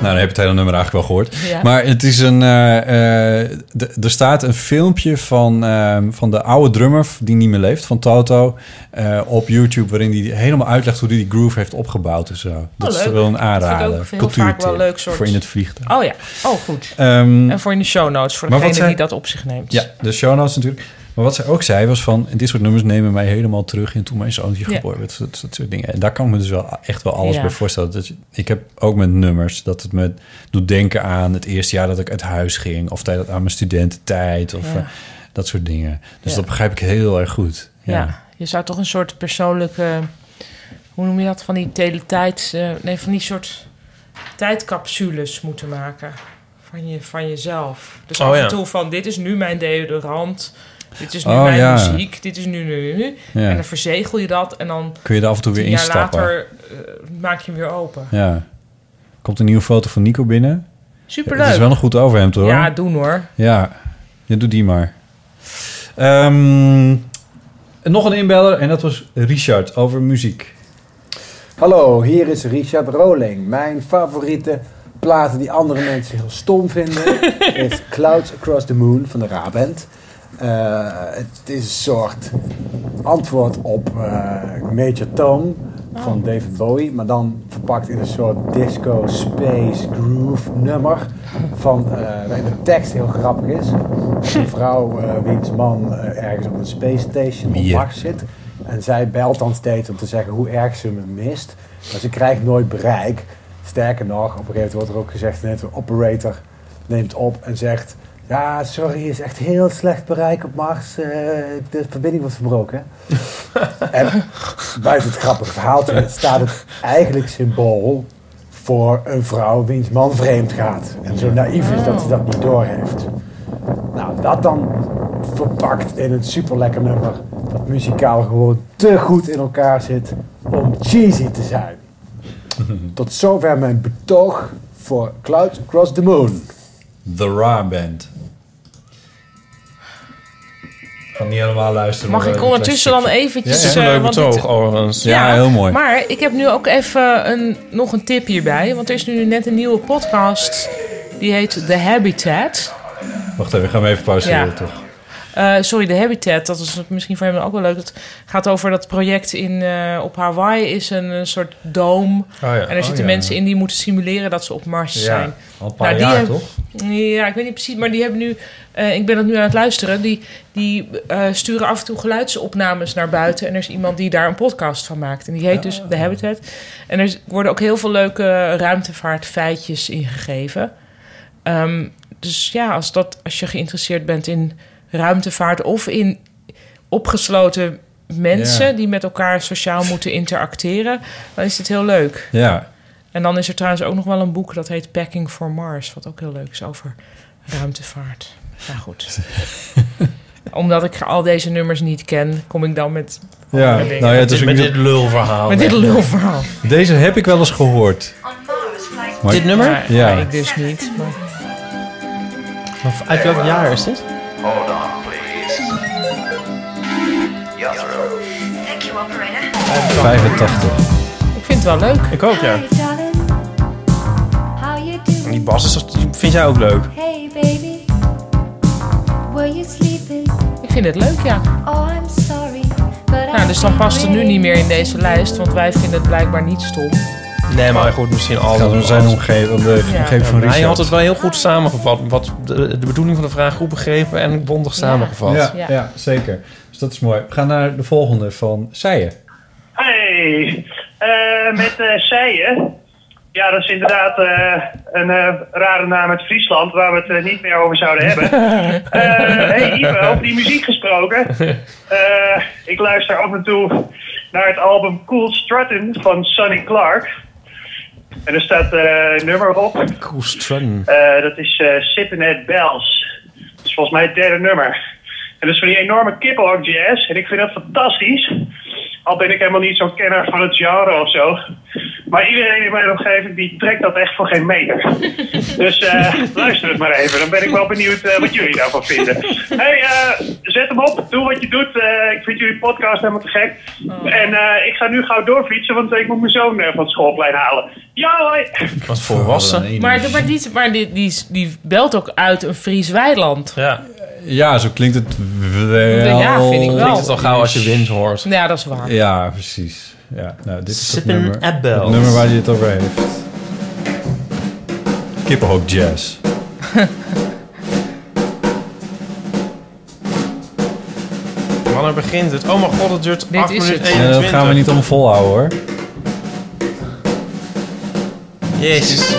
Speaker 1: Nou, dan heb je het hele nummer eigenlijk wel gehoord.
Speaker 15: Ja.
Speaker 1: Maar het is een. eh, eh, d- er staat een filmpje van, eh, van de oude drummer die niet meer leeft, van Toto, eh, op YouTube, waarin hij helemaal uitlegt hoe hij die groove heeft opgebouwd en zo. Dat is
Speaker 2: Oh, leuk.
Speaker 1: wel een
Speaker 2: Dat vind ik
Speaker 1: aanrader.
Speaker 2: ook heel vaak
Speaker 1: Cultuurtip
Speaker 2: wel leuk soort.
Speaker 1: voor in het vliegtuig.
Speaker 2: Oh ja, oh goed.
Speaker 1: Ehm,
Speaker 2: en voor in de show notes, voor
Speaker 1: maar wat
Speaker 2: degene
Speaker 1: zei-
Speaker 2: die dat op zich neemt.
Speaker 1: Ja, de show notes natuurlijk. Maar wat zij ook zei was van... dit soort nummers nemen mij helemaal terug in toen mijn zoontje
Speaker 2: Ja.
Speaker 1: geboren werd. Dat, dat soort dingen. En daar kan ik me dus wel echt wel alles
Speaker 2: Ja.
Speaker 1: bij voorstellen. Dus ik heb ook met nummers dat het me doet denken aan... het eerste jaar dat ik uit huis ging. Of tijd aan mijn studententijd. Of
Speaker 2: Ja.
Speaker 1: eh, dat soort dingen. Dus
Speaker 2: Ja.
Speaker 1: dat begrijp ik heel erg goed.
Speaker 2: Ja.
Speaker 1: Ja.
Speaker 2: je zou toch een soort persoonlijke, hoe noem je dat, van die teletijds, eh, nee, van die soort tijdcapsules moeten maken van, je, van jezelf. Dus
Speaker 3: Oh,
Speaker 2: af
Speaker 3: ja.
Speaker 2: en toe van, dit is nu mijn deodorant, dit is nu
Speaker 1: Oh,
Speaker 2: mijn
Speaker 1: ja.
Speaker 2: muziek, dit is nu, nu, nu.
Speaker 1: Ja.
Speaker 2: En dan verzegel je dat en dan...
Speaker 1: Kun je er af en toe weer
Speaker 2: tien jaar
Speaker 1: instappen.
Speaker 2: later eh, maak je hem weer open.
Speaker 1: Ja. Komt een nieuwe foto van Nico binnen.
Speaker 2: Superleuk.
Speaker 1: Het is wel een goed overhemd hoor.
Speaker 2: Ja, doen hoor.
Speaker 1: Ja, ja doe die maar. Ehm, en nog een inbeller en dat was Richard over muziek.
Speaker 16: Hallo, hier is Richard Roling. Mijn favoriete platen die andere mensen heel stom vinden is Clouds Across the Moon van de Raband. Eh, het is een soort antwoord op eh, Major Tom van David Bowie, maar dan verpakt in een soort disco space groove nummer. Van, eh, waarin de tekst heel grappig is. Een vrouw eh wiens man eh, ergens op een space station op
Speaker 1: Bier.
Speaker 16: Mars zit. En zij belt dan steeds om te zeggen hoe erg ze me mist. Maar ze krijgt nooit bereik. Sterker nog, op een gegeven moment wordt er ook gezegd... net een operator neemt op en zegt... Ja, sorry, is echt heel slecht bereik op Mars. Eh, de verbinding wordt verbroken. en buiten het grappige verhaaltje staat het eigenlijk symbool... voor een vrouw wiens man vreemd gaat. En zo naïef is dat ze dat niet doorheeft. Nou, dat dan verpakt in een superlekker nummer... dat muzikaal gewoon te goed in elkaar zit om cheesy te zijn.
Speaker 1: eh, [laughs]
Speaker 16: Tot zover mijn betoog voor Clouds Across the Moon.
Speaker 1: The Ra Band. Ik kan niet helemaal luisteren.
Speaker 2: Mag
Speaker 1: maar
Speaker 2: ik
Speaker 1: wel een
Speaker 2: ondertussen
Speaker 1: klein
Speaker 2: dan
Speaker 1: stukje.
Speaker 2: eventjes,
Speaker 1: Ja, ja.
Speaker 2: eh, Een leuk want dit- betoog,
Speaker 1: Ja, heel mooi.
Speaker 2: Maar ik heb nu ook even een, nog een tip hierbij. Want er is nu net een nieuwe podcast. Die heet The Habitat.
Speaker 1: Wacht even, gaan we
Speaker 3: Oh,
Speaker 1: even pauzeren
Speaker 2: Ja.
Speaker 1: toch?
Speaker 2: Eh, sorry, The Habitat. Dat is misschien voor hem ook wel leuk. Het gaat over dat project in, eh, op Hawaii. Is een, eh, soort dome.
Speaker 3: ja.
Speaker 2: En er
Speaker 3: Oh,
Speaker 2: zitten
Speaker 3: ja.
Speaker 2: mensen in die moeten simuleren dat ze op Mars
Speaker 3: Ja,
Speaker 2: zijn. Nou,
Speaker 3: al een paar
Speaker 2: die
Speaker 3: jaar,
Speaker 2: hebben- Ja, ik weet niet precies. Maar die hebben nu... eh, ik ben dat nu aan het luisteren. Die, die eh, sturen af en toe geluidsopnames naar buiten. En er is iemand die daar een podcast van maakt. En die heet dus The Habitat. En er worden ook heel veel leuke ruimtevaartfeitjes ingegeven. Ehm, dus ja, als, dat, als je geïnteresseerd bent in ruimtevaart of in opgesloten mensen
Speaker 1: Ja.
Speaker 2: die met elkaar sociaal moeten interacteren, dan is dit heel leuk.
Speaker 1: Ja.
Speaker 2: En dan is er trouwens ook nog wel een boek dat heet Packing for Mars, wat ook heel leuk is over ruimtevaart. Nou
Speaker 1: [laughs]
Speaker 2: goed. Omdat ik al deze nummers niet ken, kom ik dan met.
Speaker 1: Ja,
Speaker 2: andere dingen.
Speaker 1: nou ja, het is Met dit
Speaker 3: lulverhaal.
Speaker 2: Met dit lulverhaal.
Speaker 1: Deze heb ik wel eens gehoord. Maar-
Speaker 2: Dit nummer? Ja.
Speaker 1: Ja.
Speaker 2: ik dus niet. Maar...
Speaker 3: Uit welk jaar is dit?
Speaker 15: Hold on, please. Jethro. Thank you, operator.
Speaker 1: 85.
Speaker 2: Ik vind het wel leuk.
Speaker 3: Ik ook, ja. En die bas is toch, die vind jij ook leuk?
Speaker 15: Hey baby, were you sleeping?
Speaker 2: Ik vind het leuk, ja.
Speaker 15: Oh, I'm sorry, but
Speaker 2: Nou, dus dan past het nu niet meer in deze lijst, want wij vinden het blijkbaar niet stom.
Speaker 3: Nee, maar goed, misschien al.
Speaker 1: gaat om zijn omgeving, om de omgeving van
Speaker 3: Hij
Speaker 1: Richard.
Speaker 3: had het wel heel goed samengevat. Wat de, de bedoeling van de vraag goed begrepen en bondig samengevat.
Speaker 1: Ja, ja. zeker. Dus dat is mooi. We gaan naar de volgende van Seijen.
Speaker 17: Hey, eh, met eh Seijen. Ja, dat is inderdaad eh, een eh, rare naam uit Friesland waar we het eh, niet meer over zouden hebben. Eh hey Ipe, over die muziek gesproken. Eh, ik luister af en toe naar het album Cool Strutting van Sonny Clark. En er staat eh, een nummer op.
Speaker 3: Cool strun.
Speaker 17: Eh, dat is eh Sippin' at Bells. Dat is volgens mij het derde nummer. En dat is van die enorme kippenhok jazz. En ik vind dat fantastisch. Al ben ik helemaal niet zo'n kenner van het genre of zo. Maar iedereen in mijn omgeving die trekt dat echt voor geen meter. Dus eh, luister het maar even. Dan ben ik wel benieuwd eh, wat jullie daarvan vinden. hey, eh, zet hem op. Doe wat je doet. Eh, ik vind jullie podcast helemaal te gek. En eh, ik ga nu gauw doorfietsen, want ik moet mijn zoon eh, van het schoolplein halen. Ja, hoi!
Speaker 3: Wat volwassen.
Speaker 2: Maar,
Speaker 1: dus.
Speaker 2: de- maar, die, maar die, die, die belt ook uit een Fries weiland.
Speaker 3: Ja.
Speaker 1: Ja, zo klinkt het wel.
Speaker 2: Ja, vind ik wel. Klinkt het al
Speaker 3: gauw als je wind hoort.
Speaker 2: Ja, dat is waar.
Speaker 1: Ja, precies. Ja, nou, dit is het
Speaker 3: Sippin'
Speaker 1: nummer,
Speaker 3: at Bells.
Speaker 1: het nummer waar hij het over heeft. Kippenhoop jazz.
Speaker 3: Wanneer begint het? Oh mijn god, het duurt 8
Speaker 1: is
Speaker 3: minuten
Speaker 1: Ja,
Speaker 3: 21.
Speaker 1: Eh, dat gaan we niet om volhouden hoor.
Speaker 3: Jezus.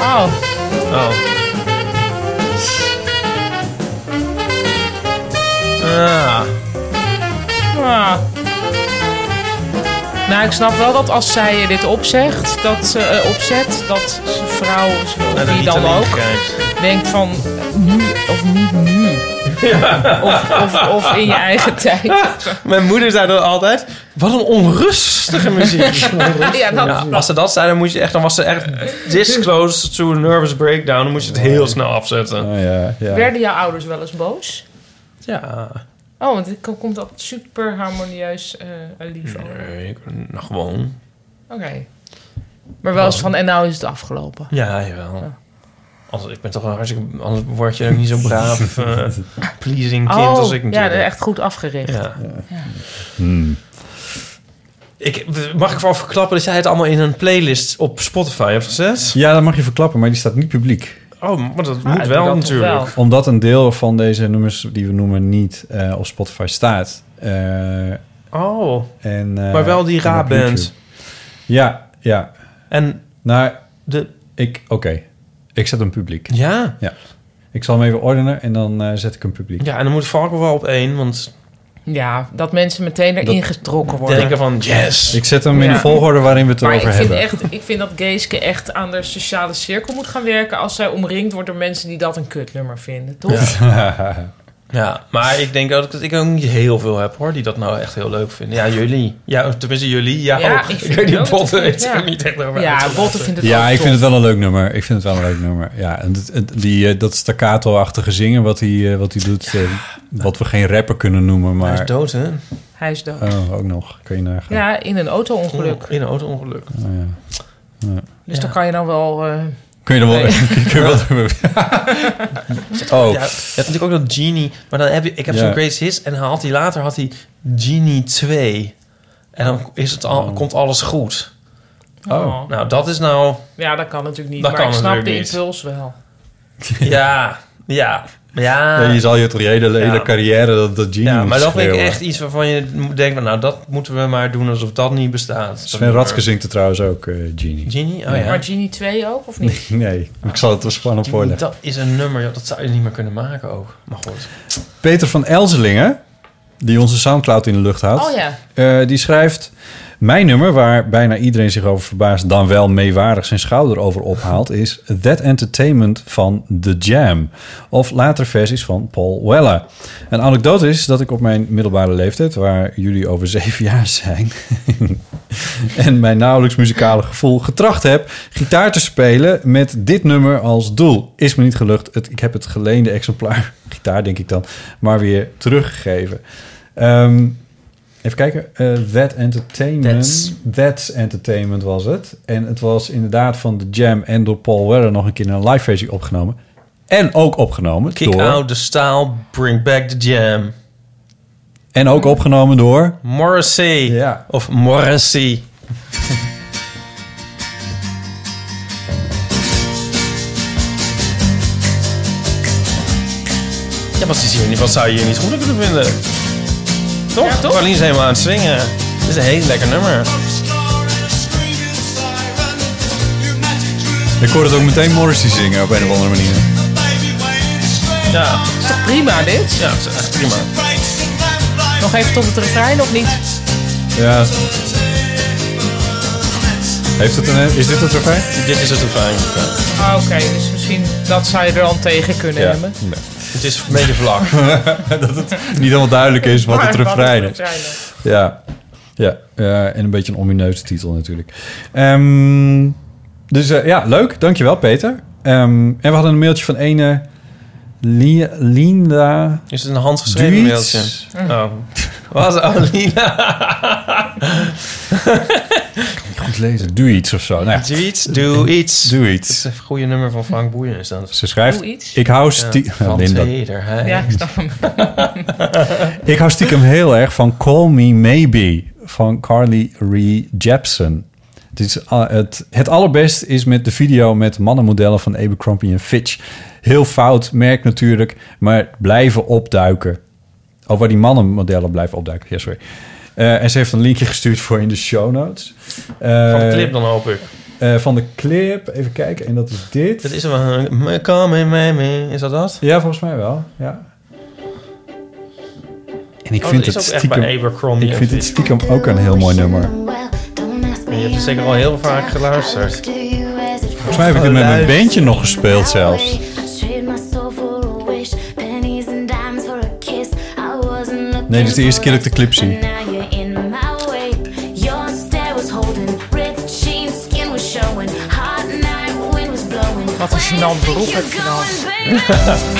Speaker 2: Oh.
Speaker 3: Oh. Ah.
Speaker 2: Ja. Ah. Nou, ik snap wel dat als zij dit opzegt, dat ze eh, opzet, dat zijn vrouw, of
Speaker 3: Nou, dat
Speaker 2: wie
Speaker 3: niet
Speaker 2: dan
Speaker 3: alleen
Speaker 2: ook, denkt van eh, nu of niet nu. Of, of, of
Speaker 3: [laughs]
Speaker 2: in je eigen tijd.
Speaker 3: Mijn moeder zei dat altijd. Wat een onrustige muziek.
Speaker 2: Ja, dat-
Speaker 3: [laughs] Ja, als ze dat zei, dan, moest je echt, dan was ze echt disclosed to a nervous breakdown. Dan moest je het heel snel afzetten.
Speaker 1: ja, ja.
Speaker 2: Werden jouw ouders wel eens boos?
Speaker 3: Ja.
Speaker 2: Oh, want het komt dat super harmonieus eh lief over.
Speaker 3: Nee, ik- nou gewoon.
Speaker 2: Oké. Maar wel eens van, en nou is het afgelopen.
Speaker 3: Ja, jawel. Anders, ik ben toch wel hartstikke... Anders word je ook niet zo
Speaker 1: [laughs]
Speaker 3: braaf, eh, pleasing kind
Speaker 2: oh,
Speaker 3: als ik natuurlijk.
Speaker 2: Ja, echt goed afgericht.
Speaker 3: Ja. Ik, mag ik wel verklappen dat jij het allemaal in een playlist op Spotify hebt gezet?
Speaker 1: Ja, dat mag je verklappen, maar die staat niet publiek.
Speaker 3: Oh, maar dat
Speaker 2: Ah,
Speaker 3: moet
Speaker 2: ik
Speaker 3: wel
Speaker 2: doe dat toch
Speaker 3: natuurlijk.
Speaker 2: wel.
Speaker 1: Omdat een deel van deze nummers die we noemen niet eh, op Spotify staat. Eh,
Speaker 3: Oh,
Speaker 1: en, eh,
Speaker 3: maar wel die
Speaker 1: en op
Speaker 3: Ra-band.
Speaker 1: YouTube. Ja, ja.
Speaker 3: En
Speaker 1: nou,
Speaker 3: de...
Speaker 1: ik, oké, ik zet een publiek.
Speaker 3: Ja?
Speaker 1: Ja. Ik zal hem even ordenen en dan eh, zet ik een publiek.
Speaker 3: Ja, en dan moet Valken wel op één, want...
Speaker 2: Ja, dat mensen meteen erin
Speaker 1: Dat-
Speaker 2: getrokken worden.
Speaker 3: Denken van, yes!
Speaker 1: Ik zet hem in
Speaker 2: Ja.
Speaker 1: de volgorde waarin we het
Speaker 2: maar
Speaker 1: erover
Speaker 2: ik vind,
Speaker 1: hebben.
Speaker 2: echt, ik vind dat Geeske echt aan de sociale cirkel moet gaan werken... als zij omringd wordt door mensen die dat een kutnummer vinden,
Speaker 1: [laughs]
Speaker 2: toch?
Speaker 3: Ja. Ja, maar ik denk ook dat ik ook niet heel veel heb hoor, die dat nou echt heel leuk vinden. Ja, jullie. Ja, tenminste jullie. Ja,
Speaker 2: Ja,
Speaker 3: oh,
Speaker 2: ik
Speaker 3: ik
Speaker 2: vind
Speaker 3: weet
Speaker 2: het
Speaker 3: niet,
Speaker 2: ook
Speaker 3: botten
Speaker 2: dat ik-
Speaker 3: weet ik
Speaker 2: ja.
Speaker 3: ook niet echt over
Speaker 2: Ja,
Speaker 3: uit te
Speaker 2: Botten
Speaker 3: laten.
Speaker 2: vindt het
Speaker 1: Ja, ik vind het wel een leuk nummer. Ik vind het wel een leuk nummer. Ja, en het- het- die, eh, dat staccato-achtige zingen wat hij, eh, wat hij doet, eh, wat we geen rapper kunnen noemen, maar...
Speaker 3: Hij is dood, hè?
Speaker 2: Hij is dood.
Speaker 1: Oh, ook nog. Kun je nagaan.
Speaker 2: Ja, in een auto-ongeluk.
Speaker 3: In een auto-ongeluk.
Speaker 1: Oh, ja. Ja.
Speaker 2: Dus dan kan je dan wel... eh,
Speaker 1: Kun je er wel...
Speaker 2: Nee.
Speaker 1: [laughs] kun je wel
Speaker 2: [laughs]
Speaker 3: Oh.
Speaker 1: [laughs] Oh.
Speaker 3: Ja, je hebt natuurlijk ook dat Genie. Maar dan heb je, ik heb
Speaker 1: Ja.
Speaker 3: zo'n Greatest Hits en dan had hij later had hij Genie 2. En dan is het
Speaker 1: Oh.
Speaker 3: al, komt alles goed.
Speaker 2: Oh.
Speaker 3: Nou, dat is
Speaker 1: [laughs]
Speaker 3: nou...
Speaker 2: Ja, dat kan natuurlijk niet.
Speaker 3: Dat
Speaker 2: maar
Speaker 3: kan
Speaker 2: ik snap de
Speaker 3: natuurlijk niet.
Speaker 2: impuls wel.
Speaker 3: Ja, ja,
Speaker 2: Ah.
Speaker 3: ja.
Speaker 1: Ja, je zal je toch je hele, hele
Speaker 3: Ja.
Speaker 1: carrière dat, dat genie
Speaker 3: Ja, maar
Speaker 1: moet
Speaker 3: dat vind ik
Speaker 1: schreeuwen.
Speaker 3: echt iets waarvan je moet denken... van, nou, dat moeten we maar doen alsof dat niet bestaat.
Speaker 1: Sven Radke zingt er trouwens ook, eh, genie.
Speaker 3: Genie? Oh, ja.
Speaker 2: Maar Genie 2 ook, of
Speaker 1: [laughs]
Speaker 2: niet?
Speaker 1: Nee, ik zal het wel gewoon
Speaker 3: Die-
Speaker 1: voorleggen.
Speaker 3: Dat is een nummer, joh, dat zou je niet meer kunnen maken ook. Maar goed.
Speaker 1: Peter van Elzelingen, die onze Soundcloud in de lucht houdt.
Speaker 2: Oh ja.
Speaker 1: eh, die schrijft... Mijn nummer, waar bijna iedereen zich over verbaast... dan wel meewarig zijn schouder over ophaalt... is That Entertainment van The Jam. Of latere versies van Paul Weller. Een anekdote is dat ik op mijn middelbare leeftijd... waar jullie over zeven jaar zijn... [laughs] en mijn nauwelijks muzikale gevoel getracht heb... gitaar te spelen met dit nummer als doel. Is me niet gelukt. Het, ik heb het geleende exemplaar, [laughs] gitaar denk ik dan... maar weer teruggegeven. Ehm, even kijken. Eh, That Entertainment. That's. Entertainment was het. En het was inderdaad van The Jam en door Paul Weller... nog een keer in een live versie opgenomen. En ook opgenomen
Speaker 3: Kick
Speaker 1: door...
Speaker 3: out the style, bring back the jam.
Speaker 1: En ook opgenomen door...
Speaker 3: Morrissey. Of Morrissey. Ja, wat, is hier, niet- wat zou je hier niet goed aan kunnen vinden? Toch? Ja, toch? is helemaal aan het zingen. Dit is een heel lekker nummer.
Speaker 1: Ik hoorde het ook meteen Morrissey zingen op een of andere manier.
Speaker 3: Ja.
Speaker 2: Is toch prima, dit?
Speaker 3: Ja, dat is echt prima.
Speaker 2: Nog even tot het refrein, of niet?
Speaker 1: Ja. Heeft het een, is dit het refrein?
Speaker 3: Dit is het refrein. ja.
Speaker 2: Ah, Oké, dus misschien dat zou je er dan tegen kunnen
Speaker 1: Ja.
Speaker 2: hebben.
Speaker 3: Het is een
Speaker 1: [laughs]
Speaker 3: beetje vlak.
Speaker 15: [laughs]
Speaker 1: dat het niet helemaal duidelijk is wat
Speaker 2: Maar
Speaker 1: het
Speaker 2: wat het
Speaker 1: refrein is.
Speaker 2: refrein is.
Speaker 1: Ja. Ja, eh, en een beetje een omineuze titel natuurlijk. Ehm, dus eh, ja, leuk. Dankjewel, Peter. Ehm, en we hadden een mailtje van ene Li- Linda...
Speaker 3: Is het een handgeschreven
Speaker 1: Duits?
Speaker 3: mailtje?
Speaker 2: Hm.
Speaker 3: Oh. Was oh, [laughs] Lina.
Speaker 1: Goed lezen. Doe iets of zo. Nou ja.
Speaker 3: Doe iets, doe iets.
Speaker 1: Doe iets.
Speaker 3: Dat is een goede nummer van Frank Boeien. Is dat.
Speaker 1: Ze schrijft, Doe iets. ik hou stie-
Speaker 3: Ja,
Speaker 1: Ja,
Speaker 3: van
Speaker 1: Linda.
Speaker 3: tederheid.
Speaker 2: Ja, ik snap hem.
Speaker 1: Ik hou stiekem heel erg van Call Me Maybe van Carly Rae Jepsen. Het, is, ah, het, het allerbest is met de video met mannenmodellen van Abercrombie en Fitch. Heel fout, merk natuurlijk, maar blijven opduiken. Oh, waar die mannenmodellen blijven opduiken. Ja, sorry. Eh, en ze heeft een linkje gestuurd voor in de show notes.
Speaker 3: Van de
Speaker 1: Eh,
Speaker 3: clip dan hoop ik.
Speaker 1: eh, van de clip, even kijken. En dat is dit.
Speaker 3: Dat is wel een... Come in, Miami. Is dat dat?
Speaker 1: Ja, volgens mij wel. Ja. En ik
Speaker 3: Oh,
Speaker 1: vind
Speaker 3: dat is
Speaker 1: het
Speaker 3: ook echt bij
Speaker 1: stiekem...
Speaker 3: Abercrombie
Speaker 1: Ik
Speaker 3: en
Speaker 1: vind het
Speaker 3: Fitch.
Speaker 1: stiekem ook een heel mooi nummer.
Speaker 3: Je hebt het zeker al heel vaak geluisterd.
Speaker 1: Volgens mij heb ik het met mijn bandje nog gespeeld zelfs. Nee, dit is de eerste keer dat ik de clip zie.
Speaker 2: Wat een gênant beroep heb je dan.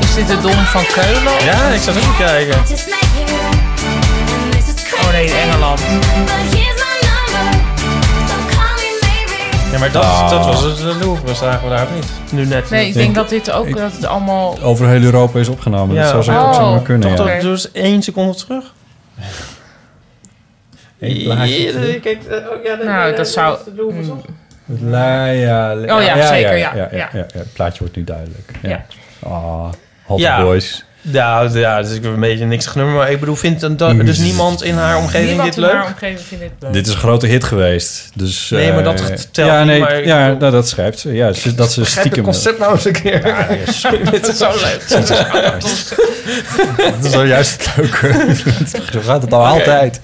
Speaker 2: Is dit de Dom van Keulen?
Speaker 3: Ja, ik zat ook te kijken.
Speaker 2: Oh nee, Engeland.
Speaker 3: Ja, maar dat,
Speaker 1: Ah.
Speaker 3: dat was het eh, Louvre. Zagen we daar ook niet. Nu net.
Speaker 2: Nee, ik denk dat dit ook, eh, dat het allemaal...
Speaker 1: Over heel Europa is opgenomen.
Speaker 3: Ja.
Speaker 1: Dat zou zo ook
Speaker 2: Oh.
Speaker 1: zomaar kunnen,
Speaker 3: Toch
Speaker 1: ja.
Speaker 3: dat- dus één seconde terug?
Speaker 1: Eén plaatje
Speaker 3: Ja,
Speaker 1: terug.
Speaker 3: kijk, eh, oh, ja, nee,
Speaker 2: Nou,
Speaker 3: nee,
Speaker 2: dat
Speaker 3: nee,
Speaker 2: zou...
Speaker 3: is de Louvre, toch?
Speaker 1: Het la- ja, la-
Speaker 2: Oh ja, zeker, ja,
Speaker 1: ja,
Speaker 2: ja.
Speaker 1: ja, ja. Het plaatje wordt nu duidelijk. Ja. Ah, Hot
Speaker 3: Ja.
Speaker 1: Boys.
Speaker 3: Ja, ja, dus ik heb een beetje niks genoemd. Maar ik bedoel, vindt dan dat, dus niemand in haar omgeving
Speaker 2: Niemand
Speaker 3: dit
Speaker 2: in
Speaker 3: leuk?
Speaker 2: haar omgeving vindt dit leuk.
Speaker 1: Dit is een grote hit geweest. Dus,
Speaker 3: Nee,
Speaker 1: eh,
Speaker 3: maar dat telt
Speaker 1: ja,
Speaker 3: niet,
Speaker 1: nee,
Speaker 3: maar ik
Speaker 1: ja, nou, dat schrijft ze. Ja, ze- dat ze
Speaker 3: Begrijp het
Speaker 1: stiekem...
Speaker 3: concept nou eens een keer. [laughs] dit is zo
Speaker 1: [laughs] Dat is-
Speaker 3: leuk.
Speaker 1: [laughs] Dat is wel juist
Speaker 3: [laughs]
Speaker 1: het leuke. Zo gaat het al altijd.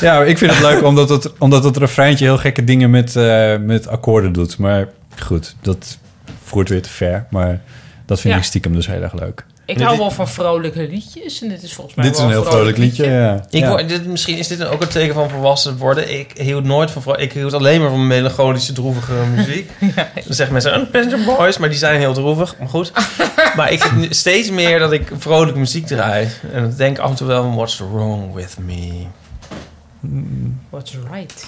Speaker 1: Ja, maar ik vind het leuk omdat het, omdat het refreintje heel gekke dingen met, eh, met akkoorden doet. Maar goed, dat voert weer te ver. Maar dat vind
Speaker 2: Ja.
Speaker 1: ik stiekem dus heel erg leuk.
Speaker 2: Ik hou wel van vrolijke liedjes en dit is volgens mij
Speaker 1: Dit is
Speaker 2: wel
Speaker 1: een heel vrolijk liedje. Ja.
Speaker 3: Ik
Speaker 1: Ja.
Speaker 3: word- dit, misschien is dit ook een teken van volwassen worden. Ik hield nooit van vrou- Ik hield alleen maar van melancholische,
Speaker 2: [laughs]
Speaker 3: droevige muziek. Dan zeggen mensen, oh, Passenger Boys, maar die zijn heel droevig. Maar
Speaker 2: [laughs]
Speaker 3: goed. maar ik heb nu steeds meer dat ik vrolijke muziek draai. En dan denk ik af en toe wel van, what's wrong with me?
Speaker 2: What's right?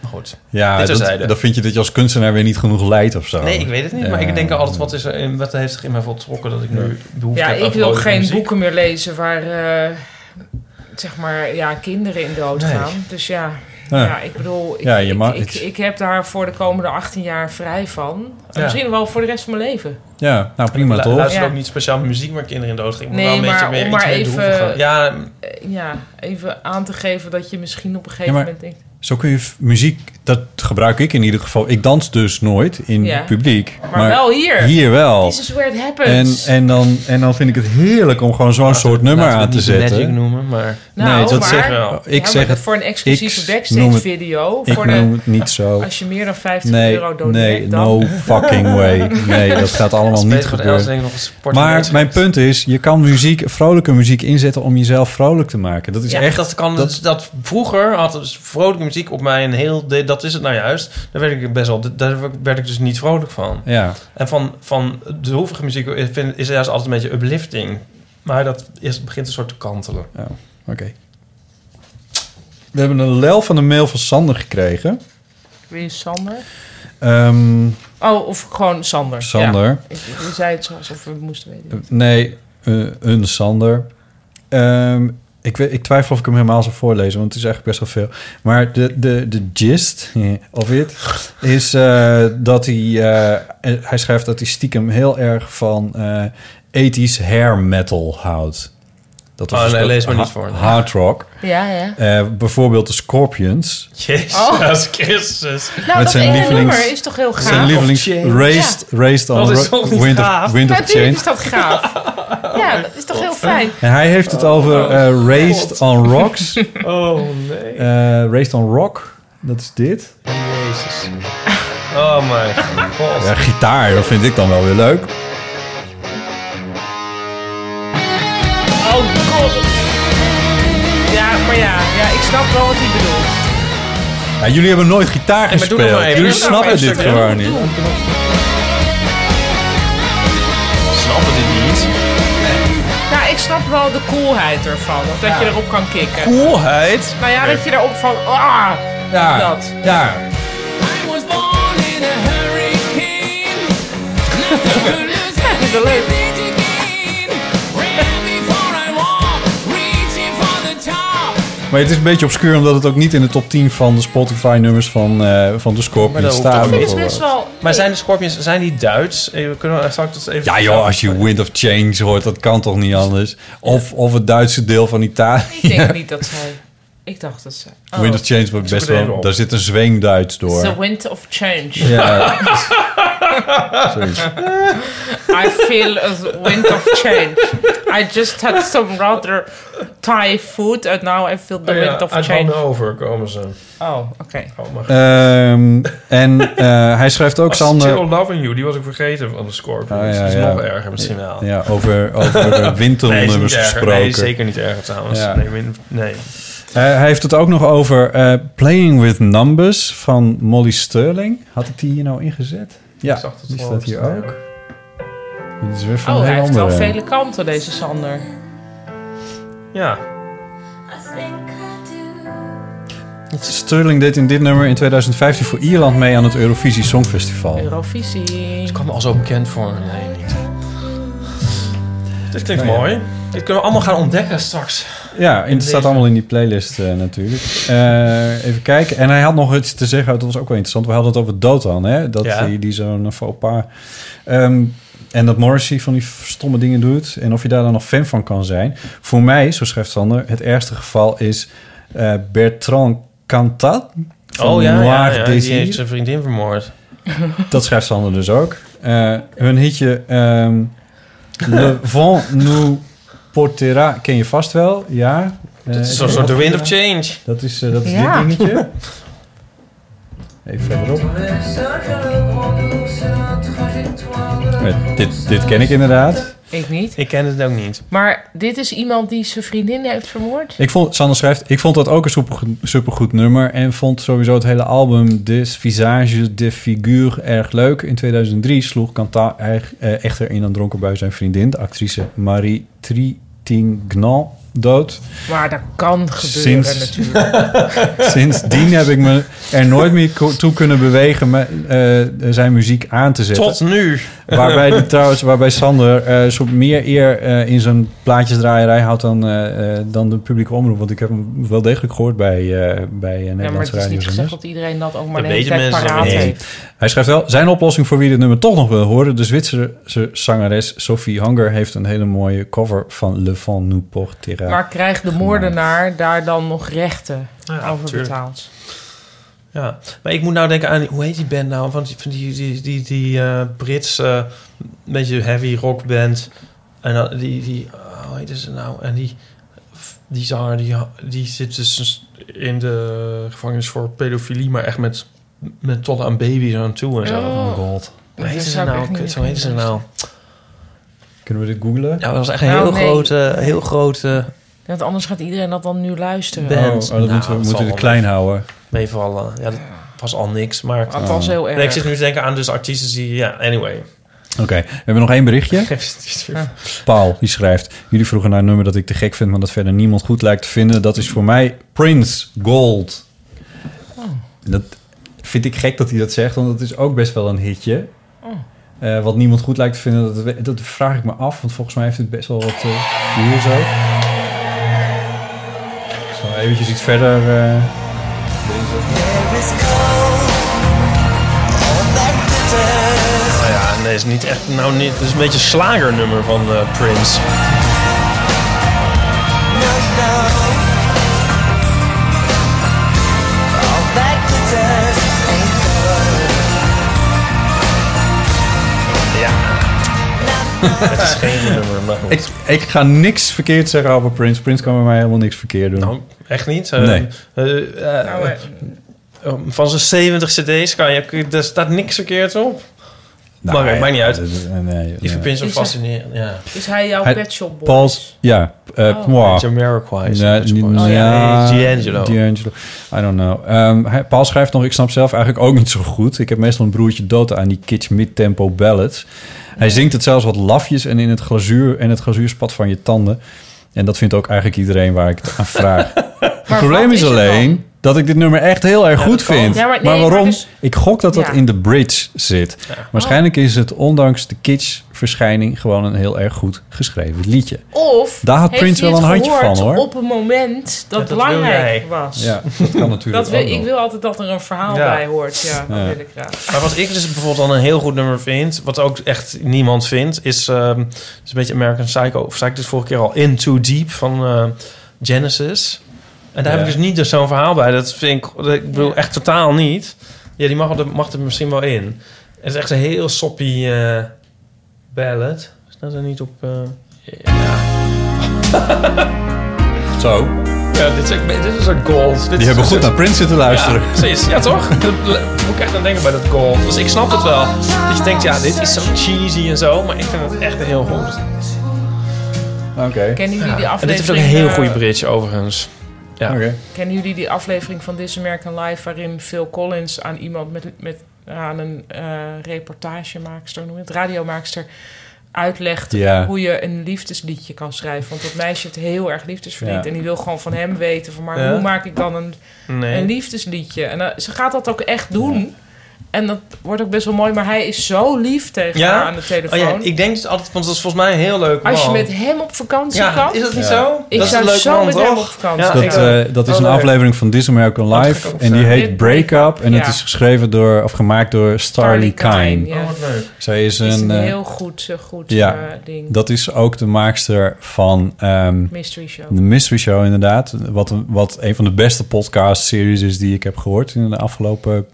Speaker 3: Maar goed.
Speaker 1: Mm. Ja,
Speaker 3: Dit
Speaker 1: dat,
Speaker 3: terzijde.
Speaker 1: dan vind je dat je als kunstenaar weer niet genoeg leidt of zo.
Speaker 3: Nee, ik weet het niet. Maar
Speaker 1: Ja.
Speaker 3: ik denk altijd, wat, is er, in- wat heeft zich in mij voltrokken dat ik nu behoefte
Speaker 2: Ja,
Speaker 3: heb aan
Speaker 2: ik wil
Speaker 3: vrolijke
Speaker 2: geen
Speaker 3: muziek?
Speaker 2: boeken meer lezen waar eh, zeg maar ja, kinderen in dood
Speaker 3: Nee.
Speaker 2: gaan. Dus ja,
Speaker 1: Ja.
Speaker 2: ja. ik bedoel, ik,
Speaker 1: Ja, je
Speaker 2: ik,
Speaker 1: mag-
Speaker 2: ik, ik heb daar voor de komende 18 jaar vrij van.
Speaker 3: Ja.
Speaker 2: Misschien wel voor de rest van mijn leven.
Speaker 1: Ja, nou prima
Speaker 3: Ik lu-
Speaker 1: toch?
Speaker 3: luister ook
Speaker 2: Ja.
Speaker 3: niet speciaal muziek waar kinderen in dood gingen.
Speaker 2: Nee,
Speaker 3: wel een beetje
Speaker 2: maar
Speaker 3: meer,
Speaker 2: om maar
Speaker 3: iets meer
Speaker 2: even-
Speaker 3: droevige. Ja,
Speaker 2: Eh, ja, even aan te geven dat je misschien op
Speaker 1: Ja,
Speaker 2: een gegeven
Speaker 1: maar
Speaker 2: moment denkt...
Speaker 1: zo kun je f- muziek, dat gebruik ik in ieder geval. Ik dans dus nooit in
Speaker 2: Ja.
Speaker 1: publiek.
Speaker 2: Maar, wel hier.
Speaker 1: Hier wel.
Speaker 2: This is where it
Speaker 1: En,
Speaker 2: happens.
Speaker 1: en, dan, en dan vind ik het heerlijk om gewoon zo'n soort nummer
Speaker 3: laten we
Speaker 1: aan te
Speaker 3: het niet
Speaker 1: zetten.
Speaker 3: Magic noemen, maar-
Speaker 2: Nou,
Speaker 1: nee, dat
Speaker 2: maar-
Speaker 1: zeg
Speaker 2: Ja,
Speaker 1: ik.
Speaker 2: maar
Speaker 1: zeg het,
Speaker 2: voor een exclusieve
Speaker 1: ik
Speaker 2: backstage
Speaker 1: noem het-
Speaker 2: video,
Speaker 1: Ik
Speaker 2: voor de-
Speaker 1: noem het niet zo.
Speaker 2: [laughs] als je meer dan 50
Speaker 1: nee,
Speaker 2: euro doneert,
Speaker 1: Nee,
Speaker 2: dan- [laughs]
Speaker 1: no fucking way. Nee, dat gaat allemaal
Speaker 3: Als
Speaker 1: niet
Speaker 3: Peter van Elst denk ik
Speaker 1: gebeuren.
Speaker 3: nog een sport-
Speaker 1: Maar mijn punt is, je kan muziek, vrolijke muziek inzetten om jezelf vrolijk te maken. Dat is
Speaker 3: ja,
Speaker 1: echt...
Speaker 3: dat kan. Dat, dat, vroeger had dus vrolijke muziek op mij een heel. de- Dat is het nou juist. Daar werd ik best wel. Daar werd ik dus niet vrolijk van.
Speaker 1: Ja.
Speaker 3: En van, van de hoevige muziek is- vind- is juist altijd een beetje uplifting. Maar dat is, begint een soort te kantelen.
Speaker 1: Ja, oké. We hebben een lel van een mail van Sander gekregen.
Speaker 2: Weer is Sander.
Speaker 1: Ehm,
Speaker 2: Oh, of gewoon Sander.
Speaker 1: Sander.
Speaker 2: Ja. Ik- Je zei het zo alsof we het moesten weten.
Speaker 1: Nee, eh, een Sander. Ehm, ik, weet, ik twijfel of ik hem helemaal zou voorlezen, want het is eigenlijk best wel veel. Maar de, de, de gist [laughs] of it is eh, dat hij... eh, eh, hij schrijft dat hij stiekem heel erg van eh, 80s hair metal houdt. Dat
Speaker 3: Oh,
Speaker 1: dus
Speaker 3: nee,
Speaker 1: dat
Speaker 3: lees maar
Speaker 1: ha-
Speaker 3: niet voor.
Speaker 1: Hard rock.
Speaker 2: Ja, ja.
Speaker 1: Eh, bijvoorbeeld de Scorpions.
Speaker 3: Jezus
Speaker 2: Oh.
Speaker 3: Christus.
Speaker 2: Nou, dat ene nummer is toch heel gaaf?
Speaker 1: Zijn lievelings Raised, raised on Ro- Wind of, wind of
Speaker 2: Natuurlijk
Speaker 1: Change.
Speaker 2: is dat gaaf. ja, dat is toch heel fijn.
Speaker 1: En hij heeft het over eh, Raised on
Speaker 3: [laughs]
Speaker 1: Rocks.
Speaker 3: Oh nee.
Speaker 1: Eh, raised on Rock. Dat is dit.
Speaker 3: Jezus. Oh my god.
Speaker 1: Ja, gitaar, dat vind ik dan wel weer leuk.
Speaker 2: [laughs] Oh god. Ja, maar ja, ja, ik snap wel wat hij bedoelt.
Speaker 1: Ja, jullie hebben nooit
Speaker 3: maar
Speaker 1: gitaar
Speaker 3: doe nog
Speaker 1: gespeeld.
Speaker 3: maar even.
Speaker 1: jullie
Speaker 3: Doe nog maar
Speaker 1: snappen
Speaker 3: even
Speaker 1: dit
Speaker 3: een stukje.
Speaker 1: gewoon niet.
Speaker 3: Snappen dit niet?
Speaker 2: Nou, ik snap wel de coolheid ervan. Of dat
Speaker 3: Ja.
Speaker 2: je erop kan kicken.
Speaker 3: Coolheid?
Speaker 2: Nou ja, dat je erop van... Ah,
Speaker 1: Ja,
Speaker 2: dat.
Speaker 1: ja.
Speaker 2: Dat is wel leuk.
Speaker 1: Maar het is een beetje obscuur omdat het ook niet in de top 10 van de Spotify-nummers van, eh, van de
Speaker 3: Maar dat
Speaker 1: Scorpions
Speaker 3: hoeft
Speaker 1: staat.
Speaker 3: toch niet?
Speaker 1: bijvoorbeeld.
Speaker 3: Maar zijn de Scorpions, zijn die Duits? Eh, Kunnen we straks even...
Speaker 1: Ja joh, als je Wind of Change hoort, dat kan toch niet anders? Of, of het Duitse deel van Italië.
Speaker 2: Ik denk niet dat zij... Ik dacht dat zij... Oh.
Speaker 1: [laughs] Wind of Change wordt best wel... Daar zit een zweem Duits
Speaker 2: It's
Speaker 1: door.
Speaker 2: the wind of change.
Speaker 1: Ja.
Speaker 2: [laughs]
Speaker 1: Zoiets.
Speaker 2: I feel a wind of change. I just had some rather Thai food and now I feel the
Speaker 3: Oh ja,
Speaker 2: wind of
Speaker 3: uit
Speaker 2: change.
Speaker 3: Hannover komen ze.
Speaker 2: Oh, oké.
Speaker 3: Oh, maar...
Speaker 1: Ehm, en eh, hij schrijft ook,
Speaker 3: Als
Speaker 1: Sander...
Speaker 3: Still Loving You, die was ik vergeten van de Scorpions.
Speaker 1: Oh, ja,
Speaker 3: dat is
Speaker 1: ja.
Speaker 3: nog erger misschien wel.
Speaker 1: Ja, over- over de winternummers
Speaker 3: [laughs] Nee, is niet erger.
Speaker 1: gesproken.
Speaker 3: Nee, zeker niet erger trouwens.
Speaker 1: Ja.
Speaker 3: Nee, win- nee.
Speaker 1: Eh, hij heeft het ook nog over eh, Playing with Numbers van Molly Sterling. Had ik die hier nou ingezet? Ja, die staat hier ook. Dit is weer van
Speaker 2: Oh,
Speaker 1: een
Speaker 2: hij
Speaker 1: heel
Speaker 2: heeft wel
Speaker 1: andere.
Speaker 2: vele kanten, deze Sander.
Speaker 3: Ja.
Speaker 1: Sterling deed in dit nummer in 2015 voor Ierland mee aan het Eurovisie Songfestival.
Speaker 2: Eurovisie.
Speaker 3: Het kwam me al zo bekend voor. Nee, niet. Dit klinkt
Speaker 1: Nou ja.
Speaker 3: mooi. Dit kunnen we allemaal gaan ontdekken straks.
Speaker 1: Ja, en het
Speaker 3: deze.
Speaker 1: staat allemaal in die playlist eh, natuurlijk. Eh, even kijken. En hij had nog iets te zeggen. Dat was ook wel interessant. We hadden het over Dotan, hè? Dat
Speaker 3: Ja.
Speaker 1: die, die zo'n faux pas... Ehm, en dat Morrissey van die stomme dingen doet. En of je daar dan nog fan van kan zijn. Voor mij, zo schrijft Sander, het ergste geval is eh, Bertrand Cantat. Van
Speaker 3: oh ja, ja,
Speaker 1: Noir
Speaker 3: ja, die
Speaker 1: Désir.
Speaker 3: heeft zijn vriendin
Speaker 1: [laughs]
Speaker 3: vermoord.
Speaker 1: Dat schrijft Sander dus ook. Eh, hun hitje ehm, Le vent nous portera ken je vast wel, ja. Eh,
Speaker 3: Dat is een soort The Wind of Change.
Speaker 1: Dat is, eh, dat is
Speaker 3: Ja.
Speaker 1: dit dingetje. Even verderop. Eh, Dit, dit ken ik inderdaad.
Speaker 2: Ik niet.
Speaker 3: Ik ken het ook niet.
Speaker 2: Maar dit is iemand die zijn vriendin heeft vermoord?
Speaker 1: Ik vond, Sander schrijft, ik vond dat ook een supergoed, supergoed nummer. En vond sowieso het hele album Des Visages de Figure erg leuk. In 2003 sloeg Canta eig- eh, echter in een dronken bui zijn vriendin, de actrice Marie Tritignan, dood.
Speaker 2: Maar dat kan gebeuren
Speaker 1: Sinds-
Speaker 2: natuurlijk.
Speaker 1: [laughs] Sindsdien heb ik me er nooit meer ko- toe kunnen bewegen me, eh, zijn muziek aan te zetten.
Speaker 3: Tot nu.
Speaker 1: Waarbij, die, trouwens, waarbij Sander eh, een soort meer eer eh, in zijn plaatjesdraaierij houdt dan, eh, eh, dan de publieke omroep. Want ik heb hem wel degelijk gehoord bij, eh, bij eh,
Speaker 2: Ja, maar
Speaker 1: Nederlandse
Speaker 2: het is niet gezegd
Speaker 1: radiozenders.
Speaker 2: dat iedereen dat ook maar
Speaker 3: Dat
Speaker 2: de hele
Speaker 3: weten
Speaker 2: tijd
Speaker 3: mensen
Speaker 2: paraat
Speaker 3: niet.
Speaker 2: heeft.
Speaker 1: Hij schrijft wel, zijn oplossing voor wie dit nummer toch nog wil horen. De Zwitserse zangeres Sophie Hunger heeft een hele mooie cover van Le Vent nous portera.
Speaker 2: Maar krijgt de moordenaar daar dan nog rechten over
Speaker 3: tuurlijk.
Speaker 2: betaald?
Speaker 3: Ja, maar ik moet nou denken aan... Hoe heet die band nou? Van die, van die, die, die, die eh Brits... eh, beetje heavy rock band. En dan die... die oh, hoe heet ze nou? En die... Die zanger, die, die zit dus in de gevangenis voor pedofilie... maar echt met, met tot aan baby's aan toe en zo.
Speaker 1: Oh. Oh god.
Speaker 3: Hoe heet
Speaker 1: Dat
Speaker 3: ze
Speaker 1: zou ik
Speaker 3: nou?
Speaker 1: echt niet
Speaker 3: Zo heet ze nou.
Speaker 1: Kunnen we dit googlen?
Speaker 3: Ja, dat was echt een
Speaker 2: Nou,
Speaker 3: heel
Speaker 2: nee.
Speaker 3: grote... Heel grote
Speaker 2: Want anders gaat iedereen dat dan nu luisteren.
Speaker 3: band. Nou,
Speaker 1: oh, dat moeten we- moeten we
Speaker 3: het
Speaker 1: klein houden.
Speaker 3: Meevallen. Ja, dat was al niks, maar...
Speaker 2: Althans heel
Speaker 3: Nee, ik
Speaker 2: erg.
Speaker 3: zit nu te denken aan dus artiesten die... Ja, anyway.
Speaker 1: Oké, we hebben nog één berichtje. Paul, die schrijft... Jullie vroegen naar een nummer dat ik te gek vind... maar dat verder niemand goed lijkt te vinden. Dat is voor mij Prince Gold.
Speaker 2: Oh.
Speaker 1: Dat vind ik gek dat hij dat zegt... want dat is ook best wel een hitje.
Speaker 2: Oh.
Speaker 1: Eh, wat niemand goed lijkt te vinden, dat, dat vraag ik me af. Want volgens mij heeft het best wel wat eh vuur zo. Ik zal eventjes iets verder... eh,
Speaker 3: Nou ja, nee, is niet echt... Nou, niet, het is een beetje een slagernummer van eh, Prince. Ja. het is geen nummer, maar goed.
Speaker 1: ik, ik ga niks verkeerd zeggen
Speaker 3: Eh,
Speaker 1: over Prince. Prince kan bij mij helemaal niks verkeerd doen.
Speaker 3: Echt niet?
Speaker 1: Nee.
Speaker 3: Eh, eh, eh, um, van zijn 70 cd's kan je... Er staat niks verkeerds op.
Speaker 1: Nou,
Speaker 3: maar het
Speaker 1: ja,
Speaker 3: maakt niet uit.
Speaker 1: nee, nee.
Speaker 3: Die verpint zo
Speaker 2: Is hij-
Speaker 3: fascinerend. Ja.
Speaker 2: Is hij jouw
Speaker 1: Hij-
Speaker 2: Pet Shop Boy?
Speaker 1: Pauls, ja. eh
Speaker 2: Oh.
Speaker 1: moi.
Speaker 3: Jamiroquai is
Speaker 1: Nee,
Speaker 3: een
Speaker 1: niet-
Speaker 3: Boys. Oh,
Speaker 1: ja,
Speaker 3: ja. Nee, D'Angelo.
Speaker 1: D'Angelo. I don't know. Ehm, hij, Paul schrijft nog, ik snap zelf eigenlijk ook niet zo goed. Ik heb meestal een broertje dood aan die kitsch mid-tempo ballads. Hij zingt het zelfs wat lafjes en in het glazuur en het glazuurspat van je tanden. En dat vindt ook eigenlijk iedereen waar ik het aan
Speaker 2: [laughs]
Speaker 1: vraag. het probleem is alleen dat ik dit nummer echt heel erg goed vind.
Speaker 2: Ja, maar
Speaker 1: maar,
Speaker 2: nee, maar
Speaker 1: waarom?
Speaker 2: dus-
Speaker 1: Ik gok dat dat
Speaker 2: Ja. Oh.
Speaker 1: in de bridge zit. Waarschijnlijk is het ondanks de kitsch verschijning gewoon een heel erg goed geschreven liedje.
Speaker 2: Of
Speaker 1: Daar had
Speaker 2: heeft
Speaker 1: Prince
Speaker 2: hij
Speaker 1: wel een
Speaker 2: het
Speaker 1: handje
Speaker 2: gehoord
Speaker 1: van hoor.
Speaker 2: Op een moment dat,
Speaker 3: dat wil
Speaker 2: belangrijk
Speaker 3: jij.
Speaker 2: was.
Speaker 1: Ja, dat kan natuurlijk
Speaker 2: Dat wil,
Speaker 1: ook nog.
Speaker 2: ik wil altijd dat er een verhaal
Speaker 3: Ja.
Speaker 2: bij hoort. Ja, dat
Speaker 3: Ja.
Speaker 2: wil ik graag.
Speaker 3: Maar wat ik dus bijvoorbeeld dan een heel goed nummer vind... wat ook echt niemand vindt... is, ehm, is een beetje American Psycho. Of zei ik dus vorige keer al... In Too Deep van eh, Genesis. En daar
Speaker 1: Ja.
Speaker 3: heb ik dus niet dus zo'n verhaal bij. Dat vind ik... Ik bedoel, echt totaal niet. Ja, die mag, er- mag er misschien wel in. Het is echt een heel soppy eh ballad. Staat er niet op... eh, ja.
Speaker 1: Zo.
Speaker 3: Ja, dit is, echt- dit is een soort gold. Dit
Speaker 1: Die
Speaker 3: is
Speaker 1: hebben
Speaker 3: een
Speaker 1: goed
Speaker 3: soort-
Speaker 1: naar Prince zitten luisteren.
Speaker 3: Ja, precies. Ja, toch? Daar moet ik echt aan denken bij dat goal. Dus ik snap het wel. Dat je denkt, ja, dit is zo cheesy en zo. Maar ik vind het echt heel goed.
Speaker 1: Oké.
Speaker 2: Kennen jullie die
Speaker 3: En dit heeft ook een
Speaker 2: aflevering,
Speaker 3: heel
Speaker 2: eh,
Speaker 3: goede bridge, overigens. Ja.
Speaker 2: Kennen jullie die aflevering van This American Life... waarin Phil Collins aan iemand met, met aan een eh, reportagemaakster, noem je het, radiomaakster... uitlegt
Speaker 1: Ja.
Speaker 2: hoe je een liefdesliedje kan schrijven. Want dat meisje heeft heel erg liefdesverdriet.
Speaker 1: Ja.
Speaker 2: En die wil gewoon van hem weten van... maar
Speaker 1: Ja.
Speaker 2: hoe maak ik dan een,
Speaker 1: Nee.
Speaker 2: een liefdesliedje? En eh, ze gaat dat ook echt doen... En dat wordt ook best wel mooi, maar hij is zo lief tegen haar aan de telefoon.
Speaker 3: Oh ja, ik denk dus altijd, want dat is volgens mij een heel leuk man.
Speaker 2: Als je met hem op vakantie
Speaker 3: Ja,
Speaker 2: kan.
Speaker 3: is dat niet zo?
Speaker 2: Ik
Speaker 3: Dat is
Speaker 2: zou
Speaker 3: een leuke
Speaker 2: zo
Speaker 3: man,
Speaker 2: met
Speaker 3: toch?
Speaker 2: hem op vakantie
Speaker 3: Ja,
Speaker 2: gaan.
Speaker 1: dat, eh, dat is een aflevering van This American Life. En die heet Break Up. En het
Speaker 2: Ja.
Speaker 1: is geschreven door, of gemaakt door Starly Kine.
Speaker 2: ja. Oh, wat leuk.
Speaker 1: Zij is een...
Speaker 2: Is een
Speaker 1: eh,
Speaker 2: heel goed, eh, goed,
Speaker 1: ja,
Speaker 2: eh, ding.
Speaker 1: Dat is ook de maakster van... ehm,
Speaker 2: Mystery Show.
Speaker 1: De Mystery Show, inderdaad. Wat een, wat een van de beste podcast-series is die ik heb gehoord in de afgelopen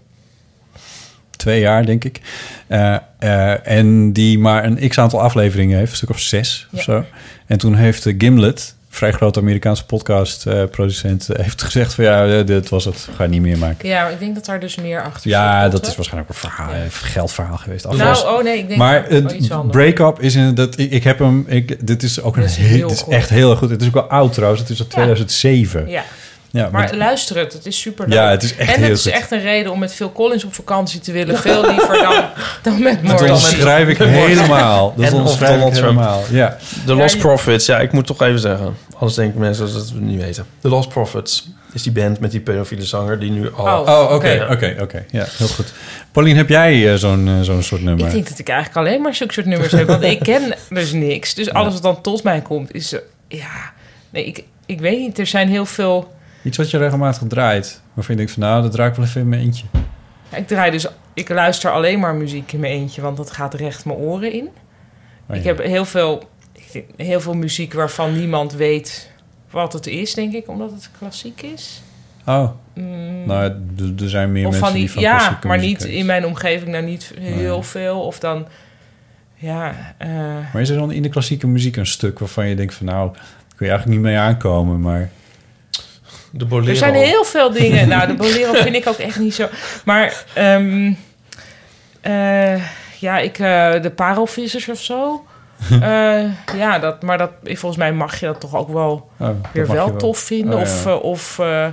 Speaker 1: twee jaar, denk ik. Eh, eh, en die maar een x-aantal afleveringen heeft, een stuk of zes of
Speaker 2: Ja.
Speaker 1: zo. En toen heeft eh, Gimlet, vrij grote Amerikaanse podcast-producent, eh, heeft gezegd van ja, eh, dit was het, ga je niet meer maken.
Speaker 2: Ja, maar ik denk dat daar dus meer achter zit,
Speaker 1: Ja,
Speaker 2: toch?
Speaker 1: dat is waarschijnlijk een verhaal, een geldverhaal geweest.
Speaker 2: Nou,
Speaker 1: Alvast.
Speaker 2: oh nee, ik denk
Speaker 1: maar
Speaker 2: dat het wel
Speaker 1: het
Speaker 2: iets anders.
Speaker 1: break-up is in dat ik, ik heb hem. Ik, dit is ook een
Speaker 2: Dit is
Speaker 1: heel,
Speaker 2: heel
Speaker 1: dit is
Speaker 2: goed.
Speaker 1: echt heel erg goed. Het is ook wel oud trouwens. Het is uit 2007.
Speaker 2: Ja.
Speaker 1: Ja,
Speaker 2: maar
Speaker 1: want-
Speaker 2: luister het, het is super
Speaker 1: Ja, het is echt
Speaker 2: En
Speaker 1: heel
Speaker 2: het is
Speaker 1: goed.
Speaker 2: echt een reden om met Phil Collins op vakantie te willen. Veel liever
Speaker 1: [laughs]
Speaker 2: dan, dan met
Speaker 1: Dat
Speaker 2: Morrissey.
Speaker 1: onderschrijf
Speaker 3: [laughs]
Speaker 1: ik helemaal. Dat
Speaker 3: en of
Speaker 1: onderschrijf ik
Speaker 3: Donald Trump.
Speaker 1: helemaal. Ja.
Speaker 3: The Lost
Speaker 1: Ja, je-
Speaker 3: Profits. Ja, ik moet toch even zeggen. Anders denken mensen dat ze het niet weten. The Lost Profits is die band met die pedofiele zanger die nu al...
Speaker 2: Oh,
Speaker 1: Oh, oké,
Speaker 2: oké.
Speaker 1: oké, oké. Ja, heel goed. Paulien, heb jij eh, zo'n eh, zo'n soort nummer?
Speaker 2: Ik denk dat ik eigenlijk alleen maar zulke soort nummers heb. Want ik ken dus niks. Dus alles wat dan tot mij komt is... eh, Ja, nee, ik, ik weet niet. Er zijn heel veel...
Speaker 1: Iets wat je regelmatig draait. Waarvan je denkt van nou, dat draai ik wel even in mijn eentje.
Speaker 2: Ja, Ik draai dus... Ik luister alleen maar muziek in mijn eentje. Want dat gaat recht mijn oren in.
Speaker 1: Oh, ja.
Speaker 2: Ik heb heel veel, ik denk, heel veel muziek waarvan niemand weet wat het is, denk ik. Omdat het klassiek is.
Speaker 1: Oh.
Speaker 2: Mm.
Speaker 1: Nou, d- er zijn meer
Speaker 2: of
Speaker 1: mensen
Speaker 2: van
Speaker 1: die,
Speaker 2: die,
Speaker 1: van
Speaker 2: ja,
Speaker 1: klassieke
Speaker 2: maar
Speaker 1: muziek Oh,
Speaker 2: niet
Speaker 1: houden.
Speaker 2: in mijn omgeving nou niet heel
Speaker 1: Nee.
Speaker 2: veel. Of dan, ja, eh,
Speaker 1: Maar is er dan in de klassieke muziek een stuk waarvan je denkt van nou, daar kun je eigenlijk niet mee aankomen, maar...
Speaker 3: De bolero.
Speaker 2: Er zijn heel veel dingen. nou, de
Speaker 1: [laughs]
Speaker 2: bolero vind ik ook echt niet zo. Maar ehm, eh, ja, ik, eh, de parelvissers of
Speaker 1: [laughs]
Speaker 2: zo. Eh, ja, dat, maar dat, volgens mij mag je dat toch ook wel
Speaker 1: Oh, dat
Speaker 2: weer
Speaker 1: mag
Speaker 2: wel,
Speaker 1: je wel.
Speaker 2: tof vinden.
Speaker 1: Oh,
Speaker 2: Of,
Speaker 1: ja.
Speaker 2: eh, of eh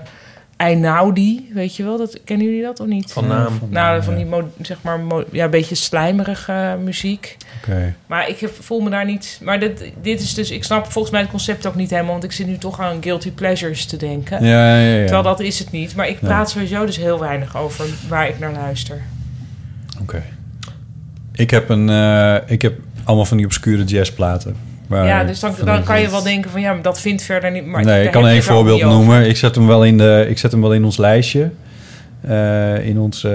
Speaker 2: Einaudi, weet je wel. Dat, kennen jullie dat of niet?
Speaker 3: Van naam.
Speaker 2: Nou, van die, mo- zeg maar, mo- ja, een beetje slijmerige muziek.
Speaker 1: Oké.
Speaker 2: Maar ik heb- voel me daar niet... Maar dit, dit is dus... Ik snap volgens mij het concept ook niet helemaal... want ik zit nu toch aan guilty pleasures te denken.
Speaker 1: Ja, ja, ja, ja.
Speaker 2: Terwijl dat is het niet. Maar ik
Speaker 1: Ja. Ah,
Speaker 2: praat sowieso dus heel weinig over waar ik naar luister.
Speaker 1: Oké. Ik heb een... eh, ik heb allemaal van die obscure jazzplaten. waar-
Speaker 2: ja, dus dan,
Speaker 1: van
Speaker 2: dan
Speaker 1: die-
Speaker 2: kan je wel denken van... ja, maar dat vindt verder niet... Maar
Speaker 1: nee,
Speaker 2: daar
Speaker 1: ik kan
Speaker 2: heb je
Speaker 1: één
Speaker 2: het ook
Speaker 1: voorbeeld
Speaker 2: niet over.
Speaker 1: noemen. Ik zet hem wel in, de, ik zet hem wel in ons lijstje. Eh, in ons... eh,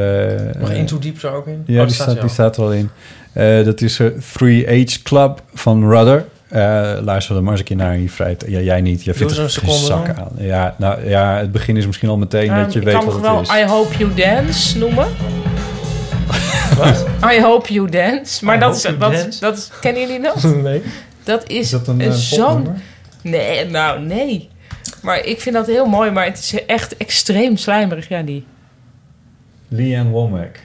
Speaker 3: Mag
Speaker 1: eh,
Speaker 3: Into Deep er ook in? Oh,
Speaker 1: Ja,
Speaker 3: dat staat
Speaker 1: die, staat,
Speaker 3: er
Speaker 1: die
Speaker 3: al.
Speaker 1: staat er al in. Eh, dat is eh, Three Age Club van Rudder. Eh, luister er maar eens een keer naar. Je vrijt, ja, jij niet.
Speaker 3: Doe
Speaker 1: Jij vindt het
Speaker 3: eens een
Speaker 1: geen
Speaker 3: seconde
Speaker 1: zak aan. Ja, nou, ja, het begin is misschien al meteen
Speaker 2: Ehm,
Speaker 1: dat je
Speaker 2: ik
Speaker 1: weet
Speaker 2: kan
Speaker 1: wat
Speaker 2: nog
Speaker 1: het
Speaker 2: wel
Speaker 1: is.
Speaker 2: I Hope You Dance noemen. I Hope You Dance. Maar
Speaker 3: I
Speaker 2: dat
Speaker 3: Hope
Speaker 2: is,
Speaker 3: You
Speaker 2: dat,
Speaker 3: Dance?
Speaker 2: dat is... Kennen jullie dat?
Speaker 3: [laughs] Nee.
Speaker 2: Dat is,
Speaker 3: Is dat een,
Speaker 2: een
Speaker 3: eh,
Speaker 2: zo'n...
Speaker 3: popnummer?
Speaker 2: Nee, nou, nee. Maar ik vind dat heel mooi. Maar het is echt extreem slijmerig, ja, die.
Speaker 1: Leanne Womack.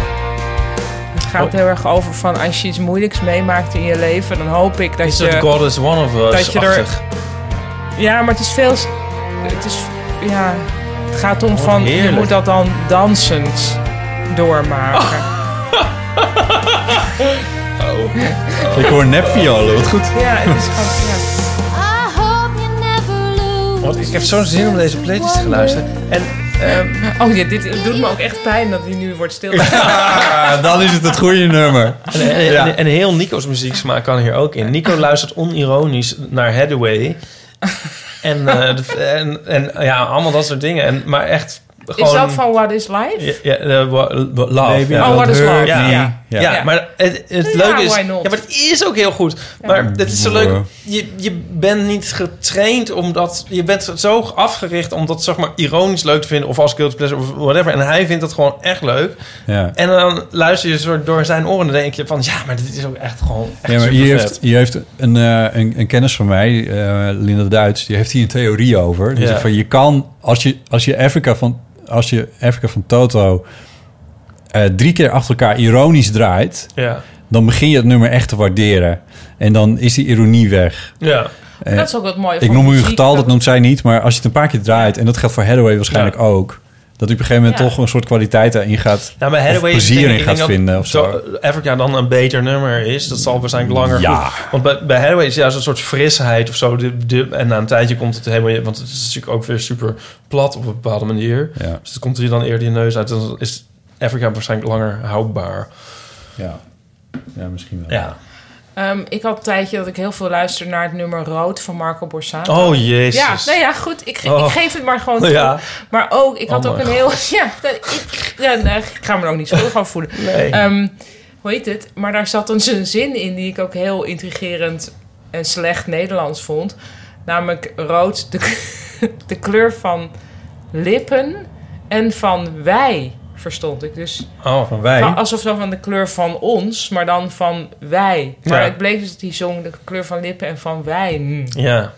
Speaker 2: Het
Speaker 3: Oh.
Speaker 2: gaat heel erg over van als je iets moeilijks meemaakt in je leven, dan hoop ik dat
Speaker 3: Is
Speaker 2: je...
Speaker 3: dat God is one of us?
Speaker 2: dat je er-
Speaker 3: achtig?
Speaker 2: Ja, maar het is veel... s- Het is... Ja... Het gaat om
Speaker 3: Wat
Speaker 2: van, je
Speaker 3: Oh, heerlijk.
Speaker 2: moet dat dan dansend doormaken.
Speaker 3: Oh.
Speaker 1: Oh. Ik hoor nepviolen, wat goed.
Speaker 2: [laughs] Ja, het is gewoon...
Speaker 3: Want ik heb zo'n zin om deze playlist te gaan luisteren. En
Speaker 2: Ehm, oh ja, dit doet me ook echt pijn dat hij nu wordt stil.
Speaker 1: Ah, dan is het het goede nummer.
Speaker 3: En, en, en- en heel Nico's muzieksmaak kan hier ook in. Nico luistert onironisch naar
Speaker 1: [laughs]
Speaker 3: Hathaway. En, eh, de- en, en ja, allemaal dat soort dingen. En, maar echt gewoon...
Speaker 2: Is dat van What is Life?
Speaker 3: Ja, ja, eh, wa- wa- love.
Speaker 2: Baby,
Speaker 3: ja.
Speaker 2: Oh, what is love?
Speaker 3: Ja,
Speaker 2: Ja.
Speaker 3: ja.
Speaker 2: Ja.
Speaker 3: Ja, maar het, het
Speaker 2: Ja,
Speaker 3: leuke is...
Speaker 2: why
Speaker 3: Ja,
Speaker 2: not?
Speaker 3: maar het is ook heel goed. Maar het is zo leuk... Je, je bent niet getraind omdat... Je bent zo afgericht om dat zeg maar ironisch leuk te vinden. Of als guilty pleasure of whatever. En hij vindt dat gewoon echt leuk.
Speaker 1: Ja.
Speaker 3: En dan luister je soort door zijn oren. En dan denk je van... Ja, maar dit is ook echt gewoon... Echt
Speaker 1: Ja, maar hier
Speaker 3: supervet.
Speaker 1: heeft, hier heeft een, eh, een, een kennis van mij, eh, Linda Duits, die heeft hier een theorie over. Die
Speaker 3: Ja.
Speaker 1: zegt van je kan, als je, als je Afrika van, als je Afrika van Toto eh, drie keer achter elkaar ironisch draait,
Speaker 3: Ja.
Speaker 1: dan begin je het nummer echt te waarderen. En dan is die ironie weg.
Speaker 3: Ja.
Speaker 1: Eh,
Speaker 2: Dat is ook wat mooie
Speaker 1: Ik
Speaker 2: van
Speaker 1: noem u een
Speaker 2: muziek,
Speaker 1: getal,
Speaker 2: dat-
Speaker 1: dat noemt zij niet. Maar als je het een paar keer draait, en dat geldt voor Hathaway waarschijnlijk ook... dat u op een gegeven moment
Speaker 3: Ja.
Speaker 1: toch een soort kwaliteit daarin gaat...
Speaker 3: Nou, bij
Speaker 1: of
Speaker 3: Hathaway is het
Speaker 1: plezier
Speaker 3: ding,
Speaker 1: in
Speaker 3: ik
Speaker 1: gaat
Speaker 3: denk dat
Speaker 1: vinden of zo.
Speaker 3: Afrika eh, dan een beter nummer is. Dat zal waarschijnlijk langer
Speaker 1: Ja.
Speaker 3: goed- Want bij, bij Hathaway is juist een soort frisheid of zo. De, de, en na een tijdje komt het helemaal... Want het is natuurlijk ook weer super plat op een bepaalde manier. Dus het komt hier dan eerder je neus uit. Dan is Afrika waarschijnlijk langer houdbaar.
Speaker 1: Ja, ja misschien wel.
Speaker 3: Ja.
Speaker 2: Ehm, ik had een tijdje dat ik heel veel luisterde naar het nummer Rood van Marco Borsato.
Speaker 3: Oh, jezus.
Speaker 2: Ja, nou ja, goed. Ik, ge-
Speaker 3: Oh.
Speaker 2: ik geef het maar gewoon toe.
Speaker 3: [laughs] Ja.
Speaker 2: Maar ook, ik had
Speaker 3: Oh
Speaker 2: ook
Speaker 3: mijn
Speaker 2: een heel... [laughs] Ja, dat- ik, ja, nee, ik ga me er ook niet schuldig over voelen.
Speaker 3: Nee.
Speaker 2: Ehm, hoe heet het? Maar daar zat dus een zin in die ik ook heel intrigerend en slecht Nederlands vond. Namelijk rood, de, k- [laughs] de kleur van lippen en van wij, verstond ik. Dus
Speaker 3: Oh, van wij?
Speaker 2: Van- alsof dan van de kleur van ons, maar dan van wij. Maar
Speaker 3: Ja.
Speaker 2: het bleek dus dat hij zong de kleur van lippen en van wijn.
Speaker 3: Ja.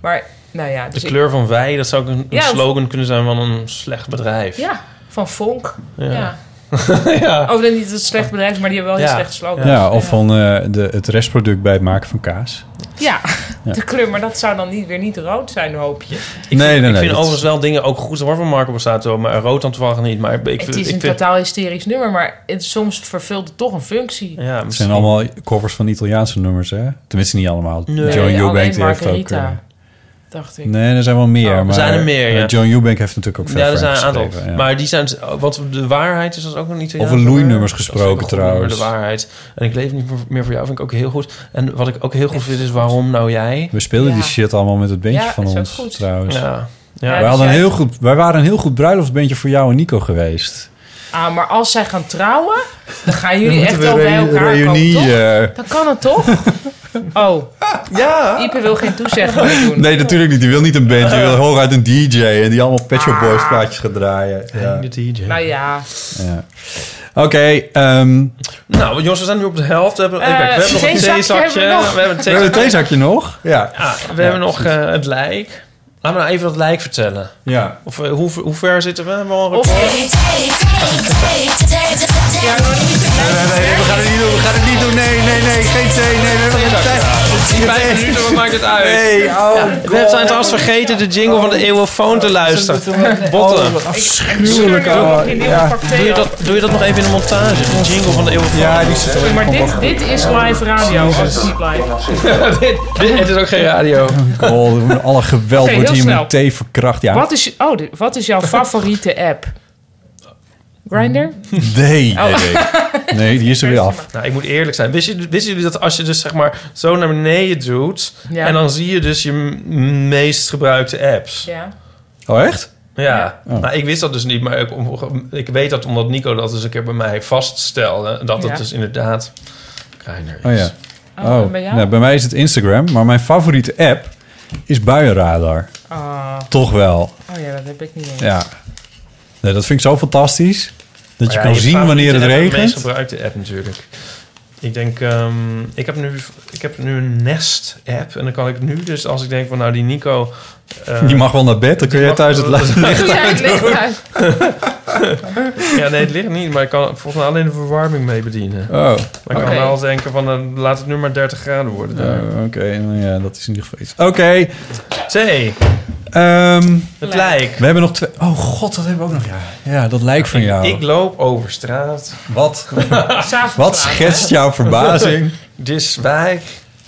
Speaker 2: Maar, nou ja.
Speaker 3: De
Speaker 2: dus ik-
Speaker 3: kleur van wij, dat zou ook een, een
Speaker 2: Ja, of-
Speaker 3: slogan kunnen zijn van een slecht bedrijf.
Speaker 2: Ja, van Vonk.
Speaker 3: Ja. [laughs]
Speaker 2: Ja.
Speaker 3: Ja.
Speaker 2: Of dan niet het slecht bedrijf, maar die hebben wel heel
Speaker 3: Ja.
Speaker 2: slecht slogan.
Speaker 1: Ja, of van eh, de, het restproduct bij het maken van kaas.
Speaker 2: Ja,
Speaker 1: [laughs] Ja.
Speaker 2: de kleur, maar dat zou dan niet, weer niet rood zijn, hoop je.
Speaker 3: Ik
Speaker 1: Nee,
Speaker 3: vind,
Speaker 1: nee,
Speaker 3: ik
Speaker 1: nee,
Speaker 3: vind
Speaker 1: dat-
Speaker 3: overigens wel dingen ook goed hoor van Marco Borsato. Maar rood dan toevallig niet. Maar ik, ik
Speaker 2: het
Speaker 3: vind-
Speaker 2: is
Speaker 3: ik
Speaker 2: een
Speaker 3: vind,
Speaker 2: totaal hysterisch nummer, maar het, soms vervult het toch een functie.
Speaker 3: Ja,
Speaker 1: Het zijn allemaal covers van Italiaanse nummers, hè? Tenminste, niet allemaal. John Eubank die heeft ook... eh,
Speaker 2: dacht ik.
Speaker 1: nee, er zijn wel meer.
Speaker 3: Oh, er
Speaker 1: maar,
Speaker 3: zijn er meer, ja.
Speaker 1: eh, John Eubank heeft natuurlijk ook veel
Speaker 3: Ja, er zijn
Speaker 1: voor
Speaker 3: een
Speaker 1: hem
Speaker 3: aantal.
Speaker 1: geschreven, ja.
Speaker 3: Maar die zijn... Want de waarheid is dat ook nog niet... eh,
Speaker 1: Over loeinummers gesproken trouwens.
Speaker 3: de waarheid. En ik leef niet meer- meer voor jou vind ik ook heel goed. En wat ik ook heel goed vind is waarom nou jij...
Speaker 1: We speelden die shit allemaal met het bandje
Speaker 3: Ja,
Speaker 1: van
Speaker 3: is ook
Speaker 1: ons,
Speaker 3: goed.
Speaker 1: trouwens.
Speaker 3: Ja. Ja,
Speaker 1: wij,
Speaker 3: dus
Speaker 1: hadden een
Speaker 3: jij-
Speaker 1: heel goed, wij waren een heel goed bruiloftbandje voor jou en Nico geweest.
Speaker 2: Ah, maar als zij gaan trouwen, dan gaan jullie
Speaker 1: Dan
Speaker 2: echt
Speaker 1: moeten
Speaker 2: wel
Speaker 1: we
Speaker 2: bij
Speaker 1: reu-
Speaker 2: elkaar
Speaker 1: reunie,
Speaker 2: komen, toch?
Speaker 1: eh.
Speaker 2: Dan kan het
Speaker 1: [laughs]
Speaker 2: toch? Oh.
Speaker 3: Ja.
Speaker 2: Ipe wil geen toezegging doen.
Speaker 1: Nee, natuurlijk niet. Die wil niet een band. [laughs] Die wil hooguit een DJ. En die allemaal Pet Shop Boys plaatjes gaat draaien. Ja.
Speaker 3: DJ.
Speaker 2: Nou ja.
Speaker 1: Ja. Oké, ehm
Speaker 3: Nou, jongens, we zijn nu op de helft. We hebben,
Speaker 2: Eh,
Speaker 3: even kijken, we hebben nog een
Speaker 2: theezakje
Speaker 3: theezakje.
Speaker 2: hebben we nog.
Speaker 3: We hebben een
Speaker 1: we hebben een theezakje nog. Ja.
Speaker 3: Ja, we hebben nog eh, het lijk. Laten we nou even dat lijk vertellen.
Speaker 1: Ja.
Speaker 3: Of eh, hoe, hoe ver zitten we? Hebben we al een
Speaker 2: Of-
Speaker 3: record?
Speaker 1: we gaan het niet doen, we gaan het niet doen. Nee, nee, nee, geen thee. Nee, we hebben geen
Speaker 3: thee. Vijf minuten, wat maakt het uit?
Speaker 1: Nee, oh
Speaker 3: Ja, we
Speaker 1: God.
Speaker 3: zijn trouwens vergeten de jingle van de eeuwenfoon te luisteren. Botten.
Speaker 1: Oh, Afschuwelijk. Oh, ja.
Speaker 3: Doe je, dat, doe je dat nog even in de montage? De jingle van de eeuwenfoon.
Speaker 1: Ja, die zit
Speaker 2: Sorry, maar dit, dit is live radio, als het niet live
Speaker 3: [laughs] dit, dit, het is ook geen radio.
Speaker 1: Oh, we doen alle geweld
Speaker 2: Oké,
Speaker 1: wordt
Speaker 2: heel
Speaker 1: hier
Speaker 2: snel.
Speaker 1: met thee verkracht. Ja.
Speaker 2: Wat is, oh, dit- wat is jouw favoriete app? Grinder?
Speaker 1: Nee,
Speaker 2: Oh.
Speaker 1: Mm. nee, nee. Nee, die is er weer af. [laughs]
Speaker 3: Nou, ik moet eerlijk zijn. Wisten jullie, wisten jullie dat als je dus zeg maar zo naar beneden doet...
Speaker 2: Ja.
Speaker 3: en dan zie je dus je m- meest gebruikte apps?
Speaker 2: Ja.
Speaker 1: Oh, echt?
Speaker 3: Ja, nou, ik wist dat dus niet, maar ik, ik weet dat omdat Nico dat eens een keer bij mij vaststelde. Dat het
Speaker 2: Ja.
Speaker 3: dus inderdaad kleiner is.
Speaker 1: Oh ja.
Speaker 2: Oh, en bij jou?
Speaker 1: nou, bij mij is het Instagram, maar mijn favoriete app is Buienradar.
Speaker 2: Ah.
Speaker 1: Toch wel.
Speaker 2: [laughs] Oh ja, dat heb ik niet eens.
Speaker 1: Ja. Nee, dat vind ik zo fantastisch. Dat je
Speaker 3: Maar ja,
Speaker 1: kan zien wanneer het
Speaker 3: favoriete app is
Speaker 1: regent.
Speaker 3: De meest gebruikte app natuurlijk. Ik denk, ehm, ik, heb nu, ik heb nu een Nest-app. En dan kan ik nu dus, als ik denk van nou die Nico... eh,
Speaker 1: Die mag wel naar bed, dan
Speaker 3: die
Speaker 1: kun jij
Speaker 3: mag
Speaker 1: thuis het
Speaker 3: wel- [laughs]
Speaker 1: licht uit doen.
Speaker 3: ja, nee, het ligt niet. Maar ik kan volgens mij alleen de verwarming mee bedienen.
Speaker 1: Oh,
Speaker 3: Maar ik
Speaker 1: oké.
Speaker 3: kan wel denken van eh, laat het nu maar 30 graden worden. daar.
Speaker 1: Eh, Oké, nou ja, dat is in ieder geval iets. Ehm, Oké.
Speaker 3: Zee.
Speaker 1: het
Speaker 3: lijk.
Speaker 1: We hebben nog twee... Oh god, dat hebben we ook nog. Ja, ja dat lijk van jou.
Speaker 3: Ik loop over straat. [laughs]
Speaker 1: Wat? Wat schetst jouw verbazing?
Speaker 3: Diswijk.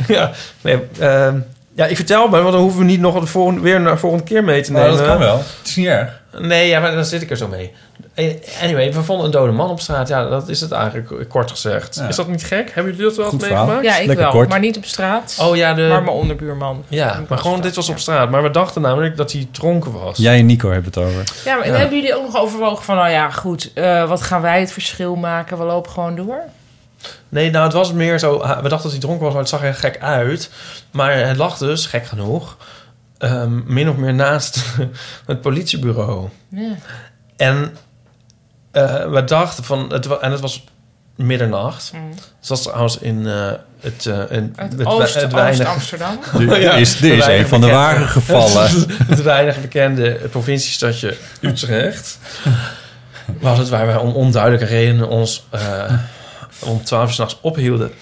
Speaker 3: ja, nee, ehm, ja, ik vertel maar, want dan hoeven we niet nog de volgende, weer naar de volgende keer mee te
Speaker 1: Oh,
Speaker 3: nemen.
Speaker 1: dat kan wel. Het is niet erg.
Speaker 3: Nee, ja, maar dan zit ik er zo mee. Eh, Anyway, we vonden een dode man op straat. Ja, dat is het eigenlijk kort gezegd.
Speaker 2: Ja.
Speaker 3: Is dat niet gek? Hebben jullie dat wel eens
Speaker 2: Goed verhaal.
Speaker 3: meegemaakt?
Speaker 2: Ja, ik wel. Maar niet op straat.
Speaker 3: Oh ja, de...
Speaker 2: Maar mijn onderbuurman.
Speaker 3: Ja, maar gewoon dit was op straat. Maar we dachten namelijk dat hij dronken was.
Speaker 1: Jij en Nico hebben het over.
Speaker 2: Ja, maar en hebben jullie ook nog overwogen van, nou ja, goed, eh, wat gaan wij het verschil maken? We lopen gewoon door.
Speaker 3: Nee, nou, het was meer zo... We dachten dat hij dronken was, maar het zag er gek uit. Maar het lag dus, gek genoeg... ehm, min of meer naast [laughs] het politiebureau.
Speaker 2: Ja.
Speaker 3: En eh, we dachten van... Het, wa- en het was middernacht.
Speaker 2: Mm.
Speaker 3: Dus dat is trouwens in eh, het... eh, in,
Speaker 2: Uit
Speaker 3: we-
Speaker 2: Oost-
Speaker 3: weinig-
Speaker 1: [laughs]
Speaker 2: Oost-Amsterdam.
Speaker 1: Dit is- dit is
Speaker 3: het weinig
Speaker 1: een van de
Speaker 3: bekende-
Speaker 1: ware gevallen.
Speaker 3: [laughs] het weinig bekende provinciestadje Utrecht. Was het waar wij om onduidelijke redenen ons eh, om twaalf uur s'nachts ophielden.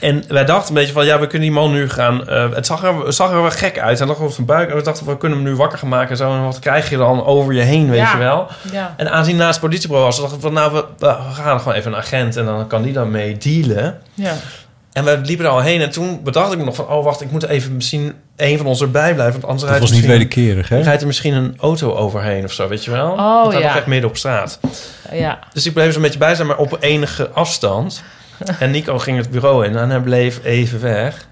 Speaker 3: En wij dachten een beetje van, ja, we kunnen die man nu gaan... eh, het zag er, het zag er wel gek uit. Hij lag op zijn buik en we dachten, we kunnen hem nu wakker gaan maken. En zo, en wat krijg je dan over je heen, weet
Speaker 2: Ja.
Speaker 3: je wel?
Speaker 2: Ja.
Speaker 3: En aanzien naast het politiebureau was, dachten we van, nou, we, we gaan gewoon even een agent... en dan kan die dan mee dealen.
Speaker 2: Ja.
Speaker 3: En we liepen er al heen en toen bedacht ik me nog van... oh, wacht, ik moet even misschien een van ons erbij blijven... want anders
Speaker 1: Dat
Speaker 3: rijdt
Speaker 1: was
Speaker 3: er
Speaker 1: niet
Speaker 3: misschien-
Speaker 1: wederkerig, hè?
Speaker 3: rijdt er misschien een auto overheen of zo, weet je wel?
Speaker 2: Oh,
Speaker 3: Want hij
Speaker 2: ja.
Speaker 3: lag echt midden op straat.
Speaker 2: Ja.
Speaker 3: Dus ik bleef zo'n beetje bij zijn, maar op enige afstand. En Nico ging het bureau in en hij bleef even weg.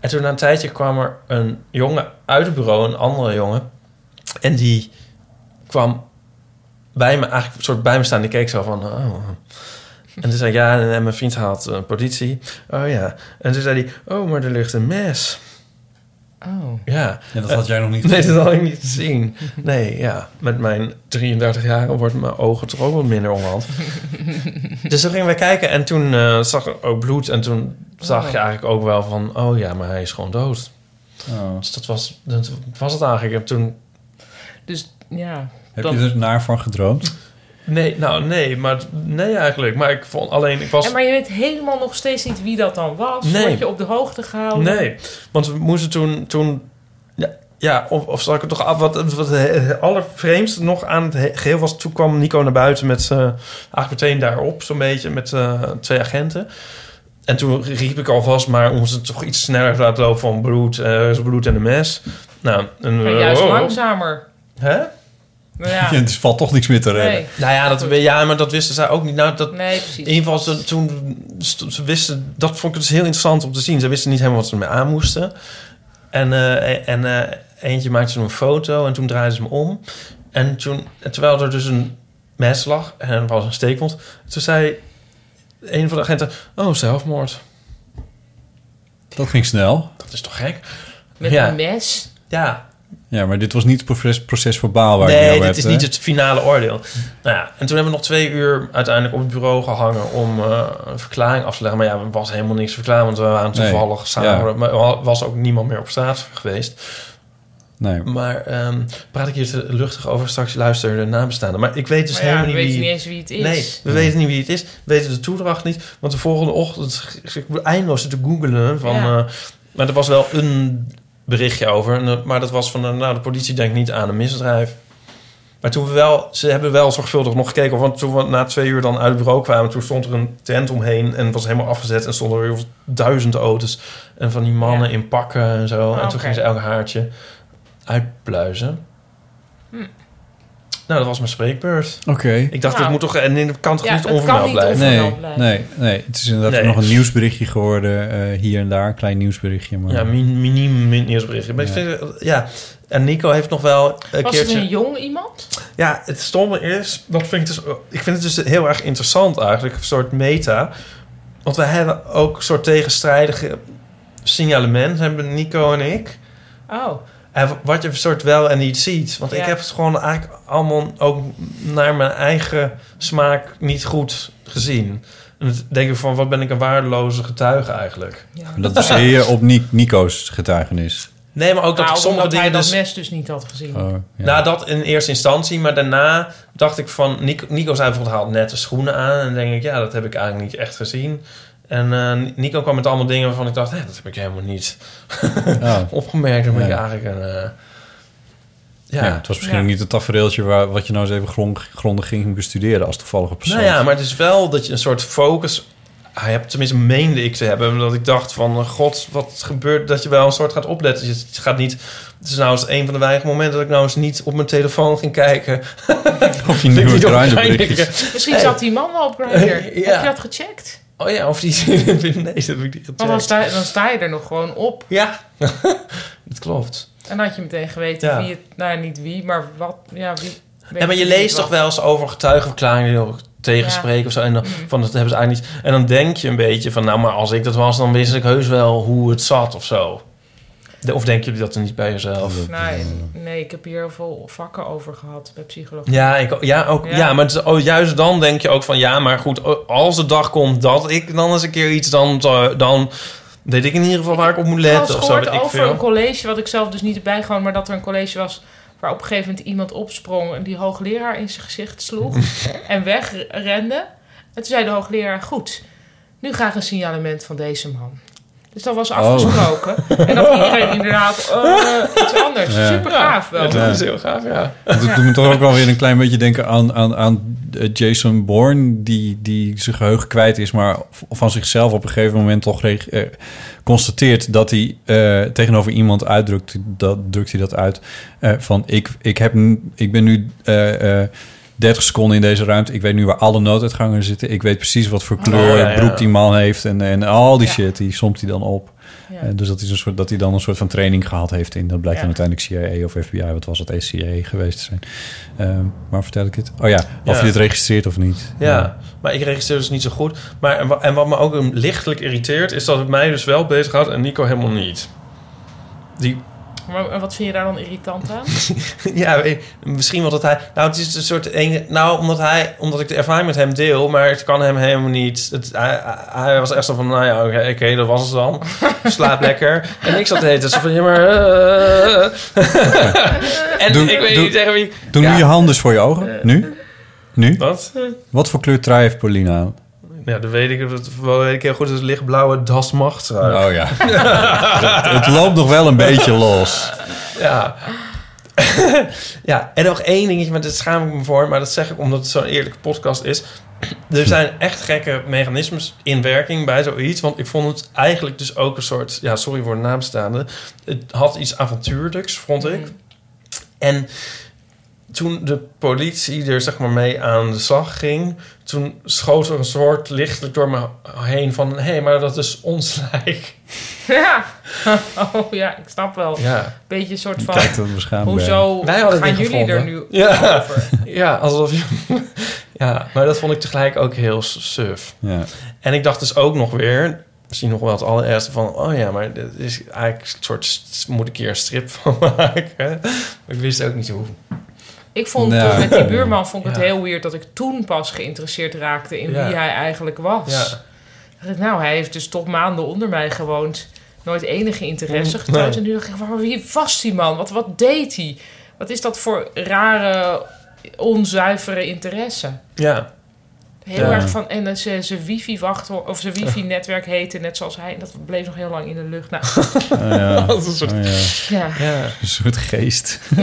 Speaker 3: En toen na een tijdje kwam er een jongen uit het bureau, een andere jongen. En die kwam bij me, eigenlijk een soort bij me staan. Die keek zo van... Oh. En toen zei ik, ja, en en mijn vriend haalt eh, politie. Oh ja. En toen zei hij, oh, maar er ligt een mes.
Speaker 2: Oh.
Speaker 3: Ja.
Speaker 1: Ja, dat had jij nog niet
Speaker 3: gezien. Nee,
Speaker 1: gezien.
Speaker 3: dat had ik niet gezien. Nee, ja. Met mijn 33 jaar wordt mijn ogen toch ook wat minder
Speaker 1: [laughs]
Speaker 3: onderhand. dus toen gingen we kijken en toen eh, zag ik ook bloed. En toen zag
Speaker 2: Oh.
Speaker 3: je eigenlijk ook wel van... Oh ja, maar hij is gewoon dood.
Speaker 1: Oh.
Speaker 3: Dus dat was, dat was het eigenlijk. Ik heb toen...
Speaker 2: Dus ja.
Speaker 1: Heb
Speaker 3: dan-
Speaker 1: je er naar van gedroomd?
Speaker 3: Nee, nou nee, maar nee eigenlijk. Maar ik vond alleen... Ik was...
Speaker 2: En maar je weet helemaal nog steeds niet wie dat dan was.
Speaker 3: Nee.
Speaker 2: Word je op de hoogte gehouden?
Speaker 3: Nee, want we moesten toen... toen ja, ja, of, of zal ik het toch af... Wat, wat het allervreemdste nog aan het he- geheel was... Toen kwam Nico naar buiten met... eh eigenlijk meteen daarop, zo'n beetje, met eh, twee agenten. En toen riep ik alvast, maar om ze toch iets sneller te laten lopen van bloed, eh, is bloed en de mes. Nou, en,
Speaker 2: Maar juist
Speaker 3: oh, oh.
Speaker 2: langzamer.
Speaker 3: Hè?
Speaker 2: Nou ja.
Speaker 1: dus valt toch niks meer te redden.
Speaker 2: Nee.
Speaker 3: Nou ja, dat, ja, maar dat wisten zij ook niet. Nou, dat,
Speaker 2: Nee, precies.
Speaker 3: In ieder geval, ze, toen, st- ze wisten, dat vond ik dus heel interessant om te zien. Ze wisten niet helemaal wat ze ermee aan moesten. En, eh, en eh, eentje maakte toen een foto en toen draaiden ze hem om. En toen, en terwijl er dus een mes lag en er was een steekwond... toen zei een van de agenten, oh, zelfmoord.
Speaker 1: Dat ging snel.
Speaker 3: Dat is toch gek?
Speaker 2: Met
Speaker 3: Ja.
Speaker 2: een mes.
Speaker 3: Ja.
Speaker 1: Ja, maar dit was niet het proces, proces verbaal waar je
Speaker 3: Nee,
Speaker 1: het
Speaker 3: dit
Speaker 1: over hebt,
Speaker 3: is
Speaker 1: hè?
Speaker 3: niet het finale oordeel. Nou ja, en toen hebben we nog twee uur uiteindelijk op het bureau gehangen om eh, een verklaring af te leggen. Maar ja, er was helemaal niks te verklaren, want we waren
Speaker 1: Nee,
Speaker 3: toevallig samen.
Speaker 1: ja.
Speaker 3: Maar er was ook niemand meer op straat geweest.
Speaker 1: Nee.
Speaker 3: Maar ehm, praat ik hier te luchtig over straks luisteren de nabestaanden. Maar ik weet dus
Speaker 2: Maar ja,
Speaker 3: helemaal
Speaker 2: we
Speaker 3: niet
Speaker 2: weten
Speaker 3: wie...
Speaker 2: niet eens wie het is.
Speaker 3: Nee, we
Speaker 2: Hmm.
Speaker 3: weten niet wie het is. We weten de toedracht niet. Want de volgende ochtend ik moet eindeloos te googelen. Van,
Speaker 2: Ja.
Speaker 3: eh, maar er was wel een berichtje over. En dat- Maar dat was van, eh, nou, de politie denkt niet aan een misdrijf. Maar toen we wel, ze hebben wel zorgvuldig nog gekeken. Want toen we na twee uur dan uit het bureau kwamen, toen stond er een tent omheen en het was helemaal afgezet. En stonden er heel veel duizenden auto's. En van die mannen in pakken en zo. en
Speaker 2: Ah,
Speaker 3: toen
Speaker 2: oké.
Speaker 3: gingen ze elk haartje uitpluizen.
Speaker 2: Hm.
Speaker 3: Nou, dat was mijn spreekbeurt.
Speaker 1: Oké.
Speaker 3: Ik dacht,
Speaker 2: Nou.
Speaker 3: dit moet toch, en dit kan toch
Speaker 2: Ja,
Speaker 3: niet
Speaker 2: het kan
Speaker 3: onvermeld
Speaker 2: niet
Speaker 3: blijven?
Speaker 1: Nee, nee, nee, het is inderdaad
Speaker 3: Nee.
Speaker 1: nog een nieuwsberichtje geworden. eh, hier en daar, klein nieuwsberichtje. Maar...
Speaker 3: Ja, min, miniem min- nieuwsberichtje. Maar
Speaker 1: Ja.
Speaker 3: ik vind, ja. En Nico heeft nog wel een
Speaker 2: was
Speaker 3: keertje...
Speaker 2: het een jong iemand?
Speaker 3: Ja, het stomme is, dat vind ik, dus, ik vind het dus heel erg interessant eigenlijk, een soort meta. Want wij hebben ook een soort tegenstrijdige signalementen, hebben Nico en ik.
Speaker 2: Oh.
Speaker 3: En wat je soort wel en niet ziet. Want ik
Speaker 2: Ja.
Speaker 3: heb het gewoon eigenlijk allemaal ook naar mijn eigen smaak niet goed gezien. En dan denk ik van, wat ben ik een waardeloze getuige eigenlijk.
Speaker 1: En dat is hier op Ni- Nico's getuigenis.
Speaker 3: Nee, maar ook dat
Speaker 2: Nou,
Speaker 3: ik sommige
Speaker 2: omdat
Speaker 3: dingen
Speaker 2: hij
Speaker 3: dus...
Speaker 2: dat mes dus niet had gezien.
Speaker 1: Oh,
Speaker 3: Nou, dat in eerste instantie. Maar daarna dacht ik van... Nico, Nico zei bijvoorbeeld, haalt nette schoenen aan. En dan denk ik, ja, dat heb ik eigenlijk niet echt gezien. En eh, Nico kwam met allemaal dingen waarvan ik dacht... Hé, dat heb ik helemaal niet [laughs] opgemerkt. Dan ben ik
Speaker 1: Oh. Ja.
Speaker 3: eigenlijk een... eh,
Speaker 1: Ja. het was misschien ook niet het tafereeltje waar, wat je nou eens even grond, grondig ging bestuderen als toevallige persoon.
Speaker 3: Nou ja, maar het is wel dat je een soort focus hebt. Tenminste, meende ik te hebben. Omdat ik dacht van, eh, god, wat gebeurt... Dat je wel een soort gaat opletten. Dus het gaat niet... Het is nou eens een van de weinige momenten... dat ik nou eens niet op mijn telefoon ging kijken.
Speaker 1: [laughs] Of
Speaker 3: je
Speaker 1: nieuwe Grindr-berichtjes.
Speaker 2: Misschien zat die man wel op Grindr.
Speaker 3: Eh, [laughs] ja.
Speaker 2: Heb je dat gecheckt?
Speaker 3: Oh ja, of die... [laughs] nee, dat heb ik niet
Speaker 2: Want dan
Speaker 3: gecheckt.
Speaker 2: sta, dan sta je er nog gewoon op.
Speaker 3: Ja. Dat klopt.
Speaker 2: En dan had je meteen geweten
Speaker 3: Ja.
Speaker 2: wie het... Nou, niet wie, maar wat... Ja, wie...
Speaker 3: Ja, maar je
Speaker 2: wie
Speaker 3: leest
Speaker 2: het
Speaker 3: toch wel eens over getuigenverklaringen die nog tegenspreken of zo. En dan, van, dat hebben ze eigenlijk niet. En dan denk je een beetje van, nou, maar als ik dat was... dan wist ik heus wel hoe het zat of zo. De- Of denken jullie dat er niet bij jezelf?
Speaker 2: was. Nou, nee, ik heb hier heel veel vakken over gehad bij psychologie.
Speaker 3: Ja, ik, ja, ook, ja. maar het is- oh, juist dan denk je ook van... ja, maar goed, oh, als de dag komt dat ik dan eens een keer iets... dan, eh, dan weet ik in ieder geval waar ik op moet
Speaker 2: Ik had
Speaker 3: letten of zo.
Speaker 2: gehoord
Speaker 3: weet ik
Speaker 2: over
Speaker 3: veel.
Speaker 2: een college, wat ik zelf dus niet erbij gewoon, maar dat er een college was waar op een gegeven moment iemand opsprong en die hoogleraar in zijn
Speaker 3: [laughs]
Speaker 2: gezicht sloeg en wegrende. En toen zei de hoogleraar, goed, nu graag een signalement van deze man. Dus dat was
Speaker 3: Oh.
Speaker 2: afgesproken.
Speaker 3: [laughs]
Speaker 2: En dat iedereen inderdaad eh, iets anders.
Speaker 1: Ja.
Speaker 2: Super gaaf wel.
Speaker 3: Ja, dat is heel gaaf, ja.
Speaker 1: Dat doet me toch ook wel weer een klein beetje denken aan, aan, aan eh, Jason Bourne, die, die zijn geheugen kwijt is, maar v- van zichzelf op een gegeven moment toch reg- eh, constateert dat hij eh, tegenover iemand uitdrukt, dat drukt hij dat uit, eh, van ik, ik, heb, n- ik ben nu eh, eh, 30 seconden in deze ruimte, ik weet nu waar alle nooduitgangen zitten, ik weet precies wat voor kleur
Speaker 3: Oh, ja, ja.
Speaker 1: broek die man heeft en, en al die shit, die somt hij dan op. Eh, dus dat, is een soort, dat hij dan een soort van training gehad heeft in. Dat blijkt
Speaker 3: Ja.
Speaker 1: dan uiteindelijk CIA of FBI, wat was het, ECA geweest te zijn. Ehm, waar vertel ik het? Oh ja, of
Speaker 3: Ja.
Speaker 1: je het registreert of niet.
Speaker 3: Ja, maar ik registreer dus niet zo goed. Maar, en wa- en wat me ook een- lichtelijk irriteert, is dat het mij dus wel bezig had en Nico helemaal niet. Die, [laughs]
Speaker 2: Maar en wat vind je daar dan irritant aan?
Speaker 3: ja, eh, misschien wel dat hij. Nou, het is een soort. ene- nou, omdat, hij, omdat ik de ervaring met hem deel, maar het kan hem helemaal niet. Het, hij, hij was echt zo van: nou ja, oké, oké, dat was het dan. Slaap lekker. En ik zat de hele tijd zo van: ja, maar. eh.
Speaker 1: [laughs]
Speaker 3: en
Speaker 1: Doe-
Speaker 3: ik weet
Speaker 1: doe-
Speaker 3: niet tegen wie.
Speaker 1: Doe nu je handen eens voor je ogen. nu? Nu?
Speaker 3: Eh. Wat?
Speaker 1: Wat voor kleur trui heeft Paulina [laughs] aan?
Speaker 3: Ja, dat weet ik, dat weet ik heel goed. Het is lichtblauwe Das Macht.
Speaker 1: Oh ja. het, het loopt nog wel een beetje los.
Speaker 3: Ja. [laughs] ja, en nog één dingetje, maar dat schaam ik me voor, maar dat zeg ik omdat het zo'n eerlijke podcast is. Er zijn echt gekke mechanismes in werking bij zoiets. Want ik vond het eigenlijk dus ook een soort. Ja, sorry voor de naamstaande. Het had iets avontuurlijks, vond ik. En toen de politie er zeg maar mee aan de slag ging, toen schoot er een soort lichtelijk door me heen van: hé, hey, maar dat is ons [laughs] lijk.
Speaker 2: ja. Oh ja, ik snap wel.
Speaker 3: Ja.
Speaker 2: Beetje een soort
Speaker 3: Je
Speaker 2: van...
Speaker 3: kijkt er beschaamd bij.
Speaker 2: Hoezo
Speaker 3: Wij hadden
Speaker 2: gaan
Speaker 3: het niet
Speaker 2: jullie er nu
Speaker 3: gevonden. Ja.
Speaker 2: over?
Speaker 3: [laughs] Ja, alsof je... [laughs] ja, maar dat vond ik tegelijk ook heel suf.
Speaker 1: Ja.
Speaker 3: En ik dacht dus ook nog weer... Misschien nog wel het allerergste van... Oh ja, maar dit is eigenlijk een soort... st- Moet ik hier een strip van [laughs] maken? Maar ik wist ook niet hoe.
Speaker 2: Ik vond
Speaker 3: Nou.
Speaker 2: toen met die buurman vond ik
Speaker 3: Ja.
Speaker 2: het heel weird dat ik toen pas geïnteresseerd raakte in
Speaker 3: Ja.
Speaker 2: wie hij eigenlijk was.
Speaker 3: Ja.
Speaker 2: Ik dacht, Nou, hij heeft dus tot maanden onder mij gewoond. Nooit enige interesse
Speaker 3: Mm,
Speaker 2: getoond.
Speaker 3: nee.
Speaker 2: En nu dacht ik, waar wie was die man? Wat, wat deed hij? Wat is dat voor rare, onzuivere interesse?
Speaker 3: Ja.
Speaker 2: Heel
Speaker 3: Ja.
Speaker 2: erg van, en zijn wifi-wachtwoord, of zijn wifi-netwerk heette net zoals hij. En dat bleef nog heel lang in de lucht. Nou, [laughs]
Speaker 1: ja.
Speaker 3: [laughs] Dat is een soort-
Speaker 1: Oh,
Speaker 2: Ja.
Speaker 1: Een soort geest. [laughs]
Speaker 2: Ja,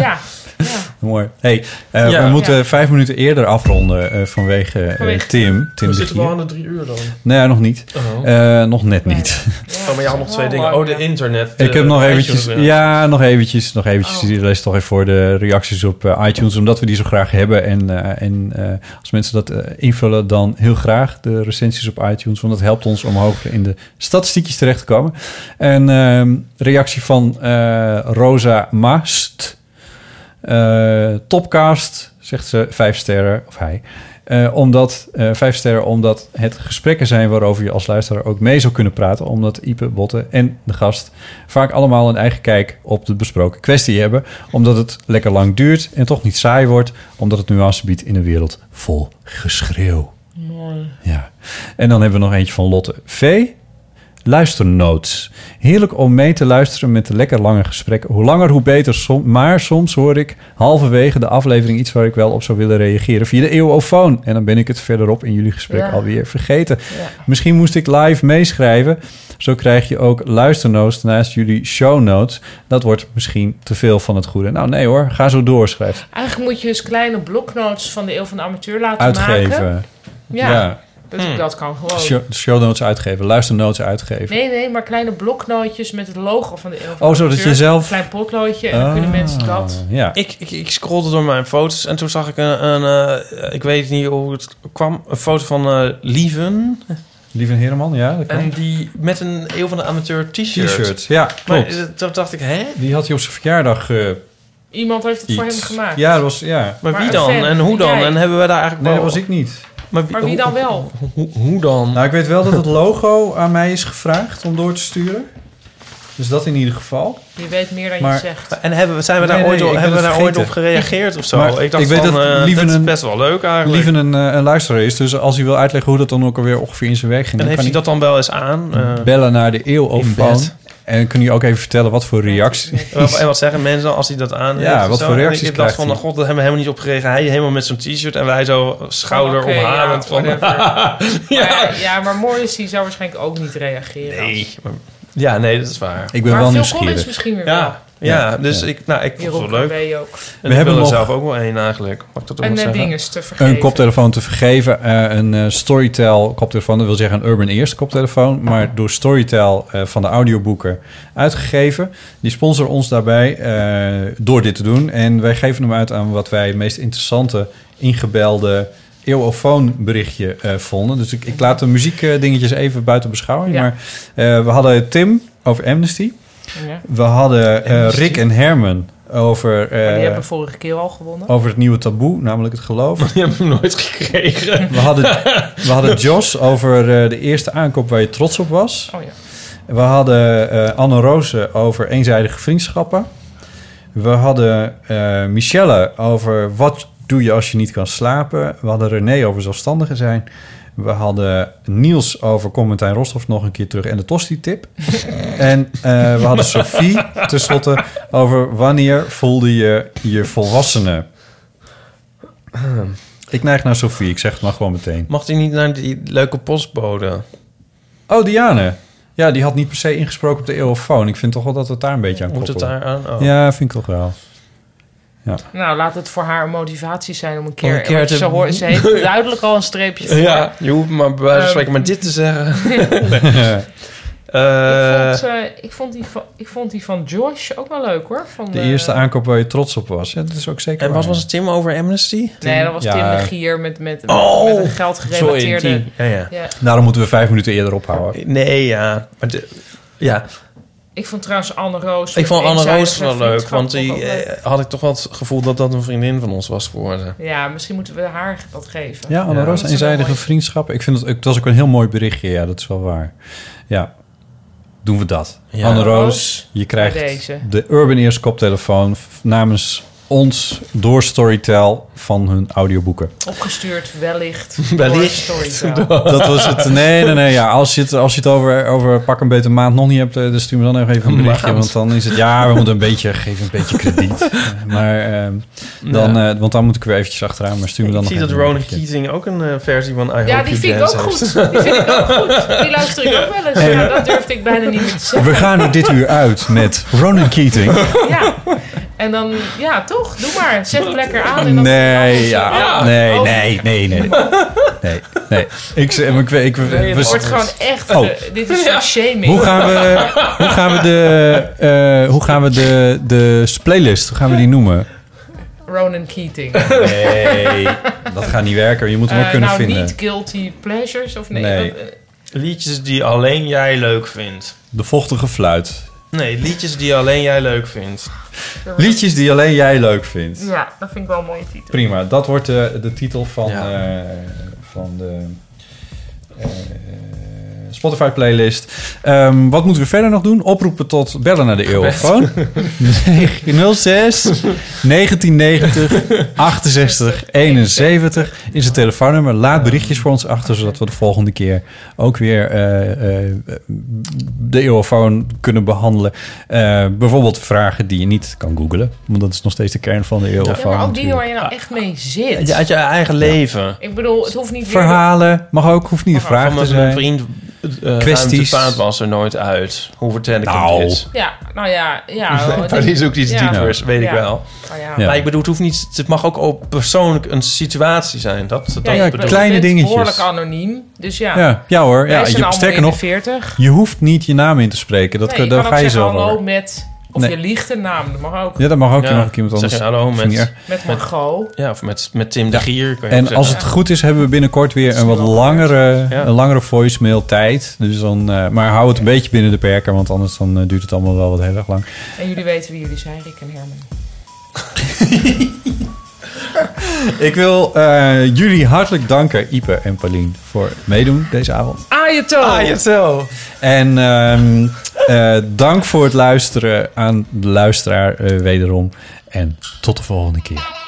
Speaker 2: ja.
Speaker 1: Mooi. Hey, eh,
Speaker 3: Ja.
Speaker 1: we moeten
Speaker 3: Ja.
Speaker 1: vijf minuten eerder afronden eh, vanwege, eh,
Speaker 3: Vanwege-
Speaker 1: Tim. Tim
Speaker 3: we
Speaker 1: de
Speaker 3: zitten
Speaker 1: Gier.
Speaker 3: wel aan de drie uur dan.
Speaker 1: Nee, nog niet.
Speaker 3: Oh.
Speaker 1: Eh, nog net niet.
Speaker 3: oh, maar jij had nog twee dingen. Oh, de internet.
Speaker 1: Ik
Speaker 3: de
Speaker 1: heb nog
Speaker 3: iTunes
Speaker 1: eventjes,
Speaker 3: en-
Speaker 1: ja, nog eventjes, nog eventjes. Die lees toch even voor de reacties op eh, iTunes, omdat we die zo graag hebben. En, eh, en eh, als mensen dat eh, invullen, dan heel graag de recensies op iTunes, want dat helpt ons om hoger in de statistiekjes terecht te komen. En ehm, reactie van eh, Rosa Maast. Eh, topcast, zegt ze, vijf sterren, of hij. Eh, omdat, eh, vijf sterren, omdat het gesprekken zijn waarover je als luisteraar ook mee zou kunnen praten. Omdat Ipe, Botte en de gast vaak allemaal een eigen kijk op de besproken kwestie hebben. Omdat het lekker lang duurt en toch niet saai wordt. Omdat het nuance biedt in een wereld vol geschreeuw.
Speaker 2: Mooi.
Speaker 1: En dan hebben we nog eentje van Lotte V. Luisternoots. Heerlijk om mee te luisteren met de lekker lange gesprekken. Hoe langer, hoe beter. Som- maar soms hoor ik halverwege de aflevering iets waar ik wel op zou willen reageren via de eeuwofoon. En dan ben ik het verderop in jullie gesprek
Speaker 8: Ja.
Speaker 1: alweer vergeten. Misschien moest ik live meeschrijven. Zo krijg je ook luisternoots naast jullie show notes. Dat wordt misschien te veel van het goede. Nou nee hoor, ga zo door, schrijft.
Speaker 2: Eigenlijk moet je dus kleine bloknotes van de Eeuw van de Amateur laten
Speaker 1: Uitgeven.
Speaker 2: maken. Ja,
Speaker 1: Ja.
Speaker 2: Dat,
Speaker 3: Hm.
Speaker 2: dat kan gewoon.
Speaker 1: Show, show notes uitgeven, luisternotes uitgeven.
Speaker 2: Oh. Nee, nee, maar kleine bloknootjes met het logo van de Eeuw van de
Speaker 1: Oh, zodat
Speaker 2: Amateur.
Speaker 1: je zelf- Ah.
Speaker 2: Klein potloodje en dan kunnen mensen dat...
Speaker 1: Ja.
Speaker 3: Ik, ik, ik scrollde door mijn foto's en toen zag ik een, een eh, ik weet niet hoe het kwam, een foto van eh, Lieven.
Speaker 1: Lieve Heerman, ja.
Speaker 2: Oh,
Speaker 1: Dat kan.
Speaker 3: En die met een Eeuw van de Amateur t-shirt.
Speaker 1: T-shirt, ja,
Speaker 3: Maar
Speaker 1: klopt.
Speaker 3: eh, toen dacht ik, hè?
Speaker 1: Die had hij op zijn verjaardag. eh,
Speaker 2: Iemand heeft het voor
Speaker 1: iets.
Speaker 2: hem gemaakt.
Speaker 1: Ja, dat was, ja.
Speaker 3: Maar, wie dan? En hoe dan? En hebben we daar eigenlijk
Speaker 1: Nee,
Speaker 3: wel-
Speaker 1: dat was ik niet.
Speaker 2: Maar wie dan wel?
Speaker 3: Hoe, hoe dan?
Speaker 1: Nou, ik weet wel dat het logo aan mij is gevraagd om door te sturen. Dus dat in ieder geval.
Speaker 2: Je weet meer dan je zegt.
Speaker 3: En hebben we, zijn we daar,
Speaker 1: Nee,
Speaker 3: ooit,
Speaker 1: nee,
Speaker 3: op,
Speaker 1: ik
Speaker 3: hebben we
Speaker 1: ben
Speaker 3: daar
Speaker 1: het
Speaker 3: ooit op
Speaker 1: vergeten.
Speaker 3: gereageerd of zo?
Speaker 1: Maar
Speaker 3: ik dacht
Speaker 1: ik weet
Speaker 3: van,
Speaker 1: dat
Speaker 3: eh, dat,
Speaker 1: Lieven
Speaker 3: is
Speaker 1: een-
Speaker 3: best wel leuk eigenlijk.
Speaker 1: Lieven een, eh, een luisteraar is, dus als hij wil uitleggen hoe dat dan ook alweer ongeveer in zijn werk ging...
Speaker 3: en heeft
Speaker 1: dan
Speaker 3: hij dat dan wel eens aan? Eh,
Speaker 1: bellen naar de eeuwofoon.
Speaker 3: bed.
Speaker 1: En kun je ook even vertellen wat voor reacties...
Speaker 3: en wat- en wat zeggen mensen dan als hij dat aan
Speaker 1: Ja,
Speaker 3: heeft en
Speaker 1: wat
Speaker 3: zo?
Speaker 1: voor
Speaker 3: En
Speaker 1: reacties
Speaker 3: Ik dacht
Speaker 1: krijgt
Speaker 3: van, "Nou,
Speaker 1: hij?
Speaker 3: god, dat hebben we helemaal niet op gereageerd. Hij helemaal met zo'n t-shirt en wij zo schouder
Speaker 2: Oké, ja,
Speaker 3: omhalend van... [laughs]
Speaker 2: ja. Maar, ja, maar Morris die zou waarschijnlijk ook niet reageren.
Speaker 3: Nee, maar- ja, nee, dat is waar.
Speaker 1: Ik ben
Speaker 2: maar
Speaker 1: wel
Speaker 2: Phil
Speaker 1: nieuwsgierig.
Speaker 2: Collins misschien weer wel.
Speaker 3: Ja, ja,
Speaker 1: Ja,
Speaker 3: dus
Speaker 1: ja.
Speaker 3: ik, nou, ik vond
Speaker 2: Jeroen
Speaker 3: het wel leuk.
Speaker 2: Krabbe ook.
Speaker 3: En
Speaker 1: We
Speaker 3: ik
Speaker 1: hebben
Speaker 3: wil er
Speaker 1: nog-
Speaker 3: zelf ook wel één eigenlijk. Mag ik dat ook
Speaker 2: En,
Speaker 3: nog
Speaker 2: eh,
Speaker 3: zeggen?
Speaker 2: dinges te vergeven.
Speaker 1: Een koptelefoon te vergeven. eh, een eh, Storytel koptelefoon, dat wil zeggen een Urban Ears koptelefoon, maar door Storytel eh, van de audioboeken uitgegeven. Die sponsor ons daarbij eh, door dit te doen. En wij geven hem uit aan wat wij het meest interessante ingebelde eeuwofoon berichtje eh, vonden. Dus ik, ik laat de muziekdingetjes even buiten beschouwing. Maar eh, we hadden Tim over Amnesty.
Speaker 2: Ja.
Speaker 1: We hadden eh, Rick en Herman over... eh,
Speaker 2: die hebben vorige keer al gewonnen.
Speaker 1: over het nieuwe taboe, namelijk het geloof.
Speaker 3: [laughs] Die hebben hem nooit gekregen.
Speaker 1: We hadden, we
Speaker 3: [laughs]
Speaker 1: hadden Jos over eh, de eerste aankoop waar je trots op was. We hadden eh, Anne Roze over eenzijdige vriendschappen. We hadden eh, Michelle over wat doe je als je niet kan slapen. We hadden René over zelfstandigen zijn. We hadden Niels over Commentijn Rostov nog een keer terug en de Tosti-tip. en eh, we hadden Sophie tenslotte over wanneer voelde je je volwassene. Ik neig naar Sophie, ik zeg het maar gewoon meteen.
Speaker 3: Mag hij niet naar die leuke postbode?
Speaker 1: Oh, Diane. Ja, die had niet per se ingesproken op de eeuwofoon. Ik vind toch wel dat we het daar een beetje aan
Speaker 3: Moet
Speaker 1: koppelen.
Speaker 3: het daar aan? Oh.
Speaker 1: Ja, vind ik toch wel. Ja.
Speaker 2: Nou, laat het voor haar een motivatie zijn om een keer...
Speaker 3: Om een keer
Speaker 2: want
Speaker 3: te-
Speaker 2: ze, hoor,
Speaker 1: [laughs]
Speaker 2: ze heeft duidelijk al een streepje voor.
Speaker 3: Ja, je hoeft maar bij wijze van
Speaker 2: Ehm.
Speaker 3: spreken maar dit te
Speaker 2: [laughs]
Speaker 3: zeggen.
Speaker 2: Ik
Speaker 3: Eh,
Speaker 2: vond, eh, ik, vond die van, ik vond die van Josh ook wel leuk, hoor. Van,
Speaker 1: De
Speaker 2: eh,
Speaker 1: eerste aankoop waar je trots op was. Ja, dat is ook zeker
Speaker 3: en wat was het Tim over Amnesty?
Speaker 2: Nee, dat was Tim de Gier met, met,
Speaker 3: Oh,
Speaker 2: met een geldgerelateerde...
Speaker 3: Sorry, Tim. Ja, ja.
Speaker 1: Daarom moeten we vijf minuten eerder ophouden.
Speaker 3: Nee, ja. Maar de- ja.
Speaker 2: Ik vond trouwens Anne Roos...
Speaker 3: Ik vond
Speaker 2: met
Speaker 3: Anne Roos
Speaker 2: eenzijdige
Speaker 3: wel leuk,
Speaker 2: vriendschap
Speaker 3: want
Speaker 2: ook
Speaker 3: die
Speaker 2: wel leuk.
Speaker 3: eh, had ik toch wel het gevoel dat dat een vriendin van ons was geworden.
Speaker 2: Ja, misschien moeten we haar dat geven.
Speaker 1: Ja, Anne Roos,
Speaker 2: Dat is wel
Speaker 1: eenzijdige vriendschappen. Ik vind dat, het was ook een heel mooi berichtje. Ja, dat is wel waar. Ja, doen we dat.
Speaker 3: Ja.
Speaker 1: Anne
Speaker 3: Roos,
Speaker 1: Roos, je
Speaker 2: bij
Speaker 1: krijgt
Speaker 2: deze.
Speaker 1: de Urban Ears koptelefoon f- namens ons door Storytel van hun audioboeken.
Speaker 2: Opgestuurd
Speaker 3: [laughs]
Speaker 2: wellicht.
Speaker 3: Wellicht.
Speaker 2: door Storytel.
Speaker 3: [laughs]
Speaker 1: Dat was Dus het. Nee, nee, nee. Ja, als, je het, als je het over, over pak een beetje maand nog niet hebt, eh, dan stuur me dan nog even een
Speaker 3: Een
Speaker 1: berichtje.
Speaker 3: maand.
Speaker 1: Want dan is het, ja, we moeten een beetje, geef een beetje
Speaker 3: [laughs]
Speaker 1: krediet. Maar, ehm, dan, eh, want dan moet ik weer eventjes achteraan, maar stuur me dan
Speaker 3: Ik
Speaker 1: nog
Speaker 3: zie
Speaker 1: even
Speaker 3: dat
Speaker 1: een
Speaker 3: Ronan
Speaker 1: berichtje.
Speaker 3: Keating ook een eh, versie van I Hope
Speaker 2: Ja,
Speaker 3: You
Speaker 2: die vind ik
Speaker 3: Dance
Speaker 2: ook
Speaker 3: heeft.
Speaker 2: goed. Die vind ik ook goed. Die luister ik ook wel eens. Ja, dat durfde ik bijna niet meer te zeggen.
Speaker 1: We gaan er dit uur uit met Ronan Keating.
Speaker 2: Ja. En dan, ja, toch? Doe maar. Zet het lekker aan. En dan
Speaker 1: Nee, ja.
Speaker 2: Ja. Oh.
Speaker 1: Nee, nee, nee, nee. Nee, nee. Ik, ze- ik, ik, ik,
Speaker 2: nee, het
Speaker 1: we-
Speaker 2: wordt gewoon echt...
Speaker 1: Oh.
Speaker 2: eh, dit is zo'n shaming.
Speaker 1: Hoe gaan we,
Speaker 2: [laughs]
Speaker 1: hoe gaan we de, eh, hoe gaan we de, de playlist, hoe gaan we die noemen?
Speaker 2: Ronan Keating. [laughs]
Speaker 1: Nee, dat gaat niet werken. Je moet hem ook
Speaker 2: Eh,
Speaker 1: kunnen
Speaker 2: nou,
Speaker 1: vinden.
Speaker 2: niet Guilty Pleasures of nee?
Speaker 1: Nee.
Speaker 2: want, eh,
Speaker 3: Liedjes die alleen jij leuk vindt.
Speaker 1: De vochtige fluit.
Speaker 3: Nee, liedjes die alleen jij leuk vindt.
Speaker 1: Liedjes die alleen jij leuk vindt.
Speaker 2: ja, dat vind ik wel een mooie titel.
Speaker 1: Prima, dat wordt de, de titel van, eh, van de eh, Spotify playlist. Ehm, wat moeten we verder nog doen? Oproepen tot bellen naar de eeuw.
Speaker 3: Best.
Speaker 1: Gewoon 06 1990 68 71 is het telefoonnummer. Laat berichtjes voor ons achter, zodat we de volgende keer ook weer eh, eh, de eeuwfoon kunnen behandelen. Eh, bijvoorbeeld vragen die je niet kan googlen, want dat is nog steeds de kern van de eeuwfoon.
Speaker 2: Ja, maar ook die waar je nou echt mee zit.
Speaker 3: Ja, uit je eigen leven.
Speaker 2: Ik bedoel, het hoeft niet weer-
Speaker 1: Verhalen, mag ook, hoeft niet een vraag
Speaker 3: Van
Speaker 1: te
Speaker 3: mijn
Speaker 1: zijn.
Speaker 3: vriend uh,
Speaker 1: Kwesties.
Speaker 3: Paard was er nooit uit. Hoe vertel ik
Speaker 1: Nou.
Speaker 3: hem dit?
Speaker 2: Ja, nou ja.
Speaker 1: [laughs]
Speaker 3: [laughs]
Speaker 2: ja
Speaker 3: Nee, maar die is ook iets
Speaker 2: ja.
Speaker 3: diepers, weet ik
Speaker 2: Ja.
Speaker 3: wel.
Speaker 2: Nou ja.
Speaker 3: Maar ik bedoel, het, hoeft niet, het mag ook op persoonlijk een situatie zijn. Dat, dat
Speaker 2: Ja, je
Speaker 3: bedoel ik.
Speaker 2: bent behoorlijk anoniem. Dus ja.
Speaker 1: Ja, ja hoor.
Speaker 2: Wij
Speaker 1: Ja,
Speaker 2: zijn
Speaker 1: je,
Speaker 2: allemaal
Speaker 1: sterker
Speaker 2: in de
Speaker 1: nog,
Speaker 2: 40.
Speaker 1: je hoeft niet je naam in te spreken. Dat,
Speaker 2: Nee,
Speaker 1: kun-
Speaker 2: je
Speaker 1: daar
Speaker 2: kan ook
Speaker 1: ga je
Speaker 2: zeggen
Speaker 1: zelf
Speaker 2: hallo
Speaker 1: over.
Speaker 2: met... Of
Speaker 1: Nee.
Speaker 2: je liegt een naam, dat mag ook.
Speaker 1: Ja, dat mag ook.
Speaker 3: Ja,
Speaker 1: Je mag ook iemand
Speaker 3: zeg
Speaker 1: anders.
Speaker 3: je hallo
Speaker 1: of
Speaker 3: met-
Speaker 1: niet erg.
Speaker 2: Met Margot.
Speaker 3: Ja, of met, met Tim de Gier. kan je ook
Speaker 1: En
Speaker 3: zeggen.
Speaker 1: als het goed is, hebben we binnenkort weer een wat langere, een langere voicemail tijd. Dus dan, eh, maar hou het een beetje binnen de perken, want anders dan, eh, duurt het allemaal wel wat heel erg lang.
Speaker 2: En jullie weten wie jullie zijn, Rick en Herman.
Speaker 1: Ik wil eh, jullie hartelijk danken, Ipe en Paulien, voor het meedoen deze avond.
Speaker 2: Ayato!
Speaker 3: Ayato!
Speaker 1: En ehm, eh, dank voor het luisteren aan de luisteraar eh, wederom. En tot de volgende keer.